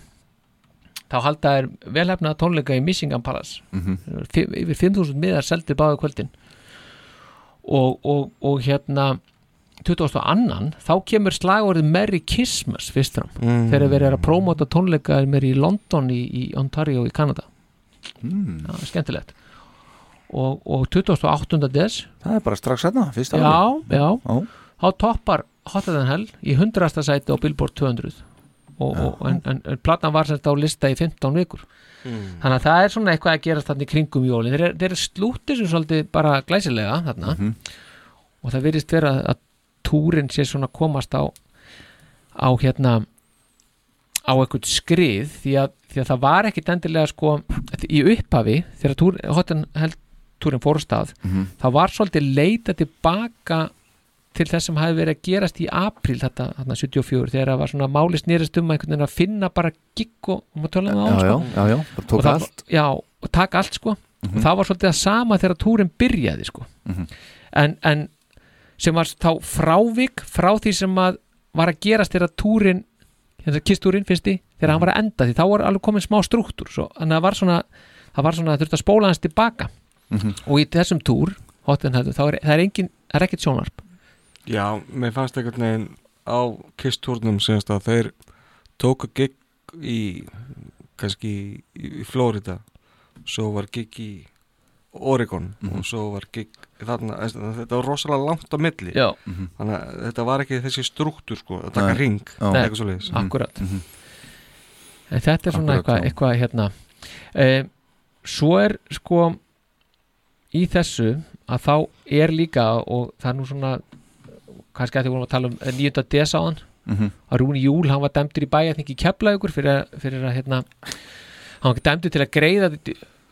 D: þá halda þær velhæfna tónleika í Missingham Palace
B: Mhm.
D: Fimm- yfir 5.000 miðar seldi báðu kvöldin og, og, og hérna 22. þá kemur slagorðið Merry Christmas fyrst fram
C: Mm.
D: þegar verið er að prómóta tónleika mér í London í, í Ontario í Kanada
B: mm.
D: Já, skemmtilegt og, og 28. des
B: það er bara strax hérna, fyrst
D: já, já,
B: Já.
D: þá toppar Hotter Than Hell í 100. sæti á Billboard 200 og, og, en, en, en platan var semst á lista í 15 vikur
C: Mm.
D: þannig að það er svona eitthvað að gerast þannig kringum jólin, þeir, eru- þeir slúti sem svolítið bara glæsilega þarna og það virðist vera að túrin sé svona að komast á á hérna á eitthvað skrið því að, því að það var ekkit endilega sko í upphafi þegar túr, hotin held túrin fór af stað
E: Mhm.
D: það var svolítið leita tilbaka til þess sem hafi verið að gerast í april þetta, þarna 74 þegar það var svona máli snýrist um einhvern veginn að finna bara gikk og og maður tölum
B: já,
D: á
B: já,
D: sko.
B: já, já, bara tók
D: Og það-
B: allt. Mhm.
D: já, og taka allt sko og það var svolítið að sama þegar túrin byrjaði sko en, en sem var þá frávik frá því sem að var að gerast þegar túrin hérna, kistúrin finnst því, þegar
B: Mhm.
D: hann var að enda því þá var alveg komin smá struktúr svo, en það var svona, það var svona, það þurfti að spóla hans tilbaka
B: Mhm.
D: og í þessum túr hotin, þá er, það er engin, það er ekkert sjónvarp
C: Já, mér fannst einhvern veginn á kistúrnum semst að þeir tóku gig í kannski í, í Flórida svo var gig í Oregon
B: Mhm.
C: og svo var gig þarna, þess- þetta var rosalega langt á milli
D: Já.
B: Mhm.
C: þannig að þetta var ekki þessi struktúr sko, að taka
D: Nei.
C: ring
D: Já. Nei,
C: eitthvað svo
B: Mhm.
C: leiðis
D: akkúrat. en þetta er svona
C: Akkurat,
D: eitthvað,
C: já.
D: eitthvað hérna e, svo er sko í þessu að þá er líka og það er nú svona kannski að því vorum að tala um eh, 9. desáðan
B: Mhm.
D: að Rúni Júl, hann var dæmdur í bæja þingi keflaugur fyrir, að- fyrir að hérna hann var dæmdur til að greiða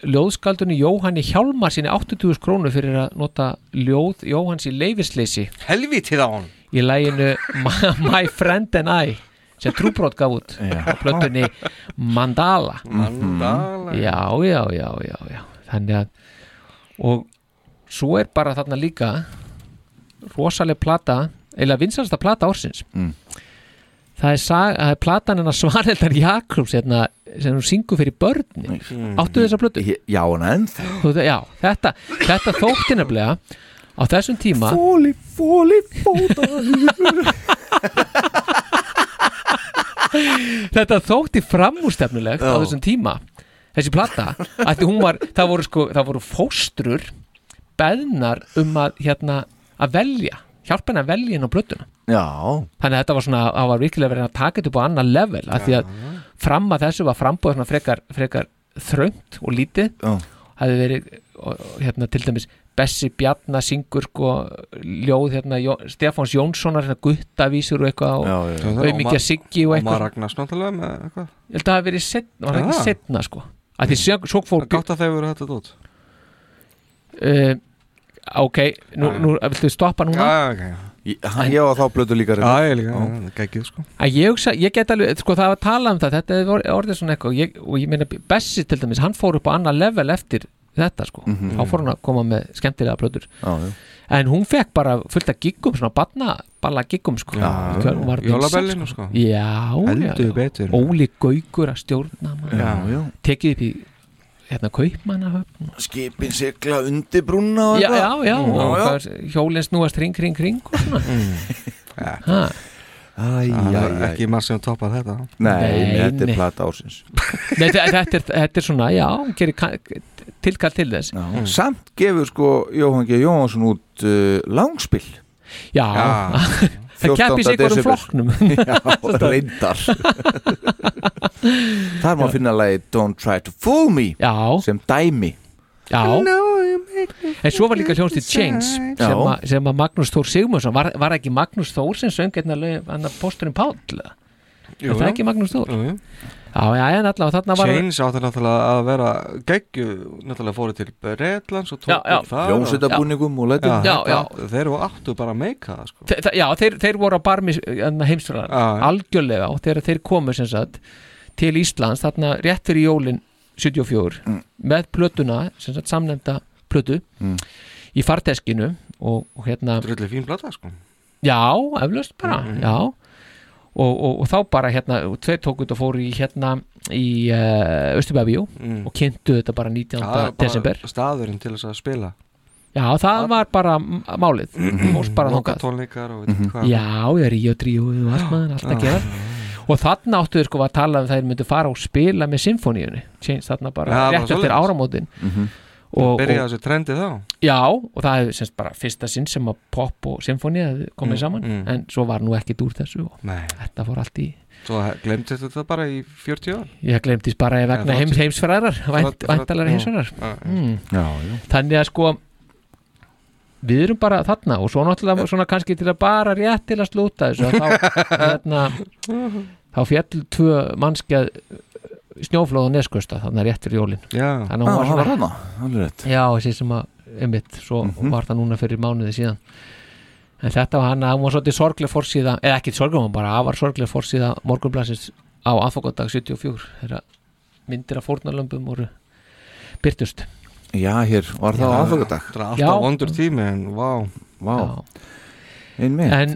D: ljóðskaldunni Jóhanni Hjálmar sinni 80.000 krónu fyrir að nota ljóð Jóhanns í leifisleysi
C: Helvítið á hann
D: í læginu My, My Friend and I sem Trúbrot gaf út á plötunni Mandala
C: Mandala.
D: já, já, já, já, já þannig að og svo er bara þarna líka rosaleg plata eða vinsalasta plata ársins
B: Mm.
D: það er, sag, það er platan hennar Svaneldar Jakobs hérna, sem hún syngur fyrir börnin
E: Mm.
D: áttu þessa plötu?
B: Mm. Já, en ennþá
D: Já, þetta, þetta þótti nefnilega á þessum tíma
B: Fóli, fóli, fóta
D: þetta þótti framúrstefnilegt á þessum tíma þessi plata af því hún var, það voru sko, það voru fóstrur beðnar um að hérna, að velja hjálpa henni að velja henni á blötuna
B: Já,
D: þannig að þetta var svona, það var virkilega verið að taka þetta upp á annað level, af því að fram að þessu var frambúið svona frekar, frekar þröngt og lítið
B: Já.
D: hafði verið, og- og hérna til dæmis Bessi Bjarna syngur sko ljóð hérna, Jó, Stefáns Jónssonar hérna guttavísur og
C: Já,
D: eitthvað
C: já, já.
D: og auðmikið Siggi og
C: Ómar
D: eitthvað
C: Ragnars náttúrulega með eitthvað
D: Ég held að það hafi verið setna, var það
C: Ah.
D: ekki setna sko að því svo, svo fór
C: Gátt að þeir voru þetta dót
D: uh, Ok, nú,
C: Ah.
D: nú viltu stoppa núna
C: okay.
B: Ég, hann- ég var þá blötu líka
C: Já, ég líka, já, geggjuð sko
D: að ég, hugsa, ég get alveg, sko það var að tala um það þetta er orð- orðið svona eitthvað og ég, og ég meina Bessi til dæmis, hann fór upp á annað level eftir þetta sko,
B: Mhm.
D: þá fór hann að koma með skemmtilega plötur,
B: Já, já.
D: en hún fekk bara fullt af giggum, svona batna balla giggum sko,
C: Já, já.
D: Hún var vinsæl,
C: Jólabellinu, sko.
D: já, já,
C: Heldur
D: já.
C: betur.
D: Óli Gaugur að stjórna maður.
B: Já, já.
D: tekið upp í hérna kaupmannahöfn
B: skipin sigla undir brúna og
D: já, já,
B: eitthvað.
D: já,
B: Mm.
D: og
B: já,
D: hvað, hjólinn snúast ring, ring, ring og svona
B: Mm.
D: Ha.
B: Æ,
C: Það
B: æ,
C: er
B: æ.
C: ekki marg sem toppar þetta
B: Nei, nei, þetta er
D: nei.
B: plata ársins
D: Nei, þe- þetta, er, þetta er svona, já, hún gerir ka- tilkall til þess
B: já. Samt gefur sko Jóhann G. Jóhansson út uh, langspil
D: Já, það keppi sig hverjum flokknum
B: Já, reyndar Þar má finna lagi Don't Try To Fool Me
D: já.
B: sem dæmi
D: Já, en svo var líka hljónst í Chains
B: Já.
D: sem, a, sem að Magnús Þór Sigmundsson var, var ekki Magnús Þór sem söng hérna lög- hann að posturinn Páll eða? Er það ekki Magnús Þór?
C: Jú, jú.
D: Já, já, en allavega þarna var
C: Chains átti náttúrulega að vera geggju náttúrulega fóru til Bretlands og tók
D: Já, já. Hljómsveitabúningum
B: og
D: lætin. Já, já.
C: Þeir voru áttu bara að meika það sko.
D: Þe- þe- Já, þeir, þeir voru á barmi heimsfjörðan algjörlega og þegar þeir komu sem sagt til Íslands þarna rétt fyrir jólin 74 með plötuna, sem sagt samnefnda plötu
C: Mm.
D: í farteskinu og, og hérna
C: Drulli fín blata sko
D: Já, eflaust bara,
C: Mhm.
D: já og, og, og þá bara hérna, og tveir tók út og fóru í hérna í uh, Östubæfíu og kynntu þetta bara 19.
C: Það er Mm. bara
D: desember
C: Staðurinn til þess að spila
D: Já, það var bara m- málið Fórst bara
C: Loka
D: þangað Mhm.
C: tónleikar Mhm. og veit ekki hvað Ah.
D: Já, ég er í og tríu og allt maður, allt að
C: Já.
D: gera Og þarna áttu þau sko að tala um þær myndu fara og spila með symfóníunni Séns þarna bara
C: Já, bara
D: rétt
C: svoleiðis.
D: eftir áramótin
C: Mhm.
D: og,
C: Það byrjaði þessi trendi þá
D: Já, og það hefði semst bara fyrsta sinn sem að pop og symfónía hefði komið
C: Mm,
D: saman
C: mm.
D: En svo var nú ekkit úr þessu og
C: Nei.
D: Þetta fór allt í
C: Svo glemdi þetta bara í 40 ár
D: Ég glemtist bara
C: Já,
D: vegna
C: þrjátíu.
D: heims, heimsfræðar
C: Þrjátíu-
D: Væntalar
C: já,
D: heimsfræðar
C: já, já.
D: mm.
B: Já, já.
D: Þannig að sko Við erum bara þarna og svo náttúrulega svona kannski til að bara rétt til að slúta þessu að þá, hérna, þá fjall tvö mannskjað snjóflóð og neskusta þannig rétt fyrir jólin
C: Já.
D: þannig að
B: Já,
D: hún var
B: það var
D: svona
B: þarna, alveg rétt.
D: Já, þessi sem að einmitt, svo
B: Mhm.
D: var það núna fyrir mánuði síðan en þetta var hann að hún var svolítið sorgleg fórsíða eða ekki sorgleg, hún bara afar sorgleg fórsíða morgunblansins á aðfokadag 74 þegar myndir af fórnarlömbum voru byrtust
B: Já, hér, var það á
D: Já.
B: aðfagadag
D: Það er alltaf Já. vondur
C: tími, en vá
B: Vá, einmitt
D: En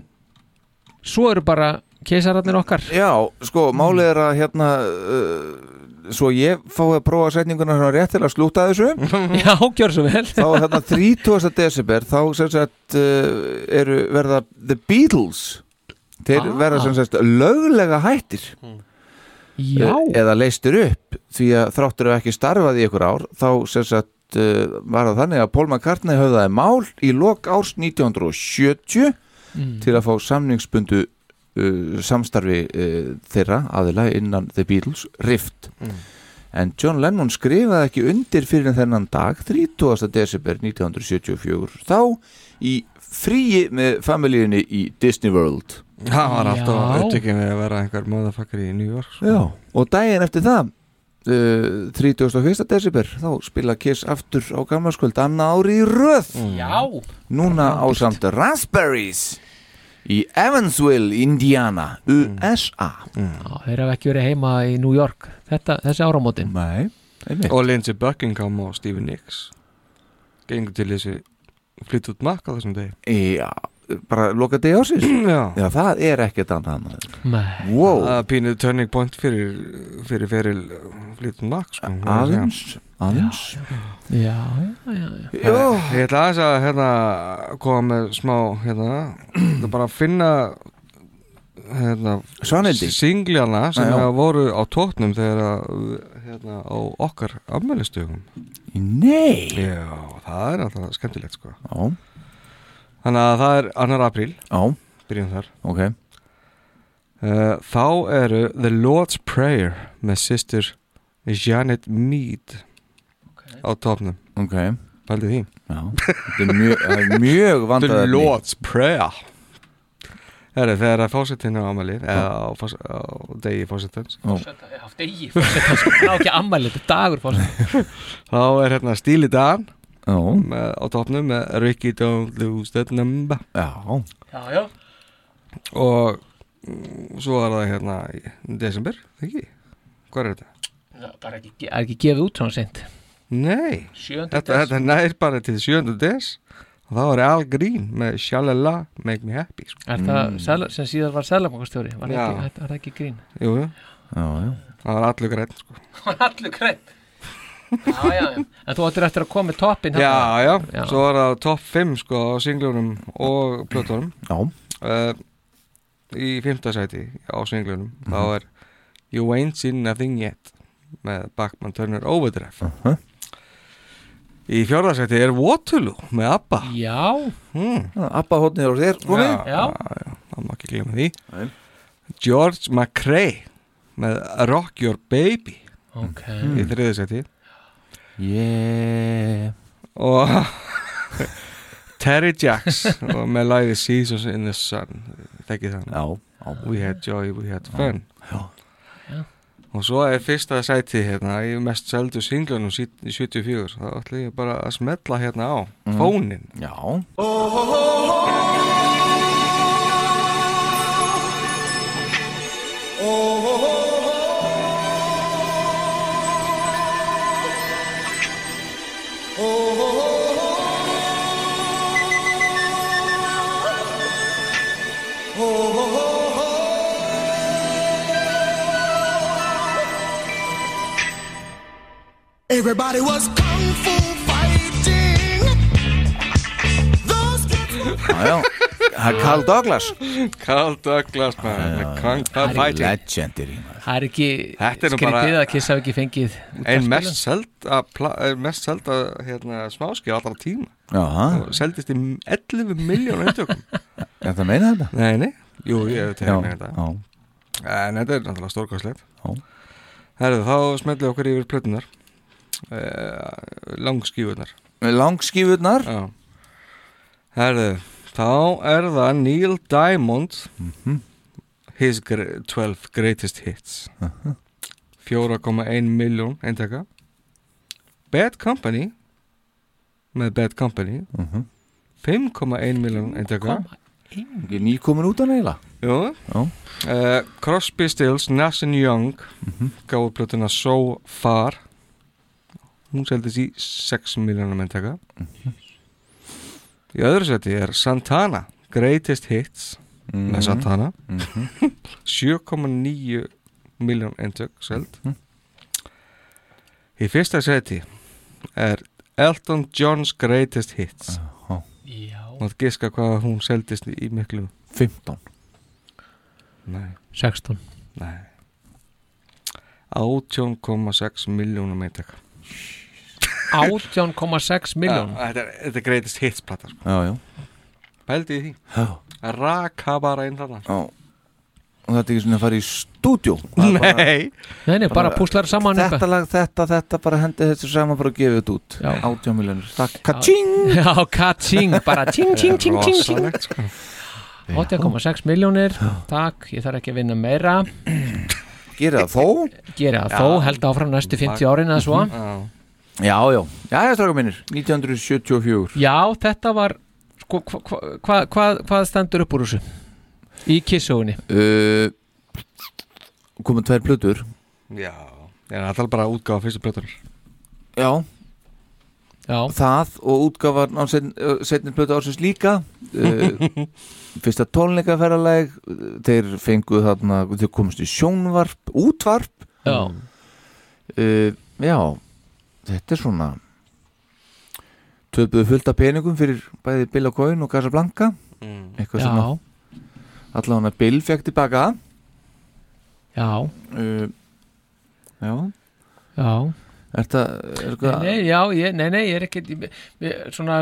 D: svo eru bara keisararnir okkar
B: Já, sko, málið er að hérna uh, Svo ég fái að prófa setninguna svona rétt til að slúta þessu
D: Já, gjör svo vel
B: Þá hérna 30. desember þá sem sagt uh, eru verða The Beatles Þeir
D: Ah.
B: verða sem sagt löglega hættir
D: Já.
B: Eh, Eða leistir upp því að þráttur ef ekki starfað í ykkur ár þá sem sagt uh, var það þannig að Paul McCartney höfðaði mál í lok árs 1970
D: Mm.
B: til að fá samningsbundu uh, samstarfi uh, þeirra aðila innan The Beatles rift
C: Mm.
B: en John Lennon skrifaði ekki undir fyrir en þennan dag 30. desember 1974 þá í fríi með familíunni í Disney World
C: Það var alltaf
B: Já.
C: upptökin við að vera einhver motherfucker í New York sko.
B: Já, og daginn eftir það uh, 31. desember þá spila Kiss aftur á gammarskvöld annað ári í röð
C: Mm.
D: Já.
B: núna á samt Raspberries í Evansville, Indiana USA
C: Mm.
D: Já, þeir hafa ekki verið heima í New York þetta, þessi áramótin
B: Nei,
C: Og Lindsey Buckingham og Stevie Nicks Gengur til þessi flytt út makka þessum degi
B: Já, bara loka degi ásins
C: Mm. Já.
B: Já, það er ekkert annað maður.
D: Nei.
B: wow.
C: Það er pínuð turning point fyrir fyrir feril flytt út makk sko, má ég segja.
B: Aðeins, aðeins
D: Já, já, já, já.
C: Ég ætla aðeins að hérna, koma með smá hérna, það bara að finna hérna,
B: Svanhildi.
C: singlana sem
B: Já, já.
C: að voru á tóknum þegar að, hérna, á okkar afmælistugum
B: Nei
C: Já, það er alltaf skemmtilegt sko
B: Já.
C: Þannig að það er annar apríl
B: Já.
C: Byrjum þar
B: Ok
C: Uh, þá eru The Lord's Prayer með sýstur Janet Mead á topnum
B: okay.
C: Pældi því
B: Já, þetta er mjög, það er mjög vandað
C: The
B: efni.
C: Lord's Prayer Herru, þegar að fósettin er ámæli eða á, fós- á degi fósettans
D: Já, degi fórseta, sko, það er ekki ammæli, þetta er dagur fórseta
C: þá er hérna Stíli Dan
B: oh.
C: með, á topnum með Ricky Don't Lose That Number
B: Já
D: Já, já
C: og mm, svo er það hérna í desember, ekki? Hvað er þetta?
D: Það er bara ekki, það er ekki gefið út svona sent
C: Nei,
D: Sjöundi
C: þetta,
D: des.
C: þetta nær bara til sjöndu des og það var Al Green með Shalala Make Me Happy sko.
D: Er það mm. sem síðar var sælabankastjóri Var það
C: Já.
D: ekki, var það ekki grín
C: Jú, jú.
B: Já, já.
C: það var allur græn sko.
D: Það var allur greið Já, já, já En þú áttir eftir að koma með toppin
C: já, já, svo var það top 5 sko, á singlunum og plötunum
B: Já.
C: uh, í fymta sæti á singlunum
B: Mhm.
C: þá er You Ain't Seen Nothing Yet með Bachman Turner Overdrive í fjórða sæti er Waterloo með ABBA
D: Já
C: hmm.
B: Abba hótnið á þér komið
C: já, já. já, það má ekki glemja því George McRae með Rock Your Baby
D: Ok.
B: Hmm.
C: í þriðisæti
B: yeah.
C: og Terry Jacks og með lagið Seasons in the Sun þekkið það
B: Já,
C: We had joy, we had fun og svo er fyrsta sæti hérna í mest seldu singlunum sí- í 74 þá ætla ég bara að smetla hérna á
B: Mm.
C: fónin
B: Já
E: oh, Everybody was kung fu fighting. Those kids.
B: Já, já, það er Carl Douglas
C: Carl Douglas maður, Kung Fu Fighting
B: Legendary
D: Það er ekki
C: Þetta er nú bara-
D: skrítið að Kiss hafi ekki fengið
C: ein
D: útvarpsspila.
C: mest selda, pla- eh, mest selda hérna, smáski allra tíma
B: Já,
C: og seldist í 11 miljónu eintökum
B: er það meina þetta?
C: Nei, nei, jú, ég hef
B: Já,
C: tegðið með þetta
B: já.
C: En þetta er náttúrulega stórkvæslegt
B: Já.
C: Herðu, þá smetlið okkur yfir plötunar uh, Langskífunar
B: Langskífunar
C: Já Herðu, þá er það Neil Diamond
B: Mhm.
C: His gre- 12 Greatest Hits
B: Uh-huh.
C: 4,1 miljón eintaka Bad Company með Bad Company
B: Mhm.
C: 5,1 miljón eintaka
B: Ég er nýkomin út af neila
C: Jú
B: Já.
C: Eh, Crosby, Stills, Nash Young
B: Mhm.
C: gáðu plötuna So Far hún seldist í 6 miljónum eintaka í öðru seti er Santana Greatest Hits
B: Mhm.
C: með Santana
B: Mhm.
C: 7,9 miljón eintök seld
B: Mhm.
C: í fyrsta seti er Elton John's Greatest Hits
D: Já.
C: Mátt giska hvað hún seldist í miklu
B: 15
C: Nei
D: 16
C: Nei 18,6 miljónum eintaka
D: 18,6 miljón
C: Já, Þetta er, þetta er greatest hits plata sko.
B: Já, já
C: Pældi í því
B: Já.
C: Að Raka bara inn þarna
B: Já Og þetta er ekki svona að fara í stúdjó
C: Nei.
D: Nei, nei, bara púslar saman upp.
B: Þetta lag, þetta, þetta, bara hendi þessu saman bara og gefið þetta út
D: Já.
B: 18 miljonir Takk, ka-ching
D: Já, ka-ching, bara ting, ting, ting, ting, ting
B: Rosalegt, sko.
D: 8,6 miljónir Takk, ég þarf ekki að vinna meira
B: Gera það þó
D: Gera það þó, held áfram næstu 50 árin eða svo
B: Já, já, já, já, strákum minnir 1974
D: Já, þetta var sko, hva, hva, hva, hva, Hvað stendur upp úr þessu? Í kissugunni
B: uh, Komum tvær plötur
C: Já En það er bara að útgáfa fyrstu plötunar
B: Já
D: Já.
B: Það og útgáfan á setn- uh, setni plötu ársins líka uh, Fyrsta tónleikaferraleg Þeir fengu þarna Þeir komust í sjónvarp, útvarp
D: Já.
B: uh, Já Þetta er svona Töpuðu fullt af peningum fyrir bæði Bill og Coyne og Casablanca
C: Mm.
B: Eitthvað
D: Já.
B: sem að Allan að Bill fekk tilbaka
D: Já
B: uh, Já
D: Já
B: Er það er
D: Nei,
B: eitthvað-
D: nei, já, ég, nei, nei, ég er ekki ég, ég- svona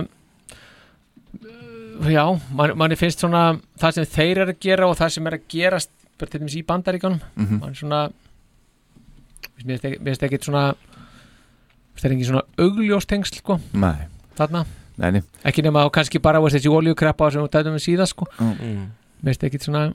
D: uh, já, mann man finnst svona það sem þeir eru að gera og það sem er að gerast bara til dæmis í bandaríkanum
B: Mhm.
D: mann svona mér finnst ekki- mér finnst ekkit svona það er ekki svona augljóstengsl sko,
B: Nei.
D: þarna
B: Nei, nei.
D: ekki nema og kannski bara veist, þessi olíukreppa sem við tættum við síðan sko
B: Mm.
D: mér finnst ekkit svona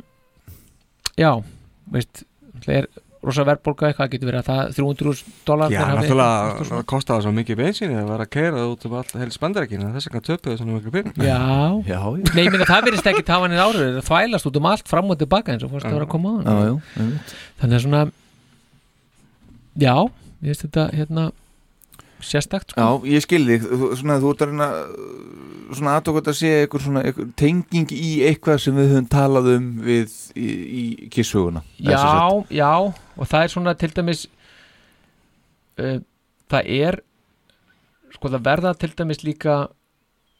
D: já, veist það er rosa verðbólga eitthvað getur verið að það 300 dólar
C: Já, náttúrulega það kostaði svo mikið bensinni að vera að keira út um all helst bandarækina þess vegna töpuðu svona mikið byrn
D: Já,
B: já
D: Nei, ég minna, það verðist ekki tafa niður árið það þvælast út um allt fram og tilbaka eins og fórst að vera að koma á
B: Já, já, einmitt.
D: Þannig að svona Já, ég veist þetta hérna sérstakt sko.
B: Já, ég skil þig, þú, svona, þú ert að reyna uh, svona aðtókvæmt að sé einhver svona einhver tenging í eitthvað sem við höfum talað um við í, í kissuguna
D: já, já, og það er svona til dæmis uh, það er sko það verða til dæmis líka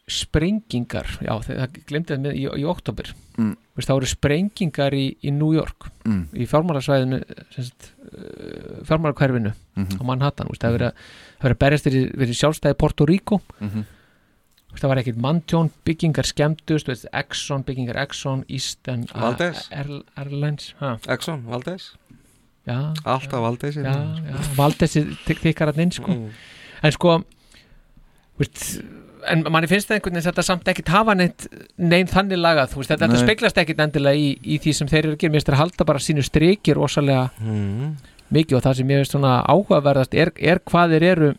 D: sprengingar já, þe- það glemdi það með í, í oktober
B: Mm.
D: Veist, það voru sprengingar í, í New York
B: Mm.
D: í fjármálasvæðinu semst, uh, fjármálakverfinu
B: Mhm.
D: á Manhattan, veist, það verið að- það verið að berjast fyrir, fyrir sjálfstæði Porto Rico
B: Mhm.
D: Veist, það var ekkert manntjón, byggingar skemmtust, veist, Exxon, byggingar Exxon Eastern
C: Valdez.
D: Ah, Air- Airlines ha.
C: Exxon, Valdez
D: já,
C: Alltaf Valdez
D: já, Mm. já, Valdez er þykkar að inn sko. en sko veist, en manni finnst það einhvern veginn þetta samt ekkit hafa neitt neinn þannig lagað, þú veist, þetta, þetta
B: Nei.
D: speglast ekkit endilega í, í því sem þeir eru að gera, mér finnst þeir halda bara sínu striki rosalega Mm. mikið og það sem ég veist svona áhugaverðast er, er hvað þeir eru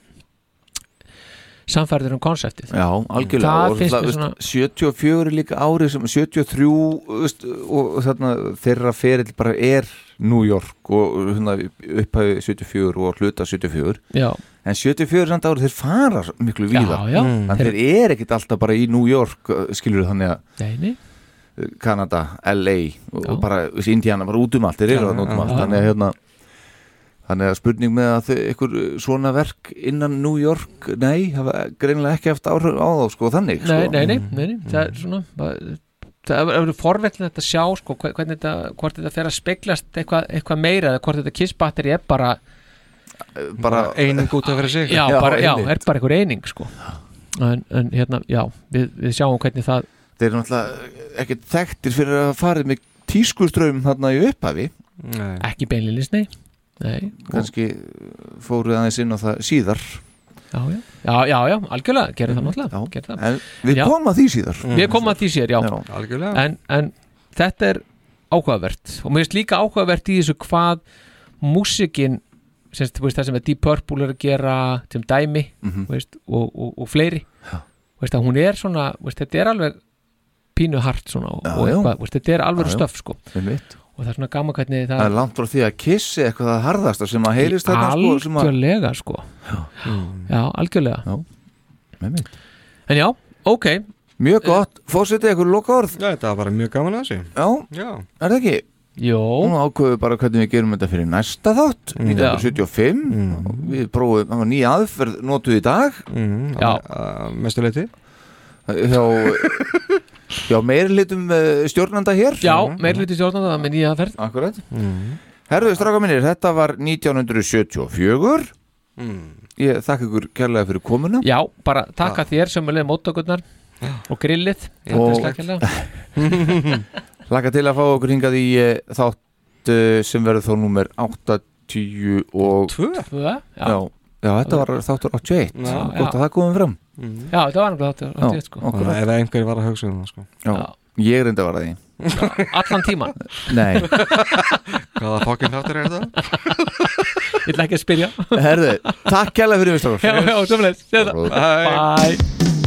D: samfærður um konseptið
B: Já, algjörlega
D: Það
B: og,
D: finnst
B: það,
D: mér
B: veist,
D: svona-
B: 74 er líka árið sem 73 veist, og, og þarna, þeirra ferill bara er New York og hérna, upphæfi 74 og hluta 74
D: Já.
B: en 74 er samt árið þeir fara miklu
D: Já,
B: víða
D: já.
B: Mm. en
D: Þeir-
B: þeir er ekkit alltaf bara í New York uh, skilur þannig að
D: Nei, nei.
B: uh, Kanada, LA og, og bara þú veist, Indiana bara út um allt þeir
D: Já,
B: eru þarna út um
D: já,
B: allt
D: já.
B: þannig að hérna Þannig að spurning með að þau- einhver svona verk innan New York, nei, hafa greinilega ekki haft áhrif á þá, sko, þannig, sko.
D: nei, nei, nei, nei, nei, það er svona það- það er forvellin að sjá sko, hve- hvernig þetta, hvort þetta fer að speglast eitthvað, eitthvað meira eða hvort þetta kissbatteri er bara
B: bara
C: eining út af fyrir sig
D: já, bara, já, er bara einhver eining sko. en, en hérna, já við, við sjáum hvernig það
B: þeir eru náttúrulega ekkert þekktir fyrir að farið með tískuströfum þarna í upphafi
C: Nei.
D: ekki beinlinis, nei, nei.
B: kannski fóruð aðeins inn á það síðar
D: Já, já, já, já, já algjörlega, gerir það náttúrulega gerir það.
B: Mhm. en við
D: Já.
B: komum að því síðar
D: Við komum að því sér, já,
C: Algjörlega.
D: en, en þetta er áhugavert og mér finnst líka áhugavert í þessu hvað músikin sem þú veist það sem er Deep Purple er að gera sem dæmi
B: Mhm.
D: þú veist, og, og, og fleiri Þú veist, að hún er svona, þú veist, þetta er alveg pínu hart svona og,
B: Já,
D: og
B: já.
D: eitthvað, þú veist, þetta er alveg
B: Já, já.
D: stöf sko
B: Einmitt.
D: og það er svona gaman hvernig það
B: það er langt frá því að kissi eitthvað það harðasta sem að heyrist þetta sko, sem að-
D: algjörlega sko já, algjörlega
B: já, með mitt
D: en já, ok Eh.
B: mjög gott, fórsetið eitthvað loka orð
C: já, þetta var bara mjög gaman að þessi
B: já,
C: Já.
B: er það ekki?
D: Jó.
B: Nú ákveðum við bara hvernig við gerum þetta fyrir næsta þátt
C: Mm.
B: 1975 Við prófum, það var nýja aðferð notuð í dag
C: mm,
B: Já
C: Mestu leiti
B: Hjá, hjá meiri litum stjórnanda hér
D: Já, meiri litum stjórnanda, það með nýja aðferð
B: Akkurat
C: Mm.
B: Herðu, stráka mínir, þetta var 1974 Mm. Ég þakka ykkur kærlega fyrir komuna
D: Já, bara takka þér sem er leið móttökurnar og grillið
B: Og-
D: og...
B: Laka til að fá okkur hingað í eh, þátt eh, sem verður þá númer 80 og 2
D: Tvö, já.
B: Já, já þetta var þáttur 81
D: Já,
B: Gott
D: já.
B: að það komum fram
D: Mhm. Já, þetta var náttúrulega þáttur-
B: Já,
D: þáttur eitt, sko.
B: akkurat.
C: Ef einhver var að hugsa um það sko.
B: Já, ég reyndi að vara því
D: Allan tíman
B: Nei.
C: Hvaða fokkin þáttur er þetta?
D: Ég ætla ekki að spyrja
B: Herðu, takk kærlega fyrir mig strákar
D: Já, já, sömuleiðis. Séð það.
B: Bye.
D: Hérna. Bye